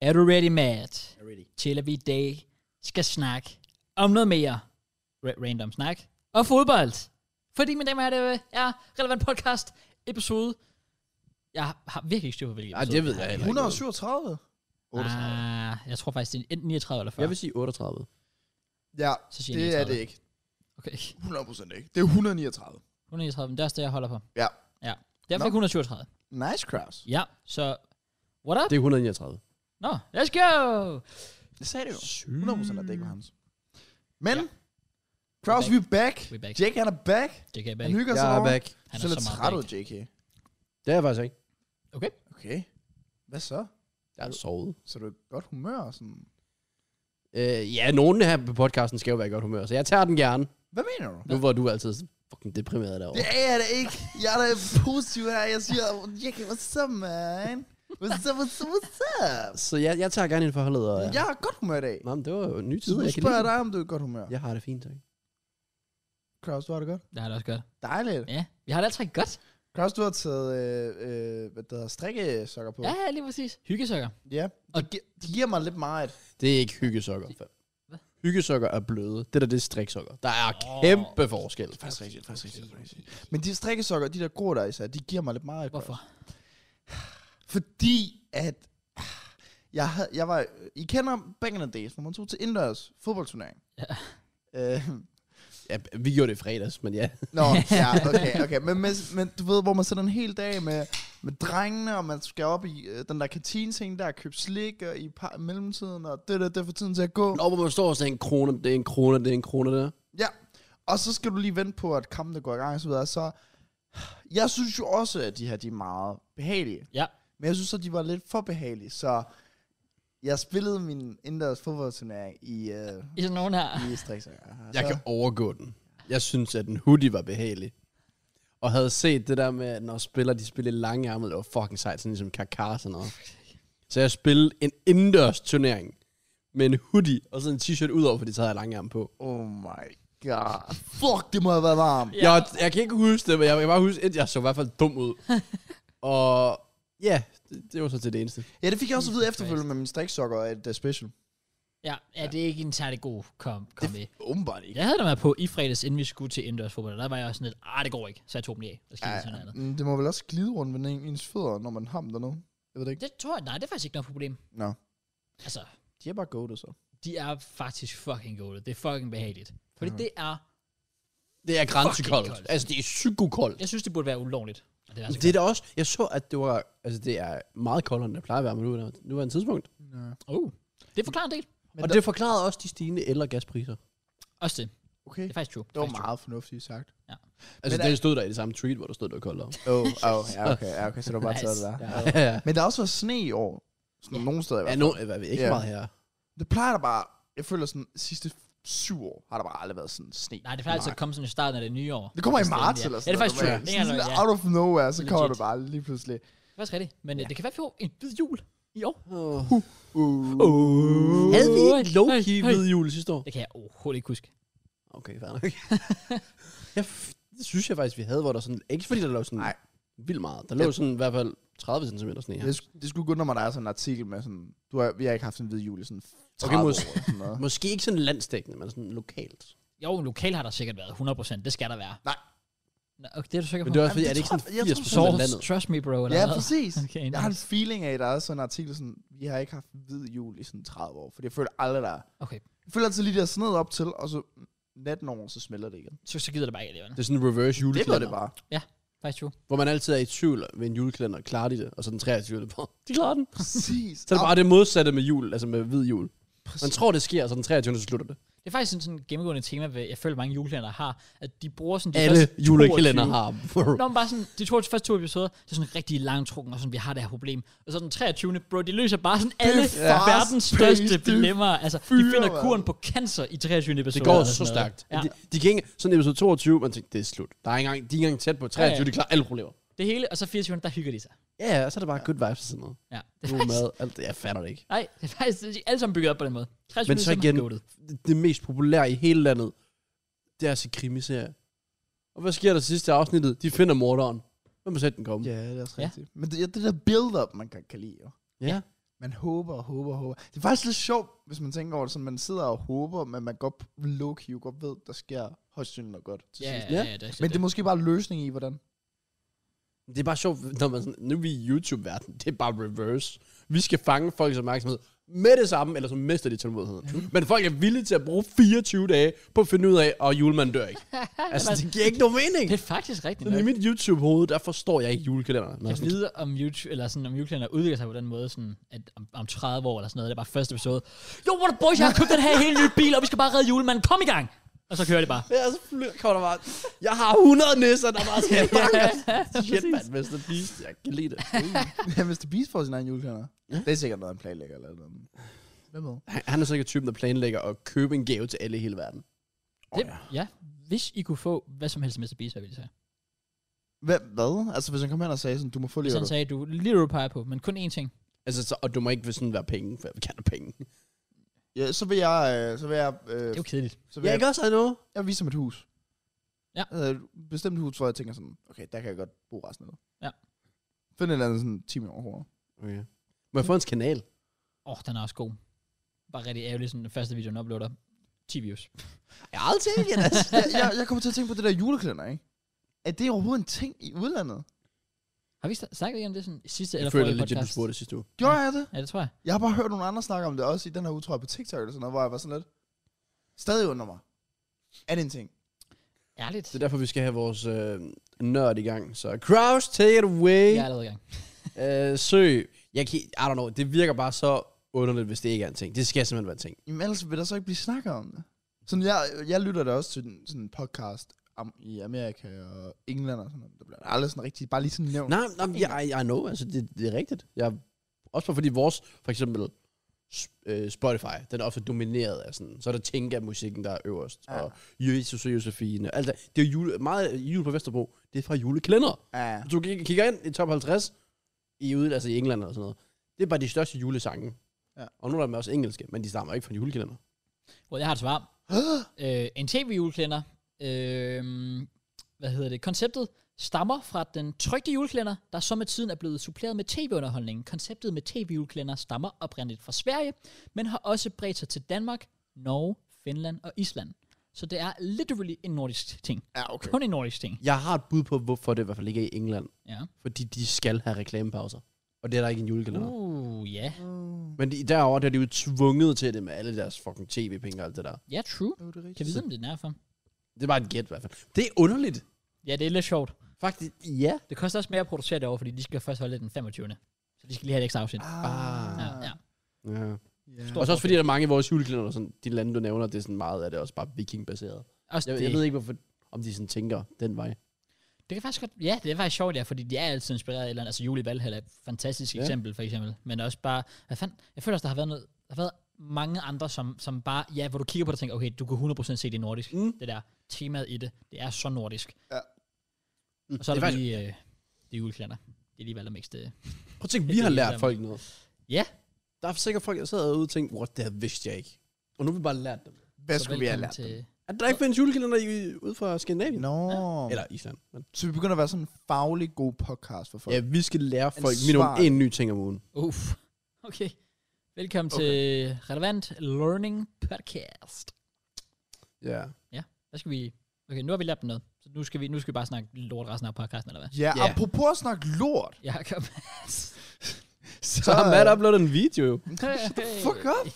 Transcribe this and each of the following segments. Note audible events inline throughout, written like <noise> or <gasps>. Er du ready, Matt? Jeg er ready. Til at vi i dag skal snakke om noget mere ra- random snak og fodbold. Fordi, mine damer og herrer, det er Relevant Podcast episode. Jeg har virkelig ikke styr på, hvilken Ej, episode. det ved jeg heller ikke. 137? 38. Ah, jeg tror faktisk, det er enten 39 eller 40. Jeg vil sige 38. Ja, Så siger det jeg er det ikke. Okay. 100% ikke. Det er 139. 139, men det er også det, jeg holder på. Ja. Ja. Jeg Nå. fik 137. Nice, Kraus. Ja, så what up? Det er 139. Nå, no, let's go! Det sagde det jo. Sygt. 100% at det ikke var hans. Men, Ja. ja. Kraus, We're we er back. We're back. Jake, han er back. Det kan jeg bare Han ikke. hygger sig Jeg er over. back. Han Han er er lidt så meget træt ud, back. JK. Det er jeg faktisk ikke. Okay. Hvad så? Jeg har sovet. Så er du i godt humør? og Sådan. Øh, ja, nogen her på podcasten skal jo være i godt humør, så jeg tager den gerne. Hvad mener du? Nu hvor du er altid så fucking deprimeret Det derovre. er jeg da ikke. Jeg er da positiv her. Jeg siger, Jake, what's up, man? What's up, what's up, what's up? Så jeg, jeg tager gerne ind for holdet. Og, Jeg har godt humør i dag. Nå, men det var jo en ny Så tid, nu jeg kan spørger lide. jeg dig, om du er i godt humør. det. Jeg har det fint, tak. Kraus, du har det godt. Det har det også godt. Dejligt. Ja, vi har det altid godt. Kraus, du har taget, øh, øh, hvad det hedder, strikkesokker på. Ja, ja, lige præcis. Hyggesokker. Ja. Og Og det, gi- det giver mig lidt meget. Det er ikke hyggesokker. Hvad? Hyggesokker er bløde. Det der, det er striksokker. Der er kæmpe forskel. Faktisk rigtigt, faktisk rigtigt, faktisk rigtigt. Men de strikkesokker, de der grå der især, de giver mig lidt meget. Hvorfor? Fordi at... ah, Jeg, havde, jeg var... I kender back in the days, hvor man tog til indendørs fodboldturnering. Ja. Øh, Ja, vi gjorde det i fredags, men ja. nå, ja, okay, okay. Men, men, men du ved, hvor man sidder en hel dag med, med drengene, og man skal op i øh, den der kantineting der, og købe slik, og i par, mellemtiden, og det der, det er for tiden til at gå. Og hvor man står og siger, en krone, det er en krone, det er en krone der. Ja, og så skal du lige vente på, at kampen går i gang og så videre. Så jeg synes jo også, at de her de er meget behagelige. Ja. Men jeg synes, at de var lidt for behagelige, så jeg spillede min indendørs fodboldturnering i, øh, I sådan nogen her. i striksager. Jeg kan overgå den. Jeg synes, at den hoodie var behagelig. Og havde set det der med, at når spillere, de spillede lange arme, det var fucking sejt, sådan ligesom Kaká og sådan noget. Så jeg spillede en indendørs turnering med en hoodie og sådan en t-shirt ud over, fordi så havde jeg lange arme på. Oh my god. Fuck, det må have været varmt. Ja. Ja. Jeg, jeg kan ikke huske det, men jeg kan bare huske, at jeg så i hvert fald dum ud. <laughs> og ja, det, det var så til det eneste. Ja, det fik jeg også at vide Jesus efterfølgende med min striksokker, at det er special. Ja, ja, det er ikke en særlig god kom, kom det, Åbenbart ikke. Jeg havde dem her på i fredags, inden vi skulle til indendørs fodbold. og Der var jeg også sådan lidt, ah, det går ikke. Så jeg tog dem lige af. Og skiftede til noget Ja, andet. men det må vel også glide rundt med en- ens fødder, når man har dem dernede. Jeg ved det ikke. Det tror jeg, nej, det er faktisk ikke noget problem. Nå, Altså, de er bare gode, så. de er faktisk fucking gode. Det er fucking behageligt. Fordi Mhm. det er, Det er koldt. grænsekoldt. Altså, det er psykokoldt. jeg synes, det burde være ulovligt. at Det er så Det er da også, jeg så, at det var, altså det er meget koldere, end det plejer at være, men nu er der, nu er der en tidspunkt. Nå. godt. uh, det forklarer en del. Men og der- det forklarede også de stigende el- og gaspriser. Også det. Okay. Det er faktisk true. Det var Faktisk true. meget fornuftigt sagt. Altså, Men men, er- det stod der i det samme tweet, hvor der stod, det var koldere. Åh, oh, oh, ja, okay, ja, okay, så du har bare Nice. nice. taget det der. Ja, <laughs> ja. Men der har også været sne i år. Sådan Ja. ja. nogle steder i ja hvert nu er vi ikke Ja. yeah. meget her. fald. Det plejer der bare, jeg føler sådan, sidste syv år har der bare aldrig været sådan sne. Nej, det plejer altså at komme sådan i starten af det nye år. Det kommer i Sådan, marts ja. eller Ja, sådan det er faktisk true. normalt. Det er Sådan rigtigt, lidt ja. out of nowhere, så Legit. kommer det bare lige pludselig. Det er faktisk rigtigt. Men ja. Ja. det kan være, at vi får en hvid jul i år. Oh. Uh. Uh. Havde vi Hey, ikke low-key hey. ved jul sidste år? Det kan jeg overhovedet ikke huske. Okay, fair nok. <laughs> jeg f- det synes jeg faktisk, vi havde, hvor der sådan... Ikke fordi der lå sådan Nej. vildt meget. Der lå Jeg- sådan i hvert fald 30 cm sne her. Det, sk- det skulle gå under mig, der er sådan en artikel med sådan, du har, vi har ikke haft en hvid jul i sådan 30 Okay, okay, år. mås- eller Sådan noget. Måske ikke sådan landstækkende, men sådan lokalt. Jo, en lokal har der sikkert været 100%. Det skal der være. Nej. Nå, okay, det er du sikker på? Men det er også fordi, Jamen, er det det ikke tror sådan jeg- jeg 80 tror procent af Source, landet? trust me, bro. Eller Ja, hvad? præcis. Okay, Jeg har nice. en feeling af, at der er sådan en artikel, sådan, vi har ikke haft en hvid jul i sådan 30 år, fordi jeg føler aldrig, der er. Okay, Jeg føler altid lige der er sådan noget op til, og så 19 år, så smelter det igen. så, så gider det bare ikke, Leon. Det er sådan en reverse Det var julekalender. det bare. Faktisk true. Hvor man altid er i tvivl ved en julekalender. Klarer de det? Og så den 23. det bare, De klarer den. Præcis. Så er det bare det modsatte med jul, altså med hvid jul. Man Præcis. tror, det sker, og så den 23. så slutter det. Det er faktisk sådan, sådan et gennemgående tema, ved, jeg føler, mange julekalender har, at de bruger sådan de Alle første 22 julekalender har. Nå, men bare sådan, de 22 første to episoder, det er sådan rigtig langtrukken, og sådan, vi har det her problem. Og så den 23. bro, de løser bare sådan alle fast verdens største paced, det dilemmaer. Altså, de fyrer, finder mand. kuren på cancer i 23. episode. Det går eller så sådan noget. stærkt. Ja, De, de gik ikke, sådan episode 22, man tænkte, det er slut. Der er ikke engang, de er ikke engang tæt på 23, Ja, ja. de klarer alle problemer. det hele, og så 24. der hygger de sig. Ja, ja, og så er det bare good vibes og sådan noget. Ja, det er God faktisk, mad, alt det, jeg fatter det ikke. nej, det er faktisk, de er alle sammen bygget op på den måde. 23. Men så december, igen, goated. det- det mest populære i hele landet, det er at se krimiserier. Og hvad sker der sidste afsnittet? De finder morderen. Hvem har set den komme? Ja, det er også Ja. rigtigt. Men det, ja, det der build-up, man kan, kan lide jo. Ja. Man håber og håber og håber. Det er faktisk lidt sjovt, hvis man tænker over det, sådan man sidder og håber, men man godt low-key jo godt ved, der sker højst sandsynligt noget godt. til Ja, sidst. ja, Ja. ja, det, er Men det er måske bare løsningen i, <laughs> hvordan. Det er bare sjovt, når man sådan, nu er vi i YouTube-verden. Det er bare reverse. Vi skal fange folks opmærksomhed med det samme, eller så mister de tålmodigheden. Men folk er villige til at bruge 24 dage på at finde ud af, og julemanden dør <laughs> ikke. Altså, det giver ikke nogen mening. det er faktisk rigtigt Sådan i nok. mit YouTube-hoved, der forstår jeg ikke julekalenderen. Jeg Når jeg sådan, ved, om YouTube, eller sådan, om YouTube udvikler sig på den måde, sådan, at om, om 30 år eller sådan noget, det er bare første episode. Jo, what up, boys, jeg har købt den her helt nye bil, og vi skal bare redde julemanden. Kom i gang! Og så kører det bare. Ja, så fly- kommer der bare, jeg har 100 nisser, der bare <laughs> skal Shit, præcis. mand, Mr. Beast, jeg kan lide det. Ja, hvis det Beast får sin egen julekalender. Det er sikkert noget, en planlægger eller noget. Hvem ved? Han, han er sikkert typen, der planlægger at købe en gave til alle i hele verden. Det, ja, hvis I kunne få hvad som helst med Beast, hvad ville I sige? Hvem, hvad? Altså, hvis han kom hen og sagde sådan, du må få Hvis lige han sagde, du lige du peger på, men kun én ting. Altså, så, og du må ikke sådan være penge, for jeg vil gerne have penge. Ja, så vil jeg, øh, så vil jeg, øh, Det er jo kedeligt. så vil Jeg jeg, kan også have noget. jeg vil vise ham et hus. Ja. Altså, et bestemt hus, hvor jeg tænker sådan, okay, der kan jeg godt bo resten af det. Ja. Find en eller anden sådan 10 millioner kroner. Okay. Må jeg få hans kanal? Åh, oh, den er også god. Bare rigtig ærgerlig, sådan den første video, den uploader. 10 views. Jeg har aldrig set altså. <laughs> jeg, jeg, jeg kommer til at tænke på det der julekalender, ikke? Er det overhovedet en ting i udlandet? Har vi snak- snakket igen om det sådan, i sidste eller Jeg føler forrige lidt, at du podcast? spurgte sidste uge. Gjorde jeg det? Ja, det tror jeg. Jeg har bare hørt nogle andre snakke om det, også i den her uge, tror jeg, på TikTok eller sådan noget, hvor jeg var sådan lidt, stadig under mig. Er det en ting? Ærligt. Det er derfor, vi skal have vores øh, nørd i gang. Så Kraus, take it away. Jeg er allerede i gang. Øh, søg. Jeg kan, I don't know, det virker bare så underligt, hvis det ikke er en ting. Det skal simpelthen være en ting. Jamen ellers vil der så ikke blive snakket om det. Sådan, jeg, jeg lytter da også til den- sådan en podcast om, i Amerika og England og sådan noget. Der bliver aldrig sådan rigtig, bare lige sådan nævnt. Nej, nej men jeg, jeg know, altså det, det er rigtigt. Jeg, også bare fordi vores, for eksempel s- øh, Spotify, den er ofte domineret af sådan, så er der tænker musikken der er øverst, Ja. ja. og Jesus og Josefine, og alt det. Det er jo jule, meget jul på Vesterbro, det er fra julekalender. Ja, Hvis du kig- kigger ind i top 50 i ud, altså i England og sådan noget, det er bare de største julesange. Ja. Ja. Og nu er der også engelske, men de stammer ikke fra en julekalender. Well, jeg har et <gasps> svar. øh, en tv-julekalender. Øh, hvad hedder det? Konceptet stammer fra den trygte julekalender, der så med tiden er blevet suppleret med tv-underholdningen. Konceptet med tv-julekalender stammer oprindeligt fra Sverige, men har også bredt sig til Danmark, Norge, Finland og Island. Så det er literally en nordisk ting. ja okay. Kun en nordisk ting. Jeg har et bud på, hvorfor det i hvert fald ikke er i England. Ja. Fordi de skal have reklamepauser. Og det er der ikke i en julekalender. Uh. Uh, ja. Yeah. Men de, derovre, der er de jo tvunget til det med alle deres fucking tv-penge og alt det der. Ja, true. Jo, det er rigtigt. Kan vi vide, om det er derfor? Det er bare et gæt i hvert fald. Det er underligt. Ja, det er lidt sjovt. Faktisk, ja. Det koster også mere at producere derovre, fordi de skal først holde det den 25. Så de skal lige have et ekstra afsnit. Ah, Ja, ja. ja. ja. Og så også fordi, der er mange af vores julekalender, sådan, de lande, du nævner, det er sådan meget af det også bare vikingbaseret. Også Jeg, Altså, det. jeg ved ikke, hvorfor, om de sådan tænker den vej. Det kan faktisk godt, ja, det er faktisk sjovt, ja, fordi de er altid inspireret af et eller andet. Altså, Julie Valhall er et fantastisk ja. Ja. eksempel, for eksempel. Men også bare, hvad fanden, jeg føler også, der har været, noget, der har været mange andre, som, som bare, ja, hvor du kigger på det og tænker, okay, du kan 100% se det er nordisk. Mm. Det der temaet i det, det er så nordisk. Mm. Og så er det det er der faktisk, lige, øh, det er juleklænder. Det er lige valgt mest det. prøv at tænke, det vi er har lige lært der- folk noget. Ja. Der er sikkert folk, der sidder derude og tænker, what, det her vidste jeg ikke. Og nu har vi bare lært dem. Hvad skulle vi have lært dem? til, At der ikke findes julekalender i- ude fra Skandinavien. Nå. Eller Island. Men. Så vi begynder at være sådan en faglig god podcast for folk. Ja, vi skal lære folk Ansvarlig. minimum en ny ting om ugen. Uff. Okay. Velkommen okay. Okay. til Relevant Learning Podcast. Ja. Hvad skal vi... Okay, nu har vi lært dem noget. Så nu skal vi, nu skal vi bare snakke lort resten af podcasten, eller hvad? Ja, Ja. apropos at snakke lort. Ja, kom. Så har Matt uploadet en video. Shut the fuck <laughs> up.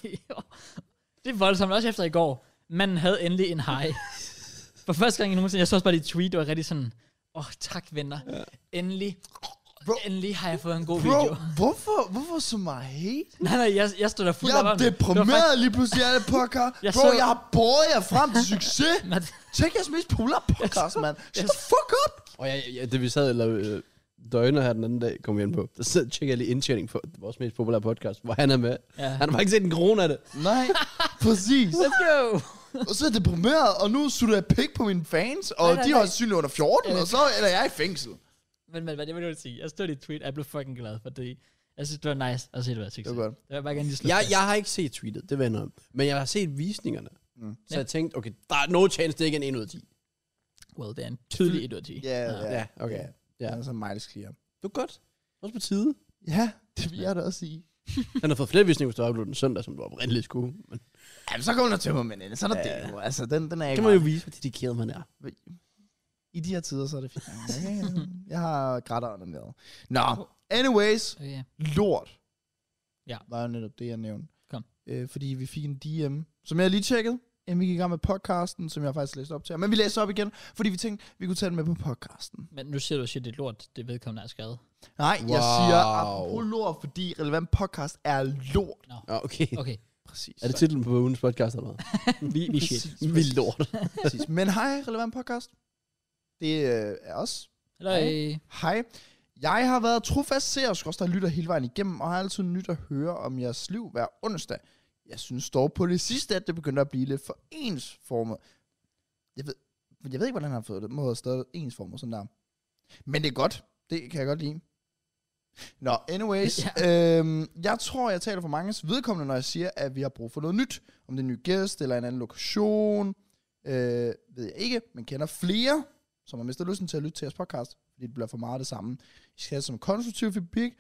det er voldsomt, også efter i går. Manden havde endelig en hej. For første gang i nogensinde, jeg så også bare dit tweet, og var rigtig sådan, åh, oh, tak venner. Ja. Endelig, Bro. endelig har jeg fået en god Bro, video. hvorfor, hvorfor så meget hate? Nej, nej, jeg, jeg stod der fuldt Jeg op er om det. Det var deprimeret lige pludselig af det podcast. Jeg Bro, så- jeg har båret jer frem til succes. faktisk- Tænk jeres mest populære podcast, mand. Shut the fuck up. Og jeg, jeg, det vi sad eller øh, døgner her den anden dag, kom vi ind på. Der sad, tjekkede jeg lige indtjening på vores mest populære podcast, hvor han er med. Ja. Ja. Han har faktisk set en krone af det. Nej, <laughs> præcis. Let's go! Og så er jeg deprimeret, og nu sutter jeg pik på mine fans, og Nej, nej, de er nej. højst sandsynligt under 14, og så er jeg i fængsel. Men, men hvad det vil jeg sige? Jeg stod i dit tweet, og jeg blev fucking glad, fordi jeg synes, det var nice at se det være succes. Det var godt. Det var bare gerne lige slå Jeg, fast. jeg har ikke set tweetet, det vender om. Men jeg har set visningerne. Mm. Så jeg tænkte, okay, der er no chance, det er ikke en 1 ud af 10. Well, det er en tydelig 1 ud af 10. Ja, ja. Altså, okay. Ja, Ja. så miles clear. Det var godt. Også på tide. Ja, det vil jeg da også sige. Den har fået flere visninger, hvis du har uploadet den søndag, som du oprindeligt skulle. Men Jamen, så kommer der tømmermænd ind. Så er der Ja. ja. det jo. Altså, den, den er det ikke kan man jo vise, hvor dedikeret man er. I de her tider, så er det fint. Ja, <laughs> Jeg har grætteren ned. Nå, anyways. Okay, ja. Lort. Ja. Var jo netop det, jeg nævnte. Kom. Øh, fordi vi fik en DM, som jeg lige tjekkede, inden vi gik i gang med podcasten, som jeg faktisk læste op til jer. Men vi læser op igen, fordi vi tænkte, vi kunne tage den med på podcasten. Men nu siger du shit, det er lort, det vedkommende er skrevet. Nej, wow. jeg Wow. siger apropos lort, fordi relevant podcast er lort. Ja, okay. Okay, Præcis. Er det titlen på ugens podcast eller hvad? vi, vi er shit. <laughs> Vi er lort. Præcis. Men hej, relevant podcast. Det øh, er os. Hallo. Hej. Jeg har været trofast seer, skråstrej lytter hele vejen igennem, og har altid nyt at høre om jeres liv hver onsdag. Jeg synes dog på det sidste, at det begynder at blive lidt for ensformet. Jeg ved, men jeg ved ikke, hvordan han har fået det. Må have stået ensformet sådan der. Men det er godt. Det kan jeg godt lide. Nå, anyways. Ja. Øhm, jeg tror, jeg taler for manges vedkommende, når jeg siger, at vi har brug for noget nyt. Om det er en ny gæst eller en anden lokation. Øh, ved jeg ikke, men kender flere, som har mistet lysten til at lytte til jeres podcast, fordi det bliver for meget det samme. I skal have som konstruktiv feedback,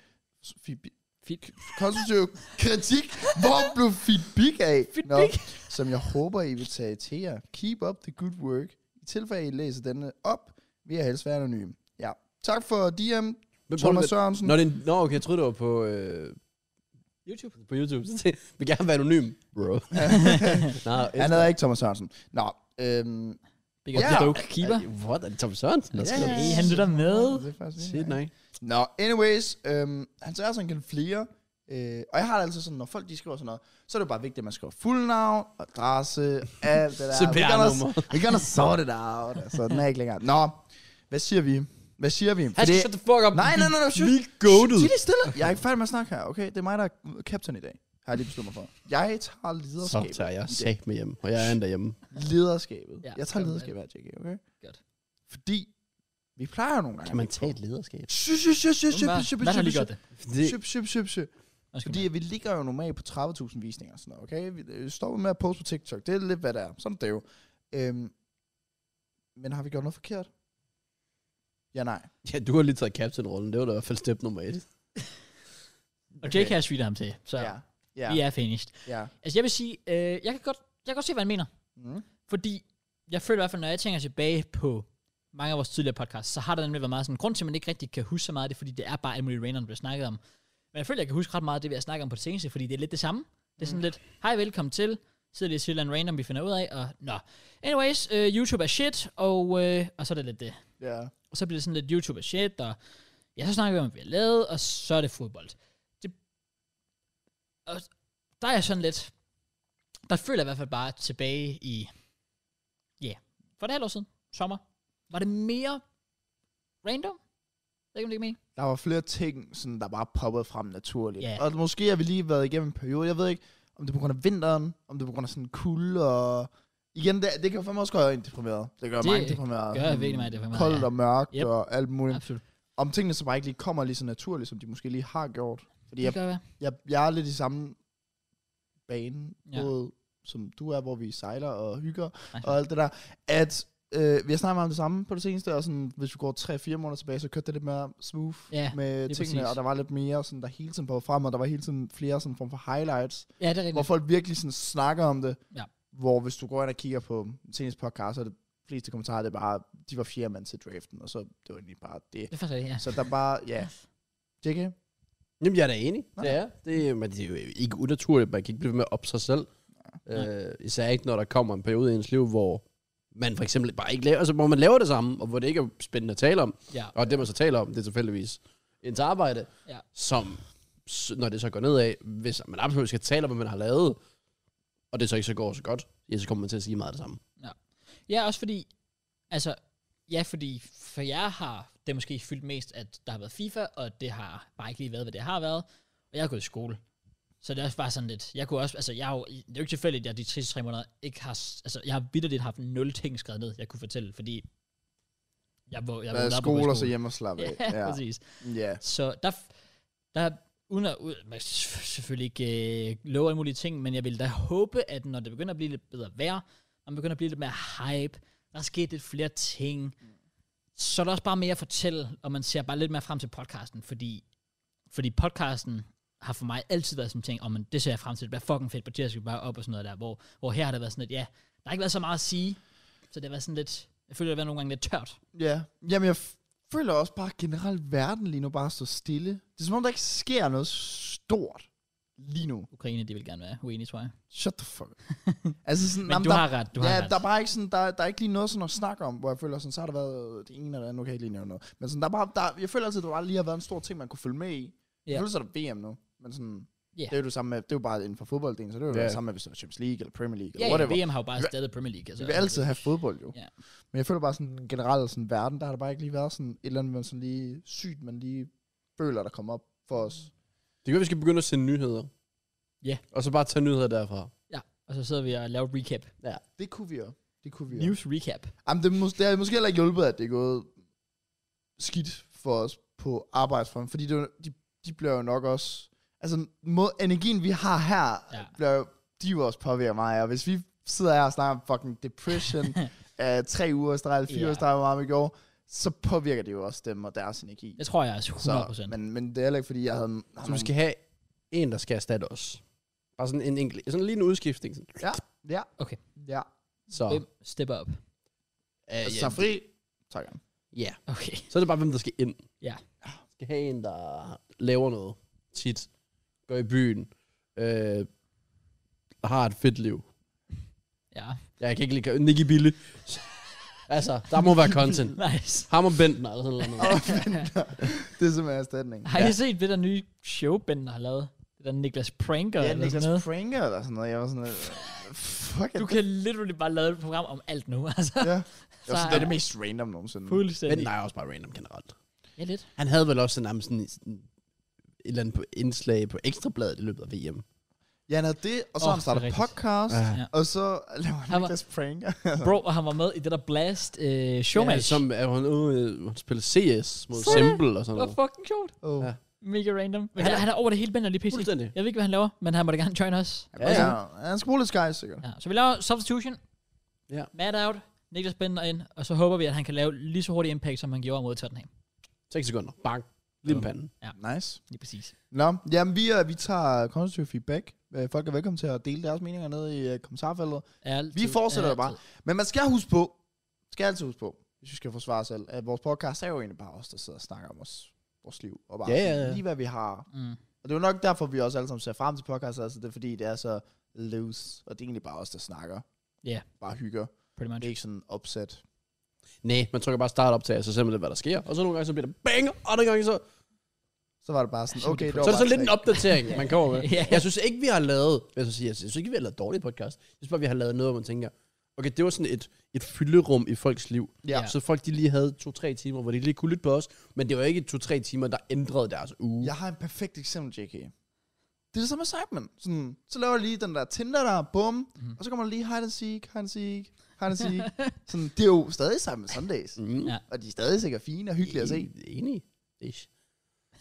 feedback Feed- konstruktiv kritik, hvor blev feedback af? Feedback. som jeg håber, I vil tage til jer. Keep up the good work. I tilfælde, I læser denne op, vil jeg helst være anonym. Ja. Tak for DM, Men prøv Thomas lige- Sørensen. Nå, det er en- Nå, okay, jeg troede, det var på, øh, YouTube. på YouTube. Så det, vil gerne være anonym, <laughs> bro. Nej, Han hedder ikke Thomas Sørensen. Nå, øhm, Big up Ja. yeah. Stoke Keeper. What? Er det Thomas Sørensen? Der skal Ja, yeah. Hey, han lytter med. Det er faktisk Shit, nej. Nå, anyways, øhm, han tager sådan kan flere. Øh, og jeg har det altid sådan, når folk de skriver sådan noget, så er det jo bare vigtigt, at man skriver fuld navn, adresse, <laughs> alt det der. CPR-nummer. We're gonna- We're gonna sort it out. Altså, den er ikke længere. Nå, hvad siger vi? Hvad siger vi? Hey, shut the fuck up. Nej, nej, nej, nej, shut- Vi er goated. Sig lige stille. Jeg er ikke færdig med at snakke her, okay? Det er mig, der er captain i dag. Har jeg lige bestemt mig for. Jeg tager Så lederskabet. tager jeg i dag. sagt med hjem, og jeg er endda hjemme. Lederskabet. Ja, Jeg tager kom med. lederskabet her, JK, okay? Godt. Fordi vi plejer jo nogle gange. Kan man tage et lederskab? Sy, sy, sy, sy, sy, sy, Hvad- sy, Hvad har sy, lige sy, gjort det? Det, Syp, syp, syp, syp. Undskyld Fordi vi ligger jo normalt på 30.000 visninger og sådan noget, okay? Vi øh, stopper med at poste på TikTok. Det er lidt, hvad det er. Sådan er det jo. Øhm, men har vi gjort noget forkert? Ja, nej. ja, du har lige taget captain-rollen. Det var da i hvert fald step nummer et. mig. Og JK har sweetet ham til, så Ja. Ja. vi er finished. ja. Altså jeg vil sige, øh, jeg, kan godt, jeg kan godt se, hvad han mener. Mm. Fordi jeg føler i hvert fald, når jeg tænker tilbage på mange af vores tidligere podcasts, så har der nemlig været meget sådan en grund til, at man ikke rigtig kan huske så meget af det, fordi det er bare alt muligt random, der bliver snakket om. Men jeg føler, jeg kan huske ret meget af det, vi har snakket om på det seneste, fordi det er lidt det samme. Det er sådan mm. lidt, hej, velkommen til. Sidder lige og siger et eller andet random, vi finder ud af, og nå. Anyways, øh, YouTube er shit, og, øh, og så er det lidt det. Ja. Og så bliver det sådan lidt YouTube er shit, og ja, så snakker vi om, hvad vi har lavet, og så er det fodbold. Det, og der er jeg sådan lidt, der føler jeg i hvert fald bare tilbage i, ja, yeah, for et halvt år siden, sommer, var det mere random? Jeg ved ikke, om det kan mene. Der var flere ting, sådan, der bare poppede frem naturligt. Ja. Og måske har vi lige været igennem en periode. Jeg ved ikke, om det er på grund af vinteren, om det er på grund af sådan kulde og... Igen, det, det kan jo fandme også gøre en deprimeret. Det gør Det mange deprimeret. gør virkelig mig deprimeret, Koldt ja. og mørkt Yep. og alt muligt. Absolut. om tingene så bare ikke lige kommer lige så naturligt, som de måske lige har gjort. Fordi Det jeg, kan være. jeg, jeg er lidt i samme bane, Ja. ja. både som du er, hvor vi sejler og hygger Nej. og alt det der, at øh, vi har snakket meget om det samme på det seneste, og sådan, hvis vi går 3-4 måneder tilbage, så kørte det lidt mere smooth Ja, med det er tingene, præcis. og der var lidt mere, sådan, der hele tiden på frem, og der var hele tiden flere sådan, form for highlights, Ja, det er hvor rigtigt. folk virkelig sådan, snakker om det, Ja. hvor hvis du går ind og kigger på seneste podcast, så er det fleste kommentarer, det er bare, de var fjerde mand til draften, og så det var egentlig bare det. Det er faktisk rigtigt, ja. Så der bare, ja. JK? Jamen, jeg er da enig. Det er. Det, men det er jo ikke unaturligt. Man kan ikke blive ved med at op sig selv. Øh, især ikke, når der kommer en periode i ens liv, hvor man for eksempel bare ikke laver, altså hvor man laver det samme, og hvor det ikke er spændende at tale om, Ja. og det man så taler om, det er tilfældigvis ens arbejde, Ja. som, s- når det så går nedad, hvis man absolut skal tale om, hvad man har lavet, og det så ikke så går så godt, ja, så kommer man til at sige meget af det samme. Ja, også fordi, altså, ja, fordi for jer har det måske fyldt mest, at der har været FIFA, og det har bare ikke lige været, hvad det har været, og jeg har gået i skole. Så det er også bare sådan lidt, jeg kunne også, altså jeg har jo, det er jo ikke tilfældigt, at jeg de sidste tre måneder ikke har, s- altså jeg har vitterligt haft nul ting skrevet ned, jeg kunne fortælle, fordi jeg, vå- jeg Der er vågnede op og var i skole, og så hjemme og slappe af. <laughs> Ja, Ja, præcis. ja. Så der, f- der uden at, ud, man s- selvfølgelig ikke øh, love alle mulige ting, men jeg vil da håbe, at når det begynder at blive lidt bedre vejr, når man begynder at blive lidt mere hype, der er sket lidt flere ting, så er der også bare mere at fortælle, og man ser bare lidt mere frem til podcasten, fordi, fordi podcasten har for mig altid været sådan en ting, om oh, det ser jeg frem til, det bliver fucking fedt på Jessica bare op og sådan noget der, hvor, hvor her har det været sådan lidt, ja, der har ikke været så meget at sige, så det har været sådan lidt, jeg føler, det har været nogle gange lidt tørt. Ja, jamen jeg f- føler også bare generelt verden lige nu bare står stille. Det er som om, der ikke sker noget stort lige nu. Ukraine, de vil gerne være uenige, tror jeg. Shut the fuck. up. <laughs> altså sådan, Men jamen, du der, har ret, du ja, har ret. der er bare ikke sådan, der, der er ikke lige noget sådan at snakke om, hvor jeg føler sådan, så har der været det ene eller det andet, nu kan jeg ikke lige nævne noget. Men sådan, der er bare, der, jeg føler altid, at der bare lige har været en stor ting, man kunne følge med i. Jeg Ja. føler, så er der VM nu, men sådan, Ja. det er jo det samme med, det er jo bare inden for fodbolddelen, så det er jo Ja. det samme med, hvis det var Champions League eller Premier League Ja, eller ja, whatever. VM har jo bare stadig Premier League. Altså, Vi vil altid have fodbold jo. Ja. Men jeg føler bare sådan den generelle sådan, verden, der har der bare ikke lige været sådan et eller andet, man sådan lige sygt, man lige føler, der kommer op for os. Mm. Det gør, vi skal begynde at sende nyheder. Ja. Og så bare tage nyheder derfra. Ja, og så sidder vi og laver recap. Det kunne vi jo. Det kunne vi jo. News recap. Jamen, det, mås- det har måske heller ikke hjulpet, at det er gået skidt for os på arbejdsfronten, fordi det, er jo- de, de bliver jo nok også... Altså, mod energien, vi har her, Ja. ja. bliver jo, de er jo også påvirket mig, og hvis vi sidder her og snakker om <laughs> fucking depression, øh, tre uger i streg, eller fire Ja. uger i streg, hvor meget vi går, så påvirker det jo også dem og deres energi. Det tror jeg altså 100%. Så, men, men det er heller ikke, fordi jeg havde... havde Så vi skal have en, der skal erstatte os. Bare sådan en enkelt, sådan lige en udskiftning. Sådan. Ja. Ja. Okay. Ja. Så, Hvem stepper op? ja, Altså, ja, yeah. fri. <laughs> Tak. ja. Okay. Så er det bare, hvem der skal ind. Ah, Ja. Skal have en, der laver noget tit. Går i byen. Øh, har et fedt liv. Ja. Jeg kan ikke lide Nicky Bille. <laughs> altså, der må være content. Nice. Ham og Bentner eller sådan noget. øh, Det er simpelthen erstatning. Har I set det der nye show, Ben har lavet? Det der Niklas Pranker Ja, eller sådan Niklas noget? Pranker eller sådan noget. Jeg var sådan noget. Fuck, Du kan literally bare lave et program om alt nu, <laughs> altså. Ja. Jeg var sådan, det er Så- det mest random nogensinde. Fuldstændig. Bentner er også bare random generelt. Ja, <laughs> lidt. Han havde vel også sådan, sådan, sådan et eller andet på indslag på Ekstrabladet i løbet af VM. Ja, han havde det, og så Åh, oh, han starter det er rigtigt. podcast, Ja. Ja. og så laver han Han var- Niklas Pranker. Bro, og han var med i det der Blast øh, showmatch. som er hun, øh, hun spiller CS mod Sådan. Simple og sådan Det var noget. fucking sjovt. oh. Ja. ja. Mega random. Men han, han er over det hele, Ben er lige pisse. Fuldstændig. Jeg ved ikke, hvad han laver, men han måtte gerne join os. Ja, Ja, ja. ja. Han skal bruge lidt skies, sikkert. Ja, så vi laver substitution. Ja. Mad out. Niklas Bender ind, og så håber vi, at han kan lave lige så hurtig impact, som han gjorde mod Tottenham. 6 sekunder. Bang. Lige med panden. Nice. Lige præcis. Nå, jamen vi, øh, vi tager konstruktiv feedback. Øh, Folk er velkommen til at dele deres meninger ned i øh, kommentarfeltet. Altid, Vi fortsætter altid. bare. Men man skal huske på, skal altid huske på, hvis vi skal forsvare os selv, at vores podcast er jo egentlig bare os, der sidder og snakker om os, vores liv, og bare Ja, sådan ja, ja. lige hvad vi har. Mm. Og det er jo nok derfor, vi også alle sammen ser frem til podcast, altså det er fordi, det er så loose, og det er egentlig bare os, der snakker. Ja. Bare hygger. Pretty Det much. er ikke sådan opsat. Nej, man trykker bare start op til, så ser man lidt, hvad der sker. Og så nogle gange, så bliver det bang, og andre gange, så, Så var det bare sådan, okay, det var så er det bare sådan lidt en tre. opdatering, man kommer <laughs> med. <laughs> Ja. Jeg synes ikke, vi har lavet, hvad jeg så sige, jeg synes ikke, vi har lavet dårlige podcast. Jeg synes bare, vi har lavet noget, hvor man tænker, okay, det var sådan et, et fylderum i folks liv. Ja. Ja. Så folk, de lige havde to-tre timer, hvor de lige kunne lytte på os, men det var ikke to-tre timer, der ændrede deres uge. Jeg har en perfekt eksempel, JK. Det er det samme med Simon. Sådan, så laver jeg lige den der Tinder der, bum, Mhm. mm. og så kommer der lige hide and seek, hide and seek, hide and seek. sådan, det er jo stadig Simon Sundays. Mm. Ja. Og de er stadig sikkert fine og hyggelige <laughs> at se. Enig. Ish.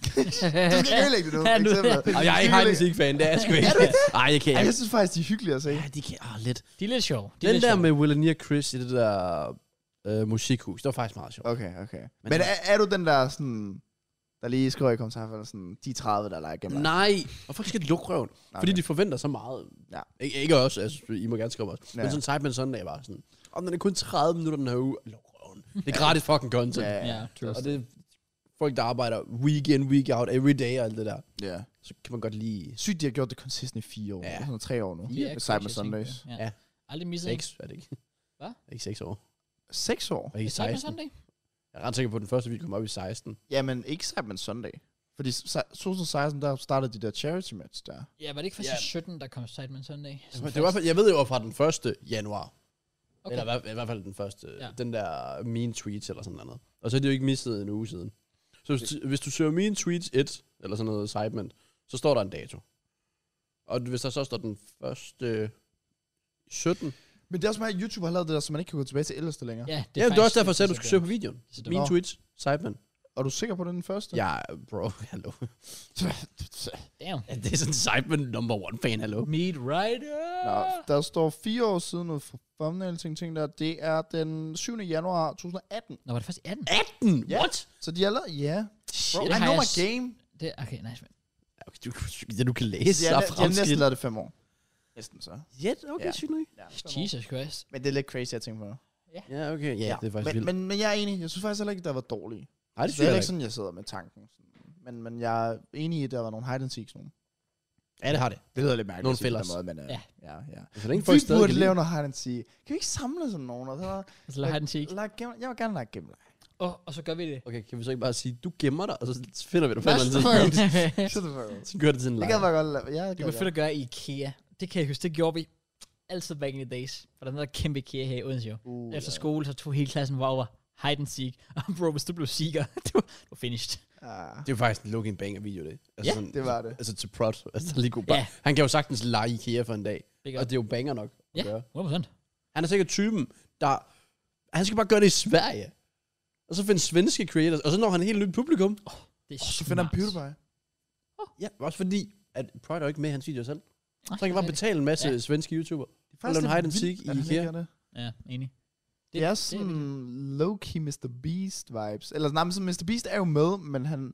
Du skal ikke ødelægge det nu. Ja, nu- eksemplet. Og jeg er ikke hide and fan, det er jeg sgu ikke. Nej, jeg kan Ej, ikke. jeg synes faktisk, de er hyggelige at se. Ja, de kan ah, lidt. De er lidt sjove. De er Den lidt der sjove. med Willenia Chris i det der øh, musikhus, det var faktisk meget sjovt. Okay, okay. Men, er, er, du den der sådan, der lige skriver i kommentarfeltet sådan, de 30, der leger gennem dig? Nej, og folk skal lukke røven, okay. fordi de forventer så meget. Ja. Ik- ikke os, altså, I må gerne skrive os. Ja. Men Ja. sådan Sidemen Sunday var sådan, om den er kun 30 minutter den her uge, luk røven. Det er gratis fucking content. Ja, Ja, ja. true. Og det er folk, der arbejder week in, week out, every day og alt det der. ja. Så kan man godt lige Sygt, de har gjort det konsistent i fire år. Ja. Ja. Sådan noget, tre år nu. De er Med crazy, Cyber jeg Sundays. tænker. Ja. Ja. Aldrig misset en. 6, er det ikke? Hvad? Ikke 6 år. Seks år? Og ikke Cyber 16. Sunday? Jeg er ret sikker på, at den første video kom op i 16. Jamen, ikke Cyber Sunday. Fordi se- 2016, der startede de der charity match der. Ja, var det ikke først Ja. i 17, der kom Sidemen Sunday? Sådan Det var, i hvert fald- jeg ved jo fra den 1. januar. Okay. Okay. Eller i hvert, i hvert fald den første. Ja. Ja. Den der mean tweets eller sådan noget. Og så har de jo ikke mistet en uge siden. Så hvis, hvis du søger mean tweets 1, eller sådan noget segment, så står der en dato. Og hvis der så står den første 17. Men det er også meget, at YouTube har lavet det der, så man ikke kan gå tilbage til ellers det længere. Ja, Det er, ja, det er også faktisk- derfor, jeg sagde, at du det er skulle så søge på videoen. Så det Mean var- tweets, segment. Er du sikker på, det er den første? Ja, bro, <laughs> hallo. Damn. Ja, det er <laughs> sådan segment number one fan, hallo. Meat Rider. Nå, der står fire år siden ud fra thumbnail ting, ting der. Det er den 7. januar 2018. Nå, var det først i 18? 18? Ja. Mm, What? Så de har lavet... Ja. Bro, Det I har know jeg my s- game. Det, okay, nice. Man. okay, du, det du kan læse, jeg, ja, er jeg, jeg næsten fremskidt. lavet det fem år. Næsten så. Ja, okay, Ja. sygt nok. Ja, Jesus Christ. Men det er lidt crazy at tænke på. Ja, okay. Ja, det er faktisk men, vildt. Men, men jeg er enig. Jeg synes faktisk heller ikke, der var dårlige. Nej, det det er synes heller jeg ikke ikke. sådan, jeg sidder med tanken. Sådan. Men, men jeg er enig i, at der var nogle hide and seeks nogen. Ja, det har det. Det lyder lidt mærkeligt. Nogle at sige på den fillers. Måde, men, uh, Ja. ja. ja, ja. Så længe folk Vi stadig burde kan lave lide. noget hide and seek. Kan vi ikke samle sådan nogen? Og så Så lader han den sig ikke. lege gem- jeg vil gerne lege gemmer. Åh, og så gør vi det. Okay, kan vi så ikke bare sige, du gemmer dig, og så finder vi dig på en Hvad eller anden står tidspunkt. <laughs> Så det var- <laughs> Så gør det til en Det lejr. kan man godt lade. Ja, Det var fedt at gøre i IKEA. Det kan jeg huske, det gjorde vi altid back in the days. For der var noget kæmpe IKEA her i Odense jo. Uh, Efter skole, så tog hele klassen var over hide and seek. <laughs> Og bro, hvis du blev seeker, <laughs> du, du var finished. Ja. Ah, Det er jo faktisk en looking banger video, det. Ja, sådan, det var det. Altså til prod. Altså, der er lige god Ja. ja. Han kan jo sagtens lege IKEA for en dag. Det gør Og det er jo banger nok at Ja. gøre. 100%. Han er sikkert typen, der... Han skal bare gøre det i Sverige. Og så finde svenske creators. Og så når han et helt nyt publikum. Det er Og så finder han smart. Beauty Pie. Ja, også fordi, at Pride er jo ikke med i hans videoer selv. Nej, Så han kan bare det er betale en masse Ja. ja. svenske YouTuber. Det er Og lave en lidt hide and vildt, seek i at han ikke IKEA. gør Det. det. Ah, Ja, enig. det er sådan low-key Mr. Beast vibes. Eller nej, men sådan, Mr. Beast er jo med, men han,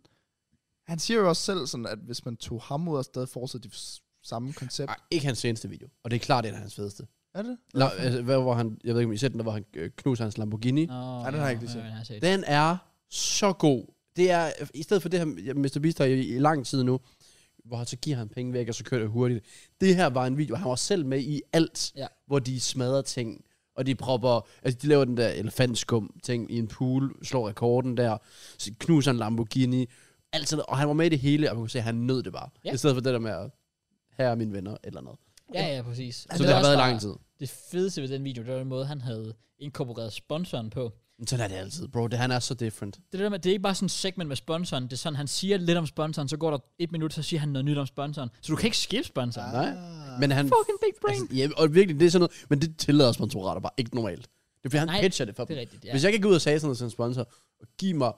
han siger jo også selv sådan, at hvis man tog ham ud og stadig fortsatte det s- samme koncept. Nej, ikke hans seneste video. Og det er klart, det er hans fedeste. Er det? La, altså, hvad, hvor han, jeg ved ikke, om I set den, der, hvor han øh, knuser hans Lamborghini. Nå, Ej, den har jeg ikke lige set. ja, den har jeg set. Den er så god. Det er, i stedet for det her, ja, Mr. Beast har i, i lang tid nu, hvor han så giver han penge væk, og så kører det hurtigt. Det her var en video, han var selv med i alt, Ja. hvor de smadrer ting, og de propper, altså de laver den der elefantskum ting i en pool, slår rekorden der, så knuser en Lamborghini, alt sådan noget. Og han var med i det hele, og man kunne se, at han nød det bare. Ja. I stedet for det der med, at her er mine venner, et eller noget. Ja, ja, præcis. Og Så Altså, er det har også været i bare- lang tid. Det fedeste ved den video, det var den måde, han havde inkorporeret sponsoren på. Men sådan er det altid, bro. Det, han er så different. Det, er det der med, det er ikke bare sådan et segment med sponsoren. Det er sådan, han siger lidt om sponsoren, så går der et minut, så siger han noget nyt om sponsoren. Så du kan ikke skifte sponsoren. Nej. Ah, Men han Fucking big brain. Altså, ja, og virkelig, det er sådan noget, men det tillader sponsorater bare ikke normalt. Det er fordi, han Nej, Nej, pitcher det for det dem. er rigtigt, ja. Hvis jeg kan gå ud og sige sådan noget til en sponsor, og give mig,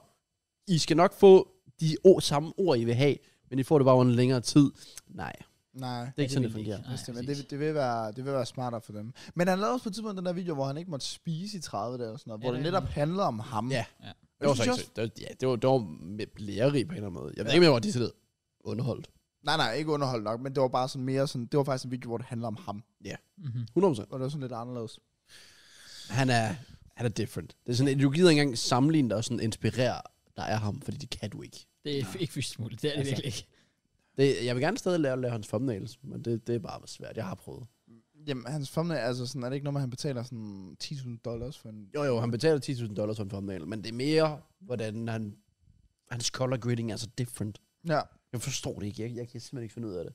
I skal nok få de o- samme ord, I vil have, men I får det bare over en længere tid. Nej, det Nej. er ikke sådan, det vil de fungerer. ikke. Nej, Hvis det, men præcis. det, det, vil være, det vil være smartere for dem. Men han lavede også på et tidspunkt den der video, hvor han ikke måtte spise i 30 dage og sådan noget, Ja, hvor det det er netop handler om ham. Ja. Ja. Det var, Jeg så synes ikke, også, så- det var, ja, det var, det var med lærerig på en eller anden måde. Jeg ved ikke, om jeg var decideret underholdt. nej, nej, ikke underholdt nok, men det var bare sådan mere sådan, det var faktisk en video, hvor det handler om ham. Mm-hmm. 100%. Og det var sådan lidt anderledes. Han er, han er different. Det er sådan, at du gider ikke engang sammenligne dig og sådan inspirere dig af ham, fordi det kan du ikke. Det er ikke fysisk muligt. Det er det Altså. virkelig ikke. Det, jeg vil gerne stadig lave, lave hans thumbnails, men det, det er bare svært. Jeg har prøvet. Jamen, hans thumbnail, altså sådan, er det ikke noget, med, at han betaler sådan 10.000 dollars for en... Jo, jo, han betaler 10.000 dollars for en thumbnail, men det er mere, hvordan han, hans color grading er så different. Ja. Jeg forstår det ikke. Jeg, jeg kan simpelthen ikke finde ud af det.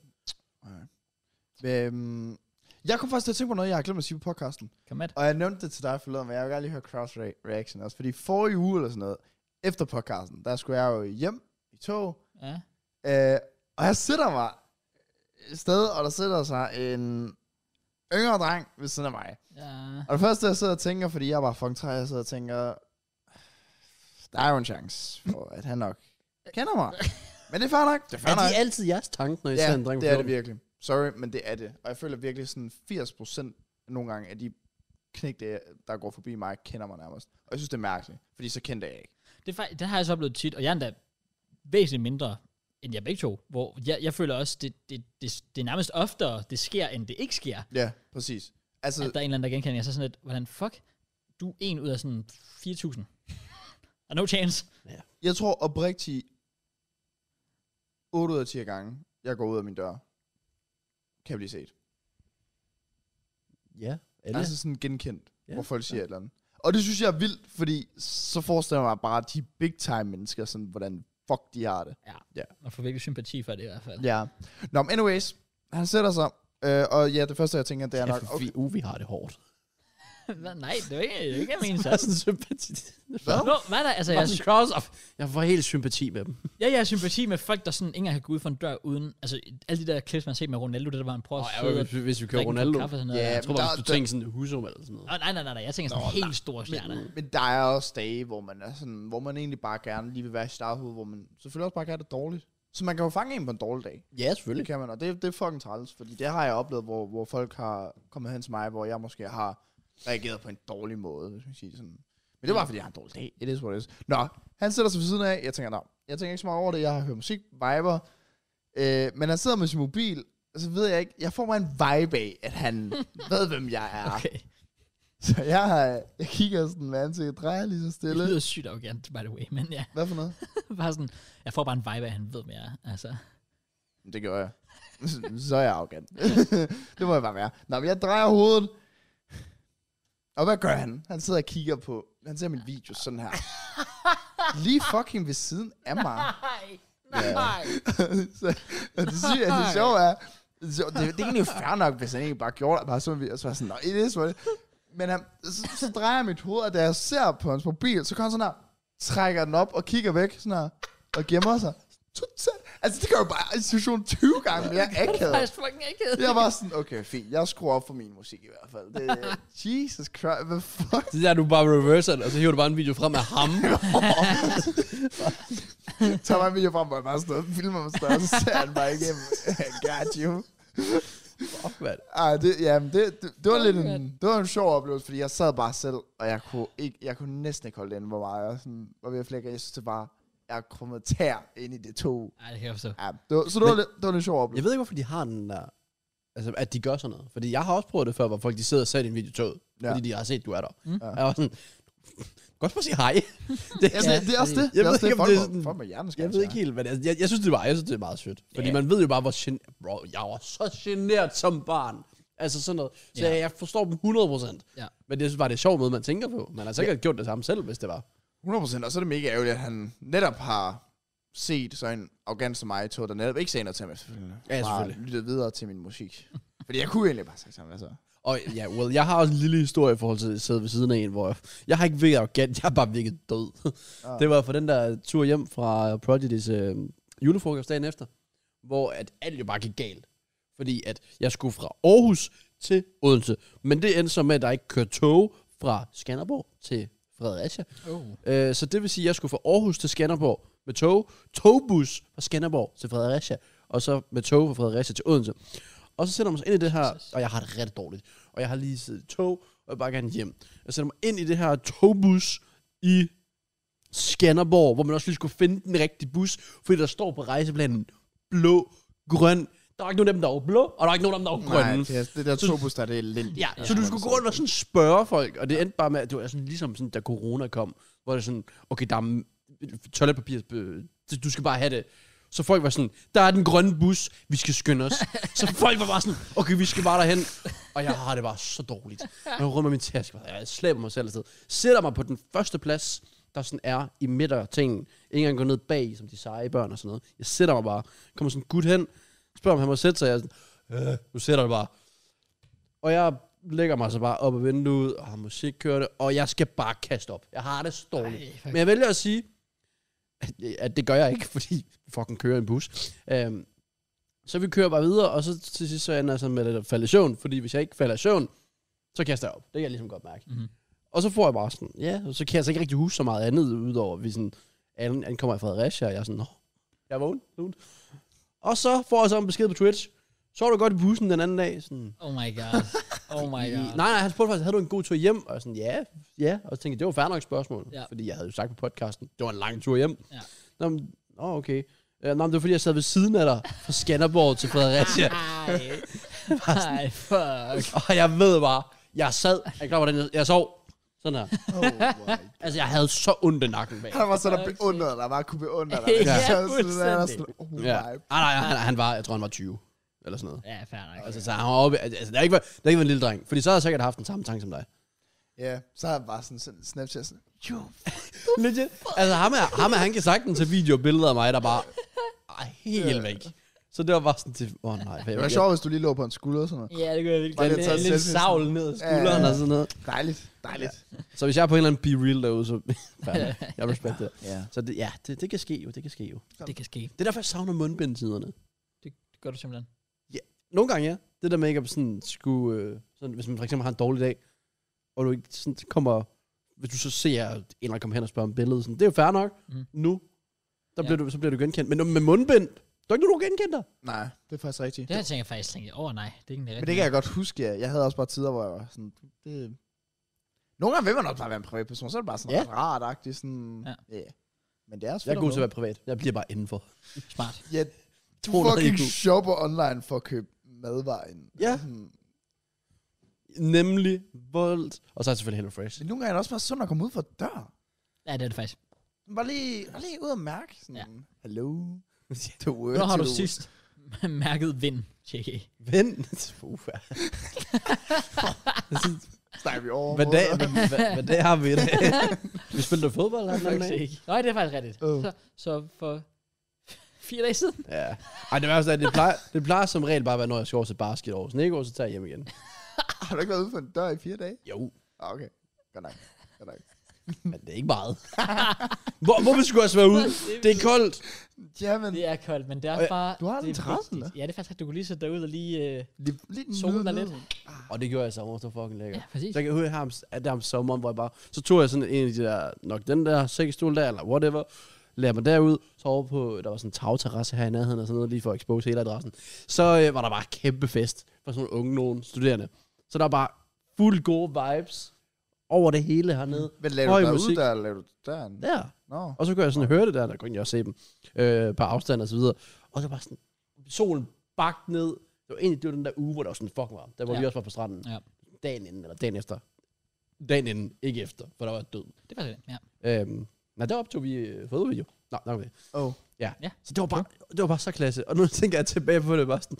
Okay. Øhm, jeg kom faktisk til at tænke på noget, jeg har glemt at sige på podcasten. Kom med. Og jeg nævnte det til dig forleden, men jeg vil gerne lige høre cross re- reaction også. Fordi forrige uge eller sådan noget, efter podcasten, der skulle jeg jo hjem i tog, Ja. Øh, og jeg sætter mig et sted, og der sætter sig en yngre dreng ved siden af mig. ja. Og det første, jeg sidder og tænker, fordi jeg er bare fucking træ, jeg sidder og tænker, der er jo en chance for, at han nok kender mig. Men det er fair nok. Det er fair Er nok. de altid jeres tanke, når I ser Ja, en dreng på det er det floden? virkelig. Sorry, men det er det. Og jeg føler virkelig sådan 80% nogle gange af de knægte, der går forbi mig, kender mig nærmest. Og jeg synes, det er mærkeligt, fordi så kendte jeg ikke. Det, er fakt- det har jeg så oplevet tit, og jeg er endda væsentligt mindre, end jeg begge to. Hvor jeg, jeg føler også, det, det, det, det er nærmest oftere, det sker, end det ikke sker. Ja, præcis. Altså, At der er en eller anden, der genkender jer. Så sådan lidt, hvordan fuck, du er en ud af sådan 4.000. <laughs> og no chance. Jeg tror oprigtigt, 8 ud af 10 gange, jeg går ud af min dør, kan jeg blive set. Ja, Eller? alle. Altså sådan genkendt, Ja, ja, hvor folk siger ja. et eller andet. Og det synes jeg er vildt, fordi så forestiller jeg mig bare, at de big time mennesker, sådan hvordan fuck de har det. Man får virkelig sympati for det i hvert <laughs> fald. Ja. Nå, men anyways, han sætter sig, øh, og ja, det første jeg tænker, det er Ja, nok, for okay, vi, uh, vi har det hårdt. Hvad? Nej, det er ikke, det er ikke min <laughs> Jeg sats. har sådan sympati. Hvad? Nå, hvad er der? Altså, jeg, cross off. Jeg får helt sympati med dem. jeg, jeg har sympati med folk, der sådan ikke engang kan gå ud for en dør uden... Altså, alle de der klips, man har set med Ronaldo, det der var en prøver at sidde og hvis vi drikke en kop kaffe og sådan noget. Ja, Jeg tror bare, der- hvis du der- tænker sådan husum eller sådan noget. Åh, nej, nej, nej, nej, jeg tænker sådan Nå, helt store stjerner. men der er også dage, hvor man, er sådan, hvor man egentlig bare gerne lige vil være i starthud, hvor man selvfølgelig også bare gerne det dårligt. Så man kan jo fange en på en dårlig dag. Ja, Det selvfølgelig. kan man, og det, det er fucking træls, fordi det har jeg oplevet, hvor, hvor folk har kommet hen til mig, hvor jeg måske har reageret på en dårlig måde, hvis man siger det sådan. Men det var, fordi jeg har en dårlig dag. It is what it is. Nå, han sætter sig ved siden af, jeg tænker, nå, jeg tænker ikke så meget over det, jeg har hørt musik, viber, Øh, men han sidder med sin mobil, og så ved jeg ikke, jeg får mig en vibe af, at <laughs> han ved, hvem jeg er. Okay. Okay. Så jeg, har, jeg kigger sådan med ansigtet, drejer lige så Det stille. lyder sygt arrogant, by the way, men ja. <laughs> Hvad for noget? bare sådan, jeg får bare en vibe af, at han ved mere. Altså, Det gør jeg. <laughs> Så er jeg arrogant. <laughs> det må jeg bare være. Nå, men jeg drejer hovedet. Og hvad gør han? Han sidder og kigger på, han ser min video sådan her. Lige fucking ved siden af mig. nej, nej. <laughs> så, og det, syge, altså, det sjove er, det, sjove- det, det er egentlig jo fair nok, hvis han ikke bare gjorde det, bare så, vi- og så var jeg sådan, nej, det er det. Men han, så, så, drejer jeg mit hoved, og da jeg ser på hans mobil, så kommer han sådan her, trækker den op og kigger væk, sådan her, og gemmer sig. Totalt. Altså, det gør jo bare situationen 20 gange mere akavet. Faktisk fucking ikke. Jeg var sådan, okay, fint, jeg skruer op for min musik i hvert fald. Det, Jesus Christ, hvad fuck? Det der, du bare reverser det, og så hiver du bare en video frem af ham. tager mig en video frem, hvor jeg bare står og filmer mig større, så ser han bare igennem. <laughs> Got you. <laughs> Fuck, mand. Ej, det, ja, men det, det, det, var Oh lidt my en, det var en sjov oplevelse, fordi jeg sad bare selv, og jeg kunne, ikke, jeg kunne næsten ikke holde det inde, hvor meget jeg sådan, var ved at flække. Jeg synes, det bare, jeg er krummet tær ind i det to. Nej, det kan jeg forstå. Ja, det var, så det var, Men- lidt, det var en lidt sjov Jeg oplevelse. ved ikke, hvorfor de har den der... Altså, at de gør sådan noget. Fordi jeg har også prøvet det før, hvor folk de sidder og ser din video i toget. Ja. Ja. Fordi de har set, du er der. Mm. Mm. Jeg var sådan... <laughs> Godt for at sige hej. <laughs> Det, Ja, sådan, det er også det. Jeg det er ved også ikke, det. om Folk det er må- sådan- Folk med hjerneskab. Jeg ved ikke helt, men jeg, jeg, jeg synes, det var, jeg synes, det er meget sødt. Fordi man ved jo bare, hvor gen... Bro, jeg var så generet som barn. Altså sådan noget. Så Ja. jeg, jeg forstår dem 100%. Ja. Men det synes bare, det er sjovt noget, man tænker på. Man har sikkert gjort det samme selv, hvis det var. 100%, og så er det mega ærgerligt, at han netop har set så en arrogant som mig i toget, der netop ikke sagde noget til mig, selvfølgelig. Ja, Bare selvfølgelig. lyttede videre til min musik. Fordi jeg kunne egentlig bare have sagt sammen, altså. Og ja, well, jeg har også en lille historie i forhold til at sidde ved siden af en, hvor jeg, jeg har ikke virket arrogant, jeg har bare virket død. Ah. Ah. Det var for den der tur hjem fra Prodigy's øh, julefrokost dagen efter, hvor at alt jo bare gik galt. Fordi at jeg skulle fra Aarhus til Odense, men det endte så med, at der ikke kørte tog fra Skanderborg til Fredericia. Oh. Øh, så det vil sige, at jeg skulle fra Aarhus til Skanderborg med tog, togbus fra Skanderborg til Fredericia, og så med tog fra Fredericia til Odense. Og så sætter man sig ind i det her, og jeg har det rigtig dårligt, og jeg har lige siddet i tog, og jeg vil bare gerne hjem. Jeg sætter mig ind i det her togbus i Skanderborg, hvor man også lige skulle finde den rigtige bus, fordi der står på rejseplanen blå, grøn. Der var ikke nogen af dem, der var blå, og der var ikke nogen af dem, der var grønne. Nej, det, er, det der Så- tobus, der det er Altså. elendigt. Ja, så du skulle gå rundt og sådan spørge folk, og det endte bare med, at det var sådan, ligesom sådan, da corona kom, hvor det sådan, okay, der er m- toiletpapir, øh, det- du skal bare have det. Så folk var sådan, der er den grønne bus, vi skal skynde os. så <laughs> folk var bare sådan, okay, vi skal bare derhen. Og jeg har det bare så dårligt. Jeg var rundt med min taske, og jeg slæber mig selv afsted. Sætter mig på den første plads, der sådan er i midter af tingen. Ikke engang går ned bag, som de seje børn og sådan noget. Jeg sætter mig bare, kommer sådan en gut hen, spørger om han må sætte sig, og jeg er sådan, øh, nu sætter du dig bare. Og jeg lægger mig så bare op ad vinduet, og har musik kørende, og jeg skal bare kaste op. Jeg har det så dårligt. Ej, fuck. Men jeg vælger at sige, at, at det gør jeg ikke, <laughs> fordi vi fucking kører en bus. Øhm, så vi kører bare videre, og så til sidst så ender jeg sådan med lidt at falde i søvn, fordi hvis jeg ikke falder i søvn, så kaster jeg op. Det kan jeg ligesom godt mærke. Mhm. Mm-hmm. Og så får jeg bare sådan, ja, og så kan jeg så ikke rigtig huske så meget andet, udover at vi sådan, Allen ankommer i Fredericia, og jeg er sådan, nå, jeg er vågen, vågen. Og så får jeg så en besked på Twitch, så var du godt i bussen den anden dag, sådan, oh my god. Oh my i- god. <laughs> <laughs> Nej, nej, han spurgte faktisk, havde du en god tur hjem? Og jeg sådan, ja, ja. Og så tænkte jeg, det var færre nok spørgsmål. Ja. Ja. Fordi jeg havde jo sagt på podcasten, det var en lang tur hjem. Ja. Nå, men, åh, okay. Øh, Nå, men det var fordi, jeg sad ved siden af dig fra Skanderborg <laughs> til Fredericia. Ej. Ej, fuck. og jeg ved bare, jeg sad, jeg klar, hvordan jeg, jeg sov. Sådan her. Oh my. Altså, jeg havde så ondt i nakken bag. Han var sådan der beundrede dig, bare kunne beundre <laughs> dig. Ja, Så sådan der, fuldstændig. sådan, oh my. Ja. Ah, nej, han, han var, jeg tror, han var 20. Eller sådan noget. Ja, fair nok. Altså, så han var oppe, altså, det har ikke været, det har ikke været en lille dreng. Fordi så havde jeg sikkert haft den samme tanke som dig. Ja, så har han bare sådan, sådan Snapchat sådan, jo, Legit. Altså, ham er, ham er, han kan sagtens tage video og billeder af mig, der bare er helt væk. Så det var bare sådan til, åh oh, nej. det var sjovt, hvis du lige lå på en skulder og sådan noget. Ja, det kunne jeg virkelig Bare godt. Den lidt taget er lidt selfie. savl ned ad skulderen Ja. og sådan noget. Dejligt, dejligt. Så hvis jeg er på en eller anden be real derude, så <laughs> fandme, jeg respekterer det. Ja. Så det, ja, det, det, kan ske jo, det kan ske jo. Det kan ske. Det er derfor, jeg savner mundbindtiderne. Det gør du simpelthen. Nogle gange, ja. Det der med ikke at sådan skulle, øh, sådan, hvis man for eksempel har en dårlig dag, og du ikke sådan kommer, hvis du så ser en eller kommer hen og spørger om billedet, sådan, det er jo fair nok. Mhm. Mm. Nu, der Ja. bliver du, så bliver du genkendt. Men med mundbind, der er ikke nogen, der genkendt dig. Nej, det er faktisk rigtigt. Det her tænker jeg faktisk tænkte, åh oh, nej, det er ikke det Men det kan jeg godt huske, ja. jeg havde også bare tider, hvor jeg var sådan, det... Nogle gange vil man også bare være en privatperson, så er det bare sådan Ja. ja. rart sådan, Ja. ja. Men det er også Jeg er fedt god til at møde. være privat. Jeg bliver bare indenfor. Smart. Ja, Du 200 fucking IQ. shopper online for at købe madvarer ind. Ja. Hmm. Nemlig Volt. Og så er det selvfølgelig <laughs> HelloFresh. Men nogle gange er det også bare sundt at komme ud for dør. Ja, det er det faktisk. Bare lige, bare lige ud og mærke sådan, Ja. ja. hello, to work. Hvornår har du to- sidst <laughs> mærket vind, JK? Vent. Uha. Snakker vi over. Hvad dag, <laughs> hvad, hvad dag har vi i dag? <laughs> vi spillede fodbold her den anden dag. ikke. Nej, det er faktisk rigtigt. Øh. Så, så for <laughs> fire dage siden. Ja. Ej, det værste er, at det plejer, det plejer som regel bare at være, når jeg skal over til basket over. Sådan ikke over, så tager jeg hjem igen. Har du ikke været ude for en dør i fire dage? Jo, Ah, okay. Godt nok. Godt nok. men det er ikke <laughs> meget. Hvor, hvorfor skulle jeg også være ude? Det er koldt. Jamen, Det er koldt, men det er Og ja, bare... du har det en er terrasse, vigtigt. eller? Ja, det er faktisk, at du kunne lige sætte derude og lige... Øh, lige, lige den solen nyde er lidt. lyden. Og det gjorde jeg i sommer, det var fucking lækkert. ja, præcis. Så jeg kan huske, her om, at der om sommeren, hvor jeg bare... Så tog jeg sådan en af de der... Nok den der sækkestol der, eller whatever. Lagde mig derud. Så over på... Der var sådan en tagterrasse her i nærheden og sådan noget, lige for at expose hele adressen. Så øh, var der bare kæmpe fest for sådan nogle unge nogen studerende. Så der var bare fuld gode vibes over det hele hernede. Men laver Høj du dig ud musik. der, eller laver du døren? Der. Nå. Og så kunne jeg sådan høre det der, der kunne jeg også se dem øh, på afstand og så videre. Og så bare sådan, solen bagt ned. Det var egentlig det var den der uge, hvor det var sådan fucking varmt. Der hvor Ja. ja. vi også var på stranden. Ja. Dagen inden, eller dagen efter. Dagen inden, ikke efter, for der var død. Det er faktisk det, ja. Øhm, nej, der optog vi øh, fodvideo. Nå, nok om det. Oh. Så det var, bare, det var bare så klasse. Og nu <laughs> tænker jeg tilbage på det bare sådan,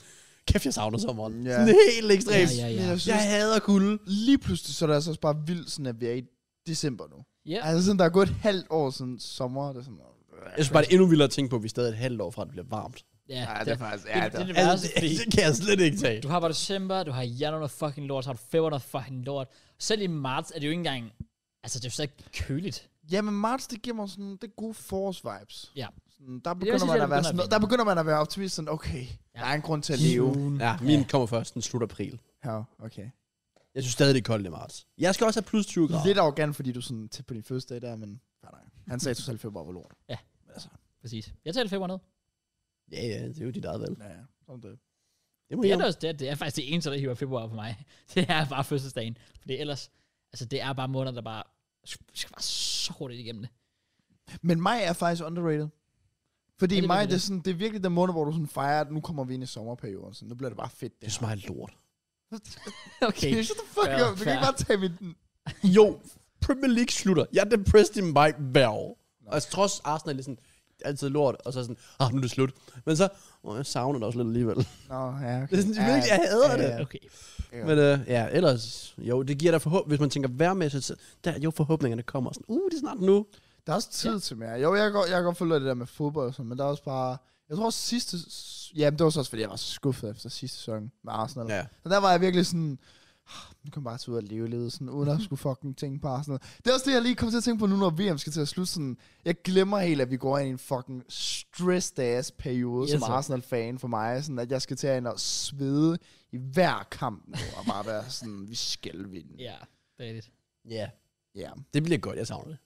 kæft, jeg savner sommeren. Ja. Ja. Sådan helt ekstremt. Ja, ja. Ja, Men ja. jeg synes, Jeg hader kulde. lige pludselig, så er det altså også bare vildt, sådan, at vi er i december nu. Ja, Altså, sådan, der er gået et halvt år siden sommer, det er sådan... Jeg synes bare, det er endnu vildere at tænke på, at vi er stadig et halvt år fra, at det bliver varmt. ja, Ja, det er faktisk... Ja, det, det, det, det, det, Altså, værste, det, fordi det, kan jeg slet ikke tage. Du har bare december, du har januar noget fucking lort, så har du februar noget fucking lort. Selv i marts er det jo ikke engang... Altså, det er jo slet ikke køligt. ja, men marts, det giver mig sådan... Det er gode forårs-vibes. Ja. Sådan, der, vil begynder sige, man at det at begynder være sådan, at der begynder man at være optimist, sådan, okay, Ja. der er en grund til at leve. Ja, min kommer først den slut april. Ja, okay. Jeg synes stadig, det er koldt i marts. Jeg skal også have plus 20 grader. Lidt arrogant, fordi du er sådan tæt på din første dag der, men... Nej, nej. Han sagde totalt februar var lort. Præcis. Jeg tager februar ned. Ja, ja, det er jo dit eget valg. Ja, ja. Sådan det. Det må Det er, jeg. da også, det, er, det er faktisk det eneste, der hiver februar for mig. <laughs> Det er bare fødselsdagen. Fordi ellers... Altså, det er bare måneder, der bare... Vi skal bare så hurtigt igennem <laughs> det. Men maj er faktisk underrated. Ja, Fordi ja, det er maj, virkelig det er, sådan, det er virkelig den måned, hvor du sådan fejrer, at nu kommer vi ind i sommerperioden. Sådan, nu bliver det bare fedt, Det det her. smager af lort. Okay. <laughs> Shut the fuck Fair, up. Du kan fair. ikke bare tage mit... <laughs> Jo, Premier League slutter. Jeg er depressed i mig hver år. Og altså, trods Arsenal er sådan, det er altid lort, og så er sådan, ah, nu er det slut. Men så, åh, jeg savner det også lidt alligevel. Nå, ja, okay. Det er sådan, virkelig, jeg hader det. Okay. Ja. Men øh, ja, ellers, jo, det giver dig forhåb, hvis man tænker værmæssigt, så der, jo, forhåbningerne kommer sådan, uh, det er snart nu. Der er også tid ja. til mere. Jo, jeg kan, godt- jeg kan godt følge det der med fodbold og sådan, men der er også bare... Jeg tror også sidste... s- Ja, men det var så også, fordi jeg var så skuffet efter sidste sæson med Arsenal. Ja. Ja, Så der var jeg virkelig sådan... "Ah, Nu kom jeg bare til ud at leve livet, sådan, uden at skulle fucking tænke på Arsenal. Det er også det, jeg lige kom til at tænke på nu, når VM skal til at slutte. Sådan, jeg glemmer helt, at vi går ind i en fucking stressed ass periode yes, Yes, som sir. Arsenal-fan for mig. Sådan, at jeg skal til at ind og svede i hver kamp nu, og bare være sådan, vi skal vinde. Ja. Ja, det er rigtigt. ja, Yeah. det bliver godt, jeg savner det.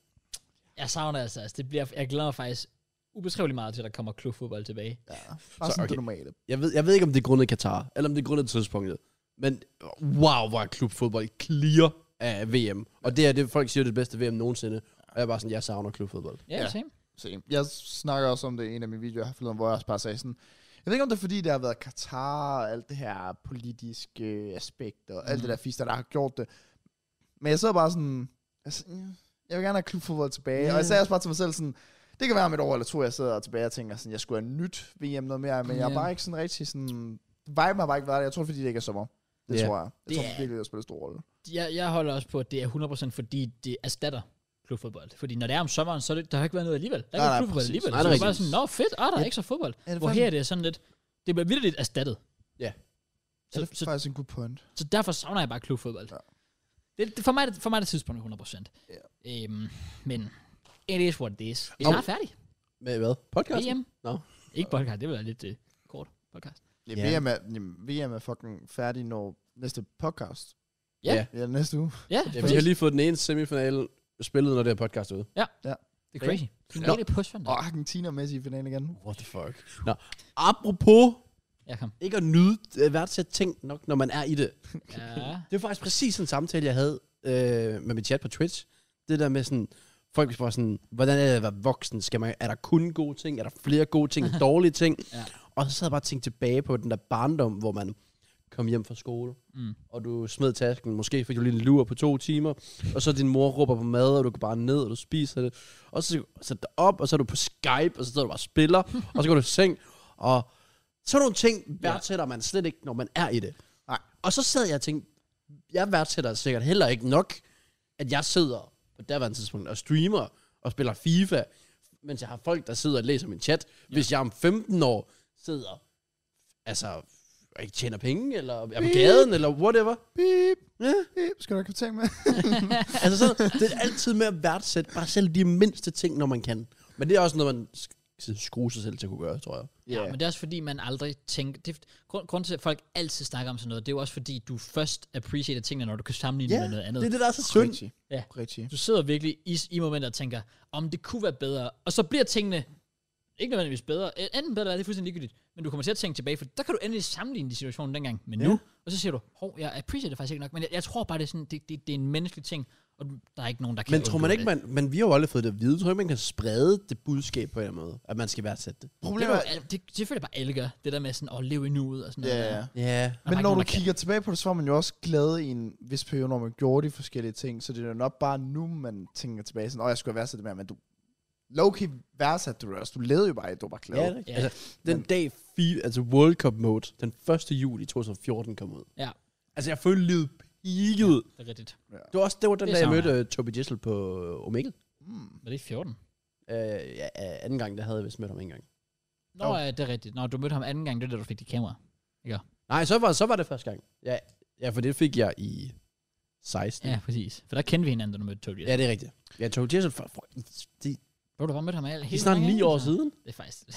Jeg savner altså, altså det bliver, jeg glæder mig faktisk ubeskriveligt meget til, at der kommer klubfodbold tilbage. ja. Bare Så, så, sådan okay. okay. det normale. Jeg ved, jeg ved ikke, om det er grundet Katar, eller om det er grundet tidspunktet. Men wow, hvor er klubfodbold clear af VM. Og det er det, folk siger, det er det bedste VM nogensinde. Og jeg er bare sådan, jeg savner klubfodbold. Ja, ja. Ja. same. Se, jeg snakker også om det i en af mine videoer her forleden, hvor jeg også bare sagde sådan, jeg ved ikke, om det er fordi, der har været Katar og alt det her politiske aspekt og mm. Mhm. alt det der fister, der har gjort det. Men jeg sidder bare sådan, altså, jeg vil gerne have klubfodbold tilbage. Yeah. Og jeg sagde også bare til mig selv sådan, det kan være om et år eller to, jeg sidder tilbage og tænker sådan, jeg skulle have nyt VM noget mere, men yeah. jeg Ja. er bare ikke sådan rigtig sådan, vibe har bare ikke været der. Jeg tror, det er, fordi det ikke er sommer. Det Ja. yeah. tror jeg. Jeg tror Det er- virkelig, det spiller stor rolle. Jeg, jeg holder også på, at det er 100% fordi, det erstatter klubfodbold. Fordi når det er om sommeren, så er det, der har ikke været noget alligevel. Der er Nej, ikke nej, klubfodbold præcis. alligevel. Nej, så det er det er bare sådan, rigtigt. nå fedt, ah, der er ikke så fodbold. Er det, Hvor her er det sådan lidt, det bliver vildt lidt erstattet. Ja. Så, er det så, faktisk en god point. så derfor savner jeg bare klubfodbold. Ja. Det, det, for, mig, er det- for mig er det tidspunkt 100%. Ja. Øhm, men it is what it is. Vi er Nå. snart færdige. Med hvad? Podcast? VM. Nå. Ikke podcast, det vil være lidt øh, kort podcast. Ja. Ja. VM, er, jamen, VM er fucking færdig, når næste podcast. Ja. Ja, næste uge. <laughs> Ja, Ja, vi præcis. har lige fået den ene semifinale spillet, når det her podcast er ude. det er crazy. Finale på søndag. Og Argentina Messi i finalen igen. What the fuck? Nå, apropos Ja, <laughs> kom. ikke at nyde øh, værdsætte ting nok, når man er i det. Ja. Det var faktisk præcis en samtale, jeg havde øh, med mit chat på Twitch. Det der med sådan, <laughs> folk spørger sådan, hvordan er det at være voksen? Skal man, er der kun gode ting? Er der flere gode ting end dårlige ting? Ja. Og så sad jeg bare og tænkte tilbage på den der barndom, hvor man kom hjem fra skole, Mm. og du smed tasken, måske fik du lige en lur på to timer, og så din mor råber på mad, og du går bare ned, og du spiser det, og så sætter dig op, og så er du på Skype, og så sidder du bare og <laughs> spiller, og så går du i seng, og sådan nogle ting værdsætter man slet ikke, når man er i det. Nej. Og så sad jeg og tænkte, jeg værdsætter sikkert heller ikke nok, at jeg sidder på daværende tidspunkt og streamer og spiller FIFA, mens jeg har folk, der sidder og læser min chat. Hvis jeg om 15 år sidder, altså, og ikke tjener penge, eller er på gaden, eller whatever. Beep, Ja. beep. Skal du have kvartering med? Altså, sådan, det er altid med at værdsætte bare selv de mindste ting, når man kan. Men det er også noget, man skal skrue sig selv til at kunne gøre, tror jeg. Ja, men det er også fordi, man aldrig tænker... Det, grund, grund til, at folk altid snakker om sådan noget, det er jo også fordi, du først appreciater tingene, når du kan sammenligne yeah, med noget andet. det er Det, det, der er så synd. Rigtig. Ja. Rigtig. du sidder virkelig i, i momenter og tænker, om det kunne være bedre, og så bliver tingene ikke nødvendigvis bedre. Øh, Enten bedre eller det er fuldstændig ligegyldigt, men du kommer til at tænke tilbage, for der kan du endelig sammenligne de situationer dengang med nu, og så siger du, hov, jeg appreciater det faktisk ikke nok, men jeg, jeg tror bare, det er, sådan, det, det, det er en menneskelig ting, og der er ikke nogen, der kan Men tror man undgå ikke, man, men vi har jo aldrig fået det at vide. Tror ikke, man kan sprede det budskab på en eller anden måde, at man skal værdsætte det? Problemet Det, er, er jo, al- det, det føler jeg bare alle gør, det der med sådan at leve i nuet og sådan ja, noget. ja, der. ja. Ja. Der er Men bare når ikke du nogen, der kan. kigger tilbage på det, så var man jo også glad i en vis periode, når man gjorde de forskellige ting. Så det er jo nok bare nu, man tænker tilbage sådan, åh, jeg skulle have værdsat det mere, men du... Low-key værdsatte du det også. Du levede jo bare i, at du var glad. Ja, det, Ja. altså, den dag, fi, altså World Cup mode, den 1. juli 2014 kom ud. Ja. Altså, jeg følte livet peaked. Det er rigtigt. Det var også det var den Det dag, jeg savner mødte uh, Toby Dissel på øh, Omegle. Mm. Var det i 14? Uh, ja, øh, anden gang, der havde jeg vist mødt ham en gang. Nå, Jo. ja, det er rigtigt. Når du mødte ham anden gang, det er da, du fik dit kamera. Nej, så var, så var det første gang. Ja, ja, for det fik jeg i 16. Ja, præcis. For der kendte vi hinanden, da du mødte Tobias. Ja. ja det er rigtigt. Ja, Toby Dissel, for, for, det, Bro, du har bare mødt ham alle det er snart ni år siden. Det er faktisk... <laughs> det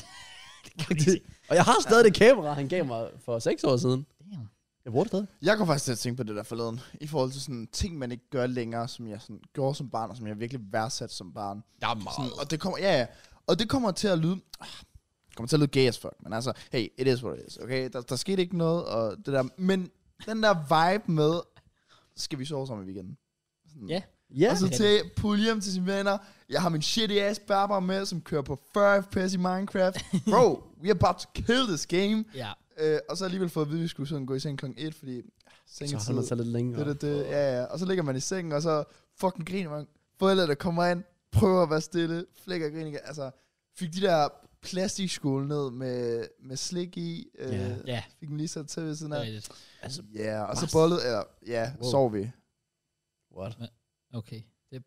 kan man ikke Det, sige. <laughs> og jeg har stadig det kamera, han gav mig for 6 år siden. Damn. Jeg bruger det stadig. Jeg kom faktisk til at tænke på det der forleden, i forhold til sådan ting, man ikke gør længere, som jeg sådan gjorde som barn, og som jeg virkelig værdsatte som barn. Ja, Sådan, og det kommer, ja, ja, og det kommer til at lyde, ah, det kommer til at lyde gay as fuck, men altså, hey, it is what it is, okay? Der, der skete ikke noget, og det der, men den der vibe med, skal vi sove sammen i weekenden? Sådan. Ja. Ja, Og så det er til pulje hjem til sine venner. Jeg har min shitty ass barber med, som kører på 40 fps i Minecraft. Bro, we are about to kill this game. Ja. Øh, og så alligenvel fået at vide, at vi skulle sådan gå i seng kl. 1, fordi ah, så sengetid. holder man sig lidt længere. Det, det, det, ja, ja. Og så ligger man i sengen, og så fucking griner man. Forældre, der kommer ind, prøver at være stille, flækker og griner. igen. Altså, fik de der plastikskåle ned med, med slik i. Øh, Ja. Ja, Fik den lige sat til ved siden det er af. rigtigt. Altså, Ja, yeah, og så Bare- bollet, eller ja, Wow. sov vi. What? Okay. Det,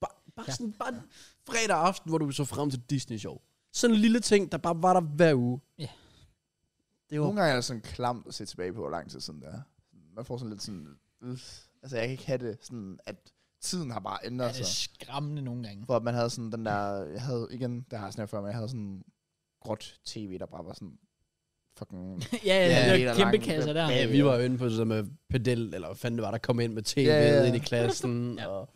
Bare, bare Ja. sådan, bare en fredag aften, hvor du så frem til Disney Show. Sådan en lille ting, der bare var der hver uge. Ja. Det var... Nogle gange er det sådan klamt at se tilbage på, hvor lang tid siden det er. Man får sådan lidt sådan, øh, altså jeg kan ikke have det sådan, at tiden har bare ja, ændret det sig. er skræmmende nogle gange. <laughs> Hvor man havde sådan den der, jeg havde igen, det har jeg snakket før, men jeg havde sådan gråt tv, der bare var sådan fucking... ja, ja, ja, Ja, det det er er kæmpe langt. kasser der. Ja, vi var jo inde på sådan med pedel, eller hvad fanden det var, der kom ind med tv'et Ja, ja, ja. ind i klassen. Ja. ja. Og,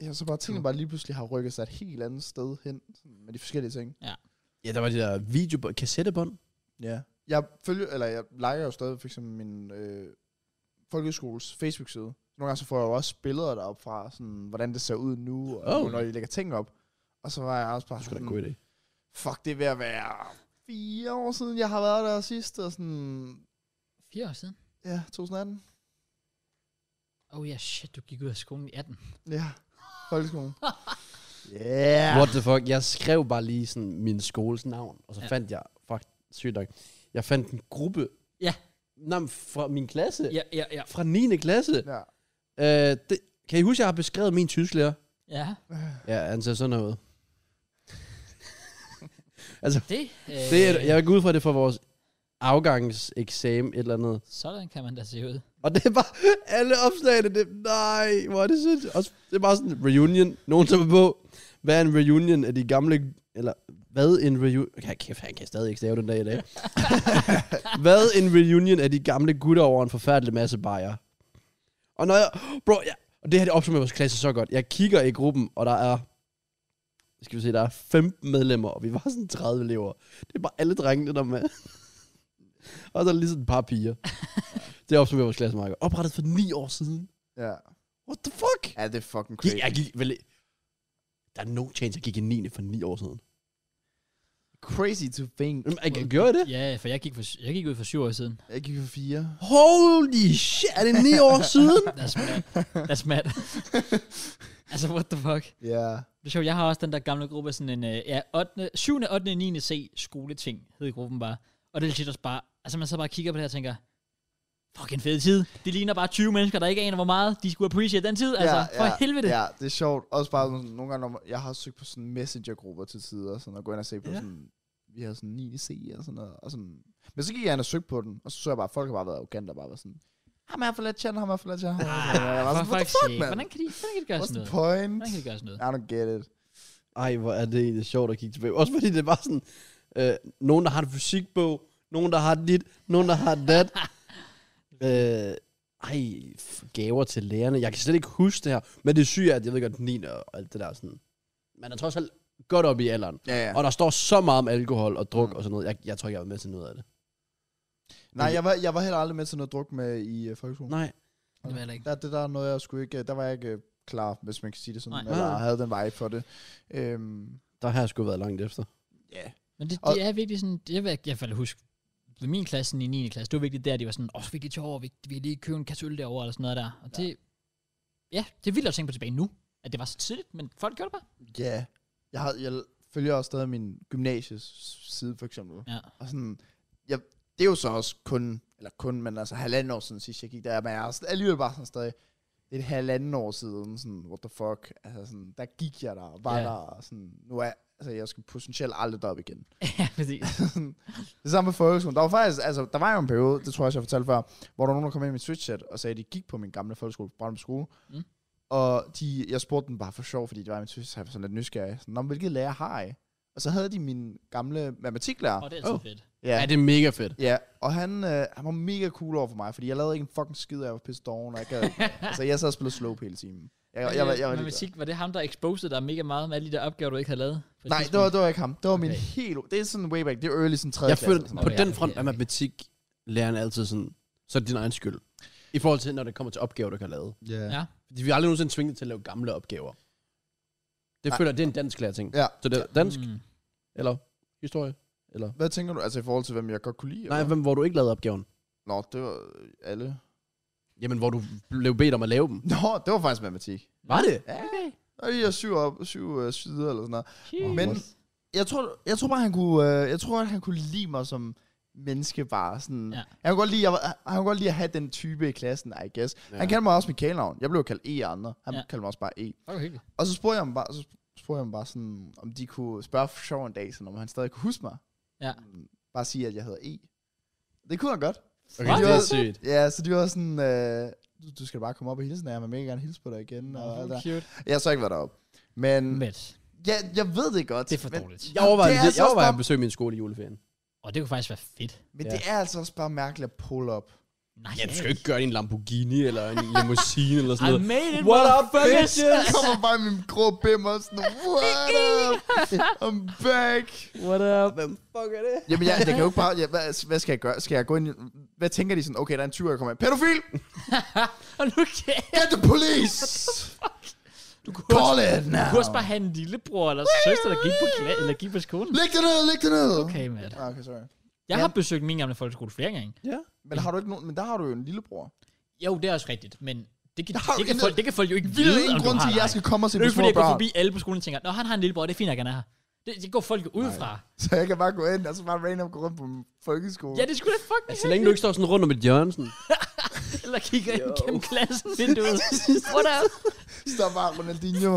Jeg så bare tingene bare lige pludselig har rykket sig et helt andet sted hen, sådan med de forskellige ting. ja, der var de der video kassettebånd. Ja. Jeg følger, eller jeg liker jo stadig for eksempel min øh, folkeskoles Facebook-side. Nogle gange så får jeg jo også billeder derop fra, sådan, hvordan det ser ud nu, og Oh. oh. når de lægger ting op. Og så var jeg også bare Det skulle sådan, da en Mm. god idé. fuck, det er ved at være fire år siden, jeg har været der sidst, og sådan, Fire år siden. ja, 2018. Oh ja, shit, du gik ud af skolen i 18. Ja, folkeskolen. yeah. What the fuck? Jeg skrev bare lige sådan min skoles navn, og så Ja. ja. fandt jeg, fuck, sygt nok, jeg fandt en gruppe. Ja. Nå, men fra min klasse. Ja, ja, ja. Fra 9. klasse. Ja. Øh, det, kan I huske, jeg har beskrevet min tysklærer? Ja, Ja, han ser sådan her ud. altså, det... Øh, det er, jeg går ud fra det er for vores afgangseksamen, et eller andet. Sådan kan man da se ud. Og det er bare, alle opslagene, det, nej, hvor er det sødt. Også, det er bare sådan en reunion, nogen tager på, hvad er en reunion af de gamle, eller hvad en reunion, okay, kæft, han kan stadig ikke stave den dag i dag. hvad en reunion af de gamle gutter over en forfærdelig masse bajer. Og når jeg, bro, ja, og det her det opsummerer vores klasse så godt. Jeg kigger i gruppen, og der er, skal vi se, der er 15 medlemmer, og vi var sådan 30 elever. Det er bare alle drengene, der er med. <laughs> og så er der lige sådan et par piger. Det opsummerer vores klasse meget godt. Oprettet for 9 år siden. ja. What the fuck? Ja, det er fucking Gik, crazy. jeg gik, vel, der er no chance, jeg gik i 9. for 9 år siden. Crazy to think. Mm. Jamen, jeg gjorde jeg det? Ja, for jeg gik, for, jeg gik ud for syv år siden. Jeg gik for fire. Holy shit, er det ni <laughs> år siden? That's mad. That's mad. altså, what the fuck? Ja. Det er sjovt, jeg har også den der gamle gruppe, sådan en, øh, ja, 8, 7. 8. 9. C skoleting, hed gruppen bare. Og det er legit også bare, altså man så bare kigger på det her og tænker, fucking fed tid. Det ligner bare 20 mennesker, der ikke aner, hvor meget de skulle appreciate den tid. Altså, for helvede. Ja, det er sjovt. Også bare sådan, nogle gange, når man, jeg har søgt på sådan messengergrupper til tider, sådan at gå ind og se på Ja. ja. sådan, vi havde sådan 9 C og sådan noget, og sådan. Men så gik jeg ind og søgte på den, og så så jeg bare, at folk har bare været arrogante og bare været sådan, ham er for lidt chat, ham er for lidt chat, ham er for lidt chat. Jeg var for sådan, what the fuck's fuck, sake. man? Hvordan kan de, hvordan kan de gøre What's sådan the noget? point? Hvordan kan de gøre sådan noget? I don't get it. Ej, hvor er det egentlig sjovt at kigge tilbage. Også fordi det var sådan, øh, nogen der har en fysikbog, nogen der har dit, nogen der har <laughs> dat. øh, ej, f- gaver til lærerne. Jeg kan slet ikke huske det her. Men det syge er, at jeg ved godt, 9 og alt det der sådan. Man er trods alt godt op i alderen. Ja, ja. Og der står så meget om alkohol og druk Mm. og sådan noget. Jeg, jeg tror ikke, jeg var med til noget af det. Nej, jeg var, jeg var heller aldrig med til noget druk med i øh, folkeskolen. Nej. Det var heller ikke. Der, det der er noget, jeg skulle ikke, der var jeg ikke øh, klar, hvis man kan sige det sådan, Nej. Nej. eller Nej. havde den vej for det. Øhm, Der har jeg sgu været langt efter. ja. Men det, Og- det er virkelig sådan, det vil jeg i hvert fald huske, ved min klasse sådan i 9. klasse, det var virkelig der, de var sådan, åh, så fik de til over, vi, vi kan lige købe en kasse øl derovre, eller sådan noget der. Og det, ja, det er vildt at tænke på tilbage nu, at det var så tidligt, men folk gjorde det bare. Ja. Jeg, har, jeg følger også stadig min gymnasies side, for eksempel. Ja. Og sådan, jeg, det er jo så også kun, eller kun, men altså halvanden år siden sidst, jeg gik der, men jeg er sådan- alligevel bare sådan stadig, det er et halvanden år siden, sådan, what the fuck, altså sådan, der gik jeg der, og var Ja. yeah. der, og sådan, nu er, altså jeg skal potentielt aldrig derop igen. ja, præcis. Det samme med folkeskolen. Der var faktisk, altså, der var jo en periode, det tror jeg også, jeg fortalte før, hvor der var nogen, der kom ind i mit Twitch-chat og sagde, at de gik på min gamle folkeskole, Brøndby Skole. Mm. Mm. Og de, jeg spurgte dem bare for sjov, fordi det var i mit Twitch-chat, så jeg var sådan lidt nysgerrig. Sådan, Nå, men hvilket lærer har I? Og så havde de min gamle matematiklærer. Og det er altid Åh. fedt. Ja, Ja, det er mega fedt. ja og han, øh, han var mega cool over for mig, fordi jeg lavede ikke en fucking skid, og jeg var pisse doven, og jeg gad <laughs> ikke. Altså, jeg sad og spillede slow hele timen. Jeg, jeg, jeg, jeg, jeg, var ligeglad. Matematik, var det ham, der exposede dig mega meget med alle de der opgaver, du ikke havde lavet? på et Nej, det tidspunkt? var, det var ikke ham. Det var min Okay. helt... Det er sådan way back. Det er early sådan tredje Jeg klasse føler, eller sådan på noget. den Ja, front okay, er okay. matematik læreren altid sådan, så er det din egen skyld. I forhold til, når det kommer til opgaver, du kan lave. noget. Ja. Ja. Fordi vi har aldrig nogensinde tvinget til at lave gamle opgaver. Det Nej. føler jeg, det er en dansk lærer ting. Ja. Så det er dansk, Mm. eller historie, eller... Hvad tænker du, altså i forhold til, hvem jeg godt kunne lide? Nej, eller? hvem, hvor du ikke lavede opgaven. Nå, det var øh, alle. Jamen, hvor du blev bedt om at lave dem. Nå, det var faktisk matematik. Var det? Ja, og jeg syv, op, syv øh, sider eller sådan noget. Jeez. Men jeg tror, jeg tror bare, han kunne, øh, jeg tror, at han kunne lide mig som menneske bare. Sådan. Ja. Ja. Han, kunne godt lide, jeg, var- han kunne godt lide at have den type i klassen, I guess. Ja. Ja. Han kaldte mig også mit kælenavn. Jeg blev kaldt E af andre. Han Ja. ja. kaldte mig også bare E. Fuck, hvor hyggeligt. Og så spurgte jeg ham bare, så spurgte jeg ham bare sådan, om de kunne spørge for sjov en dag, sådan, om han stadig kunne huske mig. Ja. Bare sige, at jeg hedder E. Det kunne han godt. Okay, What? det er sygt. Ja, så de var sådan, øh, du, du skal bare komme op og hilse, når jeg vil mega gerne hilse på dig igen. Nå, og alt hvor der. cute. Jeg har så ikke været deroppe. Men, men. Mæt. Ja, jeg ved det godt. Det er for men, dårligt. Jeg overvejede, Det er det altså jeg også overvejede at bare- besøge min skole i juleferien. Og det kunne faktisk være fedt. Men Ja. det er altså også bare mærkeligt at pull up. Nej, Ja, du skal jo ikke gøre det i en Lamborghini eller en limousine eller I sådan noget. made it, What up, motherfuckers? <laughs> Jeg kommer bare i min grå bim og sådan, what up? I'm back. What up? Hvem fuck er det? Jamen, jeg, jeg kan jo ikke bare, jeg, hvad, hvad, skal jeg gøre? Skal jeg gå ind i, hvad tænker de sådan, okay, der er en 20 der kommer ind. Pædofil! Og nu kan Get the <laughs> police! du kunne også, Call it du now! kunne også bare have en lillebror eller søster, der gik på, kla- eller gik på skolen. Læg det ned, læg det ned! Okay, mand. Ah, okay, sorry. Jeg har besøgt min gamle folkeskole flere gange. Ja. Men har du ikke nogen, men der har du jo en lillebror. Jo, det er også rigtigt, men det kan, Der har det jo kan, intet- folk, det kan folk jo ikke Det vide, er ingen om grund du har til, at jeg dig. skal komme og se Det er jo ikke, på små fordi jeg går børn. forbi alle på skolen og tænker, Nå, han har en lillebror, det er fint, at han er her. Det, det går folk jo ud fra. Så jeg kan bare gå ind, og så bare random gå rundt på min folkeskole. Ja, det skulle da fucking Altså, Så længe du ikke står sådan rundt om et hjørne, sådan. Eller kigger ind gennem klassen vinduet. What up? Så bare Ronaldinho. <laughs>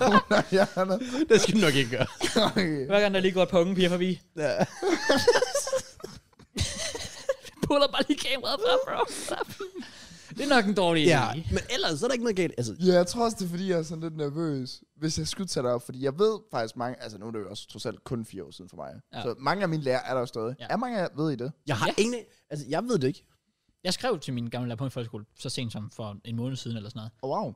Under hjørnet. <laughs> Det skal du nok ikke gøre. Okay. Hver gang der lige går et par unge piger forbi, Ja. <laughs> puller bare lige kameraet frem, bro. What up? Det er nok en dårlig idé. ja, men ellers så er der ikke noget galt. Altså, Ja, jeg tror også, det er fordi, jeg er sådan lidt nervøs, hvis jeg skulle tage det op. Fordi jeg ved faktisk mange, altså nu er det jo også trods alt kun fire år siden for mig. Ja. Ja. Så mange af mine lærere er der jo stadig. Ja. Ja. Er mange af jer, ved I det? jeg har Ja. ja. ingen... Altså, jeg ved det ikke. Jeg skrev til min gamle lærer på en folkeskole, så sent som for en måned siden eller sådan noget. Oh, wow.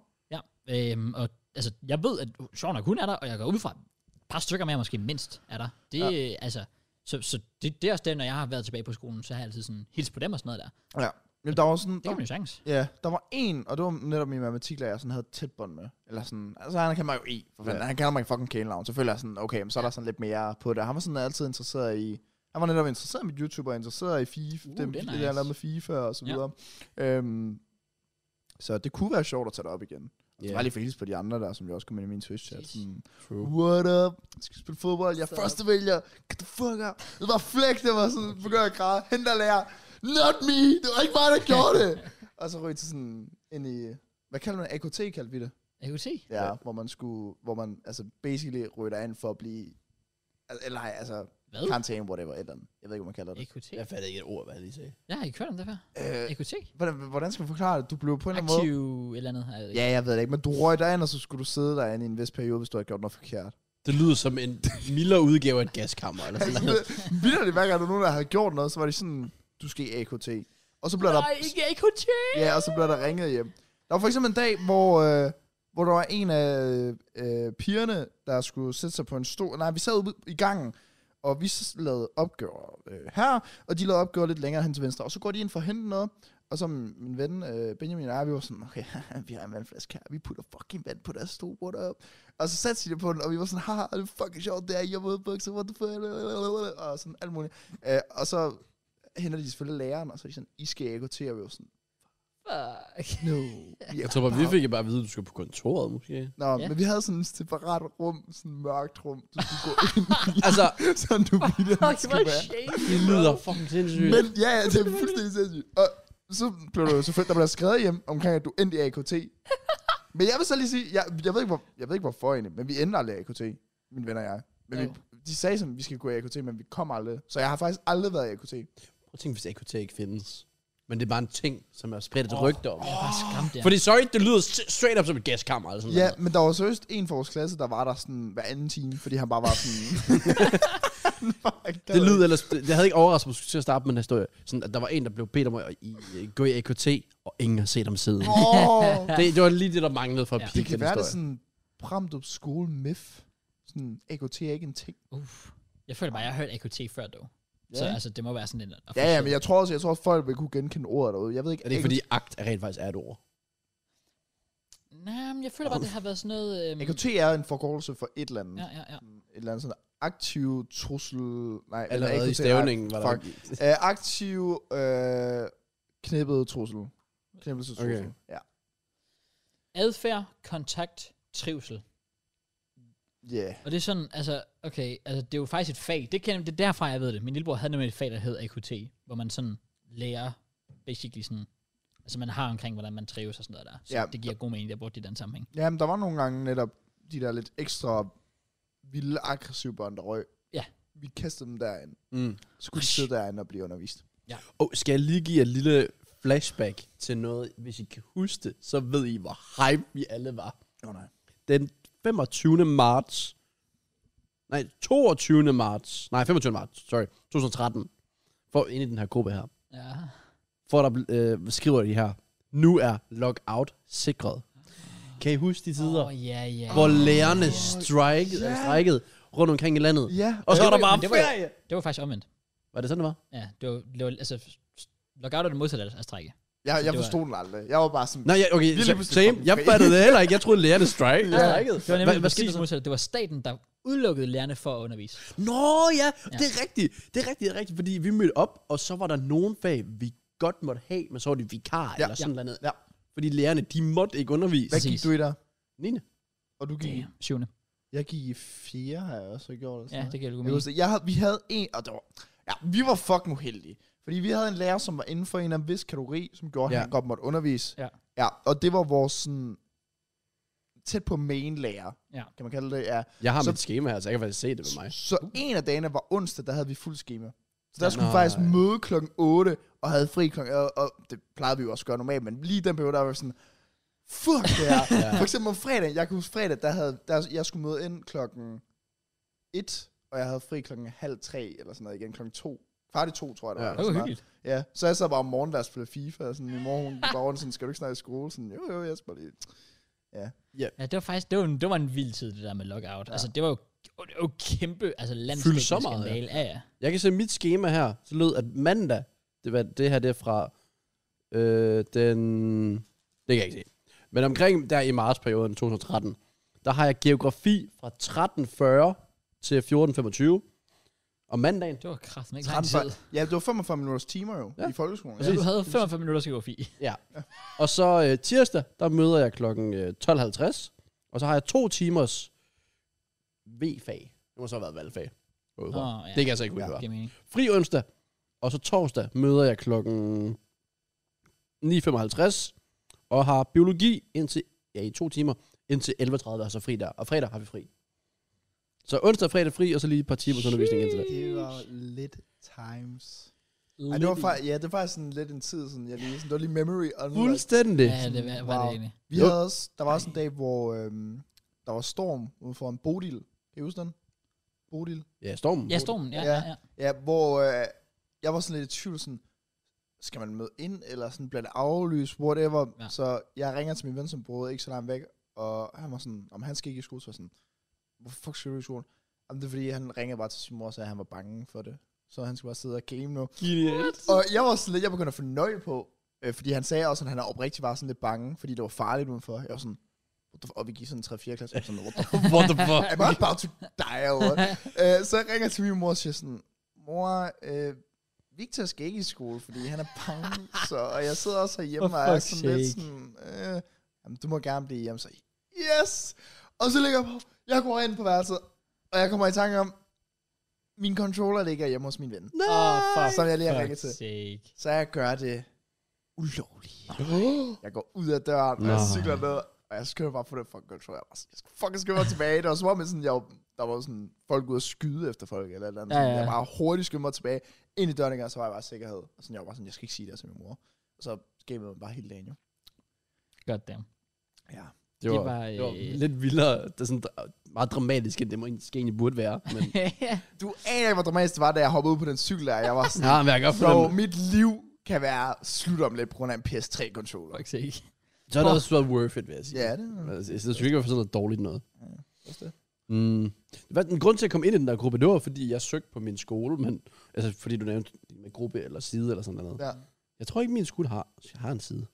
Ja, øhm, og altså, jeg ved, at sjov nok hun er der, og jeg går ud fra, at et par stykker mere måske mindst er der. Det, øh, ja. altså, så, så det, det er også det, når jeg har været tilbage på skolen, så har jeg altid sådan hils på dem og sådan noget der. Ja. Jamen, der var sådan... Det kan Der, man jo chance. ja, der var en, og det var netop min matematiklærer, jeg sådan havde tæt bånd med. Eller sådan, altså han kan mig jo i, for fanden. Ja. Han kender mig i fucking kælenavn. Selvfølgelig er jeg sådan, okay, men så er der sådan lidt mere på det. Han var sådan altid interesseret i... Han var netop interesseret i mit YouTube, og interesseret i FIFA, Uh, uh, det, det er det, nice. jeg lavede med FIFA og så Ja. videre. Øhm, så det kunne være sjovt at tage det op igen. Yeah. Så Ja. bare lige for at hilse på de andre der, som jeg også kom ind i min Twitch-chat. Præcis. Sådan, True. What up? Jeg skal spille fodbold. Jeg er første vælger. Get the fuck up. Det var flæk, det var sådan, begynder at græde. Hende der lærer. Not me. Det var ikke mig, der gjorde det. og så røg til sådan ind i, hvad kalder man det? AKT kaldte vi det. Jeg kan jo se. Ja, ja. hvor man skulle, hvor man altså basically røg ind for at blive, al- eller nej, altså Hvad? karantæne, whatever, et eller andet. Jeg ved ikke, hvad man kalder det. EQT? Jeg fatter ikke et ord, hvad jeg lige sagde. Jeg har ikke hørt om det før. Øh, EQT? hvordan, hvordan skal man forklare det? Du blev på en eller anden måde... Aktiv et eller andet. Jeg ved ikke. Ja, jeg ved det ikke, men du røg derind, og så skulle du sidde derinde i en vis periode, hvis du havde gjort noget forkert. Det lyder som en mildere udgave af et gaskammer. Eller <laughs> sådan noget. <laughs> Vildt det hver gang, der var nogen, der havde gjort noget, så var de sådan, du skal i AKT. Og så blev der, Nej, ikke EQT! ja, og så blev der ringet hjem. Der var for eksempel en dag, hvor, øh, hvor der var en af øh, pigerne, der skulle sætte sig på en stol. Nej, vi sad ude i gangen, og vi s- lavede opgaver øh, her, og de lavede opgaver lidt længere hen til venstre. Og så går de ind for at hente noget, og så min ven øh, Benjamin og jeg, vi var sådan, okay, <laughs> vi har en vandflaske her, vi putter fucking vand på deres stol, what up? Og så satte de det på den, og vi var sådan, haha, det er fucking sjovt, det er i og bukser, what the fuck, og sådan alt muligt. Øh, og så henter de selvfølgelig læreren, og så er de sådan, I skal ikke til, og vi var sådan, <laughs> Fuck. no. Jeg tror bare, vi fik bare at vide, at du skal på kontoret, måske. Nå, Ja. yeah. men vi havde sådan et separat rum, sådan et mørkt rum, du skulle gå ind i, Altså, sådan du ville, Fuck, at det det var skulle være. shame. <laughs> det lyder fucking sindssygt. Men ja, ja, det er fuldstændig sindssygt. Og så blev der jo selvfølgelig, der blev skrevet hjem omkring, at du endte i AKT. Men jeg vil så lige sige, jeg, jeg, ved, ikke, hvor, jeg ved ikke hvorfor egentlig, men vi endte aldrig i AKT, mine venner og jeg. Men vi, Jo. de sagde sådan, at vi skal gå i AKT, men vi kom aldrig. Så jeg har faktisk aldrig været i AKT. Prøv at tænke, hvis AKT ikke findes. Men det er bare en ting, som er spredt et Åh. rygte om. Jeg var skræmt der. Fordi sorry, det lyder s- straight up som et gaskammer. Eller sådan Ja, noget. men der var seriøst en fra vores klasse, der var der sådan hver anden time, fordi han bare var sådan... <laughs> Han var ikke Det ked af lyder ellers, det, det havde ikke overrasket mig til at starte med den historie. Sådan, at der var en, der blev bedt om at i, gå i AKT, og ingen har set ham siden. Åh, <laughs> Det, det var lige det, der manglede for at Ja. ja. det kan den være, det er historie. sådan Bramdrup skole MIF. Sådan, AKT er ikke en ting. Uff. Jeg føler bare, jeg har hørt AQT før, dog. Så altså, det må være sådan en Ja, ja, men jeg tror også, jeg tror, at folk vil kunne genkende ordet derude. Jeg ved ikke, Er det ikke, fordi akt er rent faktisk er et ord? Nej, men jeg føler bare, det har været sådan noget... Øhm... AKT er en forkortelse for et eller andet. Ja, ja, ja. Sådan Et eller andet sådan aktiv trussel... Nej, eller Allerede i AKT er- stavningen var der... fuck. Øh, aktiv øh, knippet trussel. Knippelse trussel. Okay. Okay. Ja. Adfærd, kontakt, trivsel. Yeah. Og det er sådan, altså, okay, altså, det er jo faktisk et fag. Det, kan, det er derfra, jeg ved det. Min lillebror havde nemlig et fag, der hed AQT, hvor man sådan lærer, basically sådan, altså man har omkring, hvordan man trives og sådan noget der. Så ja. Ja. det giver god mening, at jeg brugte det i den sammenhæng. Ja, men der var nogle gange netop de der lidt ekstra vilde, aggressive børn, der røg. Ja. Vi kastede dem derind. <laughs> Mm. Så skulle de sidde derinde og blive undervist. Oh, skal jeg lige give jer et lille flashback til noget? Hvis I kan huske det, så ved I, hvor hype vi alle var. Åh oh, nej. Den 25. marts... Nej, 22. marts... Nej, 25. marts, sorry. 2013. For ind i den her gruppe her. Ja. For der øh, skriver de her. Nu er lockout sikret. Kan I huske de tider? Åh, oh, ja, ja. Hvor lærerne strikede, ja. strikede rundt omkring i landet. Ja. Og så var det der var- bare men det var- ferie. Det var faktisk omvendt. Var det sådan, det var? Ja, det var, det var altså, lockout er det modsatte af strække. Jeg, jeg det var- forstod den aldrig. Jeg var bare sådan... Nej, ja, okay, lige sa- pludselig same. fucking Jeg ferie. fattede det heller ikke. Jeg troede, lærerne strike. Ja, strikede. Det var nemlig Hvad- hvad skete præcis der så? modsatte. Det var staten, der udelukkede lærerne for at undervise. Nå ja, Ja. det er rigtigt. Det er rigtigt, det er rigtigt, fordi vi mødte op, og så var der nogle fag, vi godt måtte have, men så var det vikar ja. Ja. eller sådan Ja. noget. Ja. Fordi lærerne, de måtte ikke undervise. Hvad Præcis. gik du i der? Nina? Og du gik i Damn. Syvende. Jeg gik i fire, har jeg også gjort. eller sådan Ja, noget. det giver god jeg, mening. husker, jeg havde, vi havde en, og det var, ja, vi var fucking uheldige. Fordi vi havde en lærer, som var inden for en af en vis kategori, som gjorde, ja. Ja. at han godt måtte undervise. Ja. ja og det var vores sådan, tæt på main lærer, Ja. kan man kalde det. Ja. Jeg har så... Så- mit schema her, så jeg kan faktisk se det <laughs> med mig. Så en af dagene var onsdag, der havde vi fuld schema. Så der Ja. skulle vi Nej. faktisk møde klokken 8 og havde fri klokken, og, og det plejede vi jo også at gøre normalt, men lige den periode, der var vi sådan, fuck det her. Ja. For eksempel om fredag, jeg kan huske fredag, der havde, der, jeg skulle møde ind klokken 1, og jeg havde fri klokken halv tre, eller sådan noget igen, klokken 2. Kvart i to, tror jeg, det Ja. var. Det Det var eller sådan noget. hyggeligt. Ja, så jeg sad bare om morgenen, der spillede FIFA, og sådan, min mor, hun gik bare rundt, sådan, skal du ikke snart i skole? Sådan, jo, jo, jeg skal bare lige. Ja, det var faktisk, det var, en, det var en vild tid, det der med lockout. Ja. Altså, det var jo, det var jo kæmpe, altså Fyldte så landstækkende meget, skandale. Ja, ja. Jeg kan se mit schema her, så lød, at mandag, det, var, det her det er fra Øh, den... Det kan jeg ikke se. Men omkring der i martsperioden 2013, der har jeg geografi fra 1340 til 1425. Og mandagen, Det var kraften ikke lang tid. 13, ja, det var 45 minutters timer jo, ja. i folkeskolen. Så du havde 45 minutter geografi. ja. Og så øh, tirsdag, der møder jeg klokken øh, 12.50, og så har jeg to timers V-fag. Det må så have været valgfag. Oh, Nå, ja. ja. Det kan jeg så ikke huske, Ja. hvad det var. giver mening. Fri onsdag, og så torsdag møder jeg klokken 9.55, og har biologi indtil, ja, i to timer, indtil 11.30, og så fri der. Og fredag har vi fri. Så onsdag og fredag fri, og så lige et par timers undervisning indtil det. Det var lidt times. Ej, det var fa- ja, det var faktisk sådan lidt en tid, sådan, jeg lige, sådan, det var lige memory unlocked. Fuldstændig. Ja, det var, var det Wow. egentlig. Vi Jo. havde også, der var også en dag, hvor øhm, der var storm ude for en Bodil. Kan I huske den? Bodil. Ja, stormen. Ja, stormen. Ja, Ja. ja. ja. Ja, hvor øh, jeg var sådan lidt i tvivl, sådan, skal man møde ind, eller sådan bliver det aflyst, whatever. Ja. Ja. Så jeg ringer til min ven, som boede ikke så langt væk, og han var sådan, om han skal ikke i skole, så var jeg sådan, hvorfor fuck skal du i skole? Jamen det er fordi, han ringede bare til sin mor og sagde, at han var bange for det. Så han skulle bare sidde og game nu. Genialt. Og jeg var sådan lidt, jeg begyndte at fornøje på, øh, fordi han sagde også, at han er oprigtigt var sådan lidt bange, fordi det var farligt udenfor. Jeg var sådan, what the f- og vi gik sådan 3-4 klasser, og sådan, what the <laughs> What the <laughs> fuck? I'm not about to die <laughs> over. uh, så jeg ringer til min mor og siger sådan, mor, øh, Victor skal ikke i skole, fordi han er <laughs> bange, så, og jeg sidder også herhjemme For og er fuck's sådan lidt sake. sådan, øh, jamen, du må gerne blive hjemme, så yes! Og så ligger jeg på, jeg går ind på værelset, og jeg kommer i tanke om, min controller ligger hjemme hos min ven, Åh, for som jeg lige har ringet fuck's til. sake. Så jeg gør det ulovligt. <gasps> Jeg går ud af døren, og jeg Nej. cykler ned, og jeg skynder bare på den fucking controller. Jeg, var sådan, jeg skal fucking skynde mig tilbage. Det var som om, jeg sådan, jeg, var- der var sådan folk ude at skyde efter folk, eller et eller andet. Ja, Ja, ja. ja. Jeg bare hurtigt skyndte mig tilbage. Ind i døren igen, og så var jeg bare i sikkerhed. Og sådan, jeg var bare sådan, jeg skal ikke sige det her til min mor. Og så gamede man bare hele dagen jo. God damn. Ja. Det Det var, var, det var øh, lidt vildere. Det er sådan meget dramatisk, end det måske egentlig burde være. Men <laughs> Du aner ikke, hvor dramatisk det var, da jeg hoppede ud på den cykel der. Jeg var <laughs> sådan, ja, men jeg kan godt bro, fornemme. mit liv kan være slut om lidt på grund af en PS3-controller. Fuck's sake. Så har det også været worth it, vil jeg sige. Ja, det er Altså, jeg synes ikke, at sådan noget dårligt noget. også det. Mm. Hvad, den grund til, at jeg kom ind i den der gruppe, det var, fordi jeg søgte på min skole, men altså, fordi du nævnte med gruppe eller side eller sådan noget. Ja. Ja. Jeg tror ikke, min skole har, har en side.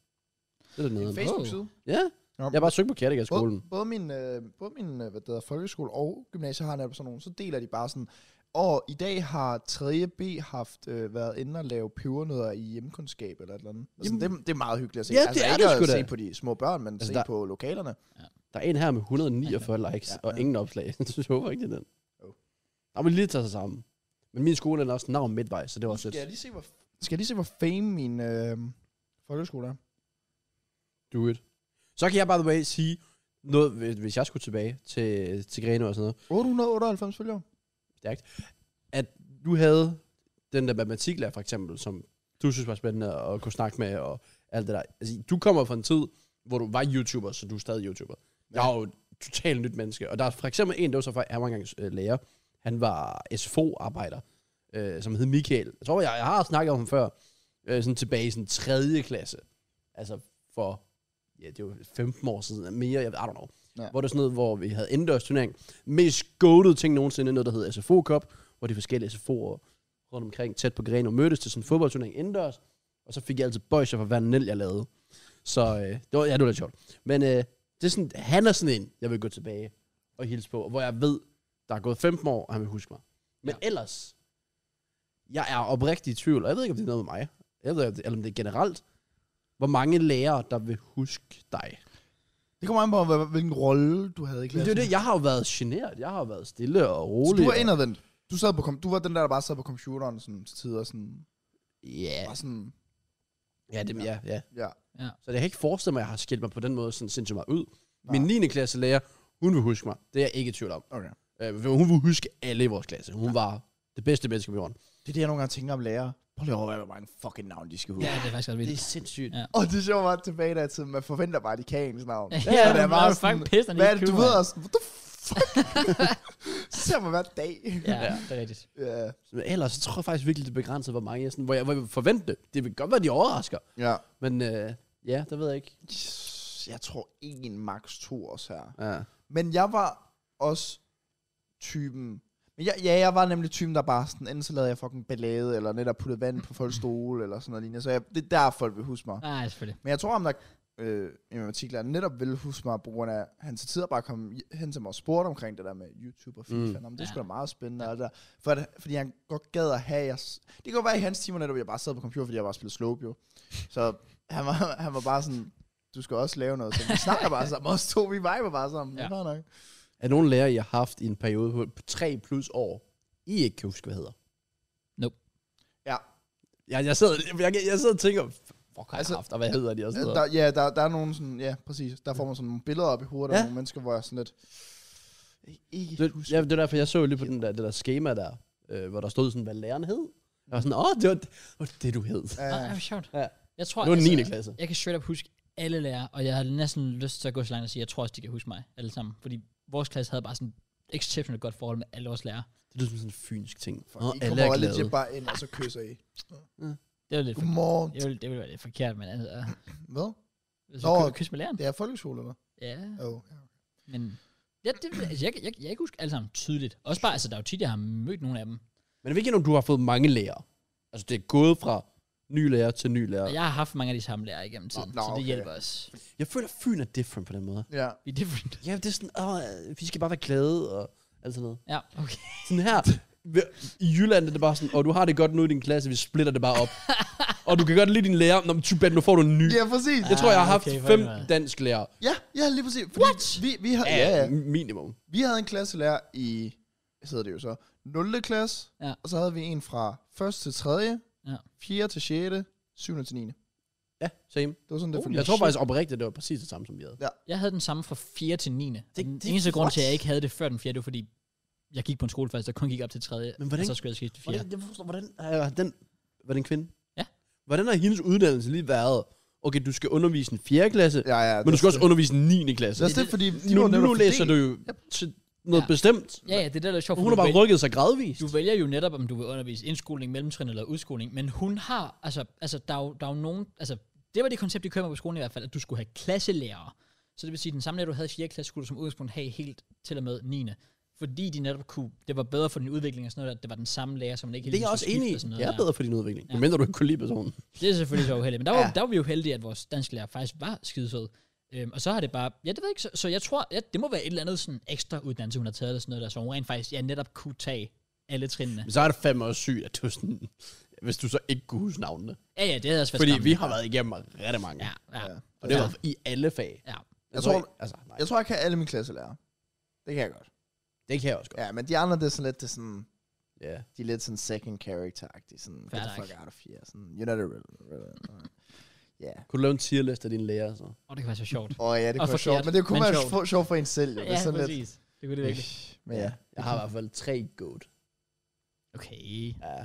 Det er da noget. andet. Facebook-side. Ja, Nå. jeg har bare søgt på Kattegat-skolen. Både, både min, øh, både min øh, hvad det hedder, folkeskole og gymnasie har netop sådan nogle, så deler de bare sådan, og i dag har 3.B haft øh, været inde og lave pebernødder i hjemkundskab eller et eller andet. Altså, Jamen. det, det er meget hyggeligt at se. Ja, altså, det er ikke det at sgu da. se på de små børn, men Altså, altså, se der- på lokalerne. Der er en her med 149 likes <laughs> Ja, ja, og ingen opslag. <laughs> jeg håber ikke, det er den. Jo. Der må lige tage sig sammen. Men min skole er også navn midtvejs, så det var også Skal jeg lidt. lige se, hvor, skal jeg lige se, hvor fame min øh, folkeskole er? Do it. Så kan jeg, by the way, sige noget, hvis- hvis jeg skulle tilbage til, til Greno og sådan noget. 898 følgere. at du havde den der matematiklærer for eksempel, som du synes var spændende at kunne snakke med og alt det der. Altså, du kommer fra en tid, hvor du var YouTuber, så du er stadig YouTuber. Ja. Jeg er jo et totalt nyt menneske. Og der er for eksempel en, der var så fra, han var engang øh, lærer. Han var SFO-arbejder, øh, som hed Michael. Jeg tror, jeg, jeg har snakket om ham før. Øh, sådan tilbage i sådan 3. klasse. Altså for, ja, det var 15 år siden, eller mere, jeg I don't know. Ja. Ja. Hvor det er sådan noget, hvor vi havde indendørs turnering. Mest goated ting nogensinde, noget der hedder SFO Cup, hvor de forskellige SFO'er rundt omkring, tæt på Greno, mødtes til sådan en fodboldturnering indendørs. Og så fik jeg altid bøjser for hver nel, jeg lavede. Så øh, det var, ja, det var lidt sjovt. Men øh, det er sådan, han er sådan en, jeg vil gå tilbage og hilse på, og hvor jeg ved, der er gået 15 år, og han vil huske mig. Men ja. ellers, jeg er oprigtig i tvivl, og jeg ved ikke, om det er noget med mig. Jeg ved ikke, om det- eller om det er generelt, hvor mange lærere, der vil huske dig. Det kommer an på, hvad- hvilken rolle du havde i Men det klassen. er jo det, jeg har jo været generet, jeg har jo været stille og så rolig. du var og- indadvendt. Du, sad på, kom- du var den der, der bare sad på computeren sådan, til tider. Sådan, Ja, bare sådan, ja, det, ja, ja. ja. Så jeg kan ikke forestille mig, at jeg har skilt mig på den måde sådan sindssygt meget ud. Nej. Min 9. klasse lærer, hun vil huske mig. Det er jeg ikke i tvivl om. Okay. Øh, for hun vil huske alle i vores klasse. Hun var det bedste menneske på jorden. Det er det, jeg nogle gange tænker om lærere. Prøv lige at overveje, hvor mange fucking navn de skal <laughs> huske. Ja, det er faktisk ret Det er vildt. sindssygt. Ja. Og det sjove var tilbage der til, man forventer bare, at de kan ens navn. Ja, Så det er man bare er fucking pissed, når de hvad, ikke er det, Du køber ved det. også, what the fuck? <laughs> så ser man hver dag. Ja, det er rigtigt. Ja. Men ellers så tror jeg faktisk virkelig, det er begrænset, hvor mange jeg, sådan, hvor jeg, hvor jeg forventer det. Det vil godt være, de overrasker. ja. Men øh, ja, det ved jeg ikke. Jeg tror en max to også her. Ja. Men jeg var også typen... Men jeg, ja, jeg var nemlig typen, der bare sådan, enten så lavede jeg fucking ballade, eller netop puttede vand på folks stole, eller sådan noget lignende. Så jeg, det er der, folk vil huske mig. Nej, selvfølgelig. Men jeg tror, om der øh, i min artikel, netop ville huske mig, på grund af, at han til tider bare kom i- hen til mig og spurgte omkring det der med YouTube og FIFA. Mm. Mm. Om det Ja. skulle da meget spændende. Og alt det der. For, at- fordi han godt gad at have jeres... Det kunne være i hans timer netop, jeg bare sad på computer, fordi jeg bare spillede Slope jo. Så han var, <laughs> han var bare sådan, du skal også lave noget. Så vi snakker bare sammen. Os to, vi viber bare sammen. Ja. Ja. Det er fair nok. Er nogen lærer, I har haft i en periode på på tre plus år, I ikke kan huske, hvad hedder? Ja, Jeg, jeg, sidder, jeg, jeg sidder og tænker, fuck har jeg Altså, haft, og hvad hedder de? Og sådan der, noget. ja der, der er nogle sådan, ja, præcis. Der får man sådan nogle billeder op i hovedet ja. Ja. af nogle mennesker, hvor jeg sådan lidt, ikke- ikke Det, husker. ja, det er derfor, jeg så lige på den der, det der schema der, øh, hvor der stod sådan, hvad læreren hed. Jeg var sådan, åh, det var det, var det du hed. Ja. Ja. Ah, hvor sjovt. Ja. Jeg tror, altså, Det var 9. klasse. Jeg kan straight up huske alle lærere, og jeg havde næsten lyst til at gå så langt og sige, jeg tror også, de kan huske mig alle sammen. Fordi vores klasse havde bare sådan et exceptionelt godt forhold med alle vores lærere. Det lyder som sådan en fynsk ting. Fuck, Nå, I alle er kommer glade. legit bare ind, og så kysser I. Det var lidt for, Godmorgen. det ville, det ville være lidt forkert, men altså, Hvad? hvis Nå. du kysse med læreren. Det er folkeskole, eller? Ja, Jo. Oh. men ja, det, altså, jeg, jeg, jeg, jeg kan huske alle sammen tydeligt. Også bare, altså, der er jo tit, jeg har mødt nogle af dem. Men hvilken om du har fået mange lærere? Altså, det er gået fra ny lærer til ny lærer. Og jeg har haft mange af de samme lærere igennem tiden, nå, så det okay. hjælper os. Jeg føler, at Fyn er different på den måde. Ja. Vi er different. Ja, det er sådan, åh, øh, vi skal bare være glade og alt sådan noget. Ja, okay. Sådan her, ved- i Jylland er det bare sådan, og du har det godt nu i din klasse, vi splitter det bare op. og du kan godt lide din lærer, Nå, men too bad, nu får du en ny. Ja, præcis. Jeg tror, jeg har Ah, haft okay, for fem helvede. dansk lærer. Ja, ja, lige præcis. Fordi What? Vi, vi, havde, ja, ja. minimum. vi havde en klasselærer i, hvad hedder det jo så, 0. klasse, Ja. og så havde vi en fra 1. til 3., Ja. 4. til 6., 7. til 9. Det Ja, same. var sådan, det Jeg tror faktisk oprigtigt, det var præcis det samme, som vi havde. Jeg havde den samme fra 4. til 9. Det, Det- den det- eneste grund what? til, at jeg ikke havde det før den 4. det var, fordi jeg gik på en skole først, der kun gik op til 3. Men hvordan- Og så skulle jeg skifte til 4. Hvordan, jeg forstår, hvordan er den, var den kvinde? Ja. Hvordan har hendes uddannelse lige været? Okay, du skal undervise en 4. klasse, ja, Ja, ja. men du skal også undervise en 9. klasse. Det er også det, fordi de nu, var nu, netop nu læser du fordelt. jo til noget Ja. ja. bestemt. Ja, ja, det er det, der er sjovt. Og for hun har du bare vælger- rykket sig gradvist. Du vælger jo netop, om du vil undervise indskoling, mellemtrin eller udskoling, men hun har, altså, altså der, er jo, der er jo nogen, altså, det var det koncept, de kørte med på skolen i hvert fald, at du skulle have klasselærere. Så det vil sige, at den samme lærer, du havde i 4. klasse, skulle du som udgangspunkt have helt til og med 9. Fordi de netop kunne, det var bedre for din udvikling og sådan noget, at det var den samme lærer, som man ikke Det er jeg skulle også skifte enig i. og sådan noget Det er der. bedre for din udvikling. Ja. Ja. Men du ikke kunne lide personen. Det er selvfølgelig så uheldigt, men der var, ja. Ja. der var vi jo heldige, at vores danske lærer faktisk var skidesød. Øhm, og så har det bare, ja det ved jeg ikke, så, så jeg tror, ja, det må være et eller andet sådan ekstra uddannelse, hun har taget eller sådan noget der, så hun rent faktisk ja, netop kunne tage alle trinene. Men så er det fandme også sygt, at du sådan, hvis du så ikke kunne huske navnene. Ja, ja, det havde også været Fordi skræmmende. vi har været igennem rigtig mange. Ja, ja, Ja. Og det Ja. var i alle fag. ja. Jeg tror- ikke- altså, nej, Jeg tror, jeg kan alle mine klasselærer. Det kan jeg godt. det kan jeg også godt. Ja, men de andre, det er sådan lidt, det er sådan, Ja. de er lidt sådan second character-agtige, sådan, Fair get the nok. fuck out of here, sådan, you're not a real, real- Ja. Kunne du lave en tier list af dine lærer, så? Og det kan være så sjovt. Åh oh, ja, Og det kunne være sjovt, forkert, men det kunne men være sjovt. sjovt sjov for en selv, jo. Det er sådan lidt, Det kunne det virkelig. men ja. Jeg har i hvert fald tre goat. Okay. Ja.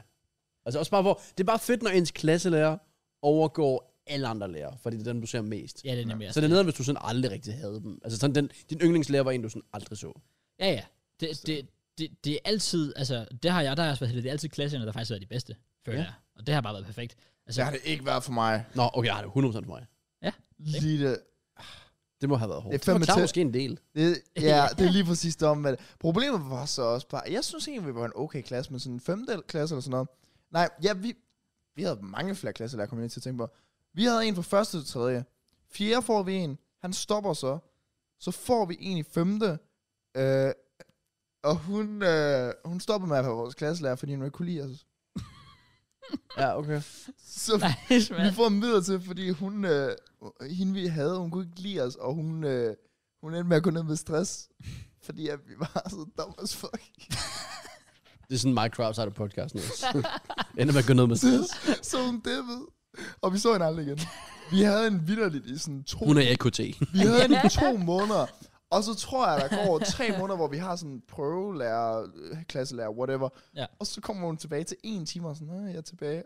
Altså også bare hvor, det er bare fedt, når ens klasselærer overgår alle andre lærere, fordi det er den, du ser mest. Ja, det er nemlig Så det er nederen, hvis du sådan aldrig rigtig havde dem. Altså sådan, den, din yndlingslærer var en, du sådan aldrig så. Ja, ja. Det, det, det, det er altid, altså, det har jeg, der har jeg også været heldig, det er altid klasserne, der faktisk har været de bedste, føler Ja. jeg. Og det har bare været <laughs> perfekt. Altså, Det har det ikke været for mig. Nå, okay, jeg har det 100% for mig. Lige det. Det må have været hårdt. Det er fandme det var tæt. måske en del. det <laughs> ja, det er lige præcis det om, men problemet var så også bare, jeg synes egentlig, vi var en okay klasse, men sådan en femte klasse eller sådan noget. Nej, ja, vi, vi havde mange flere klasselærer, kom jeg lige til at tænke på. Vi havde en fra første til tredje. Fjerde får vi en, han stopper så. Så får vi en i femte. Øh, og hun, øh, hun stopper med at være vores klasselærer, fordi hun ikke kunne lide os. Ja, okay. Så nej, Vi man. får en midler til, fordi hun, øh, hende vi havde, hun kunne ikke lide os, og hun, øh, hun endte med at gå ned med stress, fordi at vi var så dumme <laughs> as fuck. Det er sådan my crowds out of podcast nu. Ender med at gå ned med <laughs> stress. så hun dippede, og vi så hende aldrig igen. Vi havde en vidderligt i sådan to, Hun er AKT. vi havde hende i to måneder, og så tror jeg, der går tre måneder, hvor vi har sådan en prøvelærer, øh, klasselærer, whatever, Ja. og så kommer hun tilbage til en time, og sådan, "Nå, jeg er tilbage.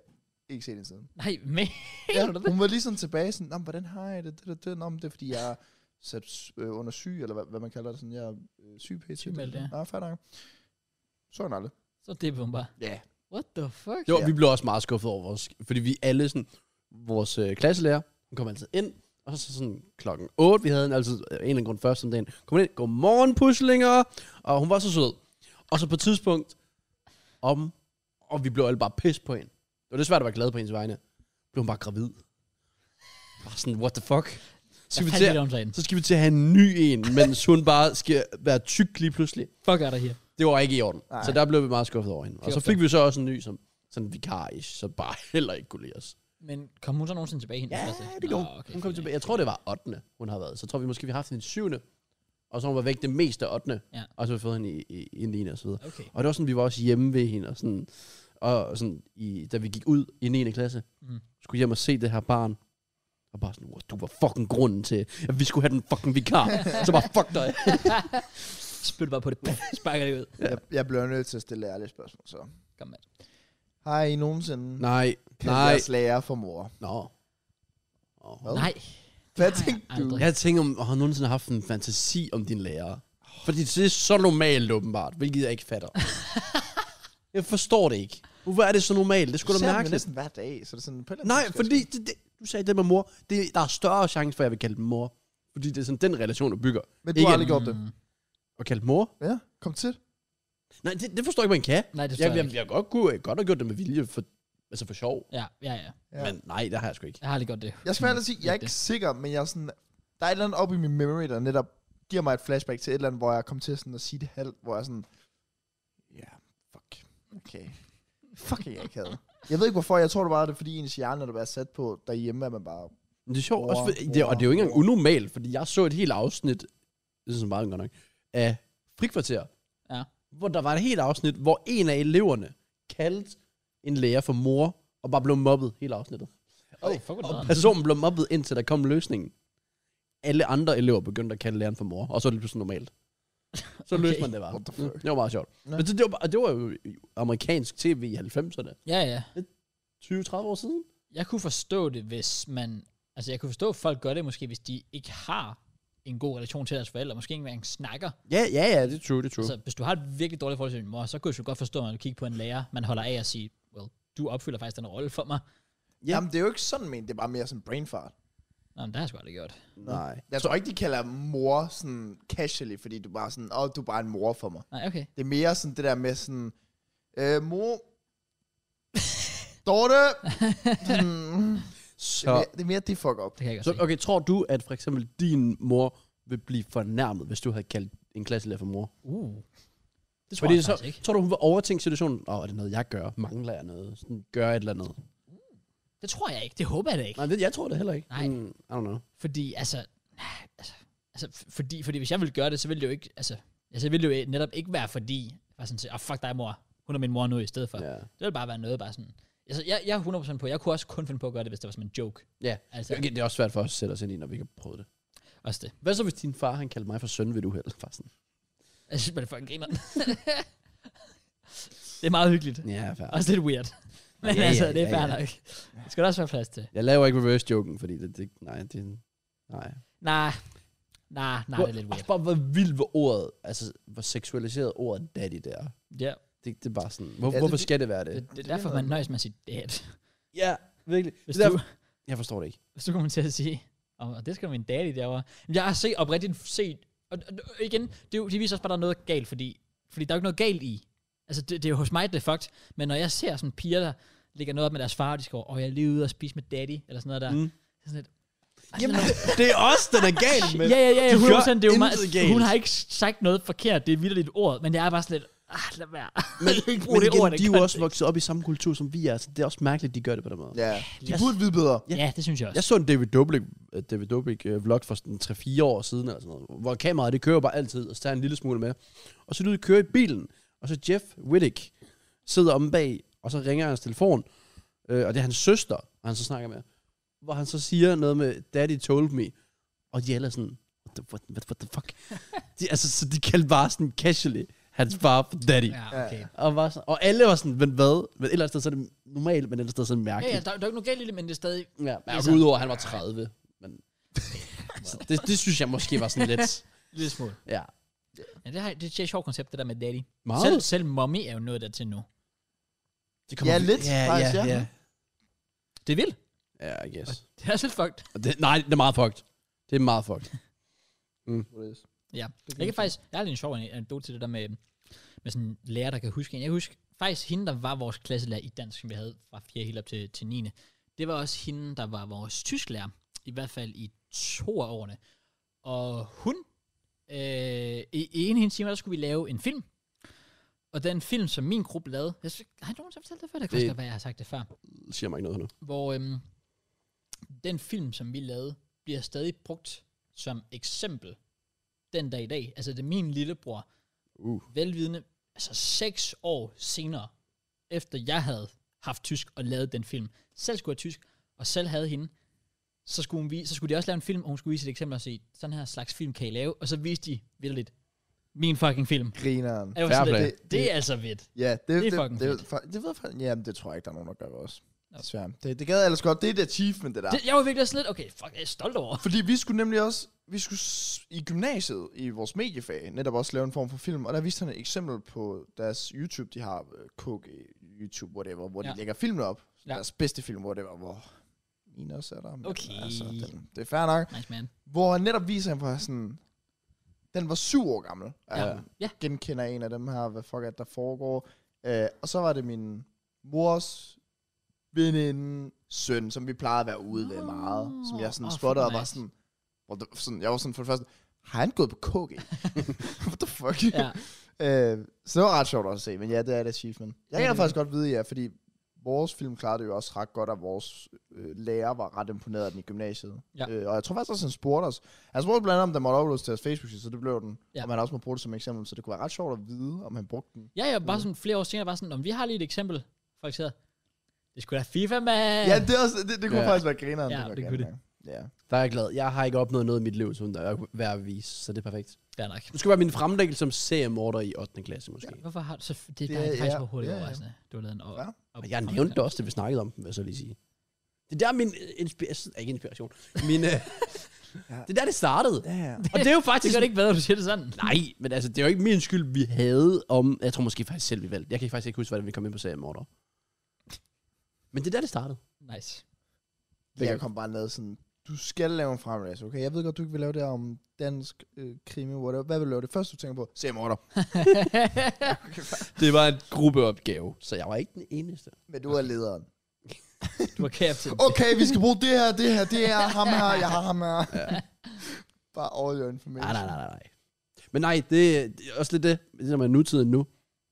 Ikke set hende siden. Nej, men. ja, Mener du det? hun var lige sådan tilbage, sådan, "Nå, men hvordan har jeg det, det, det, det, Nå, men det er fordi, jeg er sat øh, under syg, eller hvad, hvad man kalder det, sådan, jeg er øh, syg pt. Sygemeldt, ja. Nej, fair nok. Så er hun aldrig. Så det hun bare. Ja. What the fuck? Jo, Ja. vi blev også meget skuffet over vores... Fordi vi alle sådan... Vores øh, klasselærer, hun kom altid ind, og så sådan klokken altså, 8, vi havde en altid øh, en eller anden grund først om dagen, kom hun ind, godmorgen puslinger, og hun var så sød. Og så på et tidspunkt om, og vi blev alle bare pis på hende. Det var desværre, der var glad på hendes vegne. Blev hun bare gravid. Bare sådan, what the fuck? Så skal, vi til, at- til. så skal vi til at have en ny en, mens hun bare skal være tyk lige pludselig. Fuck er der her. Det var ikke i orden. Nej. Nej. Så der blev vi meget skuffet over hende. Og så Fjorten. fik vi så også en ny, som sådan vikar så bare <laughs> heller ikke kunne lide os. Men kom hun så nogensinde tilbage hende? Ja, det gjorde hun. Hun kom tilbage. Jeg tror, det var 8. hun har været. Så tror vi måske, vi har haft hende 7. Og så har hun var væk det meste af 8. Ja. Og så har vi fået hende i, i, i 9. og så videre. Okay. Og det var sådan, vi var også hjemme ved hende. Og sådan, og sådan i, da vi gik ud i 9. klasse, Mm. mm. skulle hjem og se det her barn. Og bare sådan, "Wow, du var fucking grunden til, at vi skulle have den fucking <laughs> vikar. så bare, fuck dig. Spyt <laughs> bare på det. Puff, Sparker det ud. Jeg, jeg bliver nødt til at stille ærlige spørgsmål, så. Kom, mand. Har I nogensinde Nej, kaldt nej. jeres lærer for mor? Nå. Åh. Hvad? Nej. Hvad har jeg tænkte du? aldrig. Jeg tænker, om har du nogensinde haft en fantasi om din lærer? Fordi det er så normalt åbenbart, hvilket jeg ikke fatter. jeg forstår det ikke. Hvorfor er det så normalt? Det skulle da ser dem jo mærkeligt. næsten hver dag, så det er sådan... På en eller anden Nej, måde skal jeg fordi det, det, du sagde det med mor. Det, der er større chance for, at jeg vil kalde dem mor. Fordi det er sådan den relation, du bygger. sgu- Men du ikke- har aldrig gjort det. Mm. Og kalde dem mor? Ja, kom til. Nej, det, det forstår jeg ikke, man kan. Nej, det forstår Jeg, jeg jeg, ikke. jeg, godt kunne jeg godt have gjort det med vilje, for, altså for sjov. Ja, ja, ja. Ja. Ja. Men nej, det har jeg sgu ikke. Jeg har aldrig gjort det. Jeg skal faktisk sige, jeg er ikke sikker, men jeg er sådan... Der er et eller andet oppe i min memory, der netop giver mig et flashback til et eller andet, hvor jeg kom til sådan at sige det halvt, hvor jeg sådan... Ja, fuck. Okay. Fucking jeg ikke havde. Jeg ved ikke hvorfor, jeg tror det bare, det er fordi ens hjerne, når du er sat på derhjemme, at man bare... Men Det er sjovt, Mor, mor, også for, det, og det er jo ikke engang mor. unormalt, fordi jeg så et helt afsnit, det er sådan meget godt nok, af frikvarter, Ja. hvor der var et helt afsnit, hvor en af eleverne kaldte en lærer for mor, og bare blev mobbet hele afsnittet. Åh, fuck, hvor er det Og nederen. personen blev mobbet, indtil der kom løsningen. Alle andre elever begyndte at kalde læreren for mor, og så er det pludselig normalt. Så Okay. okay. løste man det bare. What the fuck? Det var meget sjovt. Ja. Men det, det, var, bare- det var jo amerikansk tv i 90'erne. Ja, ja. 20-30 år siden? Jeg kunne forstå det, hvis man... Altså, jeg kunne forstå, at folk gør det måske, hvis de ikke har en god relation til deres forældre. Måske ikke engang snakker. Ja, ja, ja, det er true, det er true. Altså, hvis du har et virkelig dårligt forhold til din mor, så kunne jeg jo godt forstå, at man kigge på en lærer, man holder af og sige, well, du opfylder faktisk den rolle for mig. Ja. Jamen, det er jo ikke sådan, men det er bare mere sådan brain fart. Nå, men det har jeg sgu aldrig gjort. nej. Jeg tror ikke, de kalder mor sådan casually, fordi du bare sådan, åh, oh, du er bare en mor for mig. Nej, okay. Det er mere sådan det der med sådan, øh, mor, Dorte, sådan, det, Så, er mere, det er mere det fuck op. Det kan jeg godt Så, se. okay, tror du, at for eksempel din mor vil blive fornærmet, hvis du havde kaldt en klasselærer for mor? Uh. Det tror Fordi jeg så, faktisk ikke. tror du, hun vil overtænke situationen? Åh, oh, er det noget, jeg gør? Mangler jeg noget? Sådan, gør jeg et eller andet? Det tror jeg ikke. Det håber jeg da ikke. Nej, det, jeg tror det heller ikke. Nej. Mm, I don't know. Fordi, altså, nej, altså, altså f- fordi, fordi hvis jeg ville gøre det, så ville det jo ikke, altså, altså så ville det jo netop ikke være fordi, jeg var sådan til, oh, fuck dig mor, hun er min mor nu i stedet for. Ja. Ja. Det ville bare være noget, bare sådan, altså, jeg, jeg er 100% på, jeg kunne også kun finde på at gøre det, hvis det var som en joke. Ja. Altså, Okay, det er også svært for os at sætte os ind i, når vi ikke har prøvet det. også det. Hvad så, hvis din far, han kaldte mig for søn ved du held? Sådan. Jeg synes bare, det fucking griner. <laughs> det er meget hyggeligt. Ja, fair. Også lidt weird. Men Ja, ja, altså, det er ja, fair ja. nok. Det skal der også være plads til. Jeg laver ikke reverse-joken, fordi det, det, nej, det, nej. Nej, nej, nej, det er lidt Også weird. bare, hvor vildt hvor ordet, altså, hvor seksualiseret ordet daddy det er. Ja, Det, det er bare sådan, hvor, det- hvorfor skal det være det, det? det, er derfor, man nøjes med at sige dad. Ja, virkelig. Hvis Det er du, Jeg forstår det ikke. hvis du kommer til at sige, og og det skal min daddy derovre. Men Jeg har set oprigtigt set, og, og og igen, det, er jo- det viser også bare, der er noget galt, fordi, fordi der er jo ikke noget galt i. Altså, det, det er jo hos mig, det er fucked. Men når jeg ser sådan piger, der ligger noget op med deres far, og de skal over, åh, jeg er lige ude og spise med daddy, eller sådan noget der. Mm. Mm. Sådan lidt, Jamen, <laughs> det er os, den er <laughs> galt med. ja, ja, ja, ja, de 100%, det er jo gør meget, intet galt. hun har ikke sagt noget forkert, det er vildt ord, men jeg er bare sådan lidt, ah, lad være. Men, ikke bruge men det igen, ord, det de er jo kan også vokset op i samme kultur, som vi er, så det er også mærkeligt, de gør det på den måde. Ja, de Jeg- burde vide bedre. Ja, ja det synes jeg også. Jeg så en David Dobrik, øh, David Dobrik øh, vlog for sådan 3-4 år siden, eller sådan noget, hvor kameraet det kører bare altid, og så tager en lille smule med. Og så lyder det kører i bilen, og så Jeff Whittick sidder om bag, og så ringer hans telefon, øh, og det er hans søster, og han så snakker med, hvor han så siger noget med, Daddy told me, og de alle er sådan, what the, what, what, what the <laughs> fuck? de, altså, så de kaldte bare sådan casually, hans far for daddy. Ja, Ja, okay. ja. Og, var sådan, og alle var sådan, men hvad? Men et eller andet sted, så er det normalt, men et eller andet sted, så er det Ja, ja, mærkeligt. der, der er jo ikke noget galt i det, men det er stadig, Ja, ja, altså- altså, udover, at han var 30. Men, <laughs> Så det, det, synes jeg måske var sådan lidt... Lille smule. Ja. Ja, det, har, det er et sjovt koncept, det der med daddy. Meget. Selv, selv mommy er jo nået dertil nu. Det Ja, lidt, faktisk, ja. Det er vildt. <laughs> Ja, I guess. Det er også lidt fucked. Og Det, nej, det er meget fucked. Det er meget fucked. Jeg kan faktisk, jeg har lige en sjov anekdote til det der med, med sådan en lærer, der kan huske en. Jeg husker faktisk hende, der var vores klasselærer i dansk, som vi havde fra 4. helt op til, til 9. Det var også hende, der var vores tysklærer, i hvert fald i to af årene. Og hun, øh, i, i en af hendes timer, der skulle vi lave en film. Og den film, som min gruppe lavede, jeg synes, har jeg nogensinde fortalt det før? Det kan Det- det... være, jeg har sagt det før siger mig ikke noget nu. hvor øhm, den film, som vi lavede, bliver stadig brugt som eksempel den dag i dag. Altså, det er min lillebror, Uh. velvidende, altså seks år senere, efter jeg havde haft tysk og lavet den film, selv skulle have tysk, og selv havde hende, så skulle, hun, vi- så skulle de også lave en film, og hun skulle vise et eksempel og sige, sådan her slags film kan I lave, og så viste de vildt min fucking film. Grineren. Jeg var Fair sådan, lidt, play. det, det er altså vildt. Ja, det, det, er det, fucking det, fedt. det, det ved jeg faktisk- Jamen, det tror jeg ikke, der er nogen, der gør også. Nå. Desværre. Det, det gad jeg ellers godt. Det er et achievement, det der. Det, jeg var virkelig sådan lidt, okay, fuck, jeg er stolt over. Fordi vi skulle nemlig også, vi skulle s- i gymnasiet, i vores mediefag, netop også lave en form for film, og der viste han et eksempel på deres YouTube, de har øh, KG, YouTube, whatever, hvor ja. Ja. de lægger filmen op, Ja. ja. deres bedste film, whatever, hvor min også er der. men altså, Okay. den, det er fair nok. Nice man. Hvor han netop viser han fra sådan, den var syv år gammel. Ja. Øh, Ja. Genkender en af dem her, hvad fuck er det, der foregår. Øh, og så var det min mors veninde, søn, som vi plejede at være ude ved meget. Som jeg sådan Åh, oh, fuck, spottede og var nice. sådan, what the, sådan, jeg var sådan for det første, har han gået på KG? <laughs> What the fuck? Ja. Øh, så det var ret sjovt også at se, men ja, det er et achievement. Jeg Ja, kan det- faktisk godt vide, ja, fordi vores film klarede det jo også ret godt, og vores øh, lærer var ret imponeret af den i gymnasiet. Ja. Øh, og jeg tror faktisk også, han spurgte os. Han spurgte blandt andet, om den måtte uploades til deres facebook så det blev den. Ja. Ja. Og man også må bruge det som eksempel, så det kunne være ret sjovt at vide, om han brugte den. Ja, ja, bare sådan flere år senere, bare sådan, om vi har lige et eksempel, folk siger, det skulle da FIFA, mand. Ja, det, er også, det, det kunne Ja. ja. faktisk være grineren. Ja, var det kunne det. grineren. Ja. Der er jeg glad. Jeg har ikke opnået noget i mit liv, som der er værd at vise, så det er perfekt. Fair nok. Det skulle være min fremlæggelse som seriemorder i 8. klasse, måske. Ja. Hvorfor har du så... Det, det Det der er er- faktisk ja, overhovedet ja, ja, ja. overraskende. Du har lavet en... Ja. op, Jeg nævnte det også, da vi snakkede om den, vil jeg så lige sige. Det der er min øh, inspiration... Ikke inspiration. Min, øh, Ja. Det er der, det startede. Ja, ja. Og det er jo faktisk godt ikke været, du siger det sådan. Nej, men altså, det er jo ikke min skyld, vi havde om... Jeg tror måske faktisk selv, vi valgte. Jeg kan faktisk ikke huske, hvordan vi kom ind på seriemorder. Men det er der, det startede. Nice. Det Jeg kan- kom bare ned sådan, du skal lave en fremlæs, okay? Jeg ved godt, du ikke vil lave det her om dansk øh, krimi, whatever. Hvad vil du lave det første, du tænker på? Se morder. Det var en gruppeopgave, så jeg var ikke den eneste. Men du er lederen. Du har captain. okay, vi skal bruge det her, det her, det er ham her, jeg har ham her. Ja. Bare all your Nej, information. nej, nej, nej, nej. Men nej, det, det er også lidt det, det som er nutiden nu,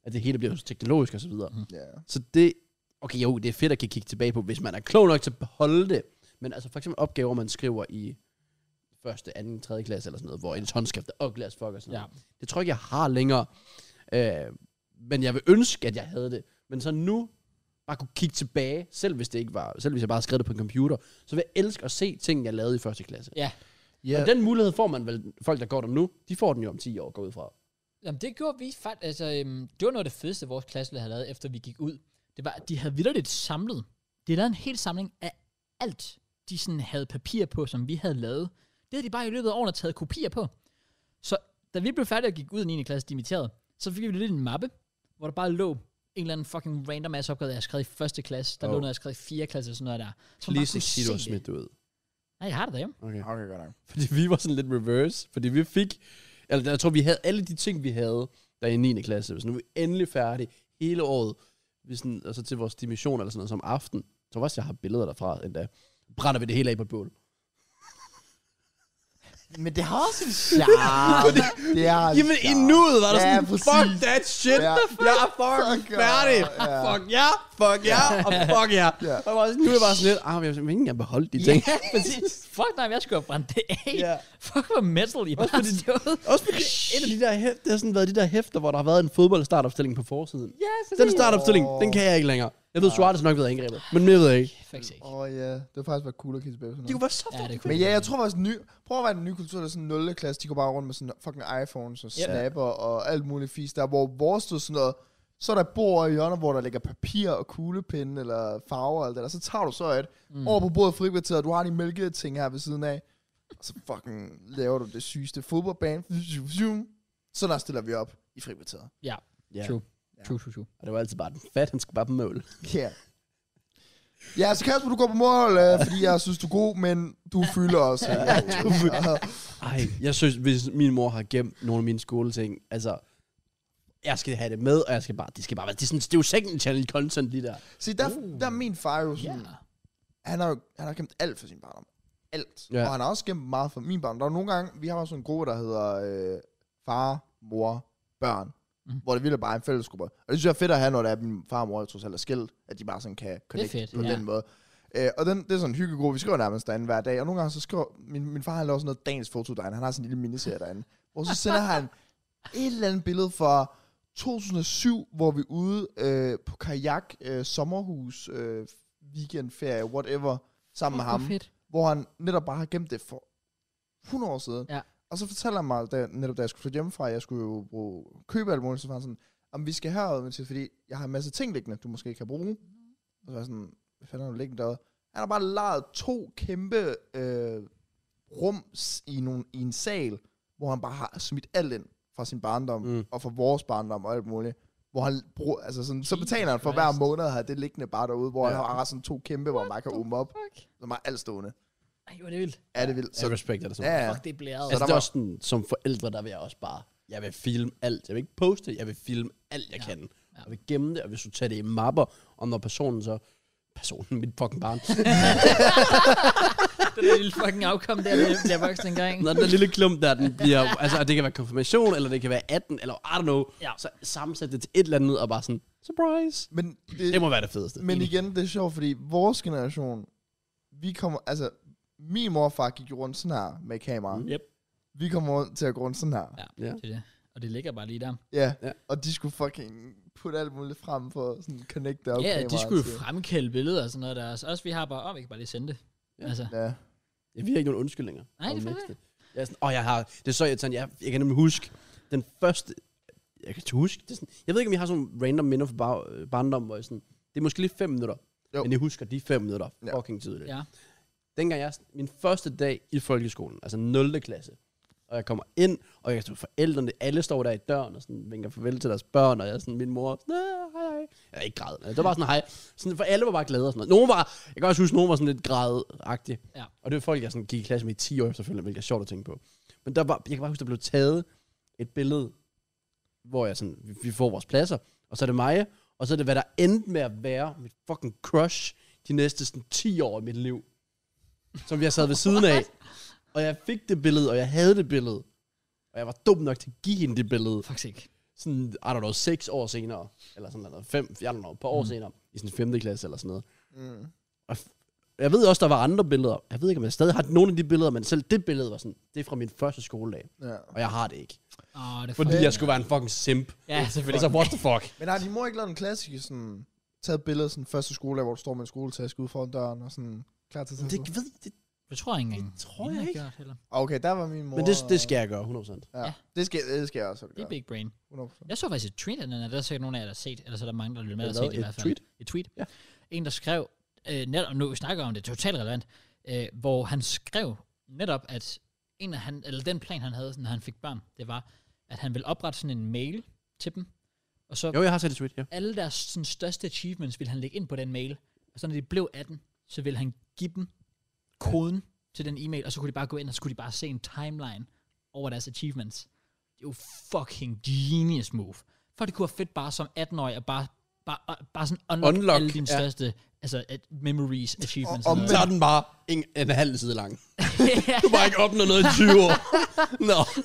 at det hele bliver så teknologisk og så videre. Mhm. Mm. Ja. Så det, okay jo, det er fedt at kan kigge tilbage på, hvis man er klog nok til at beholde det. Men altså for eksempel opgaver, man skriver i første, anden, tredje klasse eller sådan noget, hvor ens håndskrift er glas fuck og sådan Ja. noget. Det tror jeg ikke, jeg har længere. Øh, men jeg vil ønske, at jeg havde det. Men så nu, bare kunne kigge tilbage, selv hvis det ikke var, selv hvis jeg bare skrev det på en computer, så vil jeg elske at se ting, jeg lavede i første klasse. Ja. Og den mulighed får man vel, folk der går dem nu, de får den jo om 10 år, går ud fra. Jamen, det gjorde vi faktisk... Altså, øhm, det var noget af det fedeste, vores klasselærer havde lavet, efter vi gik ud. Det var, at de havde vildt samlet. De havde lavet en hel samling af alt, de sådan havde papir på, som vi havde lavet. Det havde de bare i løbet af årene taget kopier på. Så da vi blev færdige og gik ud af 9. klasse dimitteret, så fik vi lidt en mappe, hvor der bare lå en eller anden fucking random ass opgave, jeg skrev i første klasse. Der oh. Oh. lå noget, jeg skrev i 4. klasse og sådan noget der. Så man bare Please kunne ikke sige, du har se smidt det ud. det. Nej, jeg har det derhjemme. Okay. Okay, godt nok. Fordi vi var sådan lidt reverse, fordi vi fik, altså jeg tror vi havde alle de ting, vi havde, der i 9. klasse, så nu er vi endelig færdige hele året, vi sådan, altså til vores dimission eller sådan noget, som aften. Jeg tror også, jeg har billeder derfra endda. Brænder vi det hele af på et bål. Men det har også en charme. det er altså- en Jamen i charme. nuet var der Ja, sådan, præcis. fuck that shit, Ja. jeg er fucking Fuck, ja. færdig. Ja. Fuck ja, fuck ja, og fuck ja. Ja. Og jeg var sådan- nu er jeg bare sådan lidt, ah, men jeg vil ikke engang beholde de ting. <laughs> Ja, præcis. Fuck nej, jeg skulle have brændt det af. Ja. Fuck, hvor metal I bare har stået. Også fordi et af de der hæfter, det har sådan været de der hæfter, hvor der har været en fodboldstartopstilling på forsiden. Ja, Den startopstilling, den kan jeg ikke længere. Jeg ved, Suarez nok ved angrebet, men jeg ved jeg ikke. Faktisk ikke. Åh oh, ja, yeah. det var faktisk være cool at kigge tilbage på sådan Det kunne noget. være så Ja, det fedt. kunne Men ja, jeg tror faktisk, ny, prøv at være den nye kultur, der er sådan 0. klasse, de går bare rundt med sådan fucking iPhones og Ja. snapper og alt muligt fis der, hvor vores stod sådan noget, så er der bord i hjørnet, hvor der ligger papir og kuglepinde eller farver og alt det der, så tager du så et mm. over på bordet i frikvarteret, du har de mælketing her ved siden af, og så fucking laver du det sygeste fodboldbane, så der stiller vi op i frikvarteret. Ja. Ja. True. True, true, true. Og det var altid bare den fat, han skulle bare på mål. Ja. Yeah. Ja, så Kasper, du går på mål, øh, fordi jeg synes, du er god, men du fylder også. <laughs> Ja, du fylder. Ej, jeg synes, hvis min mor har gemt nogle af mine skoleting, altså jeg skal have det med, og jeg skal bare, det skal bare være, det er sådan, det er jo second channel content, de der. Se, der, uh. der er min far jo sådan, Ja. han har, jo- han har kæmpet alt for sin barndom. Alt. Ja. Og han har også kæmpet meget for min barndom. Der er nogle gange, vi har også en gruppe, der hedder øh, far, mor, børn. Mhm. Mm. Hvor det virkelig bare er en fællesgruppe. Og det synes jeg er fedt at have, når det er, at min far og mor trods alt er skilt. At de bare sådan kan connect fedt, på ja. den måde. Øh, og den, det er sådan en hyggegruppe, vi skriver nærmest derinde hver dag. Og nogle gange så skriver, min, min far han laver sådan noget dagens foto derinde. Han har sådan en lille miniserie derinde. Hvor så sender han et eller andet billede fra 2007, hvor vi er ude øh, på kajak, øh, sommerhus, øh, weekendferie, whatever, sammen med Fuck, ham. hvor fedt. Hvor han netop bare har gemt det for 100 år siden. Ja. Og så fortæller han mig, da, netop da jeg skulle flytte hjemmefra, at jeg skulle jo bruge, købe alt muligt, så var han sådan, om vi skal herud, men til, fordi jeg har en masse ting liggende, du måske kan bruge. Og så var jeg sådan, hvad fanden har du liggende derude? Han har bare lejet to kæmpe øh, rum s- i, nogle, i en sal, hvor han bare har smidt alt ind fra sin barndom, Mm. mm. og fra vores barndom og alt muligt. Hvor han bruger, altså sådan, så betaler han for hver Christ. måned at have det liggende bare derude, hvor Ja. han har sådan to kæmpe, hvor man bare kan åbne op. Fuck. Så meget alt stående. Ej, hvor er det vildt. Er det vildt? Så Så, jeg respekter det sådan. ja, Ja. ja. Fuck, det er blæret. Altså, der det er var- også sådan, som forældre, der vil jeg også bare, jeg vil filme alt. Jeg vil ikke poste, jeg vil filme alt, jeg Ja. ja. kan. Ja. Jeg vil gemme det, og hvis du tager det i mapper, og når personen så, personen, mit fucking barn, det der lille fucking afkom der, der bliver voksen <laughs> engang. Når den der lille klump der, den bliver, altså og det kan være konfirmation, eller det kan være 18, eller I don't know, Ja. ja. så sammensæt det til et eller andet, og bare sådan, surprise. men Det det, må være det fedeste. men igen, det er sjovt, fordi vores generation, vi kommer, altså, min mor og far gik jo rundt sådan her med kamera. Yep. Vi kommer til at gå rundt sådan her. Ja, Mm. Ja. det er det. Og det ligger bare lige der. Ja, Ja. ja. og de skulle fucking putte alt muligt frem for sådan connect op Ja, de kameraet skulle jo til- fremkalde billeder og sådan noget der. Så også vi har bare, åh, oh, vi kan bare lige sende det. Ja. Altså, Ja. Ja, vi har ikke nogen undskyldninger. Nej, det er Next fedt. det. Jeg er sådan, åh, jeg har, det er så irriterende, jeg, jeg kan nemlig huske, den første, jeg kan huske, det er sådan, jeg ved ikke, om jeg har sådan nogle random minder fra bar, øh, barndom, hvor jeg sådan, det er måske lige fem minutter, Jo. jo. men jeg husker de fem minutter Ja. fucking tydeligt. Ja. Dengang jeg, min første dag i folkeskolen, altså 0. klasse, og jeg kommer ind, og jeg stod forældrene, alle står der i døren, og sådan vinker farvel til deres børn, og jeg er sådan, min mor, sådan, "Ah, hej, hej. Jeg er ikke græd, det var bare sådan, hej. Sådan, for alle var bare glade og sådan noget. Nogen var, jeg kan også huske, nogen var sådan lidt grædagtige. Ja. Og det var folk, jeg sådan gik i klasse med i 10 år efterfølgende, hvilket er sjovt at tænke på. Men der var, jeg kan bare huske, der blev taget et billede, hvor jeg sådan, vi, vi får vores pladser, og så er det mig, og så er det, hvad der endte med at være mit fucking crush de næste sådan 10 år i mit liv, som jeg sad ved siden af. Og jeg fik det billede, og jeg havde det billede. Og jeg var dum nok til at give hende det billede. faktisk ikke. Sådan, I don't know, seks år senere. Eller sådan noget, fem, I don't know, et par år Mm. mm. senere. I sådan femte klasse eller sådan noget. Mm. Og f- jeg ved også, der var andre billeder. Jeg ved ikke, om jeg stadig har nogle af de billeder, men selv det billede var sådan, det er fra min første skoledag. ja. Og jeg har det ikke. Åh, oh, det er Fordi fucking- jeg skulle være en fucking simp. Ja, selvfølgelig. Altså, what the fuck? Men har din mor ikke lavet en klassisk sådan, taget billeder sådan første skoledag, hvor du står med en skoletaske ude foran døren og sådan klar til at <laughs> tage Det på? ved det, Det tror jeg ikke engang. Det tror jeg har ikke. Gjort, heller. Okay, der var min mor. øh, men det, det skal jeg gøre, 100%. Ja. Ja. Det skal, det skal jeg også Det gøre. er big brain. 100%. Jeg så faktisk et tweet, af den her. der er sikkert nogen af jer, der har set, eller så er der mange, der lytter med, der Hvad? har set det i Et hvert fald. tweet? Et tweet. Ja. En, der skrev, øh, netop nu vi snakker om det, totalt relevant, øh, hvor han skrev netop, at en af han, eller den plan, han havde, sådan, når han fik børn, det var, at han ville oprette sådan en mail til dem, og så Jo, jeg har set et tweet, ja. alle deres sådan, største achievements ville han lægge ind på den mail. Og så når de blev 18, så ville han give dem koden til den e-mail, og så kunne de bare gå ind, og så kunne de bare se en timeline over deres achievements. Det er jo fucking genius move. For det kunne være fedt bare som 18-årig at bare, bare, øh, bare sådan unlock, Unlock, alle dine ja. største altså, at memories, achievements. Og- <laughs> sådan og- Så noget. er den bare en, en halv side lang. Ja, Du har bare ikke opnået <laughs> noget i 20 år. Nå. godt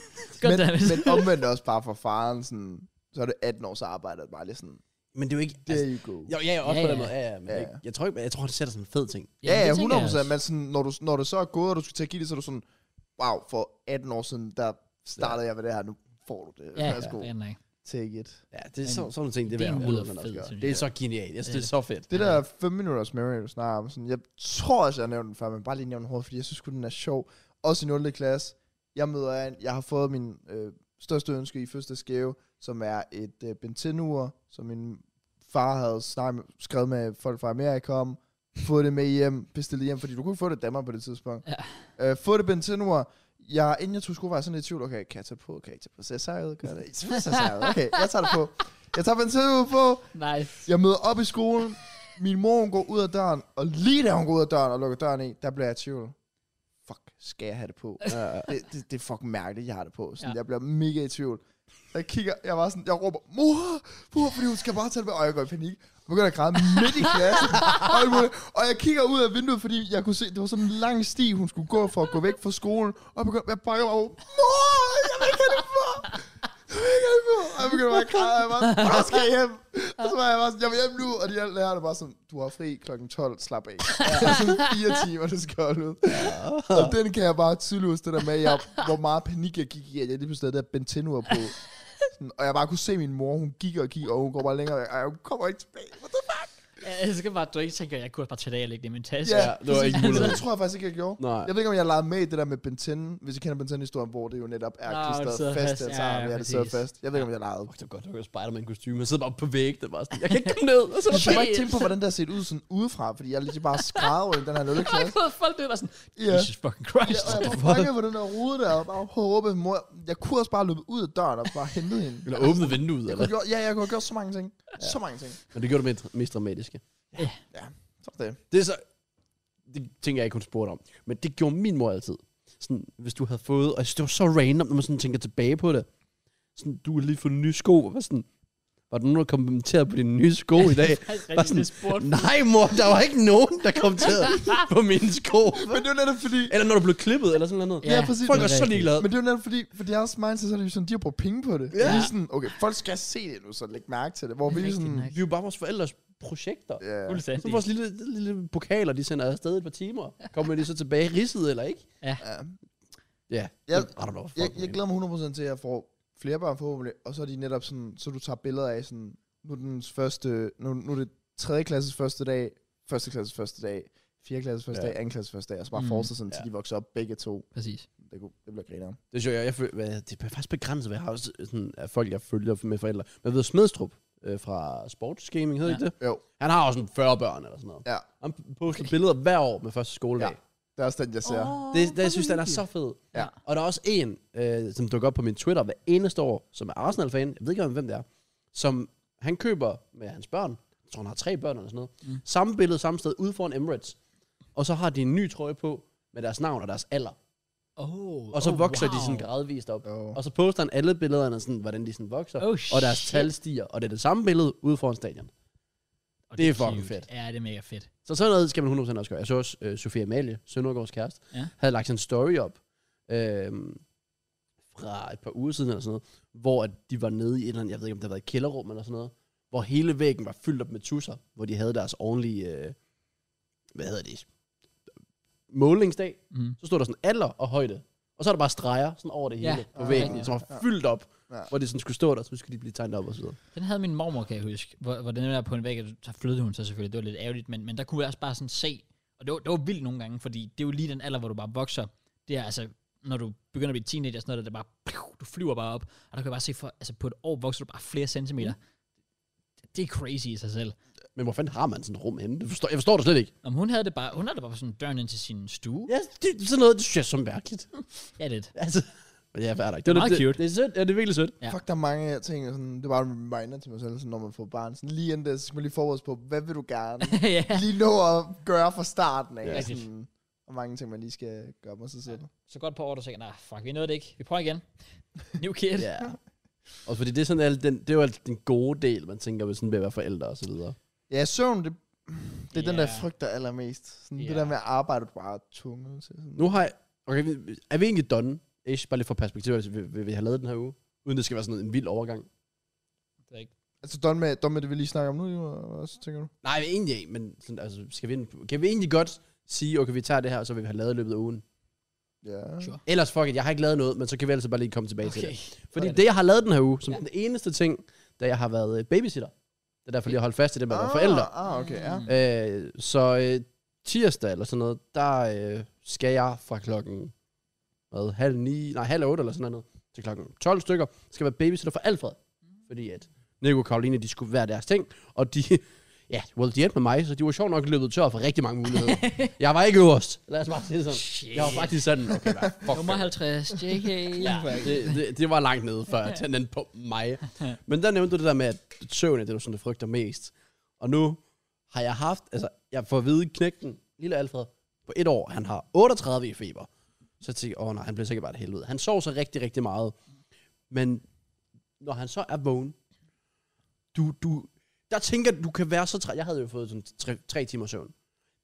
Men, der, hvis- <laughs> men omvendt også bare for faren, sådan, så er det 18 års arbejde, og bare lige sådan, Altså, Men det er jo ikke... there you go. Jo, ja, ja, også Ja, ja, på den ja. måde. Ja, ja, men Ja, ja. ja. Ikke, jeg, tror ikke, jeg tror, det sætter sådan en fed ting. Ja, ja, det tænker jeg 100 procent. også. Men sådan, når, du, når det så er gået, og du skal til at give det, så er du sådan, wow, for 18 år siden, der startede ja. jeg med det her, nu får du det. Ja, ja, Værsgo, ja, nej. take it. Ja, det er Men så, sådan nogle ting, det det, det er er en værd. mudder at fed, gøre. synes Det er jeg. så genialt. Jeg synes, Det det, er det er så fedt. Det der 5 minutters Mary, du snakker om, sådan, jeg tror også, jeg har nævnt den før, men bare lige nævne den hurtigt, fordi jeg synes sgu, den er sjov. Også i 0. klasse, jeg møder en, jeg har fået min øh, største ønske i første skæve, som er et øh, bentinur, som min far havde snakket med, skrevet med folk fra Amerika om, fået det med hjem, bestilt det hjem, fordi du kunne ikke få det i Danmark på det tidspunkt. Ja. Øh, få det bentinur, jeg, inden jeg tog sko, var jeg sådan lidt i tvivl, okay, kan jeg tage det på, kan jeg ikke tage det på, ser jeg sej ud, gør det, ser jeg sej ud, okay, jeg tager det på. Jeg tager bentinur på, Nice. jeg møder op i skolen. Min mor, hun går ud af døren. Og lige da hun går ud af døren og lukker døren i, der bliver jeg i tvivl. Fuck, skal jeg have det på? det, det, det er fucking mærkeligt, jeg har det på. Sådan, Ja. ja. Jeg bliver mega i tvivl. Jeg kigger, jeg var sådan, jeg råber, mor, mor, fordi hun skal bare tage det med. Og jeg går i panik. Jeg begynder at græde midt i klassen. og, alt muligt. og jeg kigger ud af vinduet, fordi jeg kunne se, det var sådan en lang sti, hun skulle gå for at gå væk fra skolen. Og jeg begynder, jeg bakker mig over, mor, jeg vil ikke have det for. Jeg vil ikke have det for. Og jeg begynder bare at græde, og jeg var sådan, "Hvornår skal jeg hjem. Og så var jeg bare sådan, jeg vil hjem nu. Og de alle lærerne bare sådan, du har fri klokken 12, slap af. Det er sådan fire timer, det skal holde ud. Og den kan jeg bare tydeligt huske, det der med, jeg, hvor meget panik jeg gik i, at jeg lige pludselig havde det der bentenur på. Sådan, og jeg bare kunne se min mor, hun gik og gik, og hun går bare længere væk. Ej, hun kommer ikke tilbage. What the fuck? Jeg skal bare, du ikke tænker, jeg kunne bare tage det af og lægge det i min taske. <laughs> Ja, Ja, det var ikke Altså, muligt. det tror jeg faktisk ikke, jeg gjorde. Nej. Jeg ved ikke, om jeg legede med i det der med Benten, hvis I kender Benten-historien, hvor det jo netop er Nå, det sidder klistret fast, fast. fast. Ja, Ja, ja, ja, det sidder præcis. fast. Jeg ved ikke, om jeg legede. Fuck, det var godt, det var Spider-Man-kostyme. Jeg sidder bare på væggen, det var sådan, jeg kan ikke komme ned. Og så er Jeg der kan bare ikke bag- <laughs> tænke på, hvordan det har set ud sådan udefra, fordi jeg er lige bare skrevet i den her 0. Jeg klasse. kunne folk det var sådan, <laughs> Ja. Jesus fucking Christ. Ja, og jeg var fanget på den der rude der, og bare håbede, mor, jeg kunne også bare løbe ud af døren og bare hente hende. Eller åbne vinduet, Jeg eller? kunne gøre, ja, jeg kunne have gjort så mange ting. Så mange ting. Men det gjorde det mest- mest dramatiske. Så det. Det er så... Det tænker jeg ikke, hun spurgte om. Men det gjorde min mor altid. Sådan, hvis du havde fået... Og jeg synes, det var så random, når man sådan tænker tilbage på det. Sådan, du har lige fået nye sko. Og var sådan, var der nogen, der kommenterede på dine nye sko i <laughs> dag? Faktisk Bare rigtigt, sådan, det spurgte Nej, mor, der var ikke nogen, der <laughs> kommenterede på mine sko. Men det er jo netop fordi, Eller når du blev klippet, eller sådan noget. Ja, Ja, præcis. Folk det er så rigtigt. ligeglade. Men det er jo netop fordi, for deres mindset, så er det jo sådan, de har brugt penge på det. Ja. De er sådan, okay, folk skal se det nu, så læg mærke til det. Hvor vi er Rigtigt sådan, nok. Vi er jo bare vores forældres projekter. ja, Så Fuldstændig. vores lille, lille pokaler, de sender afsted et par timer. Kommer de så tilbage ridset, eller ikke? ja. Ja, Ja, det- I don't know. Jeg, jeg glæder mig 100% til, at jeg får flere børn forhåbentlig, og så er de netop sådan, så du tager billeder af sådan, nu er, den første, nu, nu er det 3. klasses første dag, første klasses første dag, 4. klasses første Ja. dag, 2. klasses første dag, og så bare Mm. mm. fortsætte sådan, til Ja. de vokser op begge to. Præcis. Det, kunne, det bliver griner. Det er sjovt, jeg, jeg føler, hvad, det er faktisk begrænset, hvad jeg har også sådan, af folk, jeg følger med forældre. Men ved Smedstrup øh, fra Sportsgaming, hed Ja. ja. ikke det? Jo. Han har også sådan 40 børn eller sådan noget. Ja. Han poster billeder hver år med første skoledag. Ja. Det er også den, jeg ser. Oh. Det, det, jeg synes, den er så fed. Ja. Og der er også en, øh, som dukker op på min Twitter hver eneste år, som er Arsenal-fan. Jeg ved ikke, hvem det er. Som han køber med hans børn. Jeg tror, han har tre børn eller sådan noget. Mm. Samme billede, samme sted, ude foran Emirates. Og så har de en ny trøje på med deres navn og deres alder. Oh, Og så oh, oh, vokser wow. wow. de sådan gradvist op. Oh. Og så poster han alle billederne, sådan, hvordan de sådan vokser. Oh, og deres shit. tal stiger. Og det er det samme billede ude foran stadion. Og Det er fucking cute. fedt. Ja, det er mega fedt. Så sådan noget skal man 100% også gøre. Jeg så også øh, Sofia Amalie, Søndergaards kæreste, Ja. havde lagt en story op øh, fra et par uger siden eller sådan noget, hvor at de var nede i et eller andet, jeg ved ikke om det har været et kælderrum eller sådan noget, hvor hele væggen var fyldt op med tusser, hvor de havde deres ordentlige, øh, hvad hedder det, målingsdag. Mm. Så stod der sådan alder og højde. Og så er der bare streger sådan over det hele Ja. på Ah, væggen, rigtigt. som var fyldt op, Ja. hvor det sådan skulle stå der, så skulle de blive tegnet op og så videre. Den havde min mormor, kan jeg huske, hvor, hvor den der på en væg, og så flyttede hun sig selvfølgelig, det var lidt ærgerligt, men, men der kunne jeg også bare sådan se, og det var, det var vildt nogle gange, fordi det er jo lige den alder, hvor du bare vokser. Det er altså, når du begynder at blive teenager, og sådan noget, det er bare, piu, du flyver bare op, og der kan jeg bare se, for, altså på et år vokser du bare flere centimeter. Det er crazy i sig selv. Men hvor fanden har man sådan et rum henne? Det forstår, jeg forstår det slet ikke. Om hun havde det bare, hun havde det bare på sådan døren ind til sin stue. Ja, det, sådan noget, det synes jeg er så mærkeligt. <laughs> Ja, lidt. <laughs> <laughs> Altså, men ja, fair nok. Det, er Meget det, cute. Det, det er sødt. Ja, det er virkelig sødt. Ja. Ja. Fuck, der er mange ting, og sådan, det er bare en reminder til mig selv, sådan, når man får barn. Sådan, lige inden det, så skal man lige forberede sig på, hvad vil du gerne ja. lige nå at gøre fra starten af. Ja. Ja. Sådan, og mange ting, man lige skal gøre med sig selv. Så godt på år, du tænker, nej, fuck, vi nåede det ikke. Vi prøver igen. New kid. Ja. Og fordi det er sådan alt den, det er jo altid den gode del, man tænker ved sådan ved at være forældre og så videre. Ja, søvn, det, det er den, der Ja. frygter allermest. Sådan, Ja. Det der med at arbejde, du bare er tunge. til. Sådan. Nu har jeg, okay, vi- er vi egentlig done? Ish, bare lige for perspektiv, altså, vi, vi, vi har lavet den her uge. Uden det skal være sådan en vild overgang. Det er ikke- Altså, Don med, Don med det, vi lige snakker om nu, jo, også, tænker du? Nej, vi egentlig ikke, men sådan, altså, skal vi, ind- kan vi egentlig godt sige, okay, vi tager det her, og så vil vi have lavet i løbet af ugen. Ja. Sure. Ellers, fuck it, jeg har ikke lavet noget, men så kan vi altså bare lige komme tilbage okay. til Okay. det. Fordi Sådan. det, jeg har lavet den her uge, som Ja. ja. den eneste ting, da jeg har været øh, babysitter. Det er derfor, jeg har holdt fast i det med at være forældre. Ah, ah, okay, ja. Mm. Øh, så øh, tirsdag eller sådan noget, der øh, skal jeg fra klokken hvad, halv ni, nej, halv otte eller sådan noget, til klokken 12 stykker, skal være babysitter for Alfred. Mm. Fordi at Nico og Karoline, de skulle være deres ting, og de, <laughs> ja, well, de endte med mig, så de var sjovt nok løbet tør for rigtig mange <laughs> muligheder. jeg var ikke øverst, lad os bare sige det sådan. Shit. Jeg var faktisk sådan, okay, hvad, fuck, Nummer 50, JK. Ja, det, det, det var langt nede, før jeg tændte den på mig. Men der nævnte du det der med, at søvn er det, du sådan, du frygter mest. Og nu har jeg haft, altså jeg får at vide knægten, lille Alfred, på et år, han har 38 i feber. Så jeg tænkte, åh nej, han bliver sikkert bare et helvede. Han sov så rigtig, rigtig meget. Men når han så er vågen, du, du, der tænker du, du kan være så træt. Jeg havde jo fået sådan tre, tre timer søvn.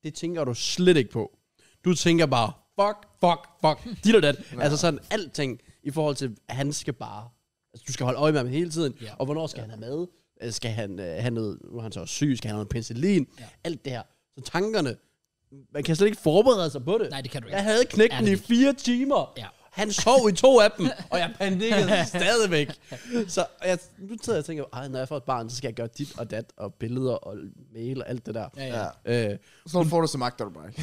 Det tænker du slet ikke på. Du tænker bare, fuck, fuck, fuck, dit og dat. altså sådan alting i forhold til, at han skal bare, altså du skal holde øje med ham hele tiden, Ja. og hvornår skal han have mad? Øh, Skal han øh, have noget, nu er han så også syg, skal han have noget penicillin? Ja. Alt det her. Så tankerne, man kan slet ikke forberede sig på det. Nej, det kan du ikke. Jeg havde knægt Ja, den det i er fire timer. Ja. Han sov i to af dem, og jeg panikkede stadigvæk. Så jeg, nu sidder jeg og tænker, Ej, når jeg får et barn, så skal jeg gøre dit og dat, og billeder og mail og alt det der. Ja, ja. Ja. Øh, Så får du så magter du <laughs> bare ikke.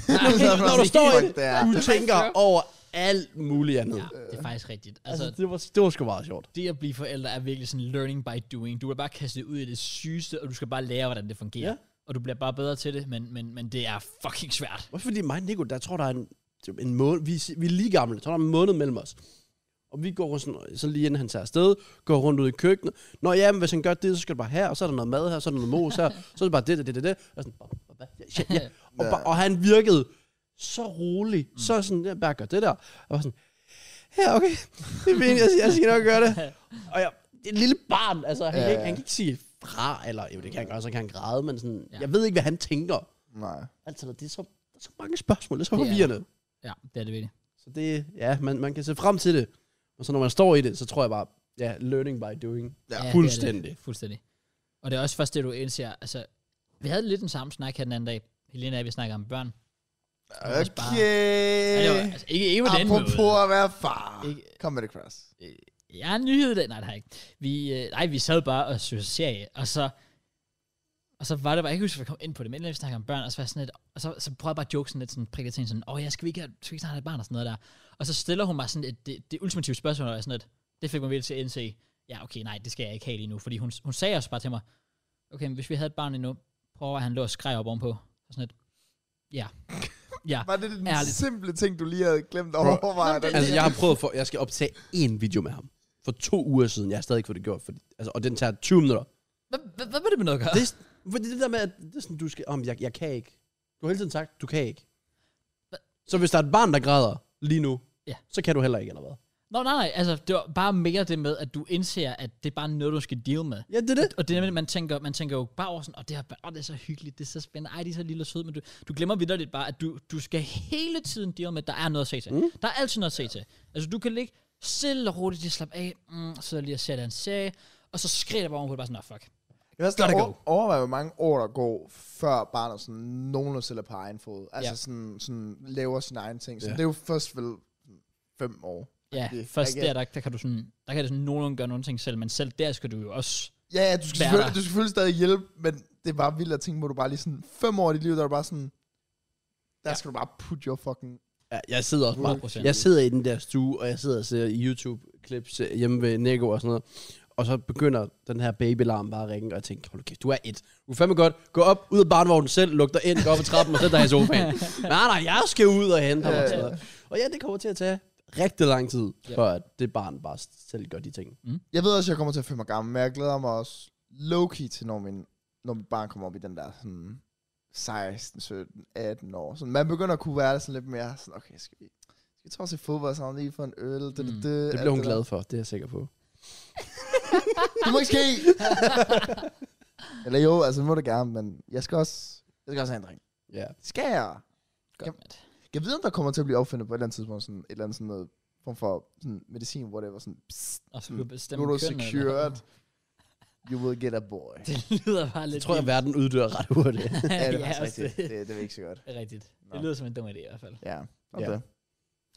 når du står i Fuck, det er- det, du tænker over alt muligt andet. Ja, det er faktisk rigtigt. Altså, Altså, det var, det var sgu meget sjovt. det at blive forældre er virkelig sådan learning by doing. Du er bare kastet ud i det sygeste, og du skal bare lære, hvordan det fungerer. Ja. Og du bliver bare bedre til det, men, men, men det er fucking svært. Også fordi mig og Nico, der tror, der er en, det er en måned, vi, er- vi er lige gamle, der tror, der er en måned mellem os. Og vi går rundt sådan, så lige inden han tager afsted, går rundt ud i køkkenet. Nå ja, men hvis han gør det, så skal det bare her, og så er der noget mad her, så er der noget mos her, så er det bare det, det, det, det, det. Og, sådan, "Hva- hva- hva- ja, ja, ja." og, bare- og han virkede så rolig, så sådan, jeg bare gør det der. Og jeg var sådan, ja okay, det er fint, jeg, jeg skal nok gøre det. Og jeg, det er et lille barn, altså han, Ja, kan ikke, ja. han kan ikke sige fra, eller jo det kan han gøre, så kan han græde, men sådan, Ja. jeg ved ikke, hvad han tænker. Mm. Nej. Altså, det er så, der er så mange spørgsmål, det er så Det er forvirrende. Ja, det er det virkelig. Så det, ja, man, man kan se frem til det. Og så når man står i det, så tror jeg bare, ja, learning by doing. Ja, det er fuldstændig. Det, fuldstændig. Og det er også først det, du indser. Altså, vi havde lidt den samme snak her den anden dag. Helena og jeg, vi snakkede om børn. er også bare- Ja, det var, Øh, Okay. altså, ikke, ikke på den Apropos måde. at være far. Ikke- Kom med det, Chris. Jeg har en nyhed i dag. Nej, det har jeg ikke. Vi, øh, nej, vi sad bare og så serie, og så... Og så var det bare, jeg kan ikke huske, at jeg kom ind på det, men inden vi snakker om børn, og så, var jeg sådan lidt, og så, så prøvede jeg bare at joke sådan lidt, sådan prikke til hende, sådan, åh, jeg skal vi ikke, have- skal vi ikke snart have et barn, og sådan noget der. Og så stiller hun mig sådan et, det, det ultimative spørgsmål, og jeg sådan lidt, det fik mig virkelig til at indse, ja, okay, nej, det skal jeg ikke have lige nu, fordi hun, hun sagde også bare til mig, okay, men hvis vi havde et barn endnu, prøv at han lå og skreg op ovenpå, og sådan lidt, ja, ja, Var det den Ærligt. simple ting, du lige havde glemt at overveje? det- den- Altså, jeg har prøvet for, jeg skal optage én video med ham. For to uger siden, jeg har stadig ikke fået det gjort. Fordi, altså, og den tager 20 <laughs> minutter. hvad, hvad, hvad vil det med noget at gøre? Det, er s- fordi det der med, at det er sådan, du skal, om jeg, jeg kan ikke. Du har hele tiden sagt, du kan ikke. Så hvis der er et barn, der græder lige nu, Ja. så kan du heller ikke, eller hvad? Nå, nej, nej, altså, det var bare mere det med, at du indser, at det er bare noget, du skal deal med. Ja, det er det. Og det er nemlig, man tænker, man tænker jo bare over sådan, og det, her, oh, det er så hyggeligt, det er så spændende, ej, de er så lille og søde, men du, du glemmer vidderligt bare, at du, du skal hele tiden deal med, at der er noget at se til. Mm. Der er altid noget at se til. Altså, du kan ligge stille og roligt, lige slappe af, mm, så lige og ser dig en serie, og så skriger der bare ovenpå, bare sådan, oh, fuck. Jeg har sådan Gotta over, overvejet, hvor mange år der går, før barnet sådan nogenlunde selv er på egen fod. Altså Ja. sådan, sådan laver sin egen ting. Så Ja. det er jo først vel fem år. Ja, Det er først ikke- der, der, der, kan du sådan, der kan du sådan nogenlunde gøre nogle ting selv, men selv der skal du jo også, Ja, ja, du skal, Være selvfølgelig, der. du skal selvfølgelig stadig hjælpe, men det er bare vildt at tænke, hvor du bare lige sådan fem år i dit liv, der er du bare sådan, der Ja. skal du bare put your fucking... Ja, jeg sidder også bare 100%. Jeg sidder i den der stue, og jeg sidder og ser YouTube-klips øh, hjemme ved Nico og sådan noget. Og så begynder den her babylarm bare at ringe, og jeg tænker, hold kæft, du er et. Du er fandme godt. Gå op, ud af barnevognen selv, luk dig ind, gå op ad trappen og sæt dig her i <laughs> sofaen. nej, nej, jeg skal ud og hente ham og sådan noget. Og ja, det kommer til at tage rigtig lang tid, Ja. for at det barn bare selv gør de ting. Jeg ved også, at jeg kommer til at føle mig gammel, men jeg glæder mig også low-key til, når min, når mit barn kommer op i den der sådan 16, 17, 18 år. Sådan, man begynder at kunne være sådan lidt mere sådan, okay, skal vi, skal vi tage os i fodbold sammen lige for en øl? Det, det, Mm. det, Det alt bliver hun der. glad for, det er jeg sikker på. Det må ikke ske! <laughs> Eller jo, altså det må det gerne, men jeg skal også, jeg skal også have en drink. Ja. Skal jeg? godt, Jamen, mand. Jeg ved, om der kommer til at blive opfundet på et eller andet tidspunkt, sådan et eller andet sådan noget form for sådan medicin, hvor det var sådan, psst, og så mm. kan du bestemme nu er du kønnet, eller- secured, you will get a boy. Det lyder bare lidt Jeg tror, at vildt. verden uddør ret hurtigt. <laughs> Ja, det er også faktisk rigtigt. Det, det er ikke så godt. Det er rigtigt. Nå. Det lyder som en dum idé i hvert fald. Ja, og Ja. det.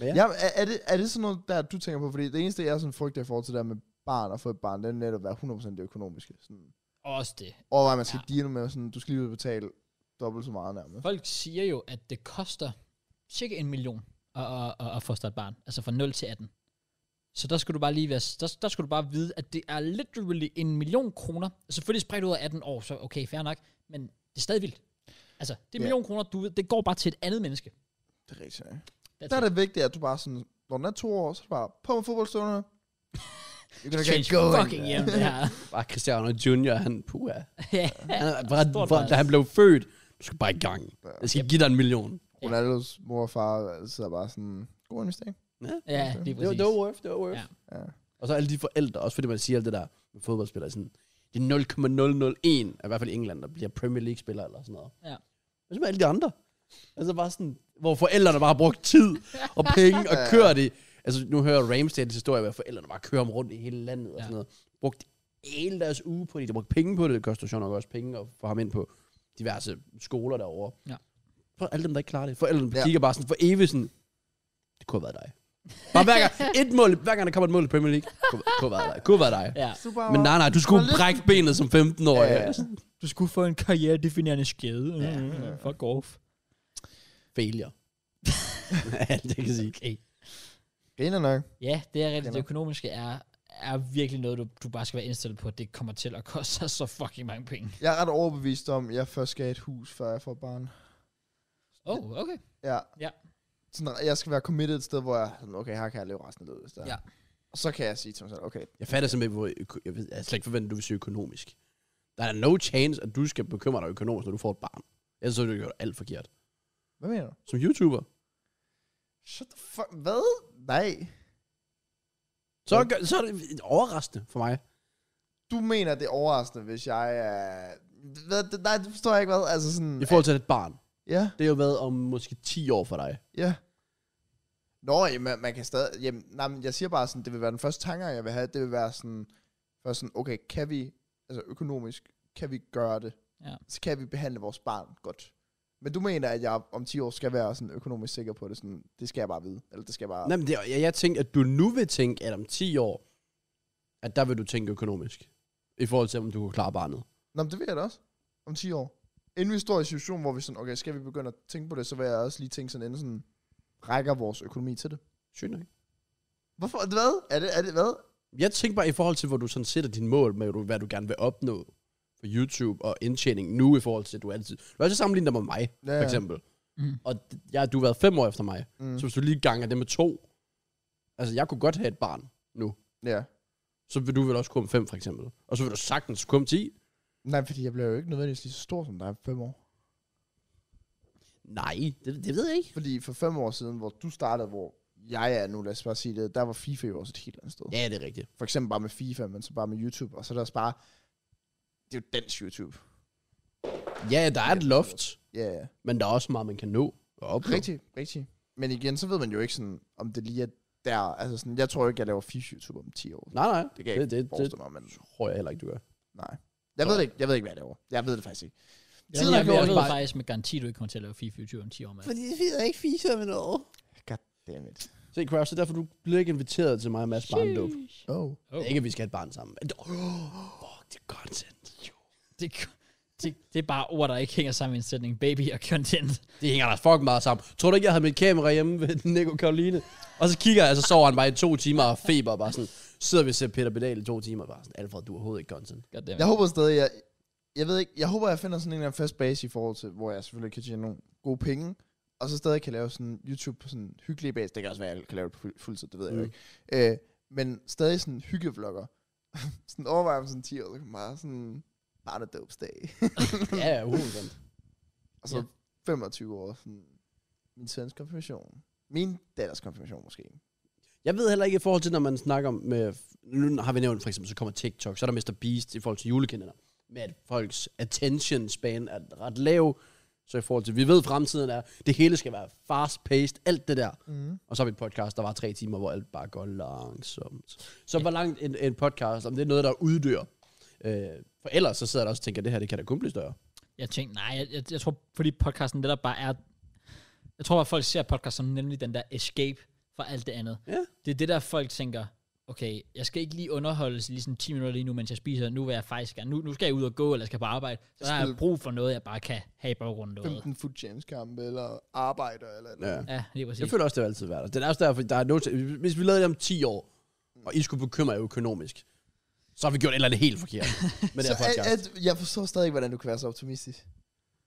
Ja. Ja. ja er, er, det, er det sådan noget, der du tænker på? Fordi det eneste, jeg sådan frygter i forhold til det der med barn og få et barn, det er netop at være 100% det økonomiske. Sådan, Også det. overvej, man skal ja. deal med, sådan, du skal lige ud og betale dobbelt så meget nærmest. Folk siger jo, at det koster cirka en million at, at, at, at fostre et barn. Altså fra 0 til 18. Så der skal du bare lige være, der, der skal du bare vide, at det er literally en million kroner. Selvfølgelig spredt ud af 18 år, så okay, fair nok. Men det er stadig vildt. Altså, det er en Ja. million kroner, du ved, det går bare til et andet menneske. Det er rigtigt. Ja. That's Der er it. det vigtigt, at du bare sådan, når den er to år, så er det bare på med <laughs> fodboldstående. You're gonna Change get going. fucking hjem, det <laughs> her. Bare Cristiano Junior, han puha. Ja. Han, er- fra, Stort fra, barn. da han blev født, du skal bare i gang. Ja. Jeg skal give dig en million. Ronaldos mor og far øh, sidder bare sådan, god investering. ja, det er Det var, præcis. det var worth, det var worth. Ja. Ja. Og så alle de forældre, også fordi man siger alt det der med fodboldspillere. Sådan, det er 0,001, i hvert fald i England, der bliver Premier League-spiller eller sådan noget. Ja. Hvad med alle de andre? Altså bare sådan, hvor forældrene bare har brugt tid og penge <laughs> og kørt i. Altså nu hører Ramsdales historie, hvor forældrene bare kører om rundt i hele landet og Ja. sådan noget. Brugt hele deres uge på det. De har brugt penge på det. Det koster sjovt nok også penge at få ham ind på diverse skoler derovre. Ja. For alle dem, der ikke klarer det. Forældrene Ja. ja. kigger bare sådan for evigt sådan, det kunne have været dig. Bare hver gang, <laughs> et mål, hver gang der kommer et mål i Premier League, kunne, kunne have været dig. Kunne have været dig. Ja. Super. Men nej, nej, du skulle Bare lidt- brække benet som 15-årig. Ja, ja. Du skulle få en karrieredefinerende skade. Ja, ja, ja. Fuck off. Failure. <laughs> Alt det jeg kan sige. Okay. Griner nok. Ja, det er rigtigt. Det Kender. økonomiske er, er virkelig noget, du, du bare skal være indstillet på, at det kommer til at koste dig så fucking mange penge. Jeg er ret overbevist om, at jeg først skal have et hus, før jeg får barn. Oh, okay. Ja. Ja. Sådan, jeg skal være committed et sted, hvor jeg, sådan, okay, her kan jeg leve resten af livet. hvis det er. Ja. Og så kan jeg sige til mig selv, okay, Jeg fatter simpelthen, hvor øko- jeg, ved, jeg havde slet ikke forventet, at du vil søge økonomisk. Der er no chance, at du skal bekymre dig økonomisk, når du får et barn. Ellers så har du gjort alt forkert. hvad mener du? Som YouTuber. Shut the fuck, hvad? Nej. Så, gør- så er det overraskende for mig. Du mener, det er overraskende, hvis jeg er... Hvad, det, nej, det forstår jeg ikke, hvad? Altså sådan... I forhold til et barn. Ja, Det har jo været om måske 10 år for dig. ja. Nå, jamen, man kan stadig... Jamen, nej, men jeg siger bare sådan, det vil være den første tanke, jeg vil have. Det vil være sådan... Først sådan, okay, kan vi... Altså økonomisk, kan vi gøre det? Ja. Så kan vi behandle vores barn godt. Men du mener, at jeg om 10 år skal være sådan økonomisk sikker på det? Sådan, det skal jeg bare vide. Eller det skal jeg bare... Nej, men det, er- jeg, jeg tænkte, at du nu vil tænke, at om 10 år, at der vil du tænke økonomisk. I forhold til, om du kan klare barnet. Nå, men det vil jeg da også. Om 10 år. Inden vi står i en situation, hvor vi sådan, okay, skal vi begynde at tænke på det, så vil jeg også lige tænke sådan, enten sådan, rækker vores økonomi til det? Sygt nok. Hvorfor? Hvad? Er det, er det hvad? Jeg tænker bare i forhold til, hvor du sådan sætter dine mål med, du- hvad du gerne vil opnå på YouTube og indtjening nu i forhold til, at du altid... Du har altid sammenlignet dig med mig, Ja, ja. ja. for eksempel. Mm. Og d- ja, du har været fem år efter mig. Mm. Mm. Så hvis du lige ganger det med to... Altså, jeg kunne godt have et barn nu. Ja. Så vil du vel også kunne om fem, for eksempel. Og så vil du sagtens kunne om ti. Nej, fordi jeg bliver jo ikke nødvendigvis lige så stor som dig for fem år. Nej, det, det ved jeg ikke. Fordi for fem år siden, hvor du startede, hvor jeg er nu, lad os bare sige det, der var FIFA jo også et helt andet sted. Ja, det er rigtigt. For eksempel bare med FIFA, men så bare med YouTube, og så er der også bare, det er jo dansk YouTube. Ja, der er et loft, Ja, yeah. ja. men der er også meget, man kan nå og opnå. Rigtig, rigtig. Men igen, så ved man jo ikke sådan, om det lige er der. Altså sådan, jeg tror jo ikke, jeg laver FIFA YouTube om 10 år. Nej, nej. Det kan jeg Det- det, det- ikke det- forestille mig, men Tror jeg heller ikke, du gør. nej. Jeg ved, det ikke, jeg ved ikke, hvad jeg laver. Jeg ved det faktisk ikke. Jeg, Tiden jeg, har jeg, gjort jeg ved det bare- faktisk med garanti, du ikke kommer til at lave FIFA 20 om 10 år, mand. Fordi det er ikke fiser med noget. Damn it. Se, Kraus, det er derfor, du bliver ikke inviteret til mig og Mads Barndåb. Oh. Oh. Ikke, at vi skal have et barn sammen. Men- Oh, fuck, det er content. Det, det, det er bare ord, der ikke hænger sammen i en sætning. Baby og content. Det hænger da fucking meget sammen. Tror du ikke, jeg havde mit kamera hjemme ved <laughs> Nico Karoline? Og så kigger jeg, og så sover han bare i to timer og feber og bare sådan. Sidder vi og ser Peter Pedal i to timer og bare sådan, Alfred, du er overhovedet ikke content. Goddammit. Jeg håber stadig, jeg, jeg ved ikke, jeg håber, jeg finder sådan en eller anden fast base i forhold til, hvor jeg selvfølgelig kan tjene nogle gode penge, og så stadig kan lave sådan YouTube på sådan en hyggelig base. Det kan også være, at jeg kan lave det på fuld- fuldtid, det ved jeg jo Mm. ikke. Øh, men stadig sådan hyggevlogger. <laughs> sådan overvej om sådan 10 år, så kan man bare sådan, bare det dope dag. Ja, ja, 100%. og så Ja. 25 år, sådan min søns konfirmation. Min datters konfirmation måske. Jeg ved heller ikke i forhold til, når man snakker om med, nu har vi nævnt for eksempel, så kommer TikTok, så er der Mr. Beast i forhold til julekalender, med at folks attention span er ret lav, så i forhold til, vi ved fremtiden er, det hele skal være fast paced, alt det der. Mm. Og så har vi et podcast, der var tre timer, hvor alt bare går langsomt. Så hvor langt en, en podcast, om det er noget, der uddør. Øh, for ellers så sidder der også og tænker, det her, det kan da kun blive større. Jeg tænkte, nej, jeg, jeg, jeg tror, fordi podcasten, det der bare er... Jeg tror, at folk ser podcast som nemlig den der escape fra alt det andet. Ja. Det er det, der folk tænker, okay, jeg skal ikke lige underholdes lige sådan 10 minutter lige nu, mens jeg spiser. Nu vil jeg faktisk gerne, nu, nu skal jeg ud og gå, eller jeg skal på arbejde. Så Jeg der er skal- brug for noget, jeg bare kan have i baggrunden. Noget. 15 foot James kampe eller arbejder eller noget. Ja. Ja, det er Jeg præcis. føler også, det vil altid være der. Det er også derfor, der er noget, til- hvis vi lavede det om 10 år, og I skulle bekymre jer økonomisk, så har vi gjort et eller andet helt forkert med det <laughs> Så her podcast. at, at, jeg forstår stadig ikke, hvordan du kan være så optimistisk.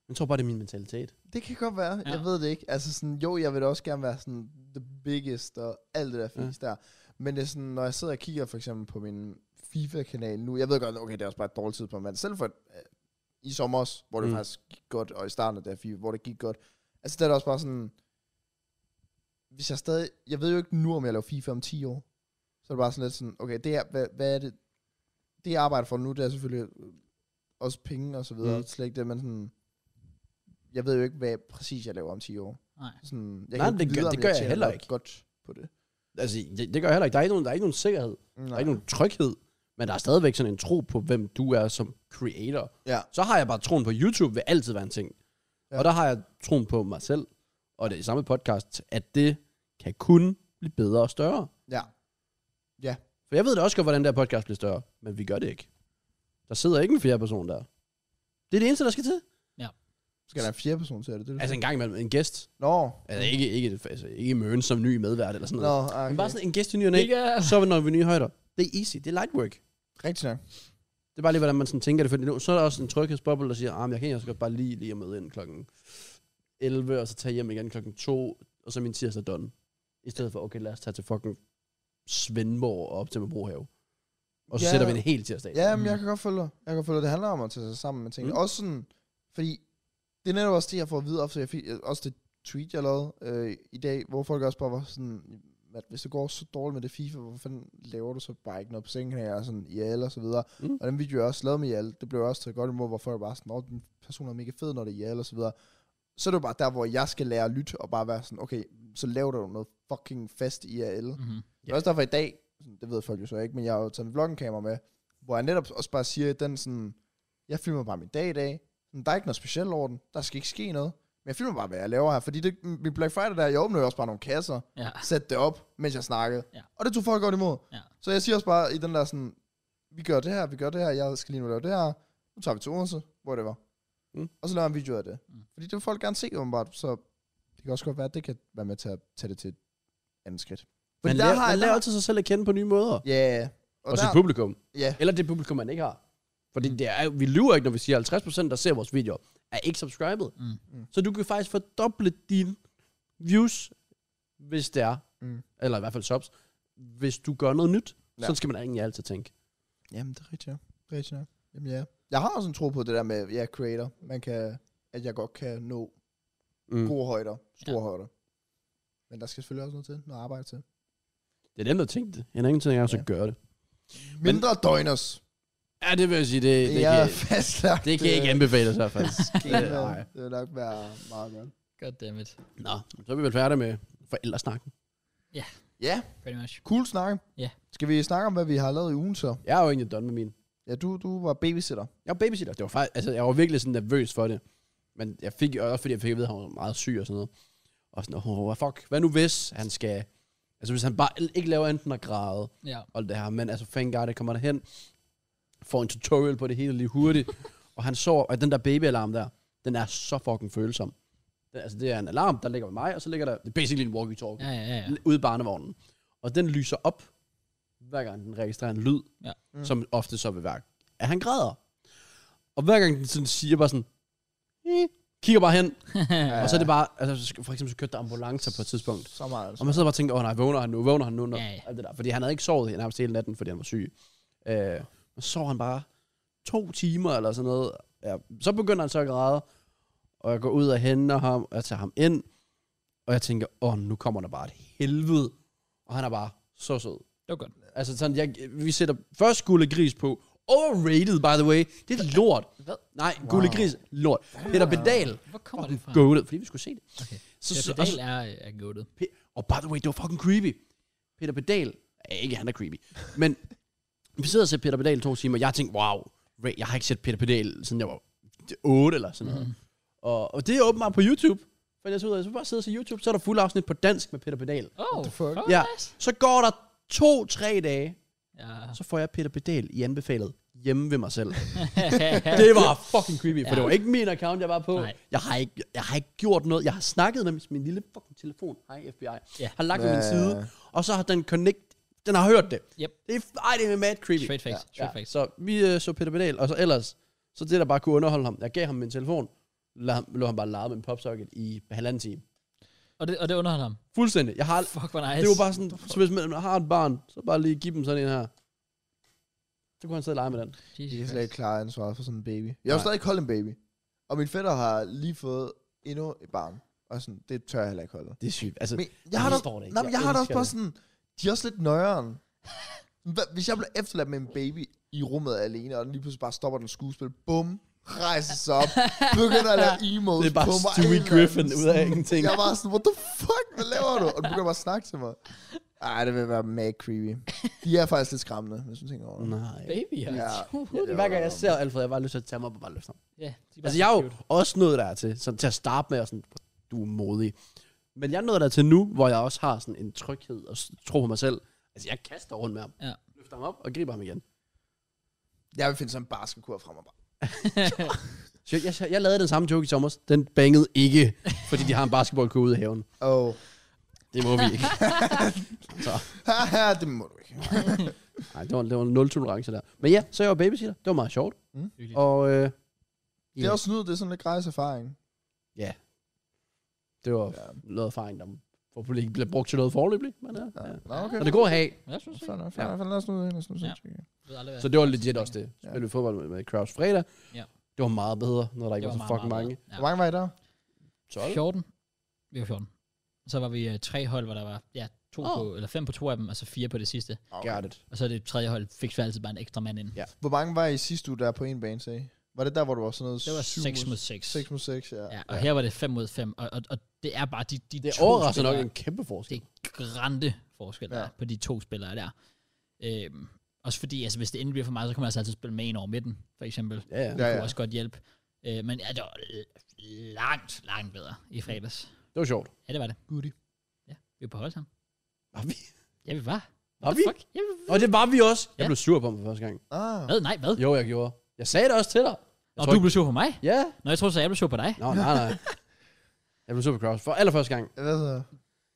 Jeg tror bare, det er min mentalitet. Det kan godt være, ja. Ja. jeg ved det ikke. Altså sådan, jo, jeg vil da også gerne være sådan the biggest og alt det der Ja. fisk ja. der. Men det er sådan, når jeg sidder og kigger for eksempel på min FIFA-kanal nu, jeg ved godt, okay, det er også bare et dårligt tidspunkt, men selv for øh, i sommer også, hvor det Mm. mm. faktisk gik godt, og i starten af det her FIFA, hvor det gik godt, altså der er det også bare sådan, hvis jeg stadig, jeg ved jo ikke nu, om jeg laver FIFA om 10 år, så er det bare sådan lidt sådan, okay, det her, hvad, hvad er det, det jeg arbejder for nu, det er selvfølgelig øh, også penge og så videre. Mm. Mm. Slet ikke det, men sådan, jeg ved jo ikke, hvad præcis jeg laver om 10 år. Nej. Sådan, jeg Nej, jo ikke det gør- vide, om det gør jeg tjener heller nok ikke. godt på det. Altså, det, det gør jeg heller ikke. Der er ikke nogen, der er ikke nogen sikkerhed. Nej. Der er ikke nogen tryghed. Men der er stadigvæk sådan en tro på, hvem du er som creator. Ja. Så har jeg bare troen på, YouTube vil altid være en ting. Ja. Ja. Og der har jeg troen på mig selv, og det er i samme podcast, at det kan kun blive bedre og større. Ja. Ja. For jeg ved da også godt, hvordan der podcast bliver større, men vi gør det ikke. Der sidder ikke en fjerde person der. Det er det eneste, der skal til. Skal der en fjerde person til det? det er det. Altså en gang imellem en gæst. Nå. Altså ikke, ikke, altså, ikke møn som ny medvært eller sådan Nå, noget. ah, okay. Men bare sådan en gæst i ny og næ. Ikke, øh, så når vi nye højder. Det er easy, det er light work. Rigtig nok. Det er bare lige, hvordan man sådan tænker det. Fordi nu, så er der også en tryghedsboble, der siger, at jeg kan egentlig også godt bare lige, lige at møde ind klokken 11, og så tage hjem igen klokken 2, og så er min tirsdag done. I stedet for, okay, lad os tage til fucking Svendborg og op til Brohave. Og så Ja. sætter vi en hel tirsdag. Ja, men Mm. jeg kan godt følge dig. Jeg kan godt følge dig. Det handler om at tage sig sammen med ting. Mm. Mm. Også sådan, fordi det er netop også det, jeg får at vide, efter jeg fik, øh, også det tweet, jeg lavede øh, i dag, hvor folk også bare var sådan, at hvis det går så dårligt med det FIFA, hvorfor fanden laver du så bare ikke noget på sengen her, og sådan, Jal og så videre. Mm. Mm. Og den video, jeg også lavede med Jal, det blev også taget godt imod, hvor folk bare sådan, at den person er mega fed, når det er Jal og så videre. Så er det jo bare der, hvor jeg skal lære at lytte, og bare være sådan, okay, så laver du noget fucking fast IRL. Mm. Mm-hmm. mhm. Det er også derfor i dag, sådan, det ved folk jo så ikke, men jeg har jo taget en vloggenkamera med, hvor jeg netop også bare siger, at den sådan, jeg filmer bare min dag i dag, sådan, der er ikke noget specielt over den, der skal ikke ske noget, men jeg filmer bare, hvad jeg laver her, fordi det, min Black Friday der, jeg åbnede jo også bare nogle kasser, Ja. sætte det op, mens jeg snakkede, Ja. og det tog folk godt imod. Ja. Så jeg siger også bare i den der sådan, vi gør det her, vi gør det her, jeg skal lige nu lave det her, nu tager vi til Odense, whatever. Mm. Og så laver jeg en video af det. Mm. Fordi det vil folk gerne se, åbenbart, så det kan også godt være, at det kan være med til at tage det til et andet skridt. Man, Fordi lærer, man jeg- lærer altid sig selv at kende på nye måder. Ja, yeah. og, Og, og sit der, publikum. ja, Mm. Eller det publikum, man ikke har. Fordi det er, jo- vi lyver ikke, når vi siger, at 50% der ser vores videoer, er ikke subscribet. Mm. Mm. Så du kan faktisk fordoble dine views, hvis det er, Mm. eller i hvert fald subs, hvis du gør noget nyt. Ja. Ja. Sådan skal man egentlig altid tænke. jamen det er rigtigt, ja. Det er rigtigt, ja. Jamen ja. Jeg har også en tro på det der med, ja, creator, man kan, at jeg godt kan nå Mm. gode højder, store ja. højder. Men der skal selvfølgelig også noget til, noget arbejde til. Det er dem, der tænkte det. En anden ting er også Ja. at gøre det. Mindre Men, døgners. Ja, det vil jeg sige, det, det, Det, jeg er kan, fastlagt. det kan jeg ikke øh, anbefale sig faktisk. det, vil- <laughs> Nej. det vil nok være meget godt. Goddammit. Nå, så er vi vel færdige med forældresnakken. Ja, Pretty much. cool snak. Ja. Skal vi snakke om, hvad vi har lavet i ugen så? Jeg er jo egentlig done med min. Ja, du, du var babysitter. Jeg var babysitter. Det var faktisk, altså, jeg var virkelig sådan nervøs for det. Men jeg fik og også, fordi jeg fik at vide, at han var meget syg og sådan noget. Og sådan, åh, oh, fuck, hvad nu hvis han skal... Altså, hvis han bare ikke laver enten at græde, Ja. og det her, men altså, thank god, det kommer derhen, får en tutorial på det hele lige <laughs> hurtigt, og han sover, og den der babyalarm der, den er så fucking følsom. Den, altså, det er en alarm, der ligger ved mig, og så ligger der, det er basically en walkie-talkie, Ja, ja, ja. ja. <laughs> ja. ude i barnevognen. Og den lyser op, hver gang den registrerer en lyd, Ja. mm. som ofte så vil være, at han græder. Og hver gang den sådan siger bare sådan, "Eh", kigger bare hen, ja. og så er det bare, altså så- for eksempel så kørte der ambulancer på et tidspunkt, Så meget altså. og man sidder bare og tænker, åh nej, vågner han nu, vågner han nu, når, Ja, ja, ja. Alt det der. fordi han havde ikke sovet nærmest hele natten, fordi han var syg. Øh, og så sov han bare to timer eller sådan noget. Ja, så begynder han så at græde, og jeg går ud og henter ham, og jeg tager ham ind, og jeg tænker, åh, nu kommer der bare et helvede, og han er bare så sød. Det var godt. Altså sådan, jeg, vi sætter først Gulle Gris på, overrated by the way, det er lort. Hvad? Nej, Gulle Wow. Gris, lort. Peter Pedal, Hvor kommer det fra? goated, fordi vi skulle se det. Okay. Så, Ja, så, og så, pedal er, er goated. Pe- og by the way, det var fucking creepy. Peter Pedal, ja, ikke han er creepy, men <laughs> vi sidder og ser Peter Pedal i to timer, og jeg tænkte, wow, Ray, jeg har ikke set Peter Pedal, siden jeg var 8 eller sådan Mhm. noget. Mm. Og, og det er åbenbart på YouTube. Fandt jeg så ud af, så bare sidde og se YouTube, så er der fuld afsnit på dansk med Peter Pedal. Oh, the fuck? fuck. Ja. Ja. Så går der to-tre dage, ja. <laughs> så får jeg Peter Pedal i anbefalet hjemme ved mig selv. det var fucking creepy, for ja. Ja. det var ikke min account, jeg var på. Nej. Jeg har, ikke, jeg har ikke gjort noget. Jeg har snakket med min, min lille fucking telefon. Hej FBI. Ja. Har lagt på Ja. min side, og så har den connect... Den har hørt det. Yep. Det er, ej, det er mad creepy. Straight facts. ja. Straight facts. Så vi øh, så Peter Pedal, og så ellers, så det der bare kunne underholde ham. Jeg gav ham min telefon, lad ham, lå han bare lege med en popsocket i halvanden time. Og det, og det underholder ham. Fuldstændig. Jeg har, ald- Fuck, hvor nice. det var Altså, bare sådan, så hvis man har et barn, så bare lige give dem sådan en her. Så kunne han sidde og lege med den. Jesus Jeg kan slet Christ. ikke klare ansvaret for sådan en baby. Jeg har Nej. stadig ikke holdt en baby. Og min fætter har lige fået endnu et barn. Og sådan, det tør jeg heller ikke holde. Det er sygt. Altså, Men jeg jeg har da, forstår det ikke. nej, men Jeg jeg har da elsker også bare det. sådan, de er også lidt nøjeren. Hva- Hvis jeg blev efterladt med en baby, i rummet alene, og den lige pludselig bare stopper den skuespil. Bum, rejser sig op, begynder <laughs> at lave emotes Det er bare på mig. Stewie Eller Griffin sådan. ud <laughs> af ingenting. Jeg var sådan, what the fuck, hvad laver du? Og du begynder bare at snakke til mig. Ej, det vil være mega creepy. De er faktisk lidt skræmmende, hvis du tænker over det. Nej. Baby, ja. Ja. Det hver gang jeg ser Alfred, jeg bare har lyst til at tage mig op og bare løfte ham. ja de er bare så Altså, jeg er jo cute. også nået dertil, sådan til at starte med, og sådan, du er modig. Men jeg er nået dertil nu, hvor jeg også har sådan en tryghed og s- tro på mig selv. Altså, jeg kaster rundt med ham. Ja. Løfter ham op og griber ham igen. Jeg vil finde sådan en basketkur frem og bare. Så jeg, jeg, jeg lavede den samme joke i sommer. Den bangede <laughs> ikke, fordi de har en basketballkugle ude i haven. Oh. Det må vi <laughs> ikke. Haha, <laughs> det må du ikke. Nej, det var, det var nul tolerance der. Men ja, så jeg var babysitter. Det var meget sjovt. Hyggeligt. Og øh, Det er også nydeligt, det er sådan lidt gratis erfaring. det var Ja. noget erfaring, der forhåbentlig ikke bliver brugt til noget forløbigt. Men, ja. Ja. Ja. Nå, okay. Så det er godt at have. Jeg synes, Fair ikke. nok, fair nok. Lad os nu lad os nu Ja. se. Jeg ved aldrig, hvad- Så det var legit også det. Ja. Spillede fodbold med, med Kraus fredag. Ja. Det var meget bedre, når der Det ikke var, var så meget, fucking meget mange. bedre. Hvor mange var I der? 12? 14. Vi var 14. Så var vi øh, tre hold, hvor der var ja, to Åh. oh. på, eller fem på to af dem, og så fire på det sidste. Got it. Og så det tredje hold fik vi altid bare en ekstra mand ind. Ja. Hvor mange var I sidste uge, der er på en bane, sagde I? Var det der, hvor du var sådan noget? Det var 6 mod 6. 6 mod 6, ja. Ja, og her var det 5 mod 5, og, og, og det er bare de, de Det to overrasker nok spillere- en kæmpe forskel. Det er grande forskel, der Ja. ja. på de to spillere der. Øhm, også fordi, altså, hvis det endelig bliver for meget, så kommer jeg altså altid spille med en over midten, for eksempel. Det Ja, ja. Ja, ja, ja. ja. kunne også godt hjælpe. Øh, men ja, det var l- langt, langt bedre i fredags. Det var sjovt. Ja, det var det. Goodie. Ja, vi var på hold sammen. Var vi? Ja, vi var. Var What vi? the fuck? Ja, vi var. Og det var vi også. Jeg Ja. blev sur på mig første gang. Ah, Hvad? Nej, hvad? Jo, jeg gjorde. Jeg sagde det også til dig. Jeg Og tror du ikke- blev sur på mig? Ja. Nå, jeg tror så, jeg blev sur på dig. Nå, nej, nej. Jeg blev sur på Kraus for allerførste gang. hvad så?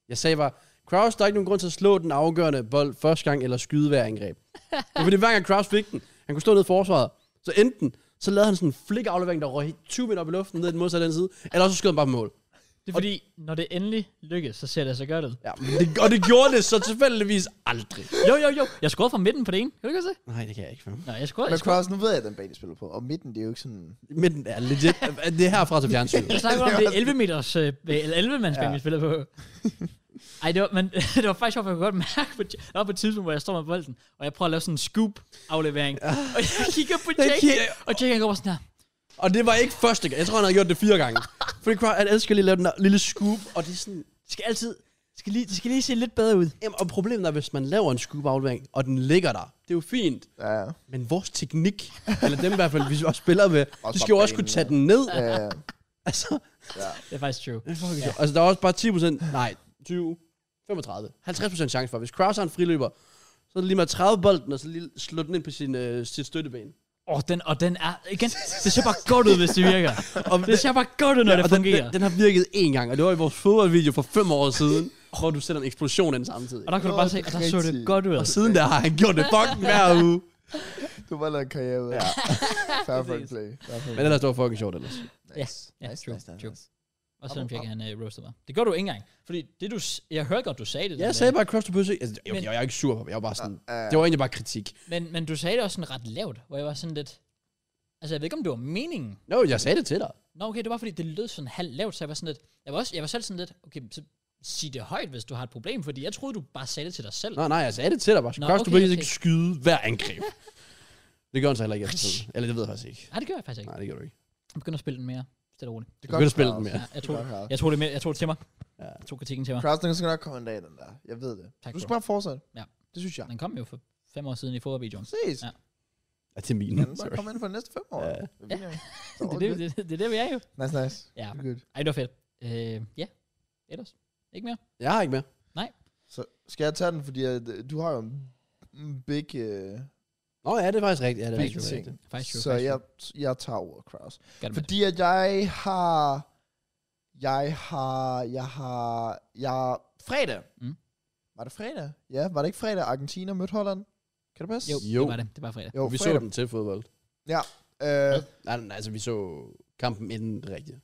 Jeg sagde bare, Kraus, der er ikke nogen grund til at slå den afgørende bold første gang, eller skyde hver <laughs> angreb. Det var fordi hver gang Kraus fik den, han kunne stå ned i forsvaret, så enten, så lavede han sådan en flik aflevering, der røg 20 meter op i luften, ned i den modsatte side, eller også så skød han bare på mål. Det er fordi, når det endelig lykkes, så ser det så godt ud. Ja, men det, og det gjorde det så tilfældigvis aldrig. Jo, jo, jo. Jeg scorede fra midten på det ene. Kan du ikke se? Nej, det kan jeg ikke. fandme. Nå, jeg scorede. Men Jeg, scorede. Cross, nu ved jeg, at den bane, I spiller på. Og midten, det er jo ikke sådan... Men er legit, det er herfra til fjernsynet. jeg <laughs> snakker om det 11 meters, øh, eller 11 mands ja. vi spillede på. Ej, det var, men, <laughs> det var faktisk sjovt, for jeg kunne godt mærke, på, der var på et tidspunkt, hvor jeg står med bolden, og jeg prøver at lave sådan en scoop-aflevering. Og jeg kigger på Jeg Jake, kigger- og Jake han går bare sådan her. Og det var ikke første gang. Jeg tror, han havde gjort det fire gange. Fordi Kraus, han elsker lige at lave den der lille scoop, og det er sådan, "Det Skal altid, det skal lige, det skal lige se lidt bedre ud. Jamen, og problemet er, hvis man laver en scoop-aflevering, og den ligger der, det er jo fint. Ja, ja. Men vores teknik, eller dem i hvert fald, vi også spiller med, de skal jo bare også kunne banen, tage den ned. Ja, ja. <laughs> Altså, Det er faktisk true. det er fucking sjovt. altså, der er også bare 10%, nej, 20, 35, 50% chance for, hvis Kraus har en friløber, så er det lige med at 30 bolden, og så lige slå den ind på sin, øh, sit støtteben. Og den, og den er, igen, det ser bare godt ud, hvis det virker. <laughs> Og, Det ser bare godt ud, når det og den, fungerer. den, den, har virket én gang, og det var i vores fodboldvideo for fem år <laughs> siden, hvor du sætter en eksplosion ind samtidig. Og der kunne du bare se, Nå, det at er der så det rigtigt. godt ud. Og siden der har han gjort det fucking hver uge. Du var lavet en karriere ud af. Ja. <laughs> Fair fucking play. Fair fucking Men ellers, det var fucking sjovt ellers. play. Nice. Ja, nice, true, nice, nice, true. nice. Og selvom Jack han øh, roastede mig. Det gør du ikke engang. Fordi det du, s- jeg hørte godt, du sagde det. der Jeg med- sagde bare cross to pussy. Altså, okay, Men- jeg er ikke sur på dem. Jeg var bare sådan... Ja, ja. Det var egentlig bare kritik. Men, men du sagde det også sådan ret lavt, hvor jeg var sådan lidt... Altså, jeg ved ikke, om det var meningen. Nå, jeg sagde det til dig. Nå, okay, det var, fordi det lød sådan halvt lavt, så jeg var sådan lidt... Jeg var, også, jeg var selv sådan lidt... Okay, så sig det højt, hvis du har et problem, fordi jeg troede, du bare sagde det til dig selv. Nej, nej, jeg sagde det til dig bare. Nå, Cross to okay, pussy okay. ikke skyde hver angreb. <laughs> Det gør han så heller ikke efter tiden. Eller det ved jeg faktisk ikke. Nej, det gør jeg faktisk ikke. Nej, det gør du ikke. Jeg begynder at spille den mere. Stille og roligt. Det Du kan spille den mere. Ja, jeg tog, Det er godt, Kraus. jeg tog det, med, jeg tog det til mig. Ja. Jeg tog kritikken til mig. Cross, den skal nok komme en dag, den der. Jeg ved det. Tak, Du skal bro. bare fortsætte. Ja. Det synes jeg. Den kom jo for fem år siden i fodboldvideoen. Præcis. Ja. Ja, til min. Kan den bare Sorry. komme ind for de næste fem år? Ja. Det er <laughs> Det, er det, det, det, det er det, vi er jo. Nice, nice. Ja. Good. Ej, det var fedt. Øh, ja. Ellers. Ikke mere. Jeg har ikke mere. Så skal jeg tage den, fordi at, øh, du har jo en- en big, uh, Nå, ja, det er faktisk rigtigt. Ja, det er big faktisk ting. rigtigt. Faktisk jo, Så faktisk jo. jeg, jeg tager ordet, Kraus. Gør det med Fordi at jeg har... Jeg har... Jeg har... Jeg... Fredag. Mm. Var det fredag? Ja, var det ikke fredag, Argentina mødte Holland? Kan det det. passe? Jo, Jo. jo, det var det. Det var fredag. jo Vi så fredag. den til fodbold. Øh, Nej, nej, altså, vi så kampen inden det rigtige.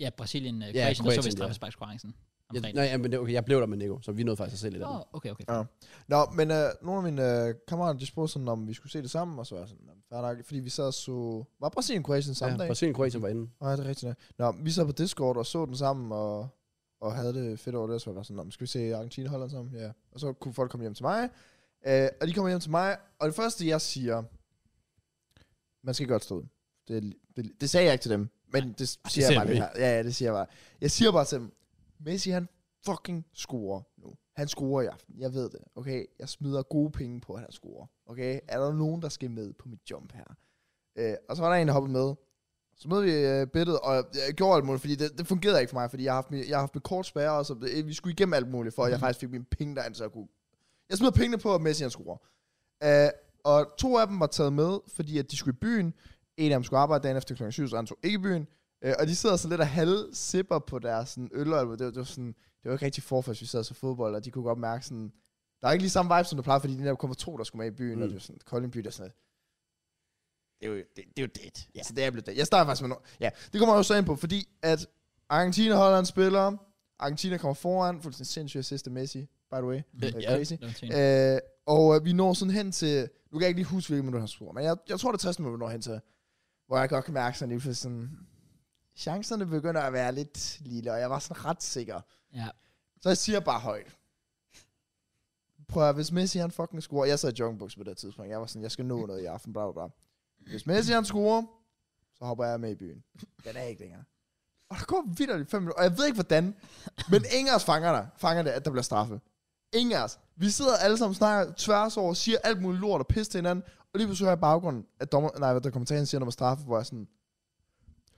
Ja, Brasilien, øh, Ja, Kroatien, der så vi Kroatien, ja. straffesparkskonkurrencen. om Jeg, fredagen. nej, ja, men det, okay, jeg blev der med Nico, så vi nåede faktisk at se lidt af den. Åh, okay, okay. Ja. Nå, men øh, nogle af mine øh, kammerater, de spurgte sådan, om vi skulle se det sammen, og så var jeg sådan, "Nå, fair nok, fordi vi sad og så... Var Brasilien Kroatien samme Ja, dag? Brasilien Kroatien var inde. Nej, det er rigtigt. nok. Nå, vi sad på Discord og så den sammen, og, og havde det fedt over det, og så var jeg bare sådan, "Nå, men skal vi se Argentina og Holland sammen? Ja. Og så kunne folk komme hjem til mig, øh, og de kommer hjem til mig, og det første, jeg siger, Man skal godt stå ud. Det, det, det sagde jeg ikke til dem, men det siger ser jeg bare vi. lidt her. Ja, ja, det siger jeg bare. Jeg siger bare til dem, Messi han fucking scorer nu. Han scorer i aften, jeg ved det. Okay, jeg smider gode penge på, at han scorer. Okay, er der nogen, der skal med på mit jump her? Øh, og så var der en, der hoppede med. Så mødte vi øh, bittet, og jeg, jeg gjorde alt muligt, fordi det, det fungerede ikke for mig, fordi jeg har haft, min- jeg har haft med kort spærre, og så øh, vi skulle igennem alt muligt, for at jeg Mhm. faktisk fik mine penge derind, så jeg kunne... Jeg smed pengene på, at Messi han scorer. Øh, og to af dem var taget med, fordi at de skulle i byen. En af dem skulle arbejde dagen efter kl. 7, så han tog ikke i byen. Øh, og de sidder sådan lidt og halv sipper på deres sådan, øl, og det, var- det, var sådan, det var ikke rigtig forfærds, vi sad så fodbold, og de kunne godt mærke sådan, der er ikke lige samme vibe, som der plejer, fordi de der kommer to, der skulle med i byen, mm. Mm. og det var sådan, Kolding by, der er sådan, det er jo det. det, er jo det. Ja. Så det er blevet det. Jeg starter faktisk med noget. Ja, det kommer jeg jo så ind på, fordi at Argentina holder en spiller. Argentina kommer foran. Fuldstændig sindssygt assist af Messi, by the way. Ja, Øh, ja. Crazy. Det var en ting. Øh, og øh, vi når sådan hen til... Nu kan jeg ikke lige huske, hvilken minut han scorer, men jeg, jeg tror, det er 60 minutter, vi når hen til. Hvor jeg godt kan mærke sådan lige for sådan... Chancerne begynder at være lidt lille, og jeg var sådan ret sikker. Ja. Så jeg siger bare højt. Prøv at, hvis Messi han fucking scorer... Jeg sad i joggingbukser på det her tidspunkt. Jeg var sådan, jeg skal nå noget i aften, bla bla bla. Hvis Messi han scorer, så hopper jeg med i byen. Den er ikke længere. Og der går vidderligt fem minutter, og jeg ved ikke hvordan, men Ingers fanger, der, fanger det, at der bliver straffe. Ingers. Vi sidder alle sammen og snakker tværs over, siger alt muligt lort og pis til hinanden, og lige pludselig hører jeg i baggrunden, at dommer, nej, hvad der kommentaren siger, når man straffe, hvor jeg er sådan,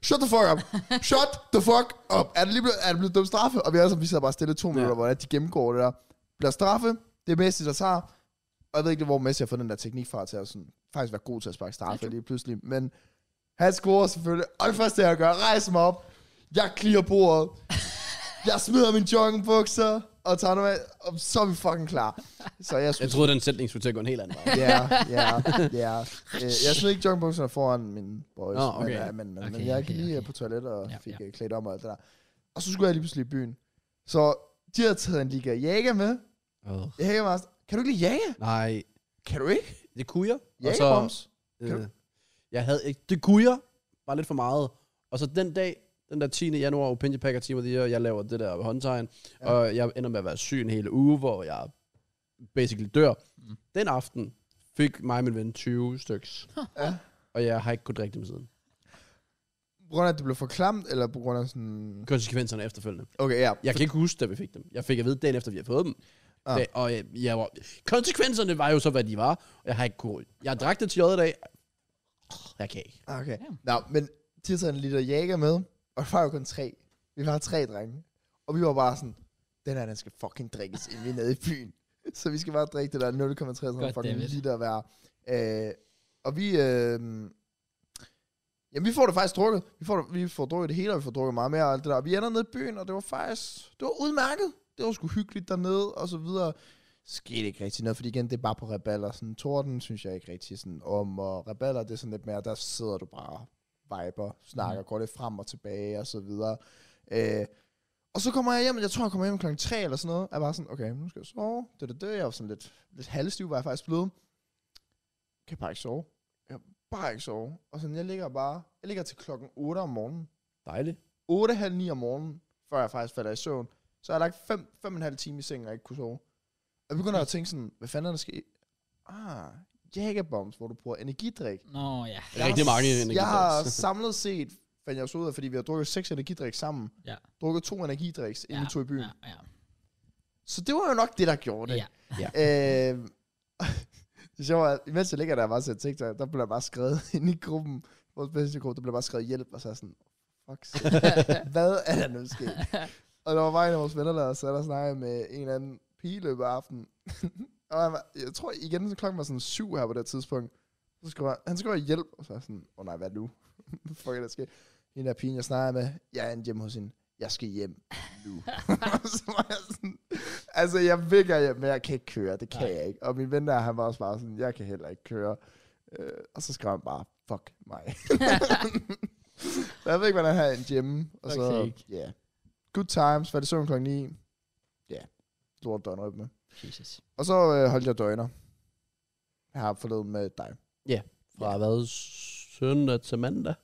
Shut the fuck up. Shut the fuck up. Er det lige blevet, er det blevet dømt straffe? Og vi, alle sammen, vi sidder bare stille i to minutter, ja. hvor de gennemgår det der. Bliver straffe. Det er Messi, der tager. Og jeg ved ikke, hvor Messi har fået den der teknik fra til at sådan, faktisk være god til at sparke straffe lige pludselig. Men han scorer selvfølgelig. Og det første, jeg gør, rejser mig op. Jeg clear bordet. Jeg smider min joggingbukser og tager noget af, og så er vi fucking klar. Så jeg <laughs> Jeg troede, den sætning skulle til at gå en helt anden vej. Ja, ja, ja. Øh, Jeg smed ikke joggingbukserne foran min boys, Nå, okay. men, øh, men, men, okay, men Okay, jeg okay, gik lige okay. okay. på toilet og Ja, ja, fik ja. ja. klædt om og alt det der. Og så skulle jeg lige pludselig i byen. Så de havde taget en Liga Jager med. <laughs> Oh. Jager var sådan, kan du ikke lide Jager? Nej, Kan du ikke? det kunne jeg. Og så, Jagerbombs? Kan øh, jeg havde ikke, det kunne jeg, bare lidt for meget. Og så den dag, den der 10. januar, Opinion Packer Team of the Year, jeg laver det der håndtegn, Ja. ja. og jeg ender med at være syg en hel uge, hvor jeg basically dør. Mm. Mm. Den aften fik mig og min ven 20 styks, Ja. og jeg har ikke kunnet drikke dem siden. På grund af, at det blev for klamt, eller på grund af sådan... Konsekvenserne er efterfølgende. Okay, ja. Jeg kan ikke huske, da vi fik dem. Jeg fik at vide dagen efter, vi havde fået dem. Ah. Ah. Da, og jeg, jeg var, konsekvenserne var jo så, hvad de var. Og jeg har ikke kunnet. Jeg drak det til i dag. Jeg kan ikke. Ja. Okay. Nå, men de havde taget en liter Jager med, og der var jo kun tre. Vi var tre drenge. Og vi var bare sådan, den her, den skal fucking drikkes, inden vi er nede i byen. <laughs> Så vi skal bare drikke det der 0,33 God damn fucking it. liter hver. Øh, og vi... Øh, Jamen, vi får det faktisk drukket. Vi får, vi får drukket det hele, og vi får drukket meget mere og alt det der. Vi ender nede i byen, og det var faktisk... Det var udmærket. Det var sgu hyggeligt dernede, og så videre. Skete ikke rigtig noget, fordi igen, det er bare på reballer. Sådan, torden synes jeg ikke rigtig sådan om, og reballer, det er sådan lidt mere, der sidder du bare og viber, snakker, går lidt frem og tilbage, og så videre. Øh, og så kommer jeg hjem, jeg tror, jeg kommer hjem klokken 3 eller sådan noget. Jeg var sådan, okay, nu skal jeg sove. Det, det, det. Jeg var sådan lidt, lidt halvstiv, var jeg faktisk blevet. Kan bare ikke sove bare ikke sove. Og sådan, jeg ligger bare, jeg ligger til klokken 8 om morgenen. Dejligt. 8, halv 9 om morgenen, før jeg faktisk falder i søvn. Så har jeg lagt 5, 5 en halv time i sengen og ikke kunne sove. Og jeg begynder at tænke sådan, hvad fanden er der sket? Ah, jægerbombs, hvor du bruger energidrik. Nå, ja. Der er rigtig mange energidrik. Jeg <laughs> har samlet set, fandt jeg så ud af, fordi vi har drukket seks energidrik sammen. Ja. Drukket to energidriks, inden ja, vi tog i byen. Ja, ja. Så det var jo nok det, der gjorde det. Ja. Øh, <laughs> det sjove er, imens jeg ligger der bare til TikTok, der blev der bare skrevet <laughs> ind i gruppen, vores bedste gruppe, der blev bare skrevet hjælp, og så er jeg sådan, fuck, shit. hvad er der nu sket? og der var bare en af vores venner, der sad og snakkede med en eller anden pige i løbet af aftenen. og jeg, var, jeg tror igen, så klokken var sådan syv her på det tidspunkt. Så skriver jeg, han skriver hjælp, og så er jeg sådan, åh oh, nej, hvad nu? <laughs> Hvad fuck er der sket? En af pigen, jeg snakker med, jeg er en hjemme hos hende. Jeg skal hjem nu. <laughs> så var jeg sådan, altså jeg vækker hjem, men jeg kan ikke køre, det kan Nej. nej. jeg ikke. Og min ven der, han var også bare sådan, jeg kan heller ikke køre. Øh, og så skrev han bare, fuck mig. så jeg ved ikke, hvordan han er en hjemme. Og Fuck så, sake. ja. Yeah. Good times, faldt i søvn klokken 9. Ja, yeah. lort døgnrytme. med. Jesus. Og så øh, holdt jeg døgner. Jeg har forleden med dig. Fra hvad? Søndag til mandag?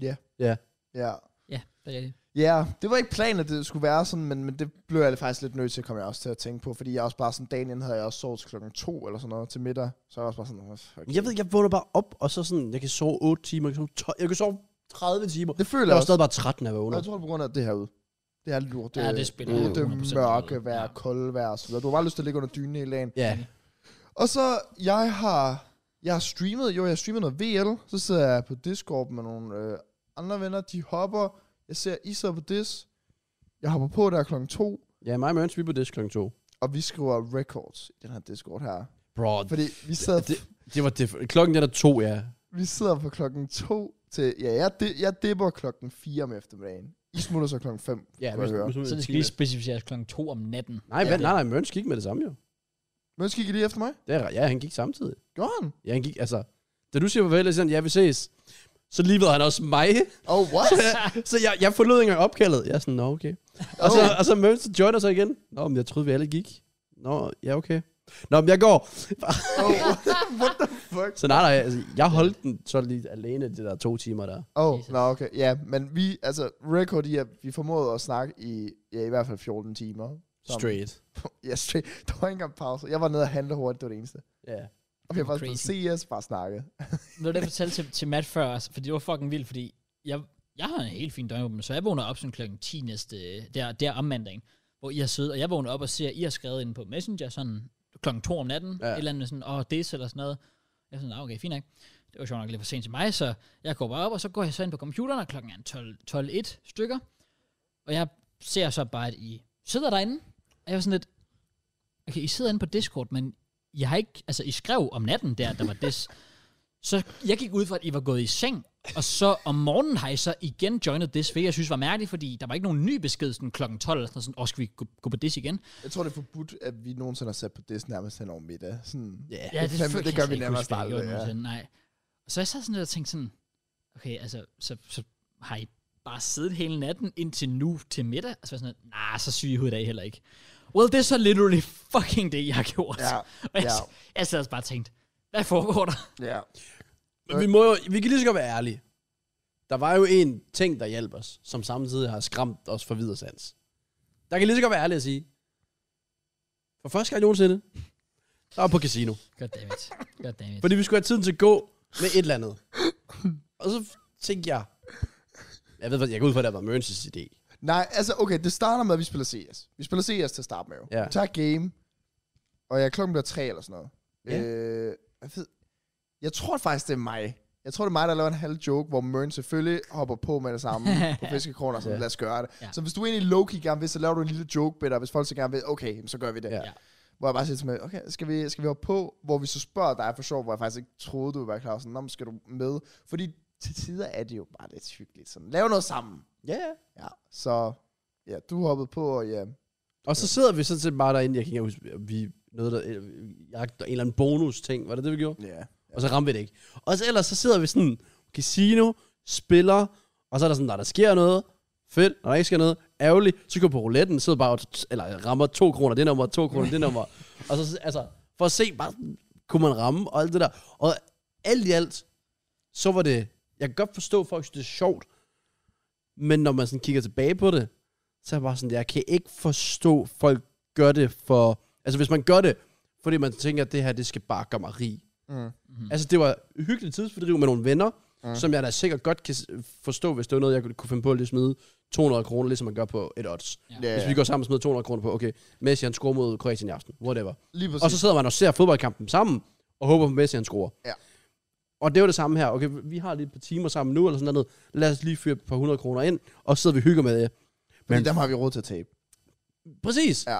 Ja. Ja. Ja. Ja, Det er rigtigt. Ja, det var ikke planen, at det skulle være sådan, men, men det blev jeg faktisk lidt nødt til, kom jeg også til at tænke på, fordi jeg også bare sådan, dagen inden havde jeg også sovet til klokken to eller sådan noget til middag, så jeg var også bare sådan, "Åh, okay. Men Jeg ved, jeg vågner bare op, og så sådan, jeg kan sove 8 timer, jeg kan sove, 12, jeg kan sove 30 timer. det føler Jeg jeg er også, stadig bare træt, når jeg og vågner. jeg tror det er på grund af det herude. Det her lort, det, Ja, det spiller Mm. det 100% mørke noget. vejr, Ja. ja. kolde vejr og så videre. Du har bare lyst til at ligge under dynen hele dagen. Ja, Og så, jeg har, jeg har streamet, jo, jeg har streamet noget VL, så sidder jeg på Discord med nogle øh, andre venner, de hopper, jeg ser Isa på Dis, jeg hopper på der klokken to, ja mig og Mørens, vi er på disk kl. 2. og vi skriver records i den her Discord her. Bro, Fordi vi sad, det, det var diff- Klokken den er to, ja. vi sidder fra klokken 2 til... Ja, jeg, de, jeg dipper klokken 4 om eftermiddagen. I smutter så klokken 5. Ja, hvis- hvis- Så det skal lige specificeres klokken 2 om natten. Nej, Ja, vent, det- nej, nej, Mørens gik med det samme jo. Men skal I lige efter mig? Det er, ja, han gik samtidig. Gjorde han? Ja, han gik, altså... Da du siger farvel, og siger han, ja, vi ses. Så livede han også mig. Oh, what? så jeg, jeg forlod ikke engang opkaldet. Jeg er sådan, nå, okay. Og så, og så Mørens joiner så igen. Nå, men jeg troede, vi alle gik. Nå, ja, okay. Nå, men jeg går. Oh, <laughs> what the fuck? Så nej, nej, altså, jeg holdt den så lige alene, de der to timer der. Oh, Jesus. nå, okay. Ja, men vi... Altså, record i, at vi formåede at snakke i... Ja, i hvert fald 14 timer. Som- Straight. <laughs> Ja, straight. <laughs> Der var ikke engang pause. Jeg var nede og handle hurtigt, det var det eneste. Ja. Og vi har bare Crazy. spillet CS, bare snakket. Det var det, jeg fortalte til, til Matt før, altså, fordi det var fucking vildt, fordi jeg, jeg har en helt fin døgnåben, så jeg vågner op sådan klokken 10 næste, der, der om mandagen, hvor I har siddet, og jeg vågner op og ser, at I har skrevet ind på Messenger sådan klokken 2 om natten, ja. Ja. et eller andet med sådan, åh, det eller sådan noget. Jeg er sådan, "Nå, okay, fint nok. Det var sjovt nok lidt for sent til mig, så jeg går bare op, og så går jeg så ind på computeren, og klokken er 12 12.01 stykker, og jeg ser så bare, at I sidder derinde, og jeg var sådan lidt, okay, I sidder inde på Discord, men jeg har ikke, altså I skrev om natten der, der var des. Så jeg gik ud fra, at I var gået i seng, og så om morgenen har I så igen joinet this, hvilket jeg synes var mærkeligt, fordi der var ikke nogen ny besked sådan kl. 12, eller sådan, åh, skal vi gå, gå på this igen? Jeg tror, det er forbudt, at vi nogensinde har sat på Dis nærmest hen over middag. Sådan. Yeah. det fandme- kan det jeg gør slet vi ikke nærmest huske, at I aldrig, gjorde ja. nogensinde, Nej. Så jeg sad sådan lidt og tænkte sådan, okay, altså, så, så har I bare siddet hele natten indtil nu til middag? Og så var jeg sådan, nej, nah, så syg i hovedet er I heller ikke. Well, det er så literally fucking det, jeg har gjort. Ja, <laughs> og jeg, ja. jeg sad også bare og tænkte, hvad foregår der? <laughs> Ja. Men vi, må jo, vi kan lige så godt være ærlige. Der var jo en ting, der hjalp os, som samtidig har skræmt os for videre sans. Der kan lige så godt være ærlige at sige. For første gang nogensinde, der var på casino. Goddammit. Goddammit. Fordi vi skulle have tiden til at gå med et eller andet. Og så tænkte jeg, jeg ved, hvad- jeg går ud fra, at det var Mørnses idé. Nej, altså okay, det starter med, at vi spiller CS. Vi spiller CS til at starte med jo. Ja. Vi tager game, og jeg klokken bliver tre eller sådan noget. Ja. Øh, jeg, ved, jeg tror faktisk, det er mig. Jeg tror, det er mig, der laver en halv joke, hvor Mørn selvfølgelig hopper på med det samme <laughs> på fiskekroner og sådan, Ja. lad os gøre det. Ja. Ja. Så hvis du egentlig low-key gerne vil, så laver du en lille joke bedre, hvis folk så gerne vil, okay, jamen, så gør vi det. Ja. Ja. Hvor jeg bare siger til mig, okay, skal vi, skal vi hoppe på? Hvor vi så spørger dig for sjov, hvor jeg faktisk ikke troede, du ville være klar. Sådan, "Nå, men skal du med? Fordi til tider er det jo bare lidt hyggeligt. Sådan, lav noget sammen. Ja, ja. Ja, så ja, du hoppede på, og ja. Og så sidder vi sådan set bare derinde, jeg kan ikke engang huske, om vi noget der, eller vi jagter en eller anden bonus ting, var det det, vi gjorde? ja. Og så ramte vi det ikke. Og så ellers så sidder vi sådan, casino, spiller, og så er der sådan, når der sker noget, fedt, når der ikke sker noget, ærgerligt, så går vi på rouletten, sidder bare og t- eller rammer to kroner, det nummer, to kroner, det nummer. Og så altså, for at se, bare, kunne man ramme og alt det der. Og alt i alt, så var det, jeg kan godt forstå, at folk synes, det er sjovt, men når man sådan kigger tilbage på det, så er jeg bare sådan, jeg kan ikke forstå, at folk gør det for, altså hvis man gør det, fordi man tænker, at det her, det skal bare gøre mig rig, Mm. Mm. Altså, det var hyggeligt tidsfordriv med nogle venner, Mm. mm. som jeg da sikkert godt kan s- forstå, hvis det var noget, jeg kunne- kunne finde på at lige smide 200 kroner, ligesom man gør på et odds. Ja. ja. Hvis vi går sammen og smider 200 kroner på, okay, Messi han scorer mod Kroatien i aften, whatever. Lige præcis. Og så sidder man og ser fodboldkampen sammen, og håber på, at Messi han scorer. Ja. Og det var det samme her. Okay, vi har lige et par timer sammen nu, eller sådan noget. Lad os lige fyre et par 100 kroner ind, og så sidder vi og hygger med det. Fordi Men- dem har vi råd til at tabe. Præcis. Ja.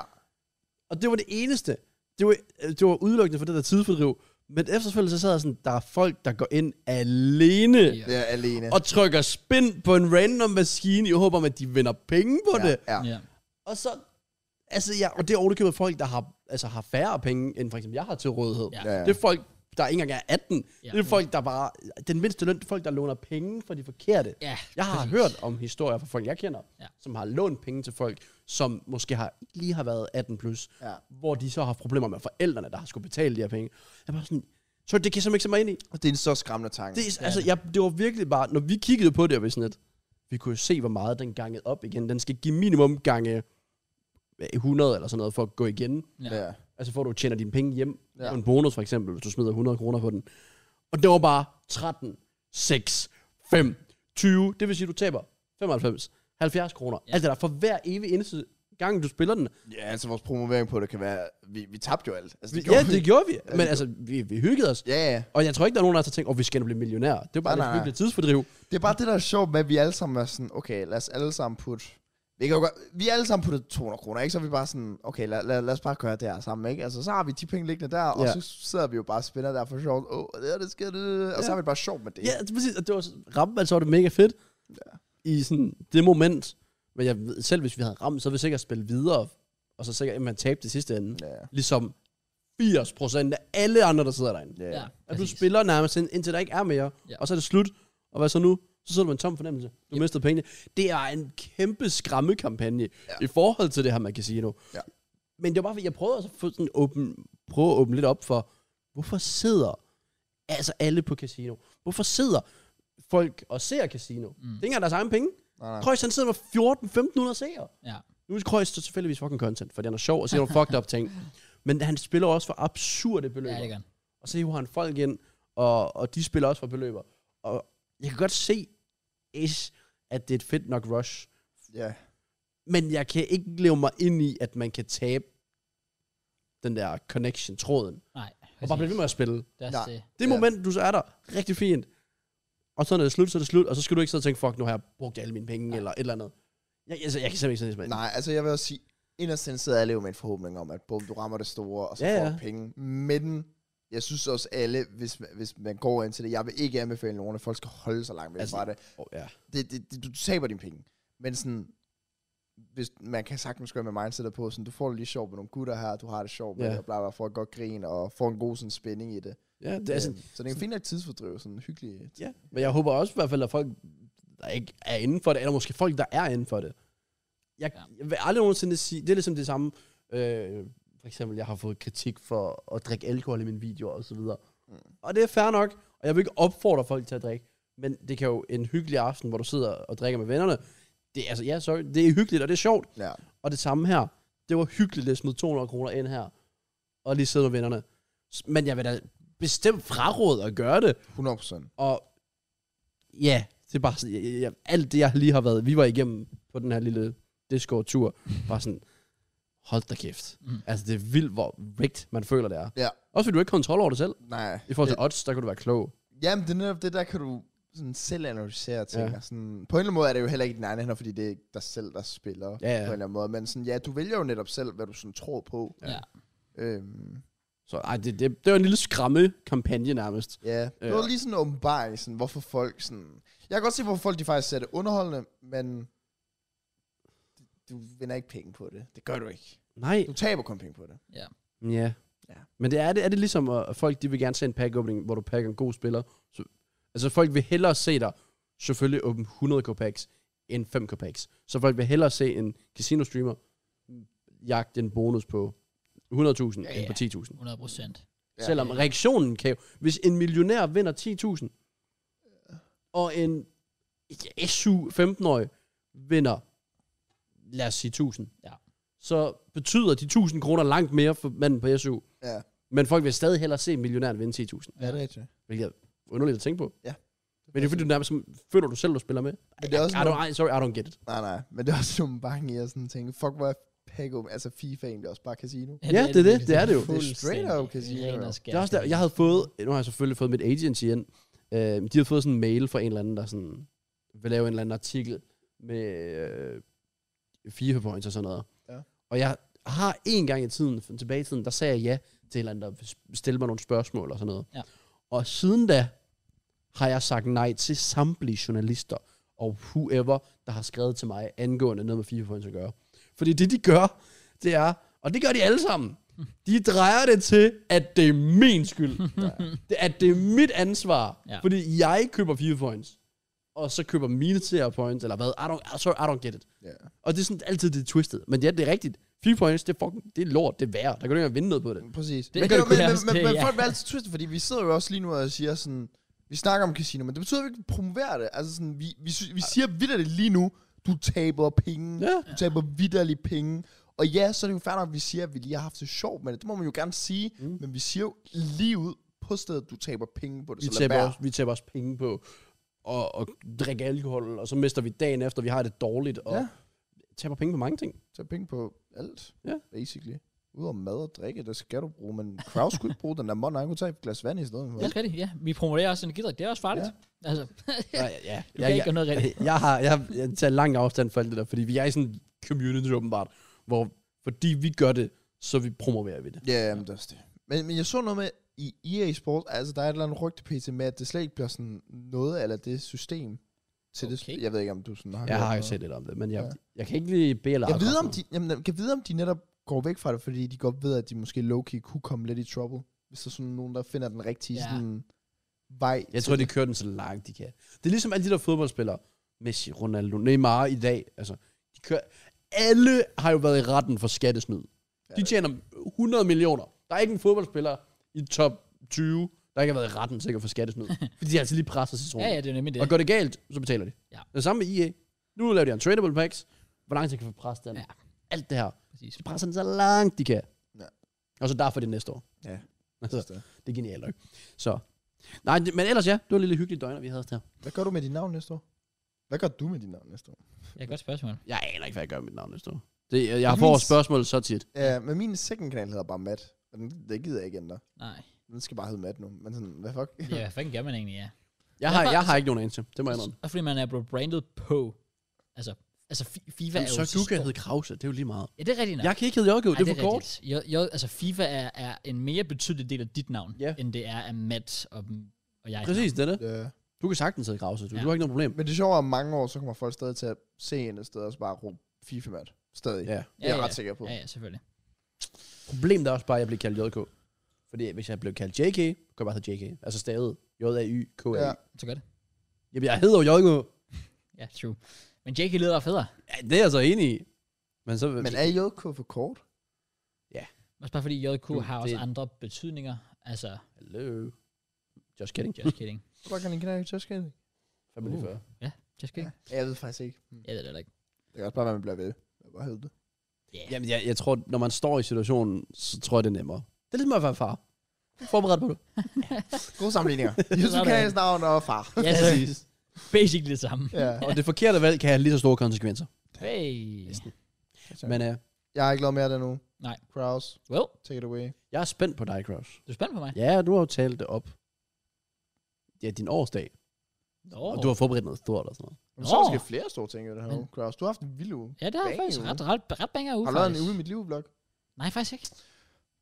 Og det var det eneste. Det var, øh, det var udelukkende for det der tidsfordriv. Men efterfølgende så sad jeg sådan, der er folk, der går ind alene Ja. Det er alene. og trykker spin på en random maskine i håb om, at de vinder penge på ja, det. ja. Ja. Og så, altså ja, og det er overkøbet folk, der har, altså, har færre penge, end for eksempel jeg har til rådighed. Ja. Ja, ja. Det er folk, der ikke engang er 18. Ja. Ja. Det er folk, der bare, den mindste løn, det er folk, der låner penge fra de forkerte. ja. Jeg har præcis. hørt om historier fra folk, jeg kender, Ja. ja. som har lånt penge til folk, som måske har lige har været 18 plus, Ja. hvor de så har haft problemer med forældrene, der har skulle betale de her penge. Jeg er bare sådan, så det kan jeg simpelthen ikke se mig ind i. Og det er en så skræmmende tanke. Det, er, altså, jeg, det var virkelig bare, når vi kiggede på det, og vi sådan lidt, Vi kunne jo se, hvor meget den gangede op igen. Den skal give minimum gange øh, 100 eller sådan noget for at gå igen. Ja. Ja. Altså for at du tjener dine penge hjem. Ja. Ja. En bonus for eksempel, hvis du smider 100 kroner på den. Og det var bare 13, 6, 5, 20. Det vil sige, du taber 95, 70 kroner. Ja. Ja. Alt det der. For hver evig eneste gang, du spiller den. ja, altså vores promovering på det kan være... Vi, vi tabte jo alt. Altså, Det gjorde ja, vi. det gjorde vi. Men det altså, vi, vi hyggede os. Ja, ja. Og jeg tror ikke, der er nogen af os, der tænker, at vi skal blive millionær. Det er bare Nej, lidt nej. hyggeligt tidsfordriv. Det er bare det, der er sjovt med, at vi alle sammen er sådan, okay, lad os alle sammen putte... Vi, kan jo godt, vi er alle sammen puttet 200 kroner, ikke? Så er vi bare sådan, okay, lad, lad, lad os bare gøre det her sammen, ikke? Altså, så har vi de penge liggende der, og Ja. så sidder vi jo bare og spiller der for sjovt. Åh, oh, det her, det sker, det, det, det. Og så Ja. har vi det bare sjovt med det. Ja, det, er præcis. Og det var så- ramte man, så var det mega fedt. Ja. I sådan det moment. Men jeg ved, selv hvis vi havde ramt, så ville vi sikkert spille videre. Og så sikkert, at man tabte det sidste ende. Ja, Ligesom 80% af alle andre, der sidder derinde. ja. ja. ja. At du præcis. spiller nærmest ind- indtil der ikke er mere. Ja. Ja. Og så er det slut. Og hvad så nu? Så sidder du med en tom fornemmelse. Du Yep. yep. mistede pengene. Det er en kæmpe skræmmekampagne ja. i forhold til det her, man kan sige nu. Ja. Men det var bare, fordi jeg prøvede også at få sådan åben, prøve at åbne lidt op for, hvorfor sidder altså alle på casino? Hvorfor sidder folk og ser casino? Mm. Det er ikke engang deres egen penge. Nej, nej. Krøjs, han sidder med 14-1500 seere. Ja. Nu er Krøjs så tilfældigvis fucking content, fordi han er sjov og siger nogle fucked up ting. Men han spiller også for absurde beløb. ja, det gør han. Og så hiver han folk ind, og, og de spiller også for beløber. Og jeg kan godt se, ish, at det er et fedt nok rush. Ja. Men jeg kan ikke leve mig ind i, at man kan tabe den der connection-tråden. Nej. Og bare blive ved med at spille. Det er også Nej. det. Det Ja. moment, du så er der, rigtig fint. Og så når det er slut, så er det slut. Og så skal du ikke sidde og tænke, fuck, nu har jeg brugt alle mine penge, eller et eller andet. Jeg, altså, jeg kan simpelthen ikke sådan Nej, altså jeg vil også sige, inderst inde sidder alle jo med en forhåbning om, at bum, du rammer det store, og så Ja, ja, får ja. du penge. Men jeg synes også alle, hvis, man- hvis man går ind til det, jeg vil ikke anbefale nogen, at folk skal holde sig langt væk altså, Altså, fra det. Oh, ja. det, det, det, du taber dine penge. Men sådan, hvis man kan sagtens gøre med mindsetet på, sådan, du får det lige sjovt med nogle gutter her, du har det sjovt med Ja. yeah. det, og bla, bla, får et godt grin, og får en god sådan, spænding i det. ja, det er sådan, Øhm, så det er en fin nok tidsfordriv, sådan hyggelig. Ja, men jeg håber også i hvert fald, at folk, der ikke er inden for det, eller måske folk, der er inden for det. Jeg, Ja. ja. jeg vil aldrig nogensinde sige, det er ligesom det samme, øh, for eksempel, jeg har fået kritik for at drikke alkohol i mine videoer og så videre. Mm. Mm. Og det er fair nok, og jeg vil ikke opfordre folk til at drikke, men det kan jo en hyggelig aften, hvor du sidder og drikker med vennerne, det er, altså, ja, sorry, det er hyggeligt, og det er sjovt, Ja. og det samme her. Det var hyggeligt at smide 200 kroner ind her, og lige sidde med vennerne. S- Men jeg vil da bestemt fraråde at gøre det, 100 procent. og ja, det er bare sådan, jeg, jeg, jeg- alt det, jeg lige har været, vi var igennem på den her lille Discord-tur, var sådan, hold da kæft. Mm. Mm. Altså, det er vildt, hvor rigt man føler, det er. Ja. Også fordi du ikke har kontrol over det selv. Nej. I forhold til odds, der kan du være klog. Jamen, det er netop det, der kan du sådan selv analysere ting. Ja. Ja. Sådan, på en eller anden måde er det jo heller ikke dine egne hænder, fordi det er ikke dig selv, der spiller Ja, ja. på ja. en eller anden måde. Men sådan, ja, du vælger jo netop selv, hvad du sådan tror på. Ja. ja. Øhm, Så ej, det, det, det var en lille skræmme-kampagne nærmest. Ja, det var Øh. lige sådan en åbenbaring, sådan, hvorfor folk sådan... Jeg kan godt se, hvorfor folk de faktisk ser det underholdende, men du vinder ikke penge på det. Det gør du ikke. Nej. Du taber kun penge på det. Ja. Ja. ja. Men det er, det, er det ligesom, at folk de vil gerne se en pack-opening, hvor du pakker en god spiller. Så, altså folk vil hellere se dig selvfølgelig åbne 100 k packs end 5 k packs. Så folk vil hellere se en casino-streamer jagte en bonus på 100.000 Ja, ja, ja. ja. end på 10.000. 100 procent. Ja. Ja, Selvom reaktionen kan jo... Hvis en millionær vinder 10.000, og en ja, SU 15-årig vinder, lad os sige 1.000, Ja. så betyder de 1.000 kroner langt mere for manden på SU. Ja. Men folk vil stadig hellere se millionæren vinde 10.000, Ja, det er rigtigt. hvilket er underligt at tænke på. Ja. Men det er fordi, du nærmest som- føler du selv, du spiller med. Men det er også I, I, noget- don't, I, sorry, I don't get it. Nej, nej. Men det er også en åbenbaring i at sådan tænke, fuck, hvor er Pago... Altså, FIFA egentlig også bare casino. Ja, det er det. Det er det jo. Det er straight up casino, Ren og jo. skær Det er også der, jeg havde fået, nu har jeg selvfølgelig fået mit agency ind, øh, de havde fået sådan en mail fra en eller anden, der sådan, vil lave en eller anden artikel med øh, FIFA points og sådan noget. Ja. Og jeg har en gang i tiden, tilbage i tiden, der sagde jeg ja til en eller anden, der vil stille mig nogle spørgsmål og sådan noget. Ja. Og siden da har jeg sagt nej til samtlige journalister og whoever, der har skrevet til mig angående noget med FIFA points at gøre. Fordi det, de gør, det er, og det gør de alle sammen, de drejer det til, at det er min skyld. Det- at det er mit ansvar. Ja. Ja. Fordi jeg køber fire points, og så køber mine tier points, eller hvad. I don't, sorry, I don't get it. Ja. Og det er sådan altid det er twisted. Men ja, det er rigtigt. Fire points, det er, fucking, det er lort, det er værd. Der kan du ikke engang vinde noget på det. Præcis. Det men, gør det, det men, kunne jeg men, også, men, det- men ja. folk er altid twistet, fordi vi sidder jo også lige nu og siger sådan, Vi snakker om casino, men det betyder, at vi ikke promoverer det. Altså sådan, vi, vi, sy- vi siger vidderligt lige nu, du taber penge. Ja. Du taber vidderligt penge. Og ja, så er det jo færdigt, at vi siger, at vi lige har haft det sjovt med det. Det må man jo gerne sige. Mm. Men vi siger jo lige ud på stedet, du taber penge på det. Vi så lad taber, være. også, vi taber også penge på at, at drikke alkohol, og så mister vi dagen efter, vi har det dårligt, og Ja. ja. taber penge på mange ting. tage penge på alt, Ja. basically. Udover mad og drikke, der skal du bruge, men Kraus skulle ikke bruge den der mål, han kunne tage et glas vand i stedet. Det er rigtigt, ja. Vi promoverer også energidrik. Det er også farligt. Ja. Altså, Ja, ja, ja. du kan ikke gøre noget rigtigt. jeg, har, jeg, jeg tager lang afstand fra alt det der, fordi vi er i sådan en community åbenbart, hvor fordi vi gør det, så vi promoverer vi det. Ja, men det er også det. Men, men jeg så noget med, i EA Sport, altså der er et eller andet rygte pt. med, at det slet ikke bliver sådan noget eller det system til det. Okay. sp- Jeg ved ikke, om du sådan har Jeg hørt har jo noget. set lidt om det, men jeg, Ja. ja. jeg kan ikke lige bede eller Jeg ved, om de, jamen, jeg kan vide, om de netop går væk fra det, fordi de godt ved, at de måske low-key kunne komme lidt i trouble. Hvis der er sådan nogen, der finder den rigtige Ja. ja. sådan, vej. Jeg til tror, de det. kører den så langt, de kan. Det er ligesom alle de der fodboldspillere, Messi, Ronaldo, Neymar i dag, altså, de kører, alle har jo været i retten for skattesnyd. De tjener 100 millioner. Der er ikke en fodboldspiller i top 20, der ikke har været i retten sikkert for skattesnyd. <laughs> fordi de altid lige presser sig ja, ja, det er nemlig det. Og går det galt, så betaler de. Ja. Det samme med EA. Nu laver de untradable packs. Hvor langt de kan få presset den. Ja. Ja. Alt det her. Præcis. De presser den så langt, de kan. Ja. Og så derfor det næste år. Ja. Altså, det er genialt, ikke? Så. Nej, det- men ellers ja, det var en lille hyggelig døgner, vi havde her. Hvad gør du med dit navn næste år? Hvad gør du med dit navn næste år? Det er et godt spørgsmål. Jeg aner ikke, hvad jeg gør med mit navn næste år. Det, jeg Ikke får mindst. spørgsmål så tit. Ja, men min second kanal hedder bare Matt. Og den, det gider jeg ikke <laughs> ændre. Nej. Den skal bare hedde Matt nu. Men sådan, hvad fuck? Ja, hvad fanden gør man egentlig, ja. Jeg har, jeg har ikke nogen anelse. Det må jeg indrømme. Og fordi man er blevet brandet på. Altså, altså Fi- FIFA Jamen, er jo... så du kan stor- hedde Krause, det er jo lige meget. Ja, det er rigtigt nok. Jeg kan ikke hedde Jokke, Ej, det er for kort. rigtigt. Jo, jo, altså FIFA er, er en mere betydelig del af dit navn, Ja. end det er af Matt og, og jeg. Præcis, det er det. <laughs> Ja. Du kan sagtens hedde Krause, du, Ja. du har ikke noget problem. Men det sjove er, at om mange år, så kommer folk stadig til at se en et sted, og så bare råbe FIFA Matt. Stadig. Ja. Det er jeg ret sikker på. Ja, ja, selvfølgelig. Problemet er også bare, at jeg blev kaldt JK. Fordi hvis jeg blev kaldt JK, kunne jeg bare hedde JK. Altså stavet J-A-Y-K-A. Ja. Ja. Så gør det. Jamen, jeg hedder jo JK. Ja, true. Men Jake lyder bare federe. Ja, det er jeg så enig i. Men så... Men er JK for kort? Også bare fordi JK Du, har også det- andre betydninger. Altså, Hello. Just kidding. just kidding. Hvor kan en knække just kidding? Family Uh. før. Just kidding. Ja, jeg ved faktisk ikke. Hmm. Ja, det er det ikke. Det kan også bare være, man bliver ved. Hvad hedder det? Yeah. Jamen, jeg, jeg tror, når man står i situationen, så tror jeg, det er nemmere. Det er ligesom at være far. Forberedt på det. Gode <laughs> sammenligninger. Sådan. Jusukais navn og far. Ja, så basically det samme. Ja. Og det forkerte valg kan have lige så store konsekvenser. Hey. Men øh, Jeg har ikke lavet mere der nu. Nej. Kraus, Well, take it away. jeg er spændt på dig, Cross. du er spændt på mig. Ja, du har jo talt det op. Ja, din årsdag. Nå. Og du har forberedt noget stort og sådan noget. Men så er Nå. der måske flere store ting i det her Men- uge, Kraus. Du har haft en vild uge. Ja, det er Bang, faktisk uge. ret, ret, ret banger uge, Har du lavet en faktisk. uge i mit liv-blog? Nej, faktisk ikke.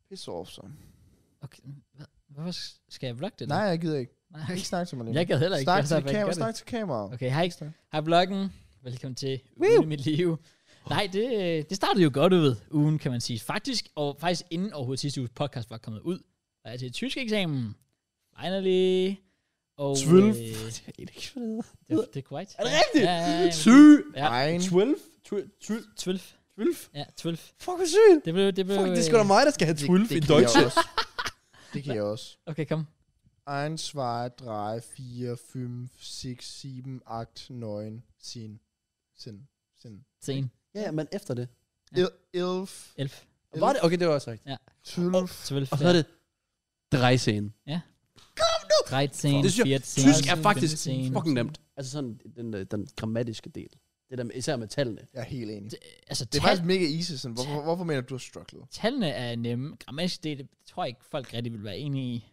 Piss off, så. Okay. hvad- Hvorfor s- skal jeg vlogge det? Nej, jeg gider ikke. Nej, Jeg kan ikke snakke til mig lige nu. Jeg gad heller ikke. Snak Jeg til sad dit faktisk kamera, og gør snak til kameraet. det. Okay, hej. Okay. Hej vloggen. Velkommen til ugen i mit liv. Nej, det, øh, det startede jo godt ud, ugen kan man sige. Faktisk, og faktisk inden overhovedet sidste uges podcast var kommet ud, var jeg til tysk eksamen. Finally. Og, Svølv. Øh, Jeg ved ikke, hvad det hedder. det, var- det er korrekt. Er det rigtigt? Ja, ja, ja. Syg. Ja. Ein. 12? 12? 12? 12. 12? Ja, 12. Fuck, hvor sygt. Det blev... Det blev øh, Fuck, det er sgu da mig, der skal have 12 i kan Deutsch. jeg også. Det kan jeg også. øh, Okay, kom. 1, 2, 3, 4, 5, 6, 7, 8, 9, 10, 10, 10. Sen. Ja, ja, men efter det. Ja. 11, 11. Var det? Okay, det var også rigtigt. 12. 12. Og så er det drejscenen. 13, Det synes jeg- 14, Tysk er faktisk 15. fucking nemt. Altså sådan den, øh, den grammatiske del. Det der med, især med tallene. Jeg er helt enig. Det, altså, Det er tal, faktisk mega easy. Sådan. Hvorfor, hvorfor mener du, du har strugglet? tallene er nemme. Grammatisk, det, det tror jeg ikke, folk rigtig vil være enige i.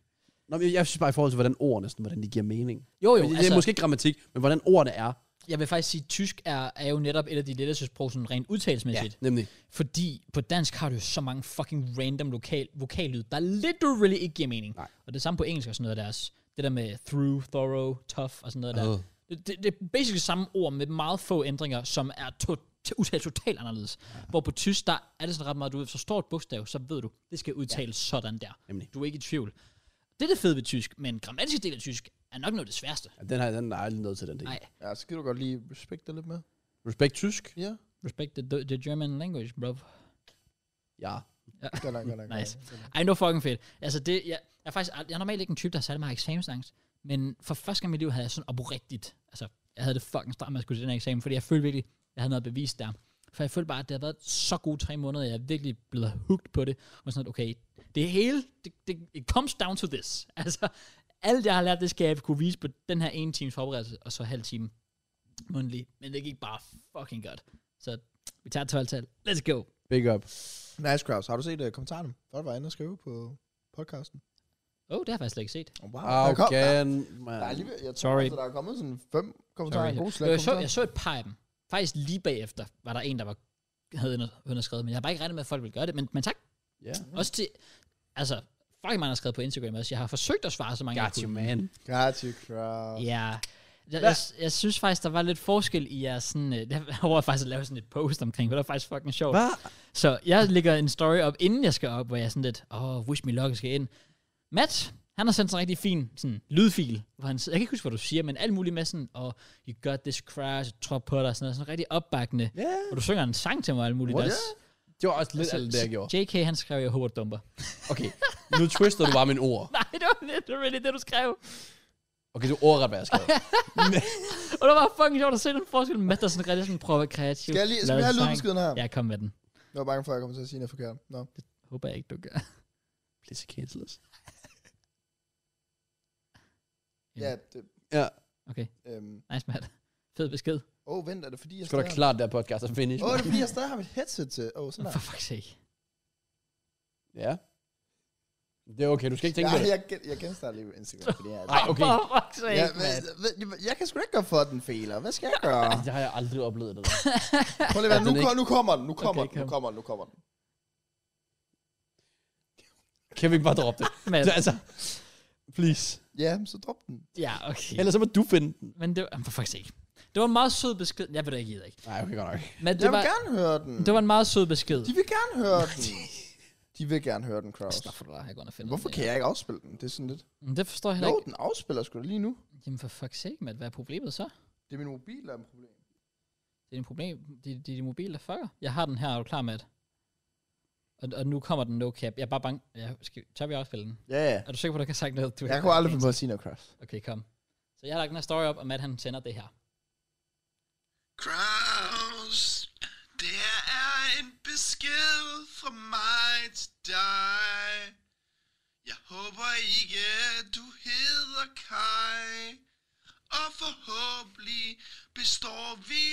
Nå, men jeg, jeg synes bare i forhold til, hvordan ordene, sådan, hvordan de giver mening. Jo, Jo, jo, det, altså, det altså, er måske ikke grammatik, men hvordan ordene er. jeg vil faktisk sige, at tysk er, er jo netop et af de letteste sprog, sådan rent udtalesmæssigt. Ja. nemlig. Fordi på dansk har du jo så mange fucking random lokal, vokallyd, der literally ikke giver mening. Nej. Og det samme på engelsk og sådan noget deres. Det der med through, thorough, tough og sådan noget der. Øh. Det, det, det er basically samme ord med meget få ændringer, som er to, to, udtalt totalt anderledes. Ja. Hvor på tysk, der er det sådan ret meget, du ved, så står et bogstav, så ved du, det skal udtales ja. sådan der. Nemlig. Du er ikke i tvivl. Det er det fede ved tysk, men grammatisk del af tysk er nok noget af det sværeste. Ja, den her, den er aldrig nødt til den del. Nej. Ja, så kan du godt lige respekte lidt mere. Respekt tysk? Ja, Respect the, the German language, bro. Ja. godt nok, godt nok. Nice. Ej, nu er fucking fedt. Altså, det, jeg, jeg, er faktisk, ald- jeg er normalt ikke en type, der har særlig meget eksamensangst. Men for første gang i mit liv havde jeg sådan oprigtigt, altså jeg havde det fucking stramt med at skulle til den her eksamen, fordi jeg følte virkelig, jeg havde noget bevis der. For jeg følte bare, at det havde været så gode tre måneder, jeg er virkelig blevet hooked på det. Og sådan, at okay, det hele, det, det, it comes down to this. <laughs> Altså, alt jeg har lært, det skal jeg kunne vise på den her ene times forberedelse, og så halv time mundtlig. Men det gik bare fucking godt. Så vi tager 12 tal. Let's go. Big up. Nice crowds. Har du set uh, kommentarerne? Folk var inde og skrive på podcasten. Oh, det har jeg faktisk slet ikke set. Oh, wow. Ah, der kom, der, Afghan, der, er man. alligevel, jeg tror, Sorry. Altså, der er kommet sådan fem kommentarer. Sorry. Sorry. Gode Jo, jeg, så, kommentarer. jeg så et par af dem. Faktisk lige bagefter var der en, der var, havde under- underskrevet, men jeg har bare ikke regnet med, at folk ville gøre det. Men, men tak. Ja. Også til, altså, fucking mange har skrevet på Instagram også. Jeg har forsøgt at svare så mange. jeg Got you, kunne. man. Got you, crowd. Ja. Jeg, jeg, jeg, synes faktisk, der var lidt forskel i jeres sådan... Øh, <laughs> der var faktisk at lave sådan et post omkring, for det var faktisk fucking sjovt. Hvad? Så jeg lægger en story op, inden jeg skal op, hvor jeg er sådan lidt, åh, oh, wish me luck, jeg skal ind. Matt, han har sendt sådan en rigtig fin sådan, lydfil, hvor han, jeg kan ikke huske, hvad du siger, men alt muligt med sådan, og oh, you got this crash, jeg tror på dig, og sådan noget, sådan rigtig opbakkende. Ja. Og du synger en sang til mig, og alt muligt What? også. Det var også lidt alt det, jeg gjorde. JK, han skrev, jeg håber, du dumper. <laughs> Okay, nu twister du bare mine ord. Nej, det var lidt, det, var lidt det, du skrev. Okay, du ordret, hvad jeg <laughs> skrev. Og det var fucking sjovt at se den forskel. Matt, der sådan rigtig sådan prøver kreativ. Skal jeg lige skal vi lavede have en sang. lydbeskeden her? Ja, kom med den. Jeg var bange for, at jeg kommer til at sige noget forkert. Nå. Håber jeg ikke, du gør. <laughs> Please cancel us. Ja. Ja, det, Ja. Okay, øhm. nice, Matt. Fed besked. Åh, oh, vent, er det fordi, jeg Skal du stadig... klart det her podcast er finish? Åh, oh, man? det er fordi, jeg stadig har mit headset til. Åh, oh, sådan der. For fuck's <laughs> sake. Ja. Det er okay, du skal ikke tænke Ja, på det. jeg, gen- jeg genstarter lige Instagram, fordi jeg... Nej, okay. For fuck's sake, Jeg, Matt. jeg, jeg kan sgu da ikke gøre for, at den fejler. Hvad skal jeg <laughs> gøre? Altså, Det har jeg aldrig oplevet. Det der. Prøv lige at Er være, nu, den ikke- ko- nu kommer den, nu kommer Okay, den, nu kom. kommer den, nu kommer den. Kan vi ikke bare droppe det? Matt. Altså, please. Ja, så drop den. Ja, okay. Ellers så må du finde den. Men det var, for faktisk ikke. Det var en meget sød besked. Jeg ved det ikke, jeg ved det ikke. Nej, okay, godt nok. Men det Jeg var, vil gerne høre den. det var en meget sød besked. De vil gerne høre den. De vil gerne høre den, Kraus. Stop for dig, jeg går ind og finder Hvorfor den, kan jeg ikke afspille den? Det er sådan lidt... Men Det forstår jeg Jo, heller ikke. den afspiller sgu da lige nu. Jamen for fuck's sake, Matt. Hvad er problemet så? Det er min mobil, der er et problem. Det er din problem. Det, det er din mobil, der fucker. Jeg har den her, er du klar, Matt? Og, og nu kommer den no cap. Jeg er bare bange. Ja, skal, tør vi afspille den? Ja, ja. Er du sikker på, at du kan sagt noget? Du Jeg kunne aldrig finde på at sige noget, Kraus. Okay, kom. Så jeg har lagt den her story op, og Matt han sender det her. Kraus, det er en besked fra mig til dig. Jeg håber ikke, du hedder Kai. Og forhåbentlig består vi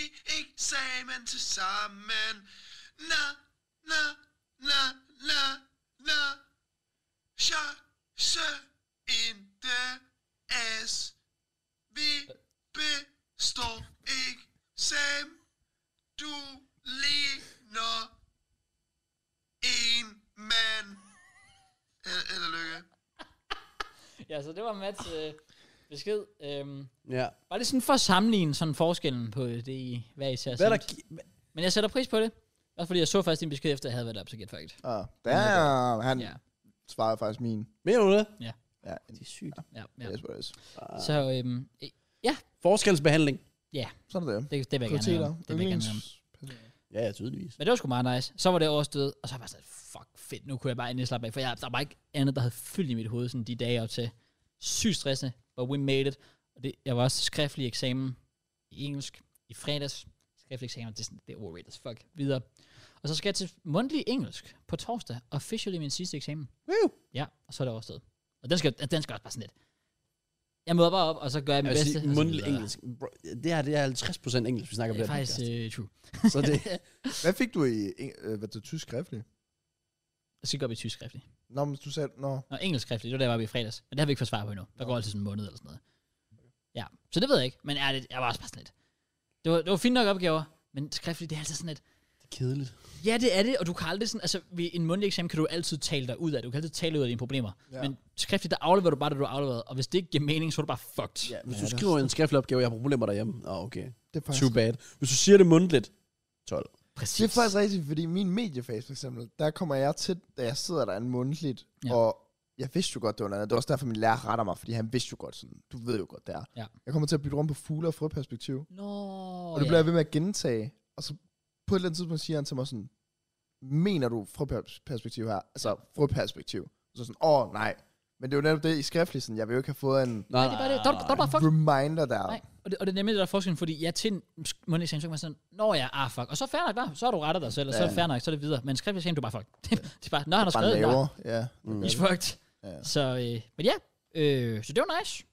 eksamen til sammen. Na, na, na, na, na. Chance in the ass. Vi består ikke Sam Du ligner En mand Eller, eller lykke Ja, så det var Mats øh, besked. Øhm, Ja. bare lige sådan for at sammenligne sådan forskellen på det, I, hvad I ser. Hvad er der... gi- Men jeg sætter pris på det. Også fordi jeg så faktisk din besked, efter jeg havde været op, så gæt faktisk. Ah, damn, han Ja, svarede faktisk min. Mener du det? Ja, Det er sygt. ja, ja. yes, yes. Så øhm, øh, Forskelsbehandling. Sådan er det. det, det vil jeg gerne Prioriteter. have. Det vil jeg gerne have. Ja, ja, tydeligvis. Men det var sgu meget nice. Så var det overstået, og så var jeg sådan, fuck fedt, nu kunne jeg bare endelig slappe af. For jeg, der var ikke andet, der havde fyldt i mit hoved sådan de dage op til. Sygt stressende, but we made it. Og det, jeg var også til skriftlig eksamen i engelsk i fredags. Skriftlig eksamen, det er, sådan, det er overrated as fuck. Videre. Og så skal jeg til mundtlig engelsk på torsdag, officially min sidste eksamen. Woo! Ja, og så er det overstået. Og den skal, den skal også bare sådan lidt. Jeg møder bare op, og så gør jeg mit Jeg vil bedste. sige, og så mundtlig videre. engelsk. Bro, det her, det er 50% engelsk, vi snakker om Det er det her faktisk podcast. uh, true. Så det, Hvad fik du i eng- øh, hvad det tysk skriftlig? Jeg skal gå op i tysk skriftlig. Nå, men du sagde, nå, Nå, engelsk skriftligt, det var der, jeg var oppe i fredags. Men det har vi ikke fået svar på endnu. Der går altid sådan en måned eller sådan noget. Ja, så det ved jeg ikke. Men ærligt, jeg var også bare sådan lidt. Det var, det var fint nok opgaver, men skriftligt, det er altid sådan lidt. det er <laughs> kedeligt. Ja, det er det, og du kan aldrig sådan, altså ved en mundtlig eksamen kan du altid tale dig ud af. det. Du kan altid tale ud af dine problemer. Ja. Ja. Men skriftligt, der afleverer du bare det, du har afleveret. Og hvis det ikke giver mening, så er du bare fucked. Hvis Ja, du det er skriver en skriftlig opgave, jeg har problemer derhjemme. Åh, oh, okay. det er faktisk... Too bad. Hvis du siger det mundtligt, 12. Præcis. Det er faktisk rigtigt, fordi min mediefase for eksempel, der kommer jeg til, da jeg sidder derinde mundtligt, Ja. ja. og jeg vidste jo godt, det var noget andet. Det var også derfor, min lærer retter mig, fordi han vidste jo godt sådan, du ved jo godt, det er. Ja. Jeg kommer til at bytte rundt på fugle og frøperspektiv, og Nå, det bliver jeg ved med at gentage, og så på et eller andet tidspunkt siger han til mig sådan, mener du frøperspektiv her? Altså frøperspektiv. Så sådan, åh nej, Men det er jo netop det i skriftlisten. Jeg vil jo ikke have fået en Nej, Det er bare det. Der, Ah, der, der, der, fuck. reminder der. Nej, og det, og det er nemlig det, der er forskellen, fordi jeg til en sk- mundtlig eksamen, så kan man sådan, nå ja, ah fuck, og så fair nok, hva? så har du rettet dig selv, og så er det fair nok, så er det videre. Men skriftlig eksamen, du er bare fuck. Det, <laughs> det er bare, nå, han har Bare skrevet, nå, lavere. Ja. Mm. he's fucked. Ja. Så, øh, men ja, øh, så det var nice.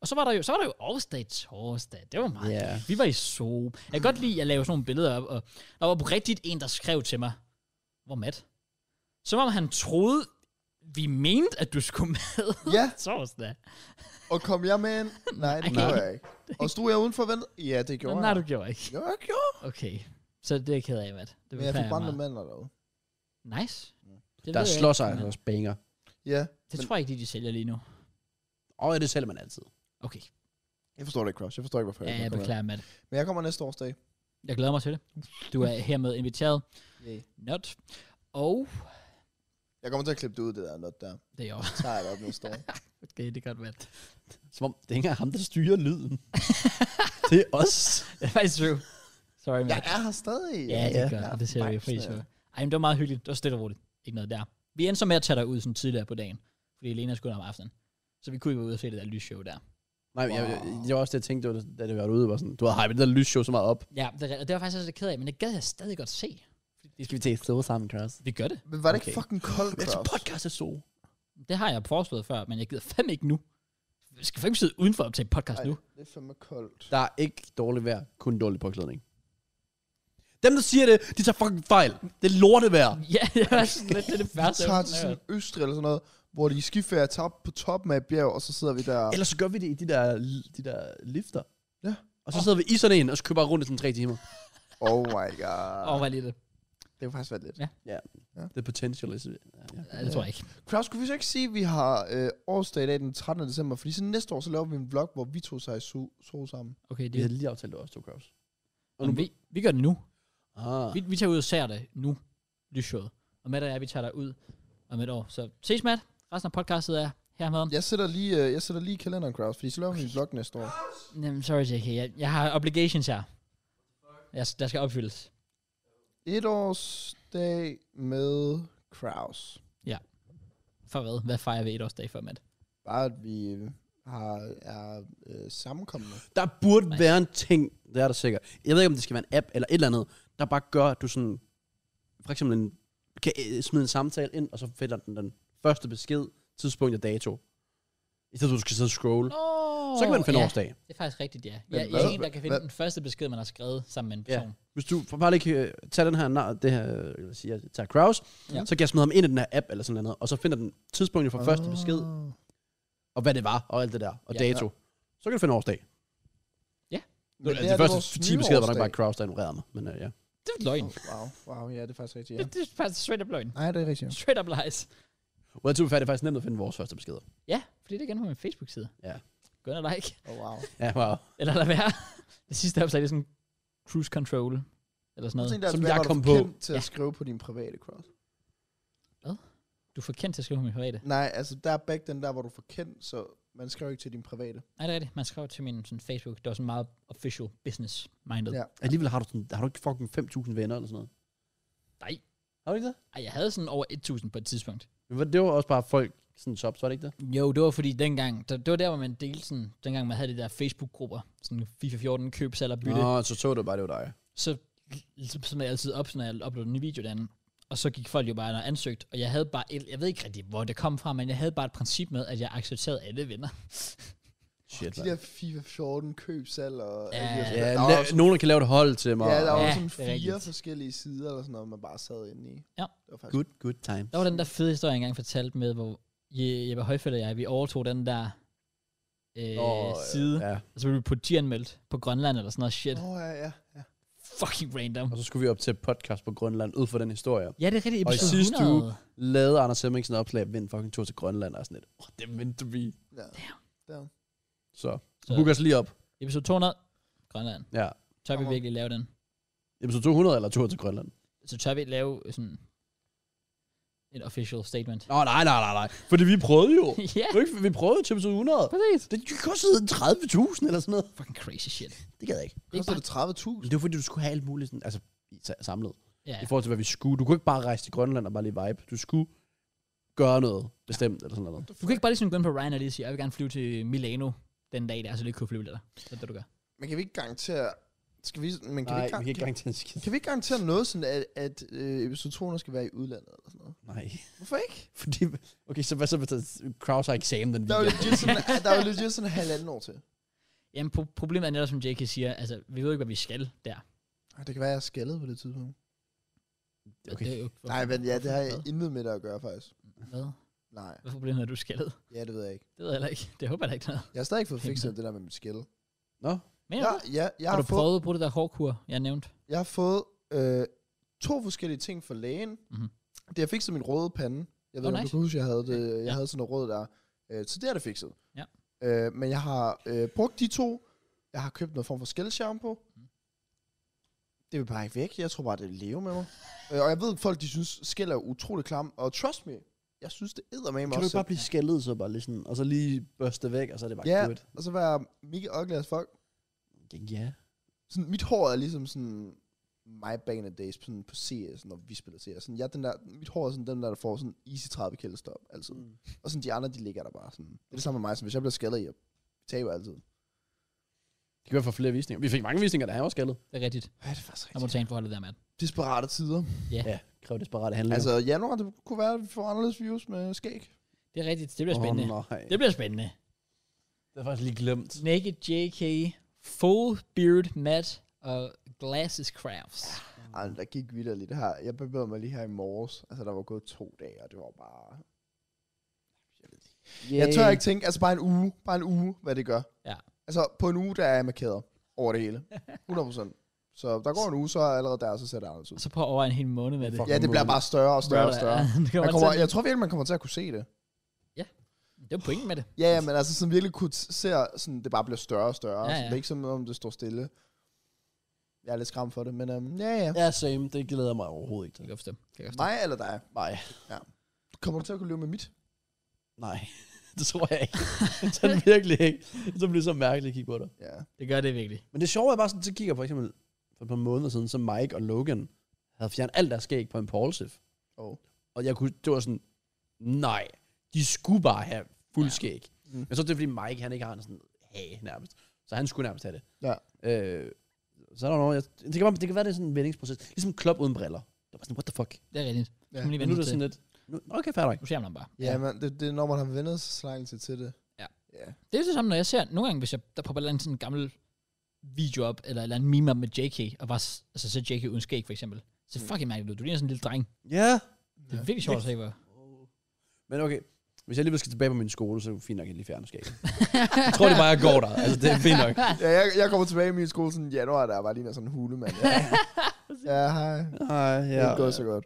Og så var der jo, så var der jo Aarhusdag torsdag. Det var meget Ja. yeah. Vi var i Zoo. Jeg kan godt lide at lave sådan nogle billeder op. Og der var rigtigt en, der skrev til mig, hvor Matt? Som om han troede, vi mente, at du skulle med <laughs> ja, torsdag. og kom jeg med ind? Nej, det Nej. gjorde jeg ikke. Og stod jeg udenfor ventet? Ja, det gjorde Nå, nej, jeg. du gjorde ikke. Jo, jeg gjorde. Okay. Så det er jeg ked af, Matt. Det Men jeg beklager fik brændte meget. mandler derude. Nice. Det ved Der jeg slår ikke, sig men altså også banger. Ja, Det tror jeg ikke, de, de sælger lige nu. Og det sælger man altid. Okay. jeg forstår det ikke, Cross. Jeg forstår ikke, hvorfor Ja, jeg jeg ikke kommer beklager, Matt. med. Men jeg kommer næste årsdag. Jeg glæder mig til det. Du er hermed inviteret. Yeah. Not. Og Jeg kommer til at klippe det ud, det der not der. det er jo Så tager jeg det op næste <laughs> år. Okay, <laughs> det er godt, Matt. Som om det er ikke engang ham, der styrer <laughs> lyden. det er os. Det er faktisk true. Sorry, Jeg Matt. er her stadig. Ja, det er Jeg godt, og det ser vi jo vibes pris på. med. Ej, men det var meget hyggeligt. Det var stille og roligt. Ikke noget der. Vi endte så med at tage dig ud sådan tidligere på dagen, fordi Lena skulle om aftenen. Så vi kunne jo ud og se det der lysshow der. Nej, jeg, jeg, det var også det, jeg tænkte, det var, da det var ude. Var sådan, du har hypet det der lysshow så meget op. Ja, det, er rigtigt, og det var jeg faktisk også lidt ked af, men det gad jeg stadig godt se. Det skal vi tage et sammen, Cross. Vi gør det. Men var det ikke Okay. fucking koldt, Jeg Cross? podcast er så. Det har jeg foreslået før, men jeg gider fandme ikke nu. Vi skal fandme sidde udenfor og optage podcast Ej, nu. <laughs> Det er fandme koldt. Der er ikke dårligt vejr, kun dårlig påklædning. Dem, der siger det, de tager fucking fejl. Det er lortevejr. Ja, det var sådan lidt det, er <laughs> det Vi første. tager til sådan Østrig eller sådan noget, hvor de er i skiferie tager op på toppen af et bjerg, og så sidder vi <laughs> der. Ellers så gør vi det i de der, de der lifter. Ja. Og så sidder vi i sådan en, og så kører bare rundt i sådan tre timer. Oh my god. Åh, oh, lige det. Det kunne faktisk være lidt. The potential is... Ja. Ja, det tror jeg ikke. Klaus, skulle vi så ikke sige, at vi har øh, årsdag i dag den 13. december? Fordi så næste år, så laver vi en vlog, hvor vi to sig i so, so sammen. Okay, det, Vi havde lige aftalt, det var også to Cross. Og nu, Jamen, vi, vi gør det nu. ah, Vi, vi tager ud og ser det nu, lysshowet. Og Matt og jeg, vi tager dig ud om et år. Så ses, Matt. Resten af podcastet er her med. Jeg sætter lige, øh, jeg sætter lige kalenderen, Klaus, fordi så laver vi en vlog næste år. Jamen, sorry, JK. Jeg, jeg har obligations her. Jeg, der skal opfyldes. Et årsdag med Kraus. For hvad? Hvad fejrer vi et årsdag for, Matt? Bare at vi øh, har, er øh, sammenkommende. der burde Nej. være en ting, det er der sikkert. Jeg ved ikke, om det skal være en app eller et eller andet, der bare gør, at du sådan... For eksempel en, kan øh, smide en samtale ind, og så fælder den den første besked, tidspunkt og dato. I stedet for, at du skal sidde og scrolle. Oh, Så kan man finde ja, årsdag. Det er faktisk rigtigt, ja. Jeg, Men jeg hvad- er en, der kan finde hvad- den første besked, man har skrevet sammen med en Ja. person. Hvis du for bare lige kan øh, tage den her, nar- det her, øh, jeg vil sige, jeg tager Kraus, Ja. ja. så kan jeg smide ham ind i den her app eller sådan noget, og så finder den tidspunktet for oh. første Ah. besked, og hvad det var, og alt det der, og Ja. ja, dato. Så kan du finde årsdag. Det, Men altså, her, de første vores 10 beskeder var nok nytårsdag. bare Kraus, der ignorerede mig. Men uh, ja. Det er løgn. Oh, wow, wow, ja, det er faktisk rigtigt, ja. Det, det er faktisk straight up løgn. Nej, det er rigtigt. Straight up lies. Well, to be fair, det er faktisk nemt at finde vores første beskeder. Ja, fordi det er igen på min Facebook-side. Ja. Gå ind og like. Oh, wow. Ja, wow. Eller lad være. <laughs> Det sidste opslag det er sådan cruise control. Eller sådan noget. Tænk dig, Som hvad jeg var du kom for på. kendt til at Ja. skrive på din private Kraus. Du får kendt til at skrive på min private. Nej, altså der er back den der, hvor du får kendt, så man skriver ikke til din private. Nej, det er rigtigt. Man skrev til min sådan, Facebook. Det var sådan meget official business minded. Ja. Alligevel har du, sådan, har du ikke fucking 5.000 venner eller sådan noget. Nej. Har du ikke det? Ej, jeg havde sådan over 1000 på et tidspunkt. Men hvad- det var også bare folk sådan shops, var det ikke det? Jo, det var fordi dengang, der, det var der, hvor man delte sådan, dengang man havde de der Facebook-grupper, sådan FIFA 14, køb, salg og bytte. Nå, så så du bare, det var dig. så som jeg altid op, når jeg uploadede en ny video derinde. Og så gik folk jo bare ind og ansøgte, og jeg havde bare, et, jeg ved ikke rigtig, hvor det kom fra, men jeg havde bare et princip med, at jeg accepterede alle venner. Shit, De der FIFA 14 køb, salg og... Ja. alle de her- Ja, der var la- også- nogen, der kan lave et hold til mig. Ja, der var Ja, ja, sådan det er fire rigtigt. forskellige sider eller sådan noget, man bare sad inde i. Ja. Det var faktisk Good, good times. Der var den der fede historie, jeg engang fortalte med, hvor Je- Jeppe Højfeldt og jeg, vi overtog den der øh, Åh, side, Ja, og så blev vi politianmeldt på Grønland eller sådan noget shit. Åh, oh, ja, ja. Fucking random. og så skulle vi op til podcast på Grønland ud fra den historie. Ja, det er rigtigt, Og i episode sidste 100. uge- Lavede Anders Hemmingsen opslag, vind fucking tur til Grønland og sådan lidt. Oh, det vendte vi. ja. Så, Så- så. book os lige op. Episode 200, Grønland. Ja. Tør vi Kommer. virkelig lave den? Episode 200 eller tur til Grønland? Så tør vi lave sådan et official statement? <laughs> Nå, nej, nej, nej, nej. Fordi vi prøvede jo. ja, Det var ikke- vi prøvede til episode 100. præcis. Det kostede 30.000 eller sådan noget. Fucking crazy shit. Det gad jeg ikke. Det er Koster bare- det 30.000? Det var fordi, du skulle have alt muligt sådan, altså, i- sa- samlet. Ja, I forhold til, hvad vi skulle. Du kunne ikke bare rejse til Grønland og bare lige vibe. Du skulle gøre noget bestemt, eller sådan noget. Du kan ikke bare lige sådan gå ind på Ryan og lige sige, jeg vil gerne flyve til Milano den dag der, så lige kunne flyve der. Så er det, du gør. Men kan vi ikke garantere... Skal vi, men kan, Nej, vi vi ikke, kan ikke kan, gang til en skid. kan vi ikke garantere noget, sådan at, at øh, episode 200 skal være i udlandet eller sådan noget? Nej. <laughs> Hvorfor ikke? Fordi, okay, så hvad så, hvis Kraus har eksamen den Der er jo weekend? legit sådan, der er jo legit sådan halvanden år til. Jamen, pro- problemet er netop, som JK siger, altså, vi ved ikke, hvad vi skal der. Ej, det kan være, jeg er skaldet på det tidspunkt. Okay. Det er jo, Nej, men ja, det har jeg Hvad? intet med det at gøre, faktisk. Hvad? Nej, Hvad problemet er, at du er skaldet? ja, det ved jeg ikke. Det ved jeg heller ikke. Det håber jeg da ikke noget. Jeg har stadig ikke fået fikset det der med mit skælde. Nå? Men Ja, ja, jeg har har, du fået, prøvet at bruge det der hårdkur, jeg nævnte? jeg har fået øh, to forskellige ting fra lægen. Mhm. Mm-hmm. Det har fikset min røde pande. Jeg Oh, ved ikke, om du nice. kan huske, jeg havde, det, jeg Ja. havde sådan noget rød der. Øh, så det er det fikset. Ja. Øh, men jeg har øh, brugt de to. Jeg har købt noget form for skældshampoo. Mhm. Det vil bare ikke væk. Jeg tror bare, det vil leve med mig. øh, og jeg ved, at folk de synes, skæld er utrolig klam. Og trust me, jeg synes, det æder med mig Kan du ikke bare blive skældet, så bare lige sådan, og så lige børste væk, og så er det bare Ja. good? Og så være mega ugly as fuck. Ja. sådan, mit hår er ligesom sådan my back in the days på, sådan, på CS, når vi spiller CS. Sådan, jeg, er den der, mit hår er sådan den der, der får sådan easy 30 kæld stop altid. Mm. Og sådan de andre, de ligger der bare sådan. Det er det samme med mig, som hvis jeg bliver skaldet, jeg taber altid. Det kan være for flere visninger. Vi fik mange visninger, der han var skaldet. Det er rigtigt. Ja, det er faktisk Der må du tage en forhold der, mand. Desperate tider. Ja, kræver desperate handlinger. Altså januar, det kunne være, at vi får anderledes views med skæg. Det er rigtigt. Det bliver spændende. Åh, nej. det bliver spændende. Det er faktisk lige glemt. Naked JK, Full Beard Matt og Glasses Crafts. Ej, men der gik videre lidt her. Jeg bevægede mig lige her i morges. Altså, der var gået to dage, og det var bare... Jeg tør ikke tænke, altså bare en uge, bare en uge, hvad det gør. Øh. Ja. Altså på en uge, der er jeg markeret over <laughs> det hele. 100%. Så der går en uge, så er jeg allerede der, så ser det anderledes ud. Og så på over en hel måned med det. Fuck, Ja, det bliver bare større og større og <laughs> større. det kommer Man kommer, til, jeg tror virkelig, man kommer til at kunne se det. Det er pointen med det. Ja, ja, men altså sådan virkelig kunne t- ser, sådan, det bare bliver større og større. Ja, Ja, ja. ja. Sådan, det er ikke som om, det står stille. Jeg er lidt skræmt for det, men um, ja, ja. Ja, same. Det glæder jeg mig overhovedet ikke Det til. kan jeg forstå. Det kan jeg forstå. Mig eller dig? Nej. Kommer du til at kunne leve med mit? Nej. <laughs> det tror jeg ikke. Sådan virkelig ikke. Så bliver det så mærkeligt at kigge på dig. Ja. Det gør det virkelig. Men det sjove er bare sådan, så kigger jeg for eksempel for et par måneder siden, så Mike og Logan havde fjernet alt deres skæg på en Paulsif. Oh. Og jeg kunne, det var sådan, nej, de skulle bare have fuld skæg. Mm. Men så er det fordi Mike, han ikke har en sådan hage nærmest. Så han skulle nærmest have det. Ja. Øh, så er der noget, jeg, det, kan, bare- det kan være, det er sådan en vendingsproces. Ligesom Klopp uden briller. Det var sådan, what the fuck? Det er rigtigt. Ja. Ja. Lige Men nu vente er det til. sådan lidt, nu, okay, fair nok. Nu ser man ham bare. Ja, men det, det er, når man har vendet sig så lang tid til det. Ja. ja. Det er jo det samme, når jeg ser, nogle gange, hvis jeg, der popper en eller anden sådan gammel video op, eller, eller en meme op med JK, og bare, s- altså så JK uden skæg, for eksempel. Så Mm. fucking mærkeligt ud. Du ligner sådan en lille dreng. Ja. Det er virkelig sjovt at se, hvor. Men okay, hvis jeg alligevel skal tilbage på min skole, så er det fint nok, at jeg lige fjerner skæg. jeg tror, det er bare, jeg går der. Altså, det er fint nok. Ja, jeg, jeg kommer tilbage i min skole sådan i januar, der var lige sådan en hulemand. <laughs> Ja, ja hej. Nej, Ah, Ja, det er gået så godt.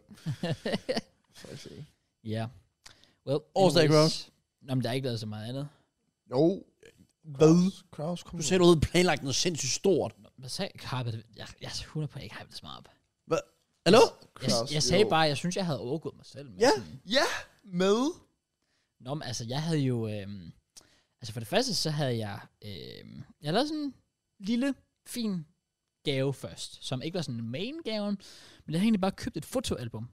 Får jeg se. Ja. Well, Årsdag, anyways. Nå, men der er ikke lavet så meget andet. Jo. Hvad? Kraus, kom Du nu. sagde, du havde planlagt noget sindssygt stort. Nå, Hvad sagde jeg? Hypede det- Jeg, jeg er 100 på, jeg ikke hypede det så meget op. Hallo? Jeg, Kraus, jeg sagde jo. bare, jeg synes, jeg havde overgået mig selv. Med Ja. Sådan, Ja, med. Nå, men altså, jeg havde jo... Øhm, altså, for det første, så havde jeg... Øhm, jeg lavede sådan en lille, fin gave først, som ikke var sådan main-gaven, men jeg havde egentlig bare købt et fotoalbum,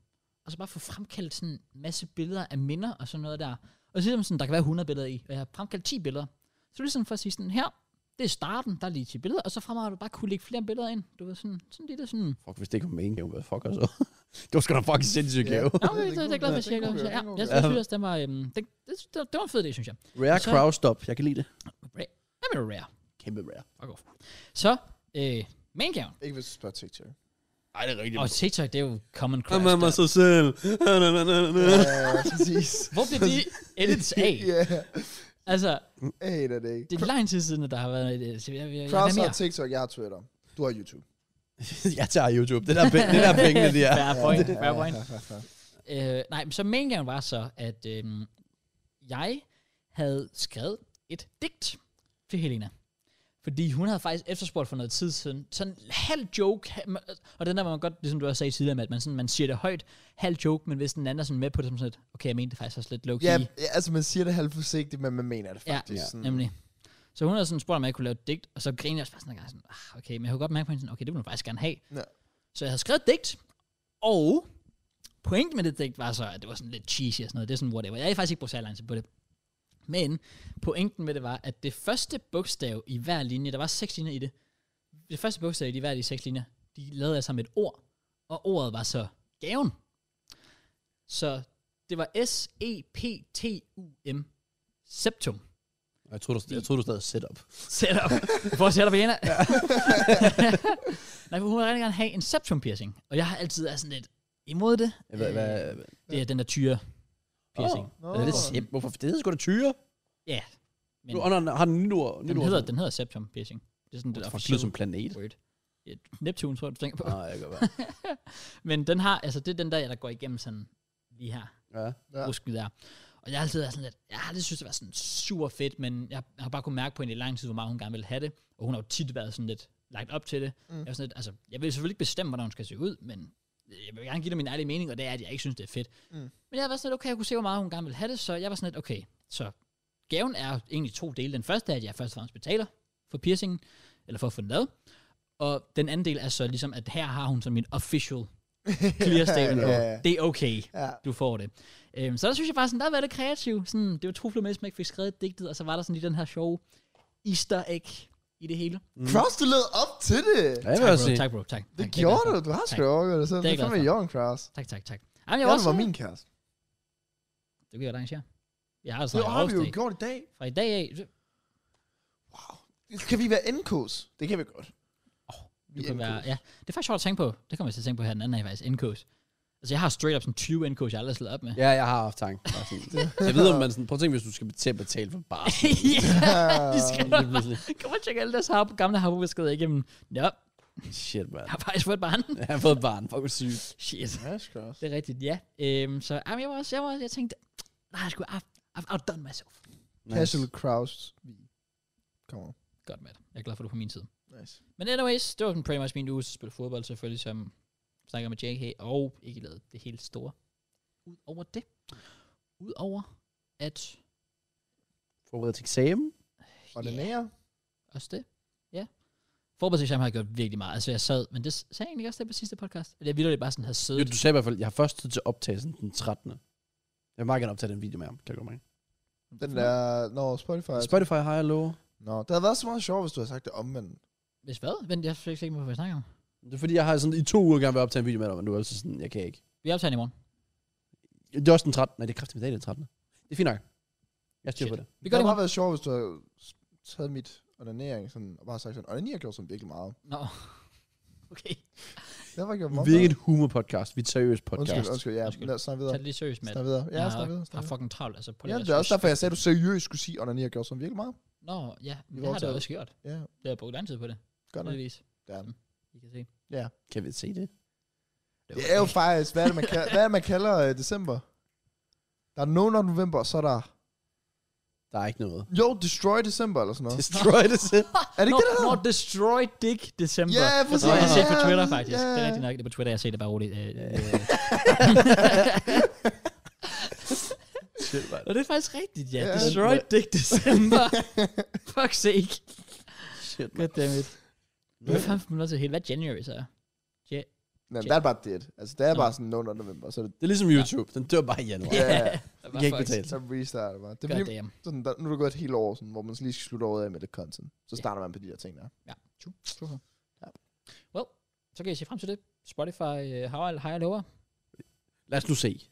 og så bare få fremkaldt sådan en masse billeder af minder og sådan noget der. Og så er det sådan, der kan være 100 billeder i, og jeg har fremkaldt 10 billeder. Så det er ligesom for at sige sådan, her, det er starten, der er lige 10 billeder, og så fremad har du bare kunne lægge flere billeder ind. Du ved, sådan, sådan lidt sådan... Fuck, hvis det ikke var main game, hvad fuck altså? <laughs> det var sgu da en fucking sindssyg Ja. gave. Nå, okay, det, det, er glad for, at Ja, jeg det kunne vi siger. jo, Ja, det kunne vi jeg jo. synes, det var... Øhm, det, det, det, var en fed idé, synes jeg. Rare Så- crowd stop. Jeg kan lide det. Rare. Jamen, rare. Kæmpe rare. Fuck off. Så, øh, maingaven. Ikke hvis du spørger <laughs> TikTok. Ej, det er rigtigt. Og TikTok, det er jo common Han crash. er mig der. så selv. Ja, præcis. Hvor blev <laughs> de edits af? Ja, Altså, jeg hater det ikke. det er lang tid siden, at der har været et edit. Jeg, jeg, jeg, jeg, Kraus har mere. TikTok, jeg har Twitter. Du har YouTube. <laughs> jeg tager YouTube. Det der, penge, det der pengene, <laughs> de er. Fair point, Ja, fair point. ja, ja, ja. Øh, nej, men så maingaven var så, at øh, jeg havde skrevet et digt til Helena. Fordi hun havde faktisk efterspurgt for noget tid siden, sådan en halv joke, ha- ma- og den der, hvor man godt, ligesom du også sagde tidligere, med, at man, sådan, man siger det højt, halv joke, men hvis den anden er sådan med på det, som sådan lidt, okay, jeg mente det faktisk også lidt low-key. Ja, ja, altså man siger det halvt forsigtigt, men man mener det Ja. faktisk. Ja. Sådan, Nemlig. Så hun havde sådan spurgt, om jeg kunne lave et digt, og så grinede jeg også bare sådan en gang, sådan, ah, okay, men jeg kunne godt mærke på hende, sådan, okay, det ville hun faktisk gerne have. Ja. Så jeg havde skrevet et digt, og Pointen med det digt var så, at det var sådan lidt cheesy og sådan noget. Det er sådan whatever. Jeg er faktisk ikke brugt særlig lang tid på det. Men pointen med det var, at det første bogstav i hver linje, der var seks linjer i det, det første bogstav i de hver af de seks linjer, de lavede jeg sammen et ord, og ordet var så gaven. Så det var E S-E-P-T-U-M. Septum. Jeg tror du, jeg tror du stadig setup. Setup. Hvor setup igen er. <laughs> Nej, for hun vil rigtig gerne have en septum piercing. Og jeg har altid været sådan lidt imod det. Hvad, hvad, hvad? Det er den der tyre piercing. Nå. Øh, Er det simp? Hvorfor? Det hedder sgu da tyre. Ja. Men Nu oh, nej, har den nytår. den, hedder, den hedder septum piercing. Det er sådan det Det lyder som planet. <laughs> word. Ja, Neptun, tror jeg, du tænker på. Nej, jeg kan bare. Men den har, altså det er den der, der går igennem sådan lige her. Ja. Ja. ja. rusket der. Og jeg har altid været sådan lidt, jeg har altid synes det var sådan super fedt, men jeg har bare kunnet mærke på hende i lang tid, hvor meget hun gerne ville have det. Og hun har jo tit været sådan lidt lagt op til det. Mm. Jeg, var sådan lidt, altså, jeg vil selvfølgelig ikke bestemme, hvordan hun skal se ud, men jeg vil gerne give dig min ærlige mening, og det er, at jeg ikke synes, det er fedt. Mm. Men jeg var sådan lidt, okay, jeg kunne se, hvor meget hun gerne ville have det, så jeg var sådan lidt, okay, så gaven er egentlig to dele. Den første er, at jeg først og fremmest betaler for piercingen, eller for at få den lavet. Og den anden del er så ligesom, at her har hun sådan min <laughs> official clear statement på. Ja, ja, ja. Det er okay Ja. du får det. Øhm, så der synes jeg faktisk, sådan, der har været lidt kreativ. Sådan, det var to fluer med, som ikke fik skrevet digtet, og så var der sådan lige den her sjove easter egg i det hele. Mm. Cross, du led op til det. Ja, tak, jeg vil også bro, sige. tak, bro, tak. Det tak, gjorde tak, du. Du har sgu da overgået dig selv. Det er Det jeg er fandme glad for. young, Cross. Tak, tak, tak. Jamen, jeg Jeg var var også, min kæreste. det kan jeg da arrangere. Jeg har Det snart har vi jo årsdag. gjort i dag. Fra i dag af, så- Kan vi være NK's? Det kan vi godt. Vi du kan NK's. være, ja, det er faktisk sjovt at tænke på. Det kommer jeg til at tænke på her den anden af, faktisk, NK's. Altså, jeg har straight up sådan 20 NK's, jeg aldrig har slået op med. <laughs> Ja, jeg har haft tanken. Bare sådan. jeg ved, om man sådan, prøv at tænke, hvis du skal til at betale for bare. <laughs> <laughs> ja, Ah, de skal Lige pludselig. <laughs> Kom og tjek alle deres har, gamle harbobeskeder igennem. Ja, Shit, man. jeg har faktisk fået et barn. <laughs> Jeg har fået et barn. Fuck, hvor sygt. Shit. Ja, Cross. Det er rigtigt, ja. Øhm, så jamen, jeg var også, jeg var også, jeg tænkte, nej, jeg skulle, I've, I've outdone myself. Casual Cross. Kommer. Godt, Matt. Jeg er glad for, at du er på min side. Nice. Men anyways, det var sådan pretty much min uge, så spille fodbold selvfølgelig, som snakker med JK, og ikke lavet det helt store. Udover det. Udover at Forberedt til eksamen. Og den Ja. nære. også det. Ja. Forberedelsesexamen har jeg gjort virkelig meget. Altså, jeg sad, men det s- sagde jeg egentlig også det på sidste podcast. At jeg ville bare sådan have Jo, siddet. du sagde i hvert fald, jeg har først tid til optagelsen den 13. Jeg vil meget gerne optage den video med ham. Kan du gå med? Den der... Nå, Spotify. Spotify har jeg lovet. Nå, det havde været så meget sjovt, hvis du havde sagt det omvendt. Hvis hvad? Vent, jeg fik ikke, hvad jeg snakker om. Det er fordi, jeg har sådan i to uger gerne vil optage en video med dig, men du er altid sådan, jeg kan ikke. Vi optager den i morgen. Det er også den 13. Nej, det er kraftigt i dag, den 13. Det er fint nok. Jeg styrer Shit. på det. Vi Det gør det i havde morgen. bare været sjovt, hvis du havde s- taget mit onanering sådan, og bare sagt sådan, onanering gjorde sådan virkelig meget. Nå. <laughs> Okay. Det har bare gjort meget. Vi er ikke et humor-podcast, vi er et seriøst podcast. Undskyld, undskyld, ja. Undskyld. Lad os snakke Tag videre. det lige seriøst, Matt. Snak videre. Ja, Jeg snak har- videre. Snak har videre. fucking travlt, altså. Prøv Ja, lige at det er også switche. derfor, jeg sagde, at du seriøst skulle sige, onanere gjorde sådan virkelig meget. Nå, ja, men det har det overtaget. også gjort. Ja, Det har jeg brugt lang tid på det. godt nok. Nødvendigvis. Ja. I kan se. Kan vi se det? Det Det er jo faktisk, hvad er det, man kalder, hvad er det, man kalder øh, december? Der er nogen af november, og så er der... Der er ikke noget. Jo, Destroy December eller sådan noget. Destroy <laughs> det selv. er det ikke det, der hedder? Not Destroy Dick December. Ja, Det tror jeg, jeg har set på præcis. Twitter, Ja, faktisk. ja. Det er rigtigt nok. Det er på Twitter, jeg ser det bare roligt. Øh, øh. <laughs> Shit, man. <laughs> Og det er faktisk rigtigt, ja. Ja. Destroy Dick <laughs> December. Fuck sake. Shit, man. Goddammit. Nu er fandme nødt til helt, hvad January så er. Nej, men der er bare det. Altså, der er bare sådan nogen af november, så er det... Det er ligesom YouTube. Den dør bare i januar. <laughs> Ja, Jeg kan ikke betale. så restarter bare. Det bliver Goddamn. sådan, der, nu er det gået et helt år, sådan, hvor man lige skal slutte året af med lidt content. Så starter man på de her ting der. Ja, true. true. true. Ja. Well, så kan I se frem til det. Spotify, øh, har jeg- har jeg lover. Lad os nu se.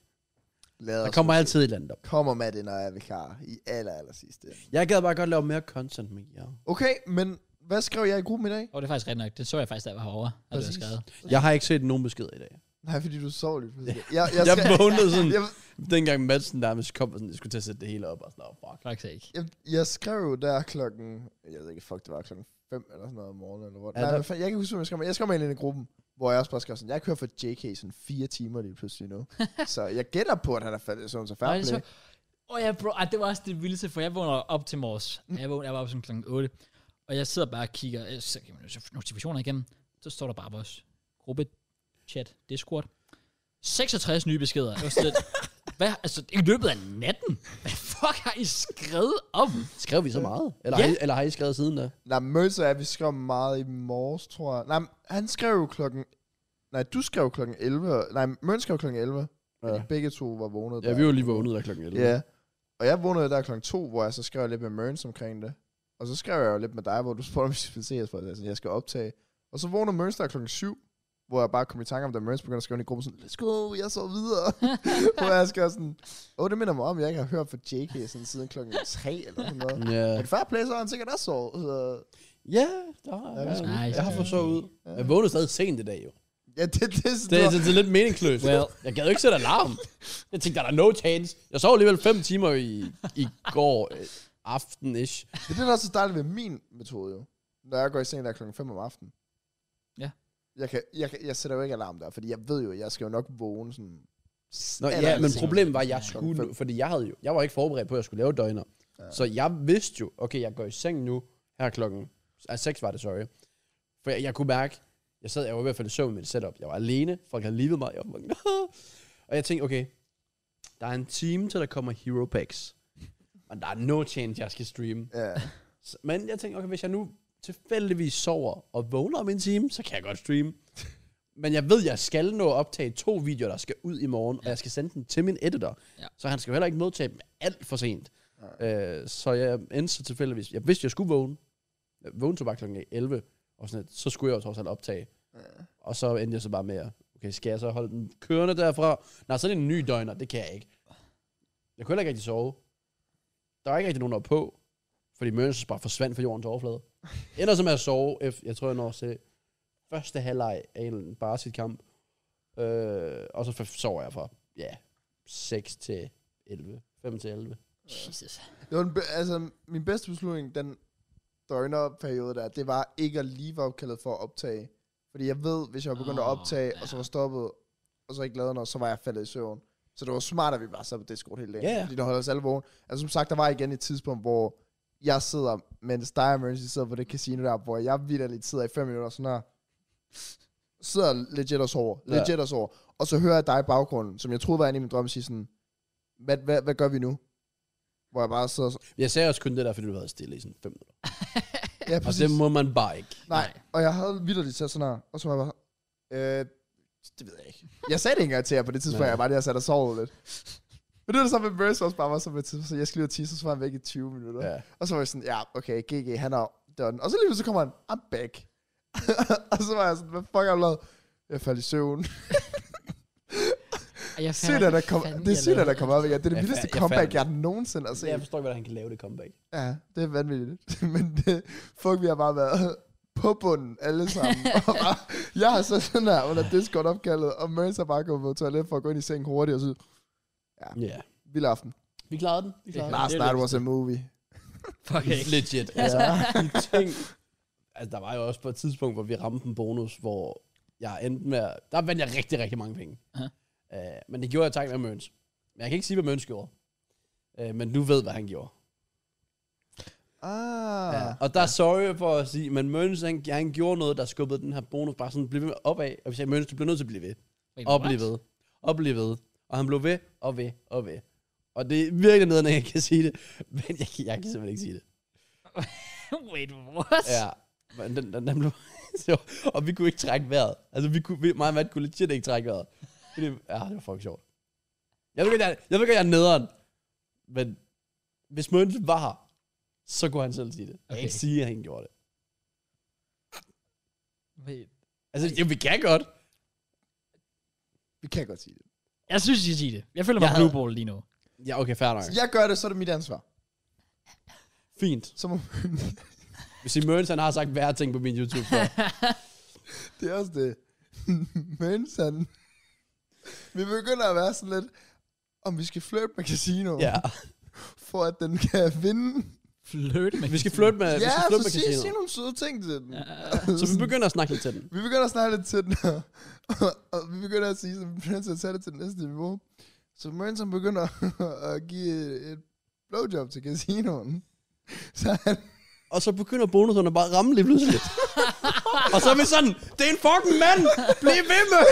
Lad Der os kommer nu se. altid et eller andet op. Kommer med det, når jeg er vikar i aller, aller sidste. Jeg gad bare godt lave mere content med jer. Okay, men hvad skrev jeg i gruppen i dag? Og det er faktisk rigtigt nok. Det så jeg faktisk, da jeg var herovre. Og det var Præcis. skrevet. Jeg har ikke set nogen beskeder i dag. Nej, fordi du sov lidt. pludselig. Jeg, Jeg, jeg, jeg skrev, vågnede sådan, <laughs> jeg, dengang matchen nærmest kom, og sådan, jeg skulle til at sætte det hele op, og sådan, oh, fuck. Fuck sake. jeg, jeg skrev jo der klokken... Jeg ved ikke, fuck, det var klokken 5 eller sådan noget om morgenen. Eller hvor. Ja, Nej, der- men fa- jeg kan ikke huske, hvad jeg skrev. men Jeg skrev mig ind i gruppen, hvor jeg også bare skrev sådan, jeg kører for JK i sådan fire timer lige pludselig <laughs> nu. så jeg gætter på, at han er faldet i søvn, så Nej, færdig. det er så- Åh oh ja, bro, Ej, det var også det vildeste, for jeg vågner op til morges. Jeg, vågner, jeg var op som klokken 8, og jeg sidder bare og kigger, øh, så kan man jo så notifikationer igennem, så står der bare vores gruppe, chat, Discord. 66 nye beskeder. Jeg var sådan lidt, hvad, altså, i løbet af natten? Hvad fuck har I skrevet om? Skrev vi så meget? Eller, Ja. har, I, eller har I skrevet siden da? Nej, Mølse er, vi skrev meget i morges, tror jeg. Nej, men han skrev jo klokken... Nej, du skrev klokken 11. Nej, Møn skrev klokken 11. Fordi Ja. ja. begge to var vågnet Ja, der. vi var lige vågnet der klokken 11. Ja. Og jeg vågnede der klokken to, hvor jeg så skrev lidt med Mørns omkring det. Og så skrev jeg jo lidt med dig, hvor du spurgte, om vi skulle se, jeg, spurgte, altså, jeg skal optage. Og så vågnede Mørns der klokken 7, hvor jeg bare kom i tanke om, da Mørns begyndte at skrive ind i gruppen sådan, let's go, jeg så <laughs> videre. hvor jeg skrev sådan, åh, det minder mig om, jeg ikke har hørt fra JK sådan, siden klokken 3 eller sådan noget. Ja. Men før play, så har han sikkert også sovet. Altså, Så, Ja, der har, Ja, ja, vi skal- jeg, Nice. jeg har fået så ud. Ja. Jeg vågnede stadig sent i dag, jo. ja, det, det, det, Det, det, det er lidt meningsløst. Well. Jeg gad jo ikke sætte alarm. Jeg tænkte, der er no chance. Jeg sov alligevel fem timer i, i går øh, aften-ish. Det er det, der er så dejligt ved min metode, jo. Når jeg går i seng der klokken 5 om aftenen. Ja. Jeg, kan, jeg, kan, jeg sætter jo ikke alarm der, fordi jeg ved jo, jeg skal jo nok vågne sådan... Nå, Eller ja, men senere. problemet var, at jeg Ja. skulle, nu- fordi jeg, havde jo, jeg var ikke forberedt på, at jeg skulle lave døgner. Ja. Så jeg vidste jo, okay, jeg går i seng nu, her klokken, altså 6 var det, sorry. For jeg, jeg kunne mærke, jeg sad, jeg var i hvert fald i søvn med mit setup. Jeg var alene, folk havde levet mig, jeg var <laughs> fucking, Og jeg tænkte, okay, der er en time til, der kommer Hero Packs. Men der er no chance, jeg skal streame. Ja, Så- Men jeg tænkte, okay, hvis jeg nu tilfældigvis sover og vågner om en time, så kan jeg godt streame. Men jeg ved, jeg skal nå at optage to videoer, der skal ud i morgen, og jeg skal sende dem til min editor. Ja. Så han skal jo heller ikke modtage dem alt for sent. Øh, så jeg endte så tilfældigvis, jeg vidste, jeg skulle vågne. Jeg vågnede så bare kl. 11, og sådan lidt, så skulle jeg jo trods alt optage. Og så endte jeg så bare med, at, okay, skal jeg så holde den kørende derfra? Nej, så er det en ny døgner, det kan jeg ikke. Jeg kunne heller ikke rigtig sove. Der var ikke rigtig nogen, der var på. Fordi Mørens bare forsvandt fra jordens overflade. Ender så med at sove. ef- Jeg tror, jeg når at se første halvleg af en bare sit kamp. Øh, og så f- sover jeg fra, ja, 6 til 11. 5 til 11. Jesus. det var en, be- altså, min bedste beslutning, den døgnerperiode der, det var ikke at lige være opkaldet for at optage. Fordi jeg ved, hvis jeg var Ah, begyndt oh, at Åh, optage, og så var stoppet, og så ikke lavede noget, så var jeg faldet i søvn. Så det var smart, at vi bare sad på Discord hele dagen. Ja, ja. Fordi det holdt os alle vågen. Altså som sagt, der var igen et tidspunkt, hvor jeg sidder, mens dig og Mercy sidder på det casino der, hvor jeg vidderligt sidder i 5 minutter sådan her. Sidder legit og sover. Ja. Legit og sover. Og så hører jeg dig i baggrunden, som jeg troede var inde i min drøm, sige sådan, hvad, hvad, hvad gør vi nu? Hvor jeg bare sidder og så- Jeg sagde også kun det der, fordi du havde stille i sådan 5 minutter. Ja, Og præcis. det må man bare ikke. Nej, og jeg havde vidderligt sat sådan her, og så var jeg bare, øh, det ved jeg ikke. Jeg sagde det ikke engang til jer på det tidspunkt, Nej. jeg var der, jeg sad og sovede lidt. Men det var det samme med Merce også bare var så med tidspunkt, så jeg skulle lige ud og tisse, og så var han væk i 20 minutter. Ja. Og så var jeg sådan, ja, okay, GG, han er done. Og så lige pludselig kommer han, I'm back. <laughs> og så var jeg sådan, hvad fuck har du lavet? Jeg faldt i <laughs> søvn. Ej, Jeg Sygt, at der kom, det er sygt, at der kom op igen. Det er Jeg det vildeste fa- jeg comeback, fandt- jeg nogensinde har Altså, set. jeg forstår ikke, hvordan han kan lave det comeback. Ja, det er vanvittigt. <laughs> Men det, fuck, vi har bare været <laughs> på bunden <laughs> alle sammen. Og bare, jeg har så sådan her under Discord-opkaldet, og Mørns har bare gået på toilet for at gå ind i sengen hurtigt og sige, Ja. Yeah. vild aften. Vi klarede den. Vi Ja, klarede Last den. night was a movie. Fuck ikke. Legit. Altså, de ting... Altså, der var jo også på et tidspunkt, hvor vi ramte en bonus, hvor jeg endte med... at- Der vandt jeg rigtig, rigtig mange penge. Aha. Uh, men det gjorde jeg tak med Møns. Men jeg kan ikke sige, hvad Møns gjorde. Uh, men du ved, hvad han gjorde. Ah. Ja. Og der er sorry for at sige, men Møns, han, han gjorde noget, der skubbede den her bonus bare sådan, blev ved med opad. Og vi sagde, Møns, du bliver nødt til at blive ved. Wait, Og what? blive ved. Og blive ved. Og han blev ved, og ved, og ved. Og det er virkelig noget, når jeg kan sige det. <laughs> Men jeg, kan- jeg kan simpelthen ikke sige det. <laughs> Wait, what? Ja, men den, den, den blev... <laughs> så, og vi kunne ikke trække vejret. Altså, vi kunne, vi, mig og Matt kunne legit ikke trække vejret. Fordi, ja, det var fucking sjovt. Jeg ved ikke, jeg, jeg, ved ikke, jeg er nederen. Men hvis Møns var her, så kunne han selv sige det. Jeg Okay. kan ikke sige, at han gjorde det. Wait. Altså, ja, vi kan godt. Vi kan godt sige det. Jeg synes, I skal sige det. Jeg føler mig Jeg havde- blue ball lige nu. Ja, okay, fair nok. Så jeg gør det, så er det mit ansvar. Fint. Så må <laughs> Hvis I Møns, han har sagt hver ting på min YouTube <laughs> før. det er også det. <laughs> Men sådan. <laughs> Vi begynder at være sådan lidt, om vi skal flirte med casino, Ja. for at den kan vinde. Flirte med Øh, Vi skal flytte med, vi ja, skal flytte så med sig, sig casinoet. nogle søde ting til den. Ja. Så vi begynder at snakke lidt til den. Vi begynder at snakke lidt til den her, <laughs> og- og vi begynder at sige, at vi begynder til at tage det til det næste niveau. Så Manson begynder <laughs> at give et blowjob til casinoen. <laughs> Så han, Og så begynder bonuserne bare at ramme lige <laughs> pludselig. og så er vi sådan, det er en fucking mand! Bliv ved med!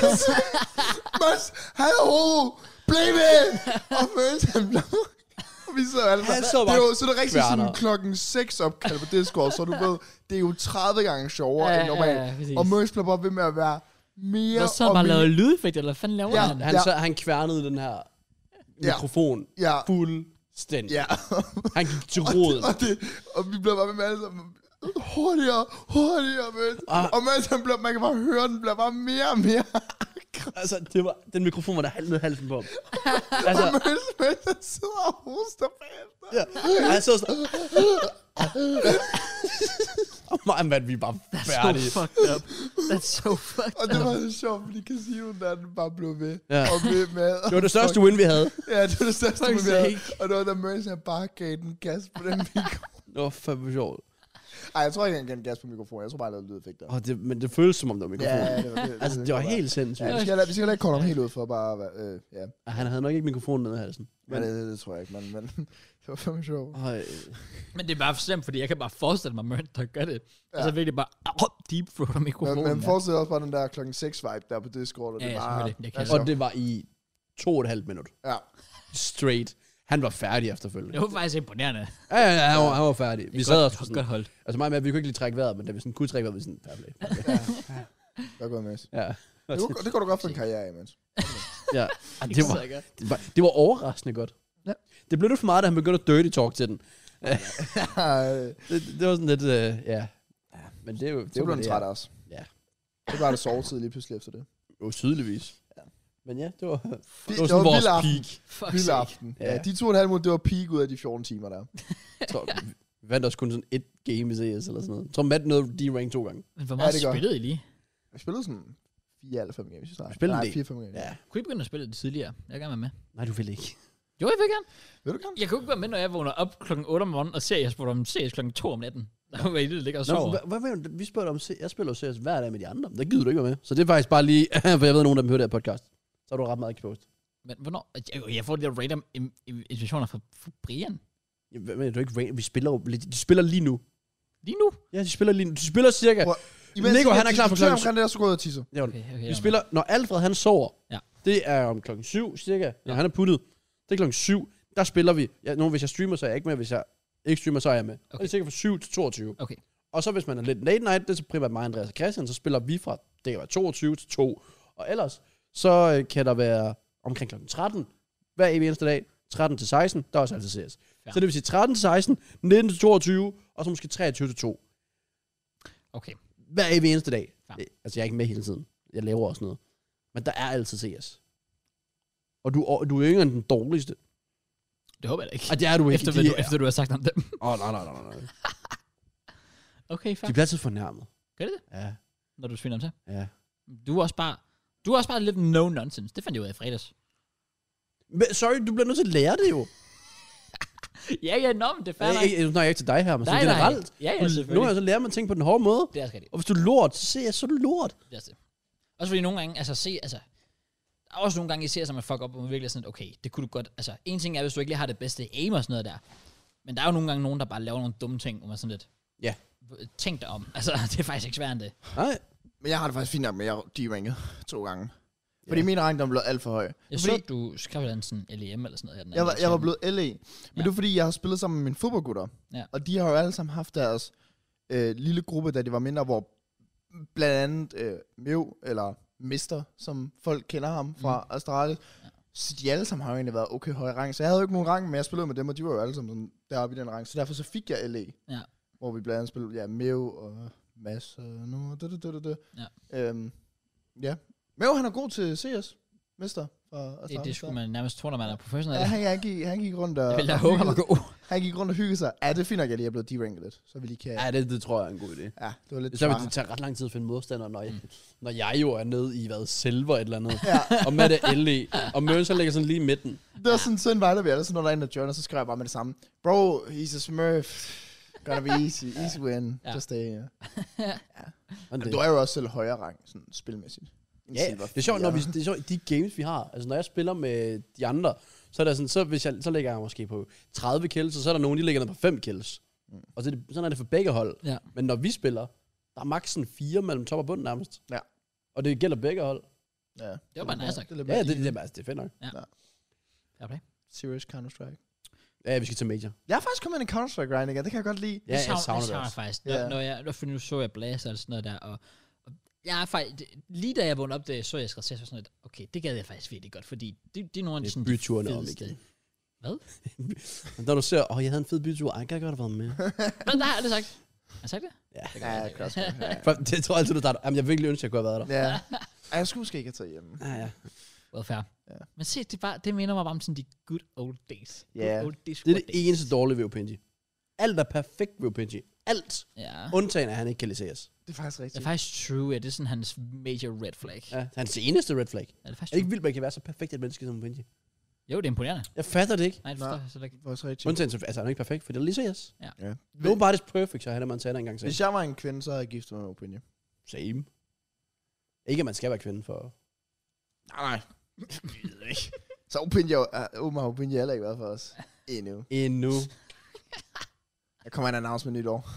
Møns, han er homo, bliv ved! <laughs> Og Møns, han blev... <laughs> Og vi så alle Han sammen. så Det er bare jo så er det er rigtigt sådan kværner. klokken 6 opkald på Discord, så du ved, det er jo 30 gange sjovere Ja, end normalt. ja, ja, præcis. og Møns bliver bare ved med at være mere Hvad så har og bare mere. lavet lydeffekt, eller hvad fanden laver Ja. han? Han, Ja. så, han kværnede den her Ja. mikrofon Ja, fuldstændig. ja. <laughs> Han gik til rodet. og, det, og vi bliver bare ved med alle sammen, hurtigere, hurtigere, mens. Ah. Og mens han bliver, man kan bare høre, den bliver bare mere og mere <laughs> Altså, det var, den mikrofon var der halv ned i halsen på <laughs> ham. altså, Og mens, mens han sidder og hoster bagefter. ja. Og han så sådan... <laughs> Og man, man, vi er bare That's so færdige. fucked up. That's <laughs> so fucked Og det var så sjovt, fordi casinoen der, den bare blev ved. Ja. Og ved <laughs> med. Det var det største win, vi havde. Ja, det var det største, Fuck's vi havde. sake. Og det var, da Mercy han bare gav den gas på den mikrofon. Nå, fandme sjovt. <laughs> Ej, jeg tror ikke, han gav den gas på mikrofonen. Jeg tror bare, jeg lavede lydeffekter. Og det, men det føles som om, det var Ja, mikrofonen. ja, det var det. altså, det var helt Ja, sindssygt. vi skal, lade- vi skal heller ikke kolde ham helt ud for bare at være, øh, ja. Og Han havde nok ikke mikrofonen nede i halsen. Men, ja, det, det, det, tror jeg ikke, men, men <laughs> det var fandme sjovt. Øj, Men det er bare for slemt, fordi jeg kan bare forestille mig, at der gør det. Ja. Altså virkelig bare, au, deep throat af Men, mikrofonen. men mand. forestil dig også bare den der klokken 6 vibe der på Discord, og Ja, det ja, var... selvfølgelig. Det kan jeg altså, og det var i to og et halvt minut. Ja, Straight. Han var færdig efterfølgende. Det var faktisk imponerende. Ja, ja, ja, han var, han var færdig. Vi sad godt, også på sådan, godt holdt. altså mig og Matt, vi kunne ikke lige trække vejret, men da vi sådan kunne trække vejret, vi sådan, fair play. jeg er gået med. Ja. Det, kunne- <laughs> det går du godt for en karriere, imens. ja. Og det, var, det, var, det var overraskende godt. Ja. Det blev lidt for meget, da han begyndte at dirty talk til den. Ej, Det, det var sådan lidt, øh, ja. Men det er jo... Det så blev den træt af. også. Ja. Det var det sovetid lige pludselig efter det. Jo, tydeligvis. Ja. Men ja, det var, det var det sådan var vores vild aften. peak. Fuck Vild sake. aften. Ja. Ja. de to og en halv måned, det var peak ud af de 14 timer <laughs> der. Jeg tror, vi vandt også kun sådan et game i CS eller sådan noget. Jeg tror, Matt nåede D-rank to gange. Men hvor Ja, meget det ja, gør. spillede I lige? Vi spillede sådan 4 eller 5 games, synes jeg. Vi spillede en Nej, del. 4 5 games. Ja. Kunne I begynde at spille det tidligere? Jeg er gerne være med. Nej, du vil ikke. Jo, jeg vil gerne. Vil du gerne? Jeg kunne ikke være med, når jeg vågner op klokken 8 om morgenen og ser, at jeg spurgte om CS klokken 2 om natten. <laughs> Der var det, der ligger og Nå, sover. hvad, hvad, mener du? vi spurgte om, C- jeg spiller jo CS hver dag med de andre. Der gider du ikke være med. Så det er faktisk bare lige, <laughs> for jeg ved, at nogen af dem hører det her podcast. Så er du ret meget exposed. Men hvornår? Altså, Jeg, jeg får de der random im- im- invitationer fra, fra Brian. Jamen, Hvad mener du ikke? random? Vi spiller jo, lidt- de spiller lige nu. Lige nu. Ja, de spiller lige nu. De spiller cirka. Prøv, Nico, han er klar for klokken. klokken- omkring det der, så går jeg og tisser. Ja, Okay, okay, vi spiller, når Alfred han sover. Ja. Det er om klokken 7 cirka, når Ja. han er puttet. Det er klokken 7. Der spiller vi. Ja, nu, hvis jeg streamer, så er jeg ikke med. Hvis jeg ikke streamer, så er jeg med. Okay. Og det Okay. er cirka fra 7 til 22. Okay. Og så hvis man er lidt late night, det er så primært mig, Andreas og Christian, så spiller vi fra det var 22 til 2. Og ellers, så øh, kan der være omkring klokken 13, hver evig eneste dag, 13 til 16, der er også altid CS. Ja. Ja. Så det vil sige 13 til 16, 19 til 22, og så måske 23 til 2. Okay. Hver evig eneste dag. Ja. Ja. Altså, jeg er ikke med hele tiden. Jeg laver også noget. Men der er altid CS. Og du, og du er yngre end den dårligste. Det håber jeg da ikke. Og Ah, det er du ikke. Efter, De hvad du, er- efter du har sagt om dem. <laughs> Åh, oh, nej, nej, nej, nej, nej. Okay, fair. De bliver altid fornærmet. Gør de det? Ja, Når du sviner om til. ja. Du er også bare, du er også bare lidt no-nonsense. Det fandt jeg ud af i fredags. Men, sorry, du bliver nødt til at lære det jo. ja, ja, nå, men det er fair. Nej, nok. ikke, nu snakker jeg ikke til dig her, men Nej, sådan nej. generelt. Ja, ja, Du- Nogle gange selvfølgelig. så lærer man ting på den hårde måde. Det er også rigtigt. Og hvis du er lort, så ser jeg, så er du lort. Det er også det. Også fordi nogle gange, altså se, altså, der er også nogle gange, I ser, som man fuck op, og man virkelig er sådan, okay, det kunne du godt, altså, en ting er, hvis du ikke lige har det bedste aim og sådan noget der, men der er jo nogle gange nogen, der bare laver nogle dumme ting, hvor man sådan lidt, Ja. tænk dig om, altså, <laughs> det er faktisk ikke sværere end det. Nej. Men jeg har det faktisk fint nok med, at jeg de-ringede to gange. Ja. Fordi min rangdom blev alt for høj. Jeg Fordi- så, at du skrev et eller andet sådan LEM eller sådan noget. her den Jeg anden var, dag, jeg var sådan, blevet LA. Men Ja. det er fordi, jeg har spillet sammen med mine fodboldgutter. Ja. Og de har jo alle sammen haft deres øh, lille gruppe, da de var mindre, hvor blandt andet øh, Mew, eller Mister, som folk kender ham fra mm. Astralis. Ja. Så de alle sammen har jo egentlig været okay høj rang. Så jeg havde jo ikke nogen rang, men jeg spillede med dem, og de var jo alle sammen sådan deroppe i den rang. Så derfor så fik jeg LA. Ja. Hvor vi blandt andet spillede ja, Mew og Mads og nu. Da, da, da, da, da. Ja. Øhm, ja. Mew, han er god til CS. Mister fra Astralis. Det, det skulle der. man nærmest tro, når man er professionel. <laughs> Ja, han, han, gik, han gik rundt og, Jeg ville da og håbe, han var hyggede, god. han gik rundt og hyggede sig. Ja, det finder jeg lige, jeg blev deranket lidt, så vi lige kan... Ja, det, det tror jeg er en god idé. Ja, det var lidt Så vil try. det tage ret lang tid at finde modstandere, når jeg, mm. når jeg jo er nede i, hvad, silver et eller andet. Ja, og Matt er LE. Og Møns, han ligger sådan lige i midten. det var sådan, sådan var det, vi alle, så når der er en, der joiner, så skriver jeg bare med det samme. Bro, he's a smurf. Gonna be easy, easy win. <laughs> Ja. Just stay here. Sådan Du det. er jo også selv højere rang, sådan spilmæssigt. En Ja, silver det er sjovt, når vi, fire. det er sjovt, de games, vi har. Altså, når jeg spiller med de andre, så er der sådan, så, hvis jeg, så ligger jeg måske på 30 kills, og så er der nogen, de ligger ned på 5 kills. Og så er det, sådan er det for begge hold. Ja. Men når vi spiller, der er maksen 4 mellem top og bund nærmest. Ja. Og det gælder begge hold. Ja, Det var bare nice nok. Det er lidt Ja, mere det, det, det, altså, det er fedt nok. Fair play. serious Counter-Strike. Ja, vi skal til major. Jeg har faktisk kommet ind i Counter-Strike grind igen, det kan jeg godt lide. Ja, jeg savner, savner det savner også. faktisk. Ja. Når, når jeg, når, for nu så jeg Blaze og sådan noget der, og, og jeg er faktisk, det- lige da jeg vågnede op, det, så jeg skrev sådan lidt, okay, det gad jeg faktisk virkelig godt, fordi det, det er nogle af Det de sådan, er byturen om fedeste. igen. <laughs> Hvad? Men da du ser, åh, oh, jeg havde en fed bytur, ej, kan jeg godt have været med. Hvad, der har jeg aldrig sagt. Har jeg sagt det? <laughs> Ja, jeg kan også godt. Ja, ja. For, <laughs> det tror jeg altid, du starter. Jamen, jeg virkelig ønsker, at jeg kunne <laughs> have været der. ja. Ej, jeg skulle måske ikke have taget hjem. Ja, ja. Well, fair. Ja. Men se, det, er bare, det minder mig bare om sådan de good old days. Ja. Good old days, Det er det eneste dårlige ved Opinji. Alt er perfekt ved Opinji. Alt. Ja. Undtagen, at han ikke kan liseres. Det er faktisk Det er rigtigt. faktisk true, ja. Det er sådan hans major red flag. Ja. Ja, hans eneste red flag. Er det Er faktisk det true? ikke vildt, man kan være så perfekt et menneske som Opinji? Jo, det er imponerende. Jeg fatter det ikke. Nej, det Nå. forstår jeg slet ikke. Det er faktisk rigtigt. Undtagen, så- altså han er ikke perfekt, for det er liseres. Ja. Nobody's perfect, så han er Montana engang sagde. Hvis jeg var en kvinde, så havde jeg giftet mig med Opinje. Same. Ikke, at man skal være kvinde for... Nej, nej. så Opinje, uh, Omar Opinje heller ikke været for os. Endnu. Endnu. Jeg kommer en announcement nyt år.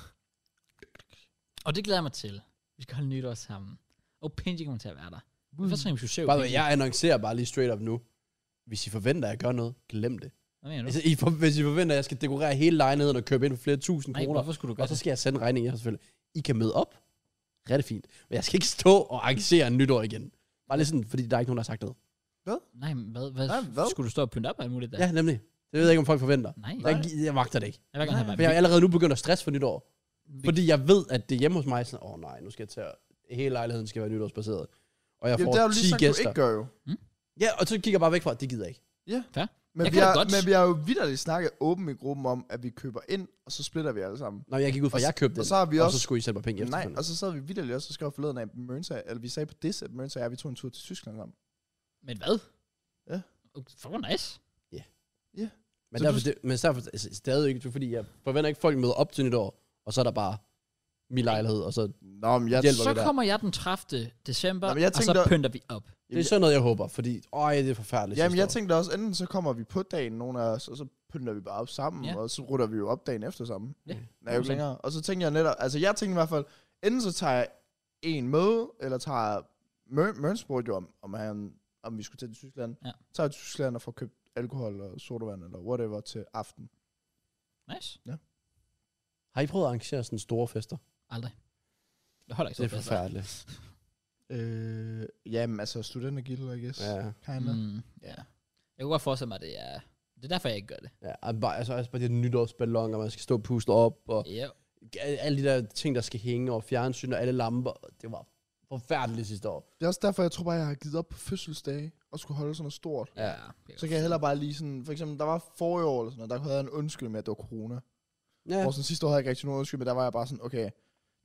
Og det glæder jeg mig til. Vi skal holde nytår sammen. Og Pinji kommer til at være der. Mm. Først skal vi skulle se Bare, Opinji. jeg annoncerer bare lige straight up nu. Hvis I forventer, at jeg gør noget, glem det. Hvad mener du? Hvis I, for, hvis I forventer, at jeg skal dekorere hele lejligheden og købe ind for flere tusind Nej, kroner, hvorfor skulle du og gøre så det? skal jeg sende regningen her selvfølgelig. I kan møde op. Rigtig fint. Men jeg skal ikke stå og arrangere en nytår igen. Bare lige sådan, fordi der er ikke nogen, der har sagt noget. Nej, men hvad, hvad, Nej, hvad? hvad? Skulle du stå og pynte op og alt muligt der? Ja, nemlig. Det ved jeg ikke, om folk forventer. Nej, Jeg, jeg jeg magter det ikke. vil gerne have For jeg mig. er allerede nu begyndt at stresse for nytår. Vi- Fordi jeg ved, at det er hjemme hos mig. Sådan, åh oh, nej, nu skal jeg tage... Hele lejligheden skal være nytårsbaseret. Og jeg Jamen, får det har 10 du lige sagt, gæster. du ikke gør jo. Ja, og så kigger jeg bare væk fra, at det gider jeg ikke. Men Jeg vi, kan da har, godt. men vi har jo vidderligt snakket åben i gruppen om, at vi køber ind, og så splitter vi alle sammen. Nå, jeg gik ud fra, at jeg købte og den, så har vi og også- så skulle I selv bare penge Nej, altså, efterfølgende. og så sad vi vidderligt også og skrev forleden af Mørnsa, eller vi sagde på det, at Mørnsa og jeg, vi tog en tur til Tyskland sammen. Men hvad? Ja. Okay, Fuck, hvor nice. Men, Så derfor, du- det, men derfor altså, stadig ikke, fordi jeg forventer ikke, at folk møder op til nytår, og så er der bare min lejlighed, og så... Nå, men jeg, Hjælper. Så vi der. kommer jeg den 30. december, Nå, men jeg og så tænkte- pynter vi op. Det er sådan noget, jeg håber, fordi... Øj, det er forfærdeligt. jamen, sidste jeg år. tænkte også, enten så kommer vi på dagen, nogle af os, og så pynter vi bare op sammen, Ja. og så rutter vi jo op dagen efter sammen. Ja. Nej, jo ikke Sådan. længere. Og så tænkte jeg netop, altså jeg tænkte i hvert fald, enten så tager jeg en med, eller tager Mør- Mørn spurgte jo om, om, han, om vi skulle til Tyskland. Ja. Så tager jeg til Tyskland og får købt alkohol og sodavand eller whatever til aften. Nice. Har I prøvet at arrangere sådan store fester? Aldrig. Det holder ikke Det så altså. er forfærdeligt. Øh, jamen altså studentergilde, I guess. Ja. Kinda. Mm. Mm, ja. Jeg kunne godt forestille mig, at det er... Det er derfor, jeg ikke gør det. ja og bare, altså, også bare det nytårsballon, og man skal stå og puste op, og Ja. alle alle de der ting, der skal hænge, og fjernsyn og alle lamper. Det var forfærdeligt sidste år. Det er også derfor, jeg tror bare, jeg har givet op på fødselsdage og skulle holde sådan noget stort. ja. Så kan jeg hellere bare lige sådan, for eksempel, der var forrige år eller sådan noget, der havde jeg en undskyld med, at det var corona. Ja. Hvor sådan sidste år havde jeg ikke rigtig nogen undskyld, men der var jeg bare sådan, okay,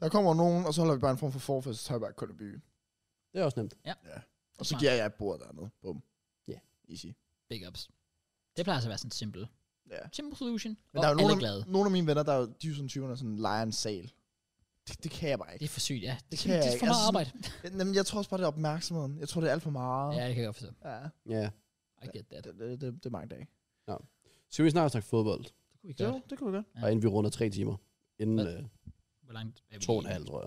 der kommer nogen, og så holder vi bare en form for forfest, så tager vi bare kun i byen. Det er også nemt. Og så Smart. giver jeg et bord dernede. Bum. Ja. Easy. Big ups. Det plejer altså at være sådan simpel. Ja. Simple solution. Men og der er jo alle nogle, glade. af, nogle af mine venner, der er jo, de er jo sådan 20'erne, sådan leger en sal. Det, det kan jeg bare Det ikke. er for sygt, ja. Det, Det det, kan jeg det er ikke. for meget Altså, arbejde. Jamen, jeg tror også bare, det er opmærksomheden. Jeg tror, det er alt for meget. ja, det kan jeg godt forstå. ja. Ja. I get that. Det, det, det, det er mange dage. Skal vi snart snakke fodbold? Det kunne vi Jo, gøre. det kunne vi godt. Ja. Og inden vi runder tre timer. Inden Hvad? øh, Hvor langt er vi? to og en halv, tror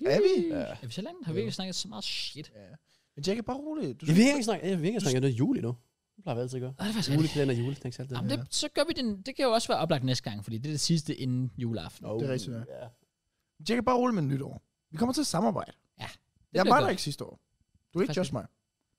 jeg. Er vi? Ja. Er vi så langt? Har vi Jo. ikke snakket så meget shit? Ja. Men Jack er bare rolig. Du Jeg vil ikke snakke, jeg vil ikke snakke, det er juli nu. Det plejer vi altid at gøre. Ah, det er Altså, faktisk rigtigt. Julekalender, julesnacks, alt det Jamen, det, så gør vi den. Det kan jo også være oplagt næste gang, fordi det er det sidste inden juleaften. Oh, det er rigtigt, ja. Ja. Jack er bare rolig med nytår. Vi kommer til at samarbejde. Det jeg bliver var der godt. ikke sidste år. Du kan ikke Faktisk judge mig.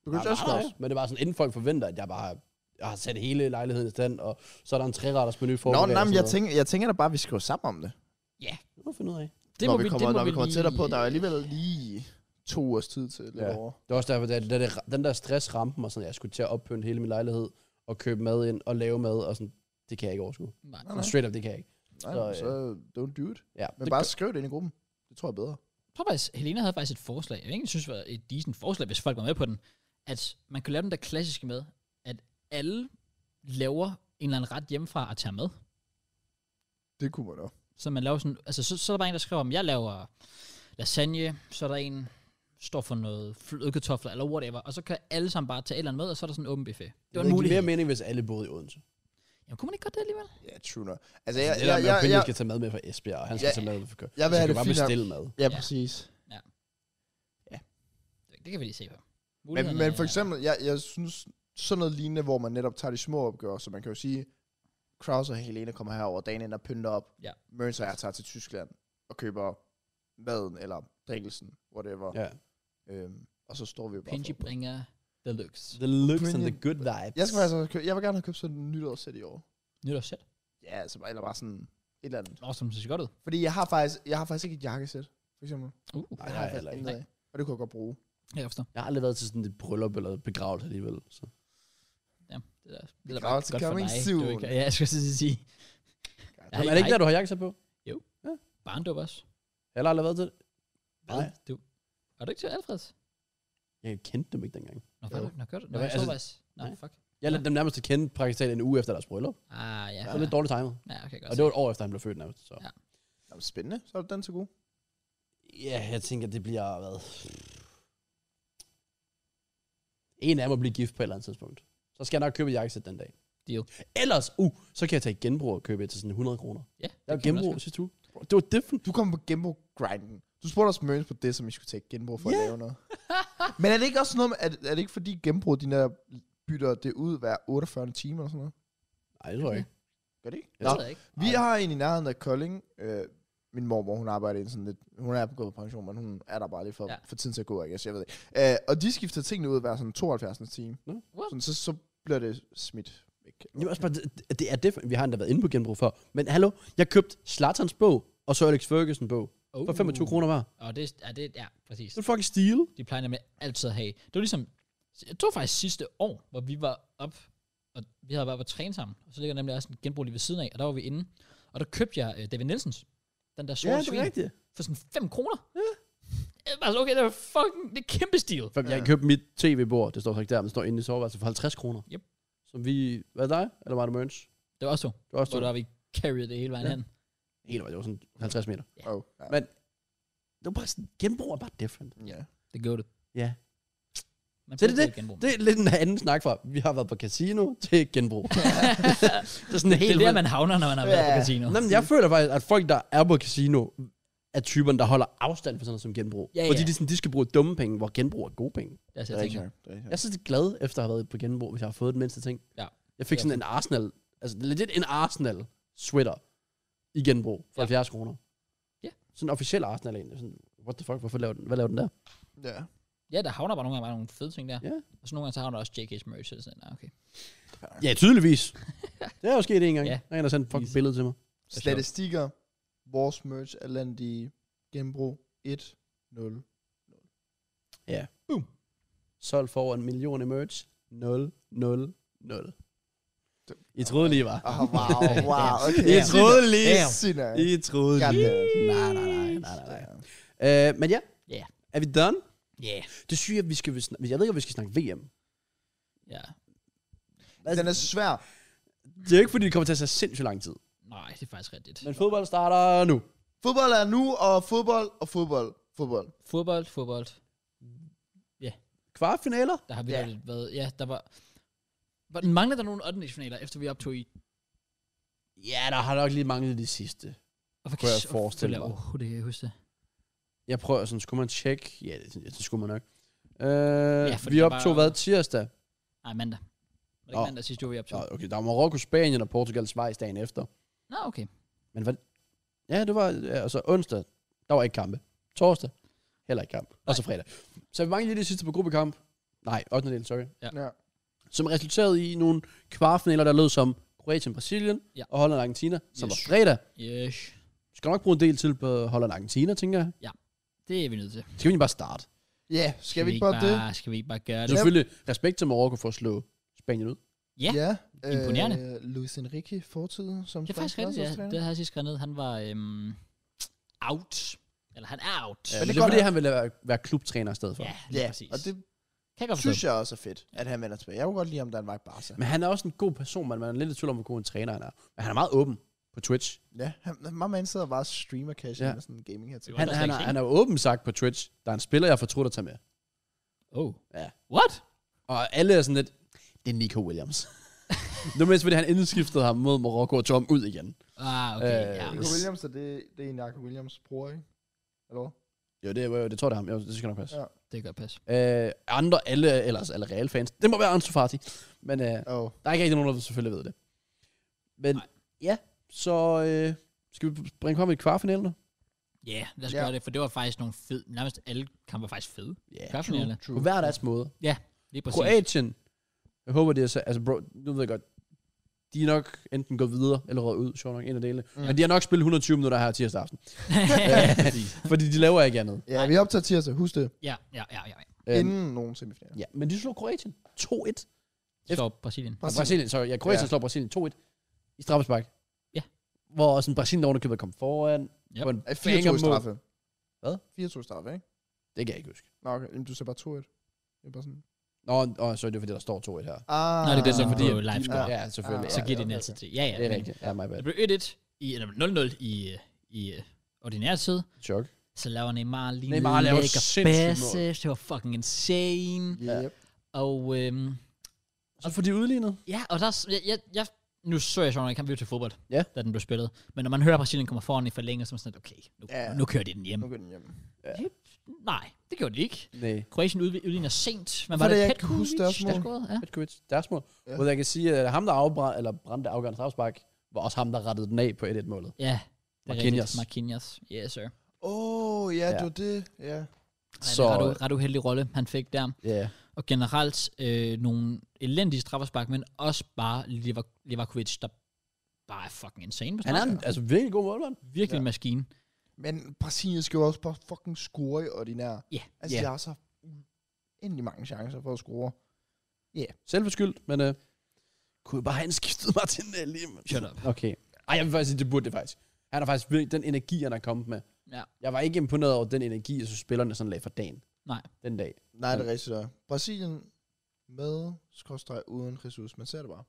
Du kan ikke Nej, judge nej, mig. Men det er bare sådan, inden folk forventer, at jeg bare har- jeg har sat hele lejligheden i stand, og så er der en træretters menu for. Nå, nej, men jeg tænker, jeg tænker da bare, at vi skriver sammen om det. Det må vi finde ud af. Det når må vi det kommer, må når vi kommer lige- tættere på, der er alligevel lige to ugers tid til lidt Ja. over. Det er også derfor, da, da det, den der stress ramte mig, sådan, at jeg skulle til at oppynte hele min lejlighed, og købe mad ind, og lave mad, og sådan, det kan jeg ikke overskue. Nej. Nej. Straight up, det kan jeg ikke. Nej, Så, så, øh, så don't do it. Ja, Men det bare gør- skriv det ind i gruppen. Det tror jeg er bedre. Jeg tror faktisk, Helena havde faktisk et forslag, jeg egentlig synes var et decent forslag, hvis folk var med på den, at man kunne lave den der klassiske med, at alle laver en eller anden ret hjemmefra og tager med. Det kunne man da. Så man laver sådan, altså så, så er der bare en, der skriver, om jeg laver lasagne, så er der en, står for noget flødekartofler eller whatever, og så kan alle sammen bare tage et eller andet med, og så er der sådan en åben buffet. Det var en Det mulighed. mere mening, hvis alle boede i Odense. Jamen, kunne man ikke godt det alligevel? Ja, true nok. Altså, jeg, Det jeg, der med, jeg, at jeg, Opinion skal tage mad med fra Esbjerg, og han skal Ja. tage mad med fra København. jeg vil Så have skal det du bare fint nok. bestille mad. Ja, Ja. præcis. Det, det kan vi lige se på. Men, Mulighederne men for er- eksempel, jeg, jeg synes, sådan noget lignende, hvor man netop tager de små opgør, så man kan jo sige, Kraus og Helena kommer herover dagen ind og pynter op. Ja. Mørns og jeg tager til Tyskland og køber maden eller drikkelsen, whatever. Ja. Ja. Øhm, og så står vi jo bare Pinji for- bringer deluxe. The looks and Brilliant. the good vibes. Jeg, skal faktisk, også købe, jeg vil gerne have købt sådan en nytårssæt i år. Nytårssæt. Ja, altså, bare- eller bare sådan et eller andet. Nå, som ser godt ud. Fordi jeg har faktisk, jeg har faktisk ikke et jakkesæt, for eksempel. Uh, Nej, Det jeg har har jeg heller faktisk ikke. intet af. Og det kunne jeg godt bruge. jeg forstår. Jeg har aldrig været til sådan et bryllup eller et begravelse alligevel. Så. Ja, det er, det er da bare Crowds godt for coming dig. soon. Du er ikke, ja, jeg skulle til at sige. God. Ja, er det ikke der, du har jakkesæt på? Barndom også. Jeg har aldrig været til det. Hvad? Du, er du ikke til Alfreds? Jeg kendte dem ikke dengang. Nå, Jo. var du? Nå, gør du? Nå, Ja, jeg så altså- faktisk. Nå, nej. fuck. Jeg lærte dem nærmest at kende praktisk talt en uge efter deres bryllup. Ah, ja. Det Ja, var lidt dårligt timet. ja okay, godt. Og det var et år efter, han blev født nærmest. Så. Ja. Jamen, spændende. Så er det den til gode. Ja, jeg tænker, det bliver, hvad? En af dem bliver gift på et eller andet tidspunkt. Så skal jeg nok købe et jakkesæt den dag. Deal. Ellers, uh, så kan jeg tage et genbrug og købe et til sådan 100 kroner. Ja, Jeg har kan man også genbrug sidste uge. Bro, Det var different. Du kom på genbrug grinden. Du spurgte os Mørens på det, som I skulle tage genbrug for yeah. Ja. at lave noget. <laughs> Men er det ikke også noget med, er, det- er det ikke fordi genbrug, de der bytter det ud hver 48 timer eller sådan noget? Nej, det tror jeg ikke. Gør det ikke? Det ved jeg ikke. Vi har en i nærheden af Kolding. Øh, min mormor, hun arbejder i sådan lidt... Hun er gået på pension, men hun er der bare lige for, Ja. ja. for tiden til at gå, I guess, jeg ved det. Øh, og de skifter tingene ud hver sådan 72. time. Nå. What? Sådan, så, så bliver det smidt væk. Jo, også bare, det, det er different. Vi har endda været inde på genbrug før. Men hallo, jeg købte Slatterns bog, og så Alex Ferguson bog. Oh. For 25 kroner hver. Og det, ja, det, ja, præcis. Det er fucking steal. De plejer nemlig altid at have. Det var ligesom, jeg tror faktisk sidste år, hvor vi var op, og vi havde været på træne sammen, og så ligger der nemlig også en genbrug lige ved siden af, og der var vi inde, og der købte jeg øh, David Nielsens, den der sorte ja, svin, rigtigt. for sådan 5 kroner. Ja. Jeg var sådan, okay, det er fucking, det er kæmpe stil. For jeg købte mit tv-bord, det står så ikke der, men det står inde i soveværelset for 50 kroner. Yep. Som vi, hvad er det dig? Eller var det Mørns? Det var også to, Det var også hvor to. der vi carried det hele vejen Ja. hen. Helt vej, det var sådan 50 meter. Ja. Oh, ja. Men- Det var bare sådan, genbrug er bare different. ja. Det gjorde det. Ja. Man Så det er brugte det. jo genbrug. Det er lidt en anden snak fra, vi har været på casino <laughs> til genbrug. det er sådan Det helt... er der, man havner, når man har været på Ja. casino. Nå, men jeg føler faktisk, at folk, der er på casino, er typerne, der holder afstand for sådan noget som genbrug. Ja, Fordi ja. de, sådan, de skal bruge dumme penge, hvor genbrug er gode penge. Det er altså, Det jeg er tænker, rigtigt. Det er rigtigt. Jeg er så glad efter at have været på genbrug, hvis jeg har fået den mindste ting. Ja. Jeg fik Ja. sådan en Arsenal, altså legit en Arsenal sweater i genbrug for Ja. 70 kroner. Ja. Sådan en officiel Arsenal en. Sådan, what the fuck, hvorfor laver den, hvad laver <laughs> den der? Ja. ja, der havner bare nogle gange bare nogle fede ting der. Ja. Og så nogle gange så havner der også JK's merch eller sådan, noget. Nå, okay. Ja, tydeligvis. <laughs> det er jo sket en gang. Ja. Ja. Der er en, der sendte et fucking Easy. billede til mig. sjovt. Statistikker. Vores merch er landet i genbrug 1 <laughs> 0 Solgt for over en million i merch. 0, 0, 0. Det- I troede lige, var. Oh, wow, wow. Okay. I troede lige. Damn. Sina. I troede God lige. damn. Nej, nej, nej, nej, nej, nej. Øh, men ja. Ja. Er vi done? Yeah. Det synes jeg, vi skal... snak- Jeg ved ikke, om vi skal snakke VM. Ja. Den er svær. Det er jo ikke, fordi det kommer til at tage sindssygt lang tid. Nej, det er faktisk rigtigt. Men fodbold starter nu. Fodbold er nu, og fodbold, og fodbold, fodbold. Fodbold, fodbold. Kvartfinaler? Der har vi Ja. ja. lidt været... Ja, der var... var den manglede der nogle ottendelsfinaler, efter vi optog i... Ja, der har nok lige manglet de sidste. Og for Kunne jeg forestille mig. Oh, det kan jeg huske det. Jeg prøver sådan, skulle man tjekke? Ja, det, det skulle man nok. Øh, fordi vi der optog var- hvad tirsdag? Nej, mandag. Var det ikke Nå. mandag sidste uge, vi Så, optog? okay, der var Marokko, Spanien og Portugal, Schweiz dagen efter. Nå, okay. Men hvad? Ja, det var, ja, og så onsdag, der var ikke kampe. Torsdag, heller ikke kamp. Og så fredag. Så vi manglede lige det sidste på gruppekamp. Nej, 8. del, sorry. Ja. Ja. Som resulterede i nogle kvartfinaler, der lød som Kroatien, Brasilien Ja. ja. og Holland, Argentina, som Yes. var fredag. Yes. Vi skal nok bruge en del til på Holland, Argentina, tænker jeg. Det er vi nødt til. Skal vi egentlig bare starte? Ja, skal, vi ikke bare det? bare, Skal vi ikke bare gøre Det er det? selvfølgelig respekt til Marokko for at slå Spanien ud. Ja. Øh, Imponerende. Luis Enrique fortid som Det er faktisk rigtigt, ja. Det havde jeg sidst skrevet ned. Han var øhm, out. Eller han er out. Ja, Men men det det er er godt, fordi, han ville være, være klubtræner i stedet for. ja, Ja. lige Ja, præcis. og det kan jeg godt forstå. synes jeg også er fedt, at han vender tilbage. Jeg kunne godt lide, om der er en vej Barca. Men han er også en god person, men man er lidt i tvivl om, hvor god en træner han er. Men han er meget åben på Twitch. Ja, han, my man sidder bare og streamer cash Ja. ja. med sådan en gaming her til. Det var- Han, der slet han, ikke er, se. han er jo åben sagt på Twitch, der er en spiller, jeg har fortrudt at tage med. Oh. Ja. What? Og alle er sådan lidt, det er Nico <laughs> Williams. det var mest, fordi han indskiftede ham mod Marokko og tog ham ud igen. Ah, okay. Øh, ja. det Nico Williams, er det, det er en Jacob Williams bror, ikke? Eller hvad? Jo, det, jo, det tror jeg, det er ham. Jo, det skal nok passe. Ja. Det kan godt passe. Ja. Øh, andre, alle, ellers alle Real-fans. Det må være Ansu Fati. Men øh, Oh. Der er ikke rigtig nogen, der selvfølgelig ved det. Men Nej. Nej. ja, så øh, skal vi bringe frem i kvartfinalen nu? Ja, yeah, lad os Ja. yeah. gøre det, for det var faktisk nogle fede, nærmest alle kampe var faktisk fede. Ja. Kvartfinalerne. På hver deres måde. Ja, lige præcis. Kroatien. Jeg håber, det er så... Altså, bro, nu ved jeg godt, de er nok enten gået videre eller røget ud, sjovt nok, en af delene. Mm. Men de har nok spillet 120 minutter her tirsdag aften. Øh, Fordi de laver ikke andet. Ja, vi optager tirsdag, husk det. <laughs> ja, ja, ja, ja. Øhm, Inden nogen semifinaler. ja, men de slog Kroatien 2-1. De slår Brasilien. Brasilien. Ja, Brasilien, sorry. Ja, Kroatien Ja. ja. slår Brasilien 2-1 i straffespark. Ja. Hvor sådan Brasilien ovenikøbet kom foran. Yep. Yep. På en Ej, 4-2 i bangermål. straffe. Hvad? 4-2 i straffe, ikke? Det kan jeg ikke huske. Nå, okay. Jamen, du sagde bare 2-1. Det er bare sådan... Nå, åh, så er det fordi, der står 2-1 her. Ah, Nå, det er det, så Ah. fordi det er jo live score. Ja, selvfølgelig. Ah, Så ja, giver det ja, en okay, altid okay. til. Ja, ja. det er men rigtigt. Ja, my bad. Det blev 1-1 i, eller 0-0 i, øh, i øh, ordinær tid. Chok. Så laver Neymar lige Neymar laver lækker sindssygt basse. Det var fucking insane. Yeah. Og øhm, Så får de udlignet. Ja, og der, jeg, jeg, jeg, nu så jeg sådan en kamp vi var til fodbold, Ja. da den blev spillet. Men når man hører, at Brasilien kommer foran i forlænget, så er man sådan, okay, nu, Ja. ja. nu kører de den hjem. Ah, Nu går den hjem. Nej, det gjorde de ikke. Nej. Kroatien udvi- udligner sent. Men For var det, det, jeg det kan huske Petkovic, deres mål. der scorede? Ja. Petkovic, deres mål. Ja. Ja. Hvor jeg kan sige, at ham, der afbrændte, eller brændte afgørende strafspark, var også ham, der rettede den af på 1-1-målet. ja. Det er Marquinhos. rigtigt. Marquinhos. Yes, sir. Ej, Åh, oh, ja, Ja. det var det. Ja. så... Så- Det er en ret, u- ret uheldig rolle, han fik der. Ja. Og generelt øh, nogle elendige straffespark, men også bare Lever- Levakovic, der bare er fucking insane. på Han er en, straffespark. altså, virkelig god målmand. Virkelig en maskine. Men Brasilien skal jo også bare fucking score i ordinær. Ja, Altså, yeah. de har så endelig mange chancer for at score. Selvforskyldt, men øh, kunne jeg bare have indskiftet Martinelli. Men... shut up. Okay. Ej, jeg vil faktisk sige, det burde det faktisk. Han har faktisk virkelig den energi, han er kommet med. Ja. Jeg var ikke imponeret over den energi, så spillerne sådan lagde for dagen. Nej. Den dag. Nej, det er rigtigt. Der. Brasilien med skråstreg uden Jesus. Man ser det bare.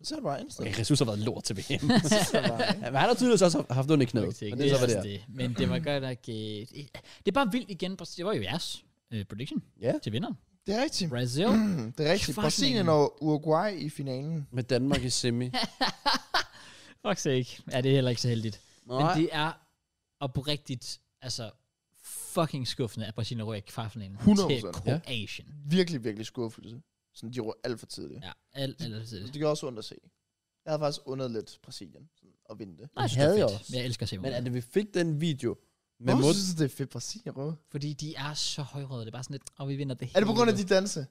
Man ser det bare instant. Okay, Jesus har været lort til <laughs> VM. Man ser det bare, ikke? Men han har tydeligvis også haft ondt i knæet. Ikke, Men det er så, hvad det er. også det. Men det var godt nok... øh, Det er bare vildt igen. Brasil- Det var jo jeres øh, prediction Ja. til vinderen. Det er rigtigt. Brazil. Mm, Det er rigtigt. Fucking. Brasilien og Uruguay i finalen. Med Danmark i <laughs> semi. Fuck sake. Ja, det er heller ikke så heldigt. Nej. Men det er oprigtigt, altså fucking skuffende, at Brasilien ryger i kvartfinalen 100%, til Kroatien. Virkelig, virkelig skuffelse. Sådan, de røg alt for tidligt. Ja, alt, alt, alt, Så alt. det gør også ondt at se. Jeg havde faktisk undet lidt Brasilien sådan, at vinde det. Nej, jeg synes, havde det jeg er fedt. også. Men jeg elsker at se Men men at vi fik den video med Hvorfor mod... synes du, det er fedt Brasilien rød? Fordi de er så højrøde. Det er bare sådan lidt, og vi vinder det hele. Er det på grund af de danse?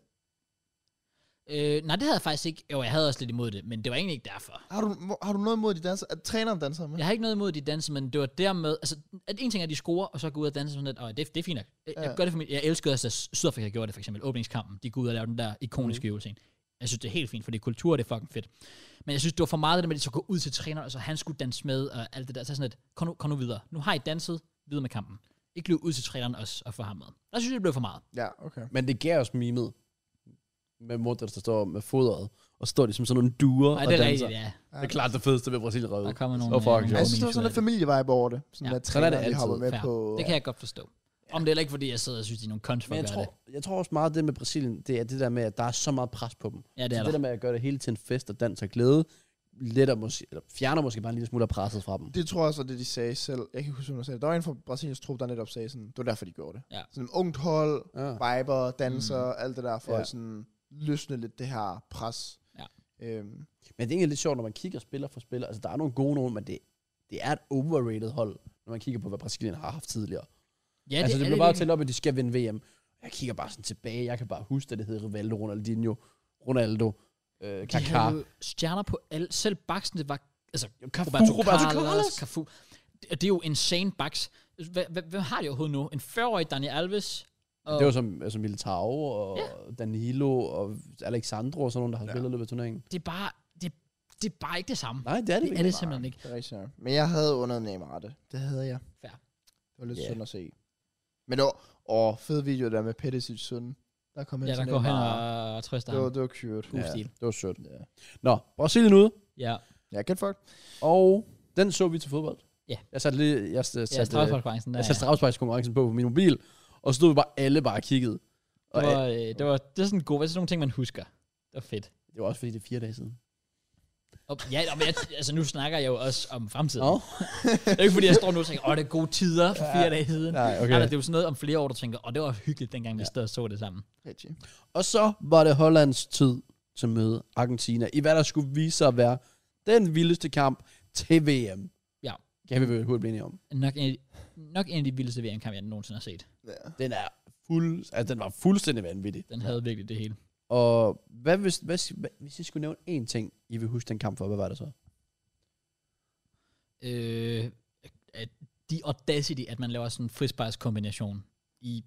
Øh, nej, det havde jeg faktisk ikke. Jo, jeg havde også lidt imod det, men det var egentlig ikke derfor. Har du, hvor- har du noget imod, at de danser? At træneren danser med? Jeg har ikke noget imod de danser, men det var dermed, altså, at en ting er, at de scorer, og så går ud og danser sådan lidt, og det, det er fint nok. Jeg, Ja. jeg, gør det for min, jeg elskede også, at Sydafrika gjorde det, for eksempel åbningskampen. De går ud og laver den der Mm. ikoniske øvelse. ind. Jeg synes, det er helt fint, for det er kultur, det er fucking fedt. Men jeg synes, det var for meget det der med, at de så gå ud til træneren, og så han skulle danse med, og alt det der. Så sådan lidt, kom nu, kom nu videre. Nu har I danset videre med kampen. Ikke løb ud til træneren også og få ham med. Der synes jeg, det blev for meget. Ja, okay. Men det gav os mimet. Med Modric, der står med fodret. Og står de som sådan nogle duer Nej, og det er danser. rigtigt, ja. Det er klart det fedeste ved Brasilien røvet. Der kommer nogle... Så fucking øh, sjovt. Jeg synes, der var sådan lidt familievibe over det. Sådan Ja. ja. at træneren, det de hopper altid. med Fair. på... øh, Det kan jeg godt forstå. Om det er heller ikke, fordi jeg sidder og synes, de er nogle cons for Men at jeg gøre det. tror, jeg tror også meget, at det med Brasilien, det er det der med, at der er så meget pres på dem. Ja, det er så det Altså, der. der med at gøre det hele til en fest og dans og glæde, letter måske, eller fjerner måske bare en lille smule af presset fra dem. Det tror jeg også var det, de sagde selv. Jeg kan ikke huske, hvad de sagde. det. Der var en fra Brasiliens trup, der netop sagde sådan, det var derfor, de gjorde det. Ja. Sådan ungt hold, Ja. viber, danser, mm. alt det der, for ja. Ja. at sådan løsne lidt det her pres. Ja. Øhm, Men det er egentlig lidt sjovt, når man kigger spiller for spiller. Altså, der er nogle gode nogen, men det, det er et overrated hold, når man kigger på, hvad Brasilien har haft tidligere. Ja, Ja, det altså, det, er det blev bare virkelig. talt op, at de skal vinde VM. Jeg kigger bare sådan tilbage. Jeg kan bare huske, at det hed Rivaldo, Ronaldinho, Ronaldo, øh, De Kaká. havde jo stjerner på alle. Selv baksen, det var... Altså, Cafu, Roberto, Roberto Carlos, Carlos. Cafu. Det, det er jo insane baks. Hva- hva- Hvem har de overhovedet nu? En 40-årig Daniel Alves? Og, Det var som altså Militao og Ja. ja. Danilo og Alexandro og sådan nogle, der har spillet i løbet af turneringen. det er bare... Det, det er bare ikke det samme. Nej, det er det, det er ikke. det simpelthen ikke. det er rigtigt. nok. Men jeg havde under Neymar det. E. Det havde jeg. Fair. Det var lidt Ja. yeah. synd at se. Men det var, åh, fed video der med Pettisic søn. Der kom hen Ja, der til går hen Neymar. og trøster Det var, ham. det var cute. Ja. Ja. stil. Det var sødt. Ja. Nå, Brasilien ude. Ja, Ja, get fucked. Og den så vi til fodbold. Ja. Jeg satte lige, jeg satte, ja ja, satte, straffesparkskonkurrencen der. jeg satte straffesparkskonkurrencen på på min mobil, og så stod vi bare alle bare og kiggede. Det Og var, det var, øh, det var, det er sådan en god... Hvad er sådan nogle ting, man husker? Det var fedt. det var også fordi, det er fire dage siden. Og, ja, og jeg, altså nu snakker jeg jo også om fremtiden. Nå. <laughs> Det er ikke fordi, jeg står nu og tænker, åh, det er gode tider for fire dage siden. Nej, Okay. Altså, det er jo sådan noget om flere år, du tænker, og det var hyggeligt, dengang vi Ja. stod og så det sammen. Rigtig. Og så var det Hollands tid til at møde Argentina, i hvad der skulle vise sig at være den vildeste kamp til VM. Ja. Kan vi vel hurtigt blive enige om. Nok en, nok en af de vildeste VM-kamp, jeg nogensinde har set. Ja. Den er fuld, altså den var fuldstændig vanvittig. Den havde virkelig det hele. Og hvad hvis, hvad, hvad, hvis I skulle nævne én ting, I vil huske den kamp for, hvad var det så? Øh, at de audacity, at man laver sådan en frisparkskombination i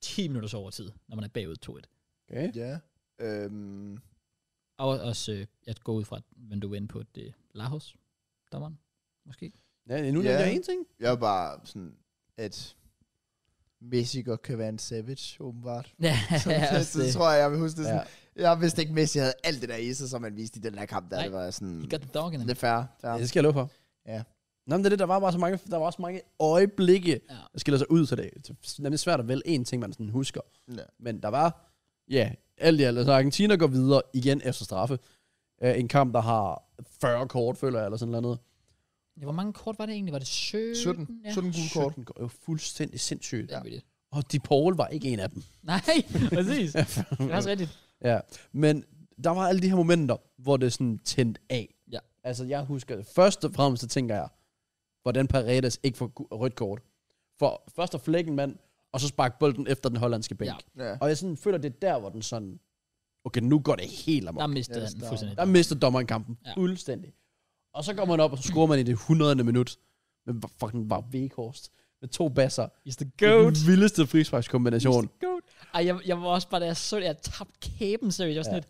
10 minutters overtid, når man er bagud 2-1. Okay. ja. Øhm, Og også, øh, jeg går ud fra, at man du ind på det Lahos, dommeren, måske. Ja, nu Ja. nævnte jeg én ting. jeg er bare sådan, at Messi godt kan være en savage, åbenbart. Ja, <laughs> Så, ja, også så det. tror jeg, jeg vil huske det sådan. Ja. Ja. Jeg vidste ikke, Messi havde alt det der i sig, som man viste i den der kamp, der Nej. det var sådan... He got the dog in him. Det er fair. fair. Ja, det skal jeg love for. Ja. Nå, men det er det, der var bare så mange, der var også mange øjeblikke, Ja. ja. der skiller sig ud, så det er nemlig svært at vælge én ting, man sådan husker. Ja. Men der var, ja, alt i alt. Altså, Argentina går videre igen efter straffe. Uh, en kamp, der har 40 kort, føler jeg, eller sådan noget. Ja, hvor mange kort var det egentlig? Var det 17? 17. Ja. 17 gule kort. Det går jo fuldstændig sindssygt. Ja. Ja. det. Og de Paul var ikke en af dem. Nej, <laughs> præcis. det er også rigtigt. Ja, men der var alle de her momenter, hvor det sådan tændt af. Ja. Altså, jeg husker, først og fremmest, så tænker jeg, hvordan Paredes ikke får gu- rødt kort. For først at flække en mand, og så sparke bolden efter den hollandske bænk. Ja. Ja. Og jeg sådan føler, det er der, hvor den sådan, okay, nu går det helt amok. Der mistede Ja, han der- fuldstændig. Der mister dommeren kampen Ja. ja. fuldstændig. Og så går man op, og så scorer man i det 100. minut. Men hvor fucking var Vekhorst med to basser. He's the Det er Den vildeste frisparkskombination. Goat. Ej, jeg, jeg var også bare, da jeg så det, jeg tabte kæben, så jeg var sådan Ja.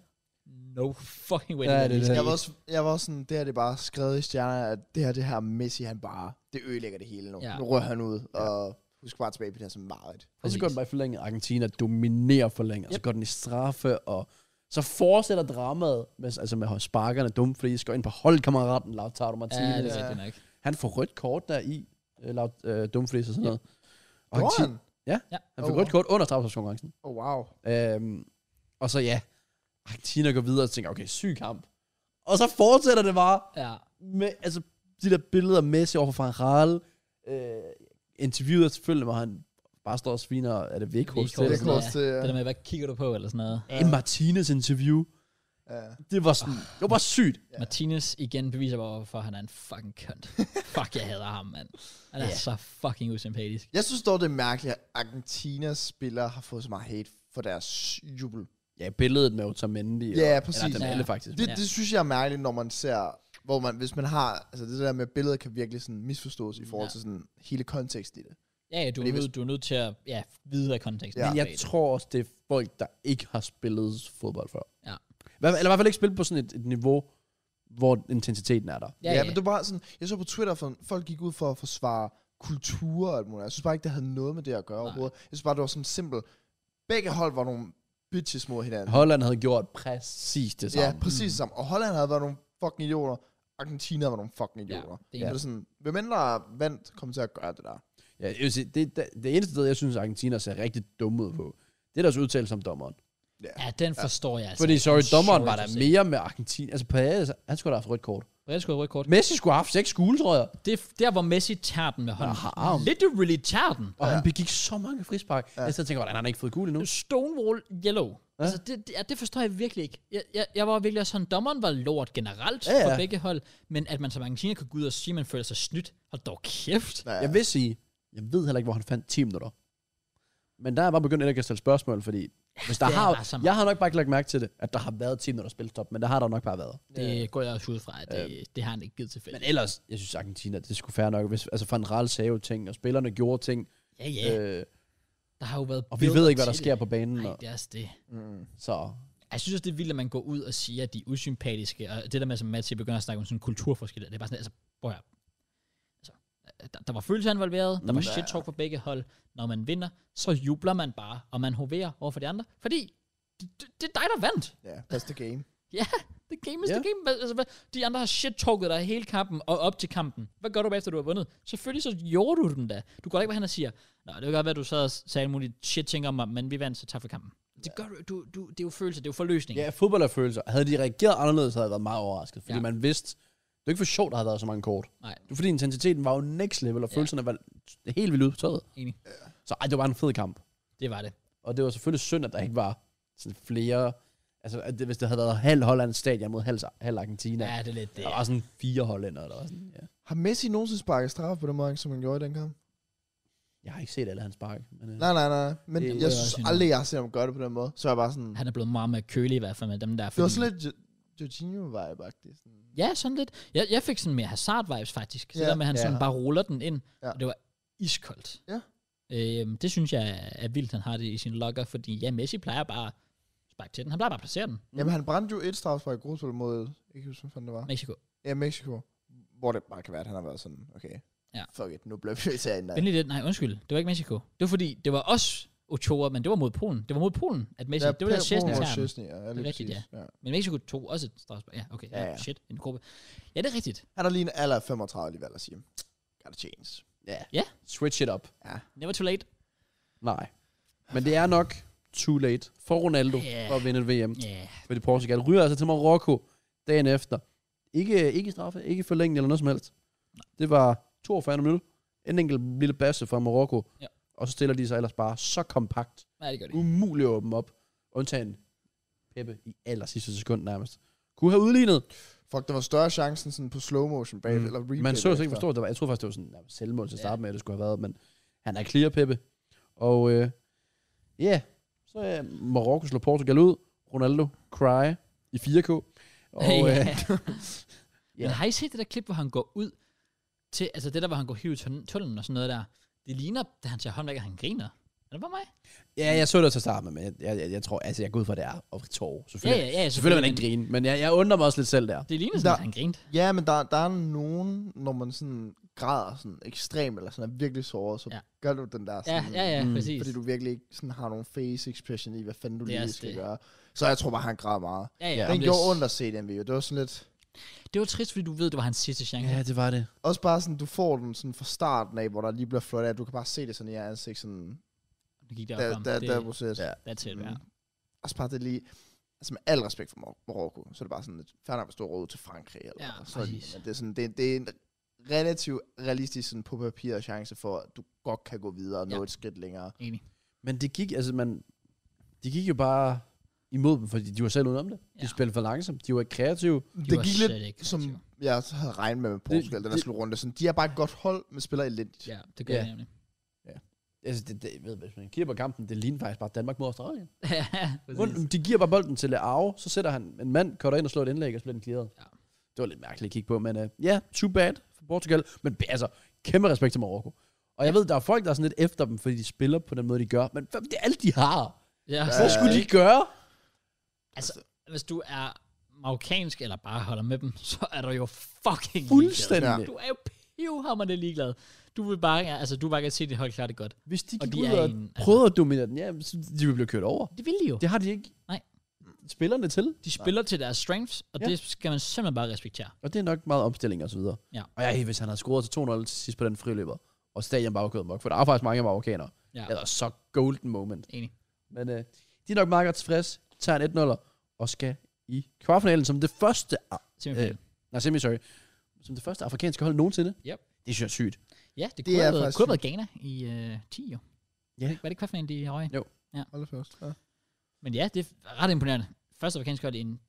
lidt, no fucking way. Ja, der det er lige det. skete. Jeg var, også, jeg var også sådan, det her det er bare skrevet i stjerner, at det her, det her Messi, han bare, det ødelægger det hele nu. Ja. Ja. Nu rører han ud, og husk bare tilbage på det her som meget. Og så Præcis. går den bare i forlænget. Argentina dominerer forlænget. Yep. Så Yep. går den i straffe, og så fortsætter dramaet, med, altså med sparkerne dumme, fordi I skal ind på holdkammeraten Lautaro Ja, Martinez. det er Ja, rigtigt nok. han får rødt kort der i øh, Laut, øh, dumfries og sådan noget. Og Gjorde Argentina- han? han får Oh, rødt kort under strafskonkurrencen. Oh, wow. Øhm, og så ja, Argentina går videre og tænker, okay, syg kamp. Og så fortsætter det bare Ja, med, altså, de der billeder af Messi over for Farrell. Øh, interviewet selvfølgelig, hvor han bare står og sviner, er det Vekhorst Vekhorst, til? eller sådan Det noget. kan noget, også til, det ja. der med, hvad kigger du på, eller sådan noget. En Martinez interview. ja. Det var sådan, det var bare sygt. Ja. Martinez igen beviser bare, hvorfor han er en fucking <laughs> kønt. Fuck, jeg hader ham, mand. Han er så fucking usympatisk. Jeg synes dog, det er mærkeligt, at Argentinas spillere har fået så meget hate for deres jubel. Ja, billedet med Otamendi. og- Ja, præcis. Eller den Ja. alle faktisk. Det, Ja. ja. det synes jeg er mærkeligt, når man ser, hvor man, hvis man har, altså det der med, at billeder kan virkelig sådan misforstås i forhold Ja. ja. til sådan hele konteksten i det. Ja, ja, du er, Fordi nødt, du er nødt til at ja, vide, hvad konteksten Ja. er. Men jeg bag det. tror også, det er folk, der ikke har spillet fodbold før. Ja. Hver, eller i hvert fald ikke spillet på sådan et, et niveau, hvor intensiteten er der. Ja, Ja, ja, ja, men det var bare sådan, jeg så på Twitter, for folk gik ud for at forsvare kultur og alt muligt. Jeg synes bare ikke, det havde noget med det at gøre Nej. overhovedet. Jeg synes bare, det var sådan simpelt. Begge hold var nogle bitches mod hinanden. Holland havde gjort præcis det samme. Ja, præcis Mm. det samme. Og Holland havde været nogle fucking idioter. Argentina var nogle fucking Ja, idioter. det Ja, er det er sådan, hvem end der vandt, kom til at gøre det der. Ja, jeg vil sige, det, det, det eneste sted, jeg synes, Argentina ser rigtig dumme ud på, det er deres udtalelse om dommeren. ja, den forstår jeg altså. Fordi, sorry, I'm dommeren sorry var to der say. mere med Argentina. Altså, Paredes, han skulle da have haft rødt kort. Brede skulle have rødt kort. Messi skulle have haft seks gule, tror jeg. Det er f- der, hvor Messi tager den med hånden. Og har arm. Literally tager den. Og ja. han begik så mange frispark. Ja. Jeg sidder og tænker, hvordan har han ikke fået gul endnu? Stonewall Yellow. Ja. Altså, det, det, ja, det forstår jeg virkelig ikke. Jeg, jeg, jeg var virkelig også sådan, dommeren var lort generelt ja, Ja, ja. ja. for begge hold, men at man som argentiner kunne gå ud og sige, at man føler sig snydt, og dog kæft. Ja, Jeg vil sige, jeg ved heller ikke, hvor han fandt 10 minutter. Men der er jeg bare begyndt ikke at stille spørgsmål, fordi hvis der det er har, bare så meget. jeg har nok bare ikke lagt mærke til det, at der har været 10 minutter spilstop, men der har der nok bare været. Det går jeg også ud fra, at det, det har han ikke givet til fælles. Men ellers, jeg synes Argentina, det skulle fair nok. Hvis, altså Van Raal sagde jo ting, og spillerne gjorde ting, Ja, ja. Øh, ja. øh, der har jo været og vi ved ikke, hvad der sker på banen. Nej, Og, det er også det. så Jeg synes også, det er vildt, at man går ud og siger, at de er usympatiske, og det der med, som Mads siger, begynder at snakke om sådan kulturforskelle, det er bare sådan, altså, prøv at høre. altså, der, der var følelser involveret, Mm. der var shit talk for begge hold. Når man vinder, så jubler man bare, og man hoverer over for de andre, fordi det, det, det er dig, der vandt. Ja, that's the game. Ja, the game is Ja. the game. Hvad- Altså, hvad, de andre har shit-talket dig hele kampen og op til kampen. Hvad gør du bagefter, du har vundet? Selvfølgelig så gjorde du den da. Du går da ikke, hvad han siger. Nå, det kan godt være, at du sad og sagde alle mulige shit-ting om mig, men vi vandt, så tak for kampen. Det gør du, du, du, det er jo følelser, det er jo forløsning. ja, fodbold er følelser. Havde de reageret anderledes, havde jeg været meget overrasket, fordi Ja. ja. man vidste, det er ikke for sjovt, der har været så mange kort. Nej, Det er fordi intensiteten var jo next level, og følelserne var helt vildt udtaget. Enig. Så ej, det var en fed kamp. det var det. Og det var selvfølgelig synd, at der ikke var sådan flere... Altså, at det, hvis det havde været halv Hollands stadion mod halv, halv Argentina. Ja, Ja, det er lidt det. der var sådan fire hollænder, der var sådan, ja. Har Messi nogensinde sparket straffe på den måde, som han gjorde i den kamp? Jeg har ikke set alle hans spark. Men, øh, Nej, nej, nej. Det- Men det, det er jeg også synes en- aldrig, jeg har set ham gøre det på den måde. Så er jeg bare sådan... Han er blevet meget mere kølig i hvert fald med dem der. Det var fordi- sådan lidt Jo- Jorginho-vibe, faktisk. Sådan- Ja, sådan lidt. Jeg, jeg fik sådan mere Hazard-vibes faktisk. Så Ja. der med, at han Ja. sådan bare ruller den ind, Ja. og det var iskoldt. Ja. Øhm, det synes jeg er vildt, han har det i sin logger, fordi ja, Messi plejer bare at sparke til den. Han plejer bare at placere den. Jamen, han brændte jo et straffespark i Grosvold mod... Jeg kan ikke huske, hvad fanden det var. Mexico. Ja, Mexico. Hvor det bare kan være, at han har været sådan... Okay, Ja. fuck it, nu bliver vi nødt til at ændre. Vent lige lidt. Nej, undskyld. Det var ikke Mexico. Det var fordi, det var os Ochoa, men det var mod Polen. Det var mod Polen, at Messi... det var der Chesney term Chesney, ja, Det lige er rigtigt, præcis. Ja. Men Mexico tog også et straffespark. Ja, okay. Ja, Ja, ja. ja. Shit, en gruppe. Ja, det er rigtigt. Han er lige en alder af 35 alligevel at sige. Got a chance. switch it up. Never too late. Nej. Men det er nok too late for Ronaldo Ja. yeah. for at vinde et VM. Ja, yeah. Fordi Portugal ryger altså til Marokko dagen efter. Ikke, ikke straffe, ikke forlænget eller noget som helst. Det var 42 minutter. En enkelt lille basse fra Marokko. Ja. Og så stiller de sig ellers bare så kompakt. nej, det gør det. ikke. Umuligt at åbne op. Undtagen Peppe i aller sidste sekund nærmest. Kunne have udlignet. Fuck, der var større chancen sådan på slow motion bag, mm. eller replay. Man så altså ikke bagefter. forstå, at det var, jeg troede faktisk, det var sådan nærmest selvmål til at Ja. starte med, at det skulle have været, men han er clear, Peppe. Og øh, ja, yeah. så øh, Marokko slår Portugal ud, Ronaldo cry i 4K. Og, ja. <laughs> øh, Men har I set det der klip, hvor han går ud til, altså det der, hvor han går hivet i tunnel- tunnelen og sådan noget der, det ligner, da han tager håndværk, at han griner. Er det bare mig? ja, jeg så det til at starte med, men jeg, jeg, jeg, jeg tror, altså jeg går ud fra, at det er op i tår. Ja, Selvfølgelig, ja, ja. selvfølgelig vil man ikke grine, men jeg, jeg undrer mig også lidt selv der. Det ligner sådan, Der- at han grinte. Ja, men der, der er nogen, når man sådan græder sådan ekstremt, eller sådan er virkelig såret, så Ja. ja. gør du den der Ja, sådan, ja, ja, Mm. præcis. fordi du virkelig ikke sådan har nogen face expression i, hvad fanden du Det er lige også skal det. det. gøre. Så jeg tror bare, han græd meget. Ja, ja. Ja. Ja, om den lidt. gjorde ondt at se den video. Det var sådan lidt... Det var trist, fordi du ved, det var hans sidste chance. Ja, det var det. Også bare sådan, du får den sådan fra starten af, hvor der lige bliver flot af. Du kan bare se det sådan i jeres ansigt, sådan... Det gik der Da, op da, da, det, proces. Ja. That's it, Mm. ja. Også bare det lige... Altså med al respekt for Mar- Marokko, så er det bare sådan lidt færdigt at stå råd til Frankrig. Eller Ja, sådan, præcis. men det er, sådan, det, det er en relativt realistisk sådan på papiret chance for, at du godt kan gå videre og nå Ja. ja. et skridt længere. Enig. Men det gik, altså man, de gik jo bare imod dem, fordi de var selv udenom det. De Ja. spillede for langsomt, de var ikke kreative. De det var gik slet ikke lidt, som kreative. jeg havde regnet med med Portugal, den der det- slutrunde. Sådan, de er bare et godt hold, men spiller elendigt. Ja, det gør Ja. jeg nemlig. <laughs> Altså, det, det, ved, hvis man kigger på kampen, det ligner faktisk bare Danmark mod Australien. Ja, præcis. Rundt, de giver bare bolden til Leao, så sætter han en mand, cutter ind og slår et indlæg, og så bliver den clearet. Ja. Ja. Det var lidt mærkeligt at kigge på, men øh, ja, too bad for Portugal. Men altså, kæmpe respekt til Marokko. Og jeg ved, der er folk, der er sådan lidt efter dem, fordi de spiller på den måde, de gør. Men hvad, det er alt, de har. ja. altså. Hvad skulle de gøre? Hvis du er marokkansk, eller bare holder med dem, <laughs> så er du jo fucking ligeglad. Fuldstændig. Du er jo pivhammerende ligeglad. Du vil bare, altså du vil bare gerne se, at det hold klarer det godt. Hvis de Og gik de ud er og i en- altså- prøvede at dominere den, ja, så de ville blive kørt over. Det vil de jo. Det har de ikke Nej. spillerne til. De spiller til deres strengths, og ja. Ja. det skal man simpelthen bare respektere. Og det er nok meget omstilling og så videre. Ja. Og ja, hvis han havde scoret til 2-0 til sidst på den friløber, og stadion bare var gået mok, for der er faktisk mange marokkanere. Ja. Eller så golden moment. Enig. Men øh, de er nok meget godt tilfredse, tager en 1 og skal i kvartfinalen som det første, af- Simpelthen. nej, semi, sorry, som det første afrikanske hold nogensinde. Yep. Det synes jeg er sygt. ja, det, det kunne, er have været, faktisk kunne have været Ghana i øh, 10 jo. Ja. Var det ikke kvartfinalen, de røg? Hold da fast. Ja. Men ja, det er ret imponerende. Første afrikansk hold i en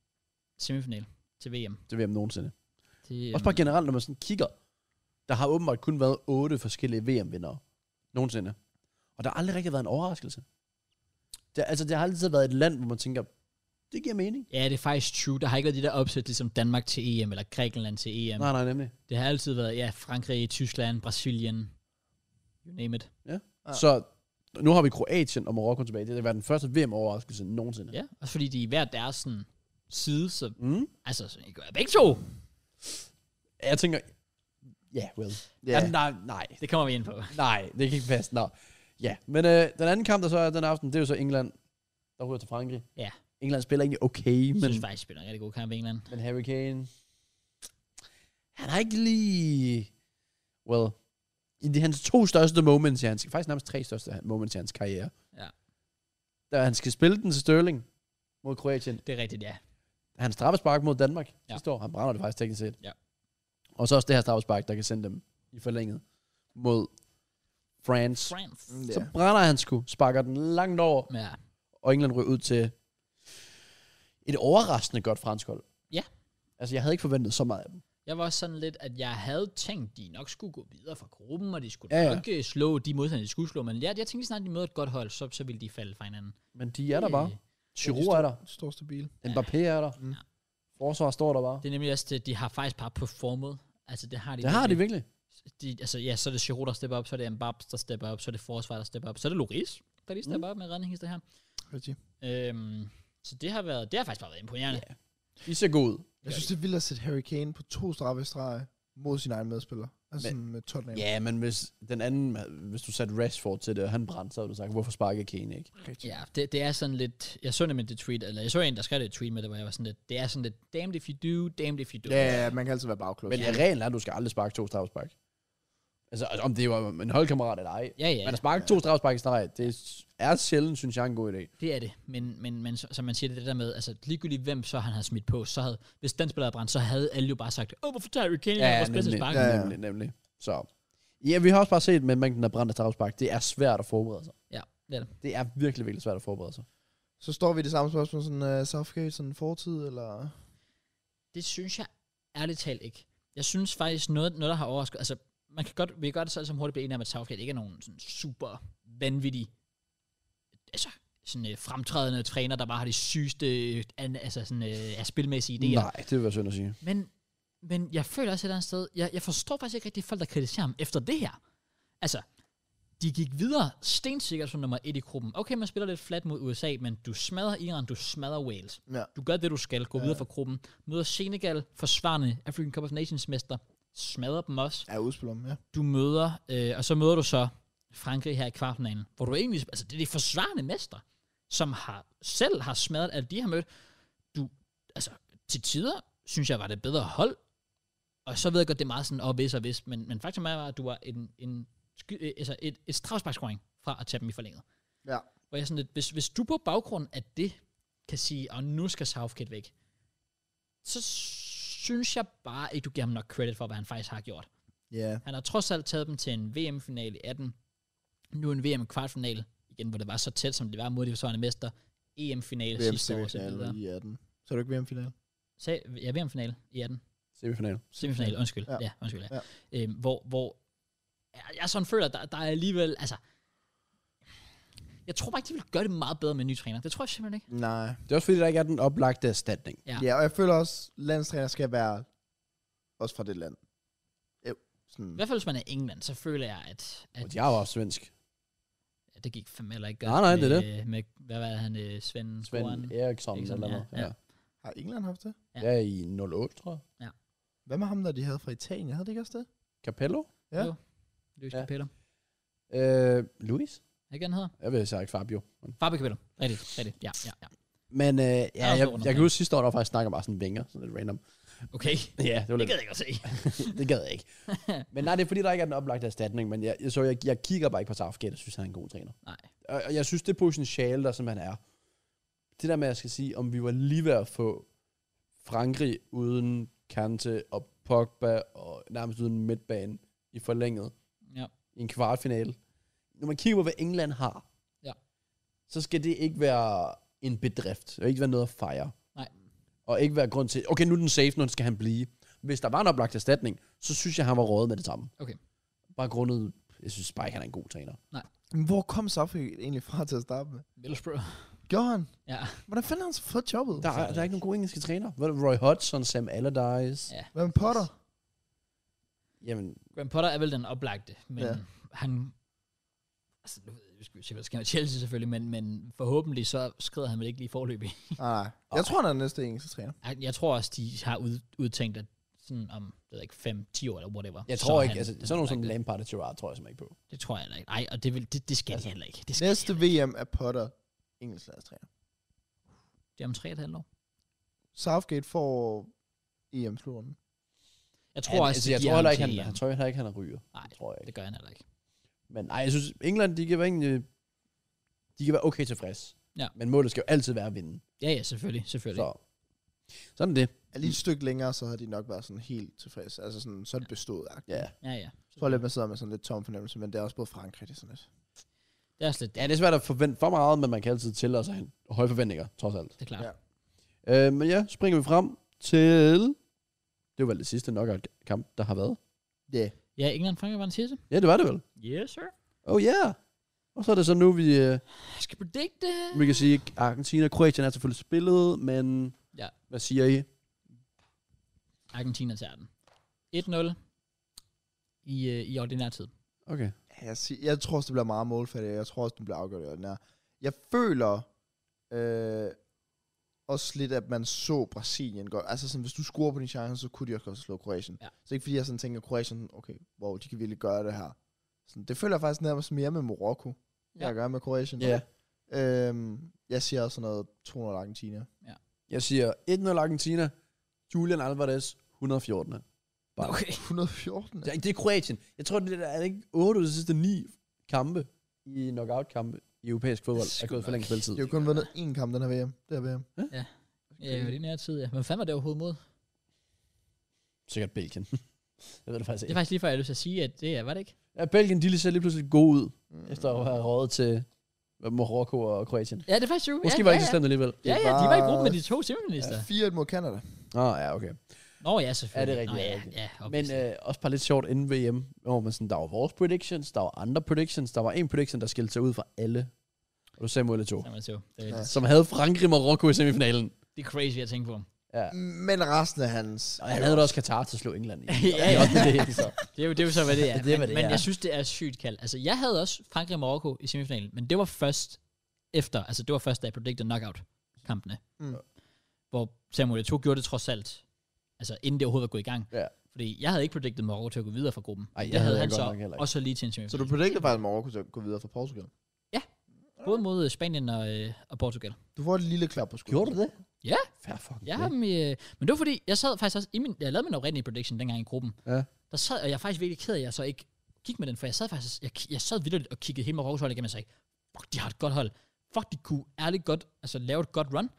semifinal til VM. Det vil jeg nogensinde. Det, øh, Også bare generelt, når man sådan kigger, der har åbenbart kun været otte forskellige VM-vindere. Nogensinde. Og der har aldrig rigtig været en overraskelse. Det, altså, det har altid været et land, hvor man tænker, det giver mening. Ja, det er faktisk true. Der har ikke været de der opsæt, ligesom Danmark til EM, eller Grækenland til EM. Nej, nej, nemlig. Det har altid været, ja, Frankrig, Tyskland, Brasilien, you name it. Ja. Så nu har vi Kroatien og Marokko tilbage. Det har været den første VM-overraskelse nogensinde. Ja, også fordi de er hver deres sådan, side, så Mm. altså, så I gør begge to. Jeg tænker, ja, yeah, well. Ja. Ja, nej, nej, Det kommer vi ind på. nej, det kan ikke passe. Nå. Ja, men øh, den anden kamp, der så er den aften, det er jo så England, der ryger til Frankrig. Ja. England spiller egentlig okay, Jeg synes men, faktisk, de spiller en rigtig god kamp i England. men Harry Kane, han har ikke lige, well, i de hans to største moments i hans, faktisk nærmest tre største moments i hans karriere. Ja. Da han skal spille den til Sterling mod Kroatien, Det er rigtigt, ja. han straffespark mod Danmark Ja. ja. sidste år. Han brænder det faktisk teknisk set. Ja. Og så også det her straffespark, der kan sende dem i forlænget mod France. France. Mm, Så Ja. brænder han sgu, sparker den langt over, Ja. og England ryger ud til et overraskende godt fransk hold. Ja. Altså, jeg havde ikke forventet så meget af dem. Jeg var også sådan lidt, at jeg havde tænkt, de nok skulle gå videre fra gruppen, og de skulle Ja, ja, ja. ja. nok øh, slå de modstandere, de skulle slå. Men jeg, jeg tænkte, lige snart de møder et godt hold, så, så ville de falde fra hinanden. Men de er der bare. Øh, Giroud er der. Står stabil. Mbappé er der. Mm. Forsvar står der bare. Det er nemlig også det, de har faktisk bare performet. Altså, det har de Det har de virkelig. de, altså, ja, så er det Giroud, der stepper op, så er det Mbappé, der stepper op, så er det Forsvar, der stepper op, så er det Loris, der lige stepper mm. op med redning det her. Rigtig. Øhm, så det har, været, det har faktisk bare været imponerende. Yeah. De ser gode ud. Jeg synes, det er vildt at sætte Harry Kane på to straffe i streg mod sin egen medspiller. Altså Men- Men, med Tottenham. Ja, men hvis den anden, hvis du satte Rashford til det, og han brændte, så havde du sagt, hvorfor sparker Kane ikke? Rigtig. Ja, det, det, er sådan lidt... Jeg så nemlig det tweet, eller jeg så en, der skrev det i et tweet med det, hvor jeg var sådan lidt... Det er sådan lidt, damned if you do, damned if you do. Ja, ja, man kan altid være bagklog. Men ja, reglen er, at du skal aldrig sparke to straffespark. Altså, om det var en holdkammerat eller ej. Ja, ja, Men at sparke to straffespark i streg, det er sjældent, synes jeg, en god idé. det er det. Men, men, men så- som man siger det, er det der med, altså ligegyldigt hvem så han havde smidt på, så havde, hvis den spiller havde brændt, så havde alle jo bare sagt, åh, hvorfor tager Harry Kane? Ja, vores bedste spark. ja, Ja. Ja, ja. ja. nemlig, nemlig. Så. Ja, vi har også bare set med mængden af brændte straffespark. Det er svært at forberede sig. ja, det er det. Det er virkelig, virkelig svært at forberede sig. Så står vi i det samme spørgsmål, sådan uh, Southgate, sådan fortid, eller... Det synes jeg ærligt talt ikke. Jeg synes faktisk noget, noget der har overrasket, altså man kan godt, vi kan godt selv som hurtigt blive enige om, at Southgate ikke er nogen sådan super vanvittig, altså sådan øh, fremtrædende træner, der bare har de sygeste øh, an, altså sådan, øh, er spilmæssige idéer. Nej, det vil være synd at sige. Men, men jeg føler også et eller andet sted, jeg, jeg forstår faktisk ikke rigtig folk, der kritiserer ham efter det her. Altså, de gik videre stensikkert som nummer et i gruppen. Okay, man spiller lidt flat mod USA, men du smadrer Iran, du smadrer Wales. Ja. Du gør det, du skal. Gå videre fra gruppen. Møder Senegal, forsvarende African Cup of Nations mester. Smadrer dem også Ja, udspiller dem, ja. du møder, øh, og så møder du så Frankrig her i kvartfinalen, hvor du egentlig, altså det er de forsvarende mester, som har, selv har smadret alt de har mødt. Du, altså til tider, synes jeg, var det bedre hold, og så ved jeg godt, det er meget sådan, og hvis og hvis, men, men faktisk var, at du var en, en sky, øh, altså et, et strafsparkscoring fra at tage dem i forlænget. Ja. Hvor jeg sådan lidt, hvis, hvis du på baggrund af det, kan sige, og nu skal Southgate væk, så synes jeg bare ikke, du giver ham nok credit for, hvad han faktisk har gjort. Ja. Han har trods alt taget dem til en VM-final i 18. Nu en VM-kvartfinal, igen, hvor det var så tæt, som det var mod de forsvarende mester. EM-finale VM sidste år, og så videre. semifinal i 18. Så er du ikke VM-final? Så, ja, VM-finale i 18. Semifinal. Semifinal, undskyld. Ja. Ja, ja undskyld. Ja. Ja. Øhm, hvor, hvor jeg- jeg sådan føler, at der, der er alligevel, altså, jeg tror bare ikke, de vil gøre det meget bedre med en ny træner. Det tror jeg simpelthen ikke. Nej. Det er også fordi, der ikke er den oplagte erstatning. Ja. Ja. ja, og jeg føler også, landstræner skal være også fra det land. Jo, sådan. I hvert fald, hvis man er England, så føler jeg, at, Og at de har jo også svensk. ja, det gik fandme heller ikke Nej, godt. nej, det er med, det. Med, hvad var han, øh, Svend? Svend Goran? Eriksson Eriksson, eller ja, noget. Ja, ja. ja. Har England haft det? Ja. ja i 08, tror jeg. Hvad med ham, der de havde fra Italien? Havde det ikke også det? Capello? Ja. Jo. Luis Ja. ja. Capello. Øh, Luis? Er det ikke, han hedder? Jeg ved så ikke Fabio. Fabio Capello. Rigtigt, rigtigt. Ja, ja, ja. Men øh, ja, er også jeg, nogen jeg kan omkring. huske sidste år, der var faktisk snakker bare sådan vinger, sådan lidt random. Okay. Ja, det var Det lidt gad jeg ikke at se. det gad jeg ikke. Men nej, det er fordi, der ikke er den oplagte erstatning, men jeg, jeg, så jeg, jeg kigger bare ikke på Southgate, og synes, han er en god træner. Nej. Og, og jeg synes, det potentiale, der simpelthen er, det der med, at jeg skal sige, om vi var lige ved at få Frankrig uden Kante og Pogba, og nærmest uden midtbanen i forlænget Ja. i en kvartfinale. Når man kigger på, hvad England har, Ja. så skal det ikke være en bedrift. Det skal ikke være noget at fejre. Nej. Og ikke være grund til, okay, nu er den safe, nu skal han blive. Hvis der var en oplagt erstatning, så synes jeg, han var rådet med det samme. Okay. Bare grundet, jeg synes bare ikke, han er en god træner. Men hvor kom Southgate egentlig fra til at starte med? Middlesbrough. Gjorde han? Ja. Hvordan fanden har han så fået jobbet? Der er, der er ikke nogen gode engelske træner. Hvad er det, Roy Hodgson, Sam Allardyce. Ja. Hvad med Potter? Jamen, Graham Potter er vel den oplagte, men Ja. ja. han... Altså, nu ved jeg, vi skal jo se, hvad der sker med Chelsea selvfølgelig, men, men forhåbentlig så skrider han vel ikke lige forløbig. <laughs> Nej, nej. Jeg tror, han er den næste engelske træner. Jeg- Jeg tror også, de har ud, udtænkt, at sådan om, jeg ved ikke, 5-10 år eller whatever. jeg så tror er ikke, han altså, den sådan nogen som oplagte. Lampard og Gerrard tror jeg simpelthen ikke på. Det tror jeg heller ikke. Nej, og det, vil, det, det skal altså, Altså, de heller ikke. Det skal Næste VM er Potter, engelsk landstræner. Det er om 3,5 år. Southgate får EM-slutten. Jeg tror Han, også, altså, jeg de tror giver heller ham til ikke, han, han EM. tror heller ikke, han er ryger. Nej, tror jeg ikke. det gør han heller ikke. Men nej, jeg synes, England, de kan være, egentlig, de kan være okay tilfreds. Ja. Men målet skal jo altid være at vinde. Ja, ja, selvfølgelig. selvfølgelig. Så. Sådan er det. Er lige et stykke længere, så havde de nok været sådan helt tilfredse. Altså sådan, så er det bestået. Ja. Ja. Ja, ja. Jeg tror lidt, man sidder med sådan lidt tom fornemmelse, men det er også både Frankrig, det er sådan lidt. Det er også lidt ja, det er svært at forvente for meget, men man kan altid tillade sig en høje forventninger, trods alt. Det er klart. Ja. Ja. Øh, men ja, springer vi frem til... Det var vel det sidste knockout-kamp, der har været. Yeah. Ja, England Frankrig var den sidste. Ja, det var det vel. Yes, sir. Oh yeah! Og så er det så nu, vi, øh, Jeg skal predikte. vi kan sige, at Argentina og Kroatien er selvfølgelig spillet, men Ja. hvad siger I? Argentina tager den. 1-0 i, øh, i ordinær tid. Okay. Jeg, sig, jeg tror også, det bliver meget målfattigt. Jeg tror også, den bliver afgjort i den her. Jeg føler øh, også lidt, at man så Brasilien godt. Altså sådan, hvis du scorer på din chance, så kunne de også godt slå Kroatien. Ja. Så ikke fordi jeg sådan tænker, Kroatien, okay, wow, de kan virkelig gøre det her. Sådan, det føler jeg faktisk nærmest mere med Marokko, ja. Ja. jeg gør med Kroatien. Ja. Øhm, jeg siger også sådan noget 200 Argentina. Jeg siger 1-0 Argentina, Julian Alvarez, 114. Bare- Okay. 114? Det er, det er Kroatien. Jeg tror, det er, er det ikke 8 ud af de sidste 9 kampe i knockout-kampe i europæisk fodbold, Det er er gået sgu for længe nok. spilletid. De har jo kun vundet én kamp, den her VM. Det her VM. Ja, i Øh, ordinær tid, ja. Men fanden var det overhovedet mod? Sikkert Belgien. jeg ved det faktisk Det er ikke. faktisk lige før, jeg har lyst til at sige, at det er, var det ikke? Ja, Belgien, de ser lige pludselig gode ud, Mm. efter at have rådet til Marokko og Kroatien. Ja, det er faktisk jo. Måske ja, var det ja, ikke så ja. slemt alligevel. Ja, ja, de var i gruppen med de to semifinalister. 4-1 mod Canada. Åh, oh, ja, okay. Nå ja, selvfølgelig. Ja, det er rigtigt, Nå, det er ja, rigtigt. ja, Men obviously. øh, også bare lidt sjovt inden VM, hvor man sådan, der var vores predictions, der var andre predictions, der var en prediction, der skilte sig ud fra alle. Og du sagde mod alle to. Så man så. Det, er, Ja. Som havde Frankrig og Marokko i semifinalen. det er crazy at tænke på. Ja. Men resten af hans... Og han havde da også Katar til at slå England i. ja, I ja. ottendedelen, så. Det er, jo, det er jo så, hvad det er. <laughs> Det er, hvad men, det men er. jeg synes, det er sygt kald. Altså, jeg havde også Frankrig og Marokko i semifinalen, men det var først efter, altså det var først, da jeg predicted knockout-kampene. Mm. Hvor Samuel Eto'o gjorde det trods alt, altså inden det overhovedet var gået i gang. Ja. Fordi jeg havde ikke predicted Marokko til at gå videre fra gruppen. Ej, jeg det havde havde jeg han godt så nok heller ikke. også lige til en Så du semifinal. predicted faktisk, at Marokko til at gå videre fra Portugal? Både mod øh, Spanien og, øh, og Portugal. Du får et lille klap på skulderen. Gjorde du det? Ja. Fair fucking Jeg play. har dem i, øh, men det var fordi, jeg sad faktisk også, i min, jeg lavede min oprindelige prediction dengang i gruppen. Ja. Der sad, og jeg er faktisk virkelig ked af, at jeg så ikke gik med den, for jeg sad faktisk, jeg, ki- jeg sad vildt og kiggede hele Marokkos hold igennem, og sagde, fuck, de har et godt hold. Fuck, de kunne ærligt godt, altså lave et godt run.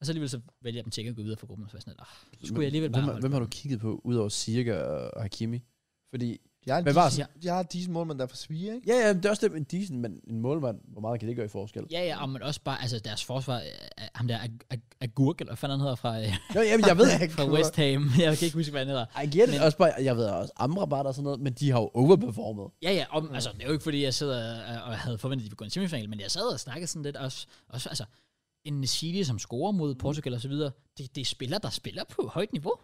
Og så alligevel så vælger jeg dem til ikke at gå videre fra gruppen, og så var jeg sådan, lidt, ah, så skulle jeg alligevel bare Hvem, har- holde. hvem har du kigget på, udover Sirka og Hakimi? Fordi, De har en Hvad var decent- De har disse målmand, der er for Svige, ikke? ja, ja, det er også det, en decent, men en målmand, hvor meget kan det gøre i forskel? Ja, ja, og men også bare, altså deres forsvar, øh, ham der Ag- Ag- Agurk, eller hvad fanden han hedder fra, <laughs> øh, Jo, jamen, <laughs> jeg ved ikke. fra West Ham, jeg kan ikke huske, hvad han hedder. I get it. Men- Også bare, jeg ved også Amrabat og sådan noget, men de har jo overperformet. Ja, ja, om, altså, det er jo ikke, fordi jeg sidder og, og havde forventet, at de ville gå i en semifinal, men jeg sad og snakkede sådan lidt også, også altså, en Nesili, som scorer Mm. mod Portugal og så videre, det, det er spillere, der spiller på højt niveau.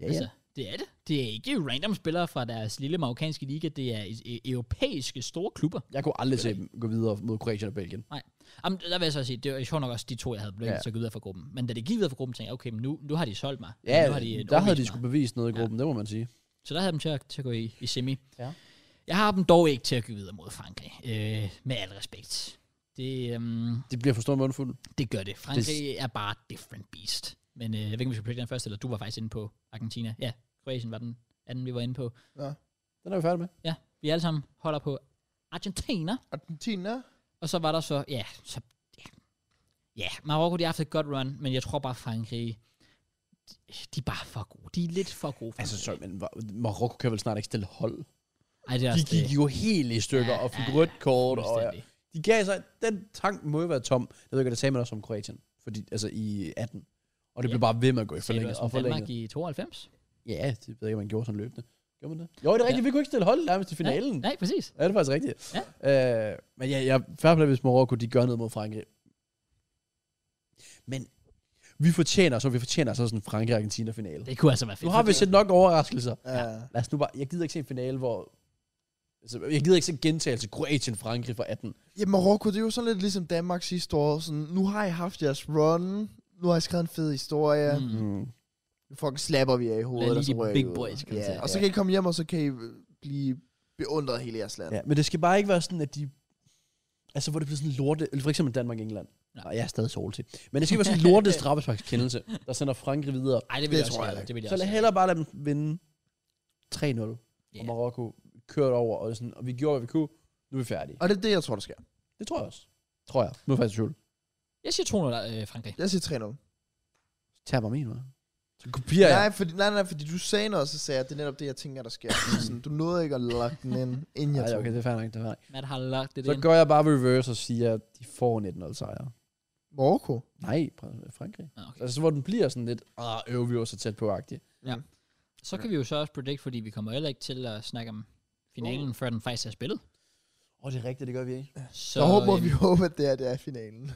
Ja, ja. Altså, det er det. Det er ikke random spillere fra deres lille marokkanske liga, det er e- e- europæiske store klubber. Jeg kunne aldrig se dem gå videre mod Kroatien og Belgien. Jamen, der vil jeg så sige, det var sjovt nok også de to, jeg havde blevet Ja. ja. så gik videre fra gruppen. Men da det gik videre fra gruppen, tænkte jeg, okay, men nu, nu har de solgt mig. Ja, nu har de øh, der havde overbevist de mig. skulle bevise noget i gruppen, ja. det må man sige. Så der havde jeg dem til at, til at gå i, i semi. Ja. Jeg har dem dog ikke til at gå videre mod Frankrig, øh, med al respekt. Det, øhm, Det bliver for stor mundfuld. Det gør det. Frankrig det... er bare et different beast. Men øh, jeg ved ikke, om vi skal prøve den først, eller du var faktisk inde på Argentina. Ja, Kroatien var den anden, vi var inde på. Den er vi færdige med. Ja, vi alle sammen holder på Argentina. Argentina. Og så var der så, ja, så, ja. ja Marokko, de har haft et godt run, men jeg tror bare, Frankrig, de, de er bare for gode. De er lidt for gode. Frankrig. Altså, sorry, men Mar- Marokko kan vel snart ikke stille hold. Ej, det er De også gik det. jo helt i stykker Ja, og fik ja, rødt kort. Og, Fuldstændig. de gav sig, den tank må jo være tom. Jeg ved ikke, det sagde man også om Kroatien, fordi, altså i 18. Og det Ja. blev bare ved med at gå i Sagde du forlænget også og om Danmark forlænget. i 92? Ja, det ved jeg ikke, om man gjorde sådan løbende. Gjorde man det? Jo, det er rigtigt, ja. vi kunne ikke stille hold nærmest i finalen. Nej, nej præcis. Ja, det er faktisk rigtigt. Ja. Øh, men ja, jeg er play, hvis Marokko, de gør noget mod Frankrig. Men vi fortjener så, vi fortjener så sådan en Frankrig-Argentina-finale. Det kunne altså være fedt. Nu har vi fordi- set nok overraskelser. Ja. Lad os nu bare, jeg gider ikke se en finale, hvor... Altså, jeg gider ikke se en gentagelse Kroatien-Frankrig fra 18. ja, Marokko, det er jo sådan lidt ligesom Danmark sidste år. Sådan, nu har I haft jeres run. Nu har I skrevet en fed historie. Mm. Mm. Mm. Nu fucking slapper vi jer i hovedet, Lad og så lige de rører big I ud. boys komme til. ja. Og så Ja. kan I komme hjem, og så kan I øh, blive beundret hele jeres land. Ja, men det skal bare ikke være sådan, at de... Altså, hvor det bliver sådan en lorte... Eller for eksempel Danmark-England. Nej. Nej, jeg er stadig sol til. Men det skal være sådan en lorte straffesparkskendelse, der sender Frankrig videre. Ej, det vil Det jeg også tror jeg gøre. ikke. Det vil jeg Så også lad gøre. hellere bare lade dem vinde 3-0. Ja. Og Marokko kørte over, og, sådan, og vi gjorde, hvad vi kunne. Nu er vi færdige. Og det er det, jeg tror, der sker. Det tror jeg også. Tror jeg. Nu er jeg faktisk i tvivl. Jeg siger 200 øh, Frankrig. Jeg siger 3-0. Tag bare min, hva'? Så kopierer jeg. Nej, fordi, nej, nej, fordi du sagde noget, og så sagde jeg, det er netop det, jeg tænker, der <clears throat> sker. Så sådan, du nåede ikke at lokke den ind, inden jeg Ej, tog okay, den. det er fair nok, det er fair nok. Matt har lagt det Så ind. gør jeg bare reverse og siger, at de får 19-0 sejre. Marokko? Nej, fra- Frankrig. Nå, Ah, okay. Altså, hvor den bliver sådan lidt, ah, øver vi var så tæt på, agtig. Så kan vi jo så også predict, fordi vi kommer heller ikke til at snakke om finalen, før den faktisk er spillet. Åh, oh, det er rigtigt, det gør vi ikke. Så Så jeg håber, øhm, vi håber, at det er, det er finalen.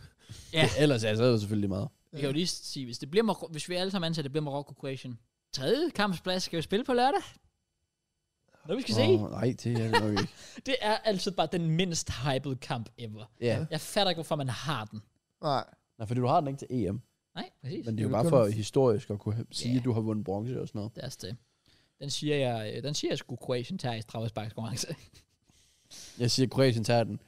Ja. Ja. Ellers altså, er det jo selvfølgelig lige meget. Vi kan jo lige sige, hvis, det bliver Marokko, hvis vi alle sammen anser, at det bliver Marokko-Kroatien. Tredje kampsplads skal jo spille på lørdag. Nå, vi skal se. Åh, nej, det er det nok ikke. Det er altid bare den mindst hypede kamp ever. ja. Jeg fatter ikke, hvorfor man har den. Nej. Nej, fordi du har den ikke til EM. Nej, præcis. Men det er jo Det er bare kun- for historisk at kunne ha- sige, Ja. at du har vundet bronze og sådan noget. Det er også det. Den siger jeg, øh, den siger jeg sgu, Kroatien tager i straffesparkskonkurrence. Jeg siger, at Kroatien tager den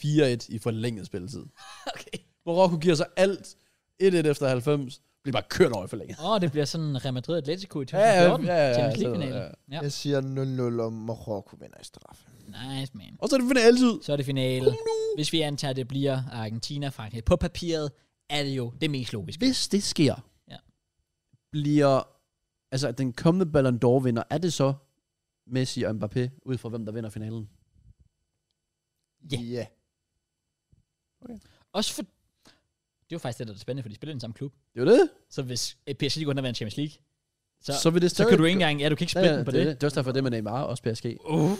4-1 i forlænget spilletid. <laughs> okay. Marokko giver sig alt 1-1 efter 90, bliver bare kørt over i forlænget. Åh, oh, det bliver sådan Real Madrid Atletico i Ja, ja, 2014. ja, ja, ja, Champions sådan League-finale. noget, Ja, ja. Jeg siger 0-0, og Marokko vinder i straffe. Nice, man. Og så er det finaletid. Så er det finale. Hvis vi antager, at det bliver Argentina Frankrig på papiret, er det jo det mest logiske. Hvis det sker, Ja. bliver altså den kommende Ballon d'Or vinder, er det så Messi og Mbappé, ud fra hvem der vinder finalen? Ja. Ja. Også for... Det var faktisk det, der er spændende, for de spiller i den samme klub. Det er jo det. Så hvis eh, PSG går ind og vinder Champions League, så, Så, så, så vil det så stadig... kan du ikke engang... Ja, du kan ikke spille ja, den på det, det. er det. Det er også derfor, det med Neymar og også PSG. Uh.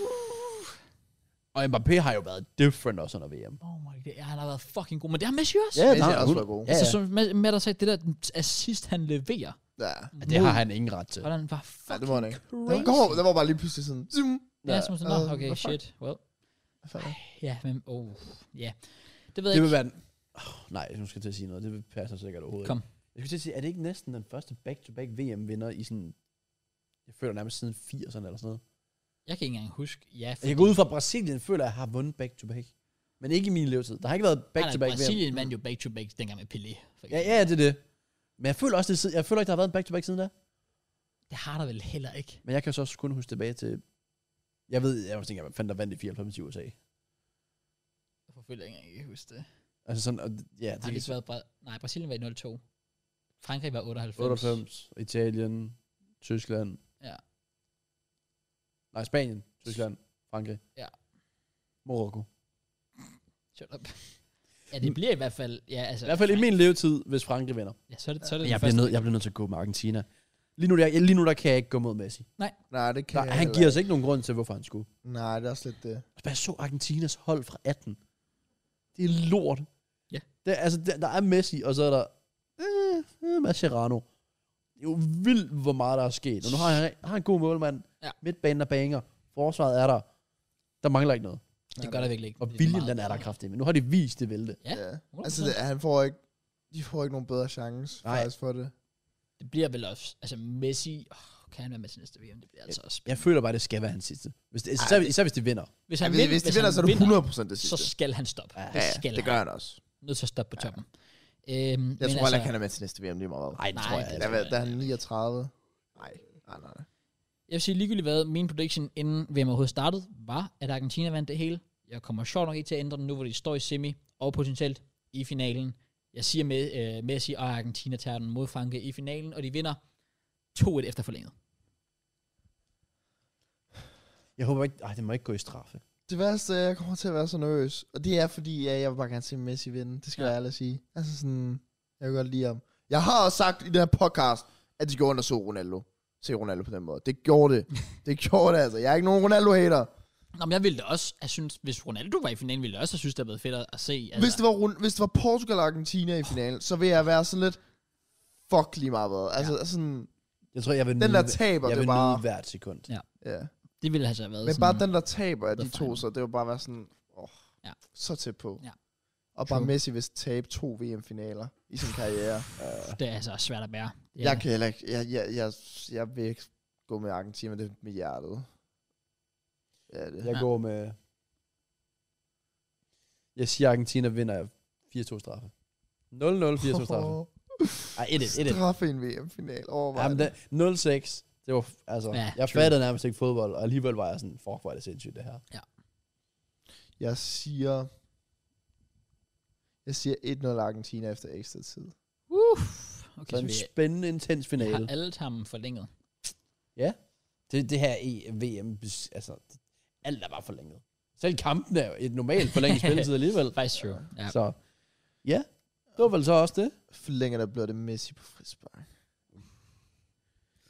Og Mbappé har jo været different også under VM. Oh my god, han har været fucking god. Men det har Messi også. Ja, Messi har også været god. Ja, Altså, ja. som Matt- Matt har sagt, det der assist, han leverer. Ja. Det har han ingen ret til. Hvordan var Nej, det fucking må han ikke. crazy. Den, kom, den var bare lige pludselig sådan... Zoom. Ja, som sådan, Øh, uh, okay, hvad fuck? shit, well. Hvad fanden er det? Ja, men, oh, ja. Det ved jeg ikke. Det vil være en... Oh, nej, nu skal jeg til at sige noget. Det vil passe sikkert overhovedet Kom. ikke. Jeg skulle til at sige, er det ikke næsten den første back-to-back VM-vinder i sådan... Jeg føler nærmest siden 80'erne eller sådan noget. Jeg kan ikke engang huske. Ja, Jeg kan gå ud fra Brasilien, føler jeg har vundet back-to-back. Men ikke i min levetid. Der har ikke været back-to-back. back-to-back VM. Brasilien vandt jo back-to-back dengang med Pelé. for Ja, eksempel. ja, det er det. Men jeg føler også, det, er siden- jeg føler ikke, der har været en back-to-back siden da. Det har der vel heller ikke. Men jeg kan så også kun huske tilbage til... Jeg ved, jeg tænker, hvad fanden der vandt i 94 i USA. Hvorfor føler jeg ikke engang ikke huske det? Altså sådan, og, ja, Har det kan- ikke været Bra- Nej, Brasilien var i 02. Frankrig var 98. 98, Italien, Tyskland. Ja. Nej, Spanien, Tyskland, Frankrig. Ja. Marokko. Shut up. Ja, det bliver i hvert fald... Ja, altså, I hvert fald i min levetid, hvis Frankrig vinder. Ja, så er det, så er det Jeg den bliver, første. nødt, jeg bliver nødt til at gå med Argentina. Lige nu, der, lige nu der kan jeg ikke gå mod Messi. øh, Nej, det kan Der, jeg han heller giver os ikke nogen grund til, hvorfor han skulle. ikke. Nej, det er også lidt det. Altså, bare Jeg så Argentinas hold fra 18. Det er lort. Ja. Det, er- altså, der, der er Messi, og så er der øh, øh, Mascherano. Det er jo vildt, hvor meget der er sket. Og nu har han, har han en god målmand. Ja. Midtbanen er banger. Forsvaret er der. Der mangler ikke noget. Det gør der virkelig ikke. Og Det viljen, meget den er der bedre. kraftigt. Men nu har de vist det vælte. Ja. Ja. Altså, 100%. det, han får ikke... De får ikke nogen bedre chance Nej. faktisk for det. Det bliver vel også... Altså, Messi... Oh, kan han være med til næste VM? Det bliver altså også... Jeg føler bare, det skal være hans sidste. Hvis det, især, især hvis de vinder. Hvis Ja, Altså, hvis, hvis de han vinder, så er vinder, det 100% det Så sidste. skal han stoppe. Ja, Ja, det ja, skal det gør han også. han. Nødt til at stoppe på toppen. Øhm, Jeg men tror heller ikke, han er med til næste VM lige meget. Ej, det Nej, tror jeg det ikke. Der, tror jeg altså der er ikke. han 39. Nej, nej, nej. nej. Jeg vil sige ligegyldigt hvad, min prediction inden VM overhovedet startede, var, at Argentina vandt det hele. Jeg kommer sjovt nok ikke til at ændre den nu, hvor de står i semi og potentielt i finalen. Jeg siger med øh, Messi og Argentina tager den mod Frankrig i finalen, og de vinder 2-1 efter forlænget. Jeg håber ikke... Ej, det må ikke gå i straffe. Det værste er, at jeg kommer til at være så nervøs. Og det er fordi, at jeg vil bare gerne se Messi vinde. Det skal Ja. ja. jeg ærligt sige. Altså sådan, jeg vil godt lide ham. Jeg har også sagt i den her podcast, at de går under så Ronaldo. Se Ronaldo på den måde. Det gjorde det. det gjorde det altså. Jeg er ikke nogen Ronaldo-hater. Nå, men jeg ville da også, jeg synes, hvis Ronaldo var i finalen, ville jeg også have synes, det havde været fedt at- at se. Altså, Hvis det var, Ron- hvis det var Portugal og Argentina i finalen, så vil jeg være sådan lidt, fuck lige meget hvad. Altså ja. sådan, Jeg tror, jeg vil den der nyde- taber, jeg det vil er bare... nyde hvert sekund. Ja. det ville altså have været Men sådan, bare den, der taber af The de to, final. så det var bare være sådan, åh, Ja. ja. så tæt på. Ja. Og bare True. Messi, hvis tabe to VM-finaler i sin karriere. det er altså svært at bære. Det er- Jeg kan heller ikke. Jeg, jeg, jeg, jeg vil ikke gå med Argentina, men det er med hjertet. Ja, det. Jeg Ja. går med... Jeg siger, Argentina vinder 4-2 straffe. 0-0, 4-2 straffe. <laughs> Ej, 1-1, 1-1. Straffe i en VM-final. Overvej Jamen, det. det- 0-6. Det var, altså, Ja, ja, jeg true. fattede nærmest ikke fodbold, og alligevel var jeg sådan, fuck, hvor er det sindssygt, det her. Jeg siger... Jeg siger 1-0 Argentina efter ekstra tid. Uff. Okay, Så så en vi spændende, intens har finale. alle sammen forlænget. Det, det her i VM, bes- altså, det- alt er bare forlænget. <laughs> Selv kampen er jo et normalt forlænget spilletid alligevel. Faktisk true. Ja. Så, ja, Det var vel så også det. Forlænger der blev det Messi på frispark.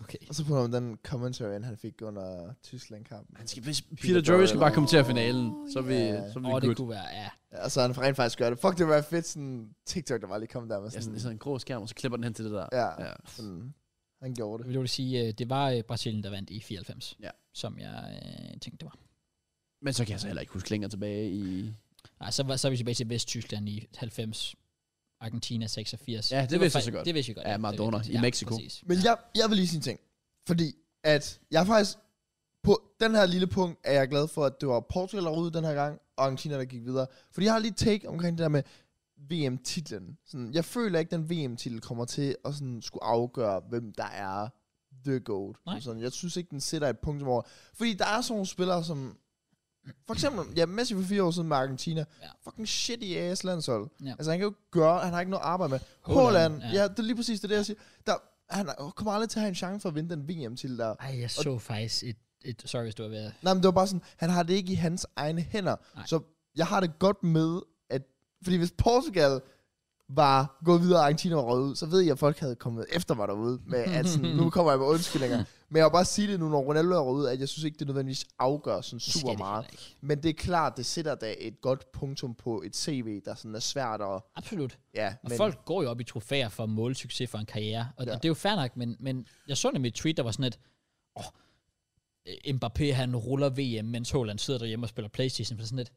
Okay. Og så på ham den commentary, han fik under Tyskland-kampen. Han skal, hvis Peter, Peter Peter Drury skal Drury- bare kommentere finalen, så er vi, ja. så er vi Åh, oh, det good. kunne være, ja. Ja, og så han rent faktisk gør det. Fuck, det var fedt sådan TikTok, der var lige kommet der med Ja, sådan, sådan... sådan en grå skærm, og så klipper den hen til det der. Ja, ja. sådan, han gjorde det. Det vil sige, øh, det var øh, Brasilien, der vandt i 94. Ja. Som jeg øh, tænkte, det var. Men så kan jeg så heller ikke huske længere tilbage i... Nej, så, var, så er vi tilbage til Vesttyskland i 90. Argentina 86. Ja, det var vidste jeg fa- så godt. Det vidste jeg godt. Ja, det Maradona vidste jeg i godt. Mexico. præcis. Men jeg, jeg vil lige sige en ting. Fordi at jeg er faktisk... På den her lille punkt er jeg glad for, at det var Portugal, der var ude den her gang, og Argentina, der gik videre. Fordi jeg har lige et take omkring det der med VM-titlen. Sådan, jeg føler ikke, at den VM-titel kommer til at sådan, skulle afgøre, hvem der er the GOAT. Nej. Sådan, jeg synes ikke, den sætter et punkt over. Fordi der er sådan nogle spillere, som... For eksempel, ja, Messi for fire år siden med Argentina. Ja. Fucking shit i AS landshold. Ja. Altså, han kan jo ikke gøre, han har ikke noget at arbejde med. Haaland, Holland, ja. ja. ja, det er lige præcis det, der jeg siger. Der, han er- kommer aldrig til at have en chance for at vinde den VM til der. Ej, jeg så faktisk et, et sorry, hvis du har været... Nej, men det var bare sådan, han har det ikke i hans egne hænder. Nej. Nej. Så jeg har det godt med, at... Fordi hvis Portugal var gået videre, og Argentina var røget ud, så ved jeg, at folk havde kommet efter mig derude, med at <laughs> sådan, nu kommer jeg med undskyldninger. Men jeg vil bare sige det nu, når Ronaldo er røget ud, at jeg synes ikke, det nødvendigvis afgør sådan Det skal super det meget. heller ikke. Men det er klart, det sætter da et godt punktum på et CV, der sådan er svært at... Absolut. Ja, Og men, folk går jo op i trofæer for at måle succes for en karriere, og, ja. Ja. og det er jo fair nok, men, men jeg så nemlig et tweet, der var sådan et, åh, øh, Mbappé han ruller VM, mens Haaland sidder derhjemme og spiller Playstation, for sådan et,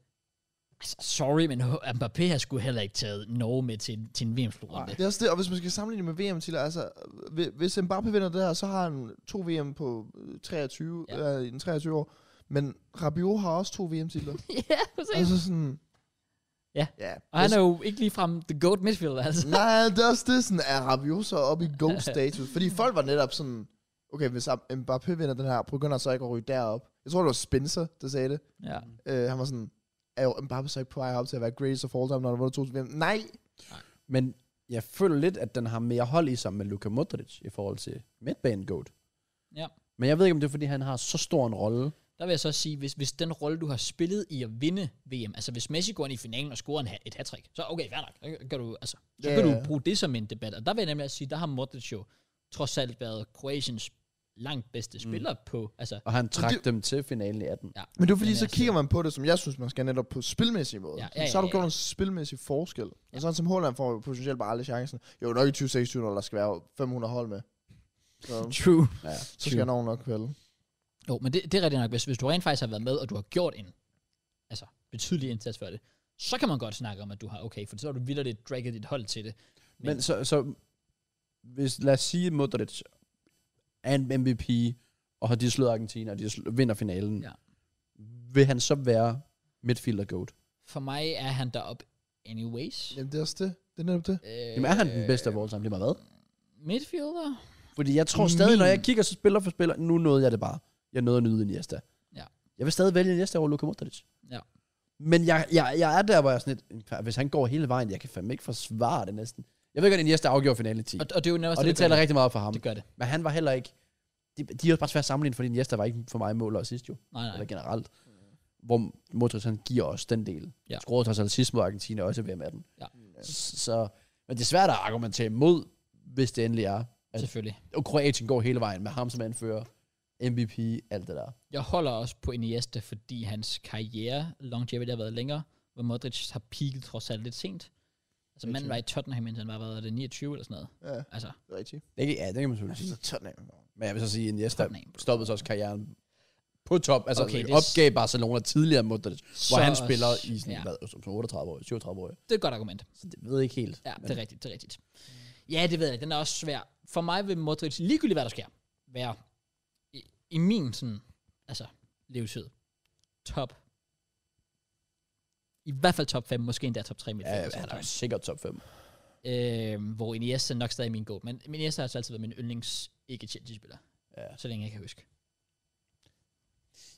altså, sorry, men H- Mbappé har sgu heller ikke taget Norge med til, til en vm slutrunde Det er også det, og hvis man skal sammenligne det med VM til, altså, hvi- hvis Mbappé vinder det her, så har han to VM på øh, 23, Ja. ja. øh, i den 23 år, men Rabiot har også to <laughs> VM-titler. <laughs> ja, præcis. altså sådan... Ja. ja. og han er jo ikke ligefrem the goat midfielder, altså. <laughs> Nej, det er også det, sådan, er Rabiot så oppe i goat status? Fordi folk var netop sådan, okay, hvis Mbappé vinder den her, begynder han så ikke at ryge derop. Jeg tror, det var Spencer, der sagde det. Ja. Øh, han var sådan, er jo Mbappé så ikke på vej op til at være greatest of all time, når han vundet to VM? Nej! Men jeg føler lidt, at den har mere hold i sig med Luka Modric i forhold til midtbanen goat. Ja. Men jeg ved ikke, om det er, fordi han har så stor en rolle. Der vil jeg så sige, hvis, hvis den rolle, du har spillet i at vinde VM, altså hvis Messi går ind i finalen og scorer en ha- et hat så okay, fair nok. Så Kan du, altså, så Ja, kan ja. du bruge det som en debat. Og der vil jeg nemlig også sige, der har Modric jo trods alt været Kroatiens langt bedste Mm. spiller på, altså, Og han trak det- dem til finalen i 18. ja. Men det er fordi, Men så altså- kigger man på det, som jeg synes, man skal netop på spilmæssig måde. Ja, Ja, ja, ja, så har du ja, gjort ja. en spilmæssig forskel. Og sådan som Holland får jo potentielt bare aldrig chancen. Jo, nok i 2026, når der skal være 500 hold med. Så, True. Ja. så skal Norge nok vælge. Jo, men det, det er rigtigt nok. Hvis, hvis du rent faktisk har været med, og du har gjort en altså, betydelig indsats for det, så kan man godt snakke om, at du har okay, for så har du vildt lidt dragget dit hold til det. Men så, så hvis, lad os sige, Modric er en MVP, og har de slået Argentina, og de sl- vinder finalen, Ja. vil han så være midfielder goat? For mig er han deroppe anyways. Jamen, det er også det. Det er netop det. Øh, Jamen er han den bedste af all time, lige meget hvad? Midfielder? Fordi jeg tror stadig, Min- når jeg kigger så spiller for spiller, nu nåede jeg det bare. Jeg nåede at nyde Iniesta. Ja. Jeg vil stadig vælge Iniesta over Luka Modric. Ja. Men jeg, jeg, jeg er der, hvor jeg er sådan lidt, hvis han går hele vejen, jeg kan fandme ikke forsvare det næsten. Jeg ved godt, at Iniesta afgjorde finalen i 10. Og, og det er jo nærmest Og det gør taler rigtig meget for ham. Det gør det. Men han var heller ikke... De, de er jo bare svært sammenlignet, fordi Iniesta var ikke for mig mål og sidst jo. Nej, nej. Eller generelt. Hvor Modric han giver os den del. Ja. Ja. Skruer trods alt sidst mod Argentina også ved med den. Ja. Så, men det er svært at argumentere imod, hvis det endelig er. at- Selvfølgelig. Og Kroatien går hele vejen med ham som anfører. MVP, alt det der. Jeg holder også på Iniesta, fordi hans karriere, longevity, har været længere, hvor Modric har peaked trods alt lidt sent. Altså manden var i Tottenham, mens han var, hvad var det, 29 eller sådan noget. Ja, Altså, det er rigtigt. Det kan, ja, det kan man selvfølgelig Altså, sige. Tottenham. Men jeg vil så sige, at Iniesta Tottenham, bro. stoppede så også karrieren på top. Altså, Okay, okay, det er s- opgav Barcelona tidligere mod det, hvor Så han også- spiller i sådan, ja. ja. hvad, som 38 år, 37 år. det er et godt argument. Så det ved jeg ikke helt. Ja, det er rigtigt, det er rigtigt. Ja, det ved jeg, den er også svær. For mig vil Modric, ligegyldigt hvad der sker, være i, i min sådan, altså, levetid, top, i hvert fald top 5, måske endda top 3 Ja, han er jo sikkert top 5. øh, hvor Iniesta nok stadig er min god, men men Iniesta har altså altid været min yndlings ikke Chelsea-spiller, Ja. så længe jeg kan huske.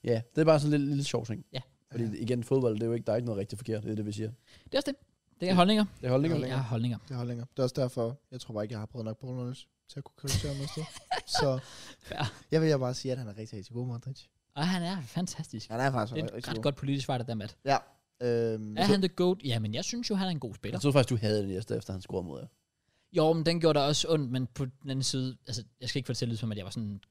Ja, det er bare sådan en lille, lille sjov ting. Ja. Fordi igen, fodbold, det er jo ikke, der er ikke noget rigtigt forkert, det er det, vi siger. Det er også det. Det er holdninger. Det er holdninger. Det er holdninger. Det har længere. Det er også derfor, jeg tror bare ikke, jeg har prøvet nok Paul Nunes til at kunne kritisere mig <laughs> sted. Så Fair. jeg vil jeg bare sige, at han er rigtig, rigtig god, Modric. Og han er fantastisk. Han er faktisk Det er et ret godt politisk svar, det der, Matt. Ja, Øhm, Er han the GOAT? Jamen, jeg synes jo, han er en god spiller. Jeg troede faktisk, du havde den efter, efter han scorede mod jer. Jo, men den gjorde der også ondt, men på den anden side, altså, jeg skal ikke få det til at lyde som, at jeg var sådan en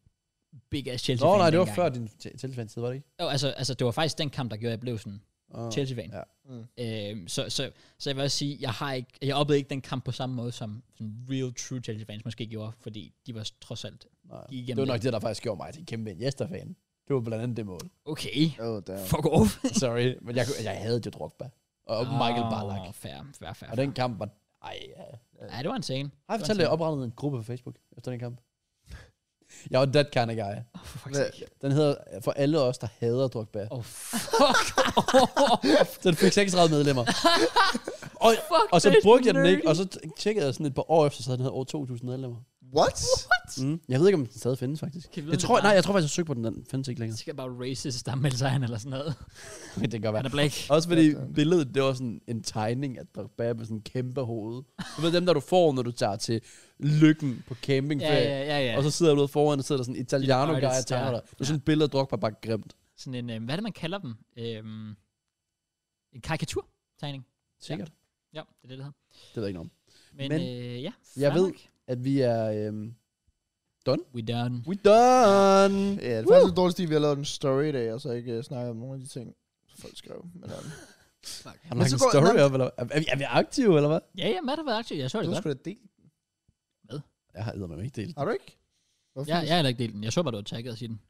big ass Chelsea-fan Nå, nej, det var dengang. før din tilfændstid, var det ikke? Jo, altså, altså, det var faktisk den kamp, der gjorde, at jeg blev sådan Oh. Chelsea-fan. ja. Mm. Øhm, så, så, så jeg vil også sige, jeg har ikke, jeg oplevede ikke den kamp på samme måde, som sådan real true Chelsea-fans måske gjorde, fordi de var trods alt Nej. gik Det igennem var nok det, der faktisk gjorde mig til en kæmpe Jester-fan. Det var blandt andet det mål. <laughs> Okay, Oh, damn. fuck off. Sorry, men jeg, jeg havde jo Drogba. Og Michael Ballack. Åh, Fair, fair, fair. Og den kamp var... Ej, Ah, ja. fair. Ja, det var en scene. Har jeg fortalt, at jeg oprettede en gruppe på Facebook efter den kamp? Jeg var that kind of <laughs> guy. Oh, fuck. Hvad, Den hedder, for alle os, der hader Drogba, Oh, fuck. den fik 36 <laughs> medlemmer. og, <laughs> fuck og så det er brugte jeg den nerdy. ikke, og så t- tjekkede jeg sådan et par år efter, så havde den havde over 2.000 medlemmer. what? Mm. Jeg ved ikke, om den stadig findes, faktisk. Kan vi vide, Jeg om tror, det er nej, jeg tror faktisk, jeg søgte på den, den findes ikke længere. Det skal bare racist, der meldte sig han eller sådan noget. <laughs> det kan godt Han være. er blæk. Også fordi billedet, det var sådan en tegning af Drogba med sådan en kæmpe hoved. Du ved dem, der du får, når du tager til lykken på Ja, campingferie. ja, ja, ja. Og så sidder du ude foran, og sidder der sådan en italiano guy og artist, tager ja. dig. Det er sådan et billede af Drogba, bare grimt. Sådan en, øh, hvad er det, man kalder dem? Øhm, en karikaturtegning. Sikkert. Ja, det er det, det hedder. Det ved jeg ikke noget om. Men, Men Men øh, ja, jeg fair ved- nok. At vi er... Øhm, We done. we done! Ja, det er faktisk lidt dårligt, fordi vi har lavet en story i dag, og så ikke uh, snakket om nogle af de ting, folk skrev. Men, um, Har du lagt så en går- story nå. op, eller hvad? er, vi, er vi aktive, eller hvad? Ja, ja, Matt har været aktiv. Jeg så det du godt. skulle da delt. Jeg har eddermame ikke <laughs> delt. Har du ikke? Hvorfor? Ja, jeg har heller ikke delt den. Jeg så bare, du havde tagget os i den.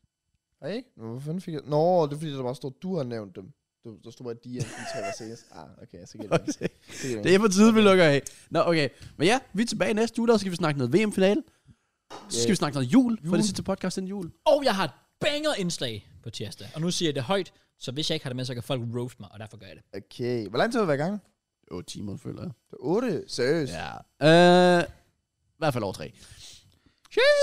Har I ikke? Nå, Hvor fanden fik jeg... Nå, det er fordi, der bare står, du har nævnt dem. Du, der stod bare, at de er de tre, der ses. Ah, okay, så giver det mening. Så giver det Det er på tide, vi lukker af. Nå, okay. Men ja, vi er tilbage næste uge, der skal vi snakke noget VM-finale. Så skal vi snakke noget jul, for det sidste podcast inden jul. Og jeg har et banger indslag på tirsdag. Og nu siger jeg det højt, så hvis jeg ikke har det med, så kan folk roast mig, og derfor gør jeg det. mening. Okay, hvor lang tid har vi været i gang? 8 timer, føler jeg. Det er otte? Seriøst? Ja. Øh, I hvert fald over 3.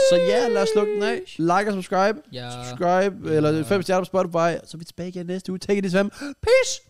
Så ja, lad os slukke den af. Like og subscribe. Jeg... Subscribe, eller 5 stjerner på Spotify. Så er vi tilbage igen næste uge. Take it easy, fam. Peace!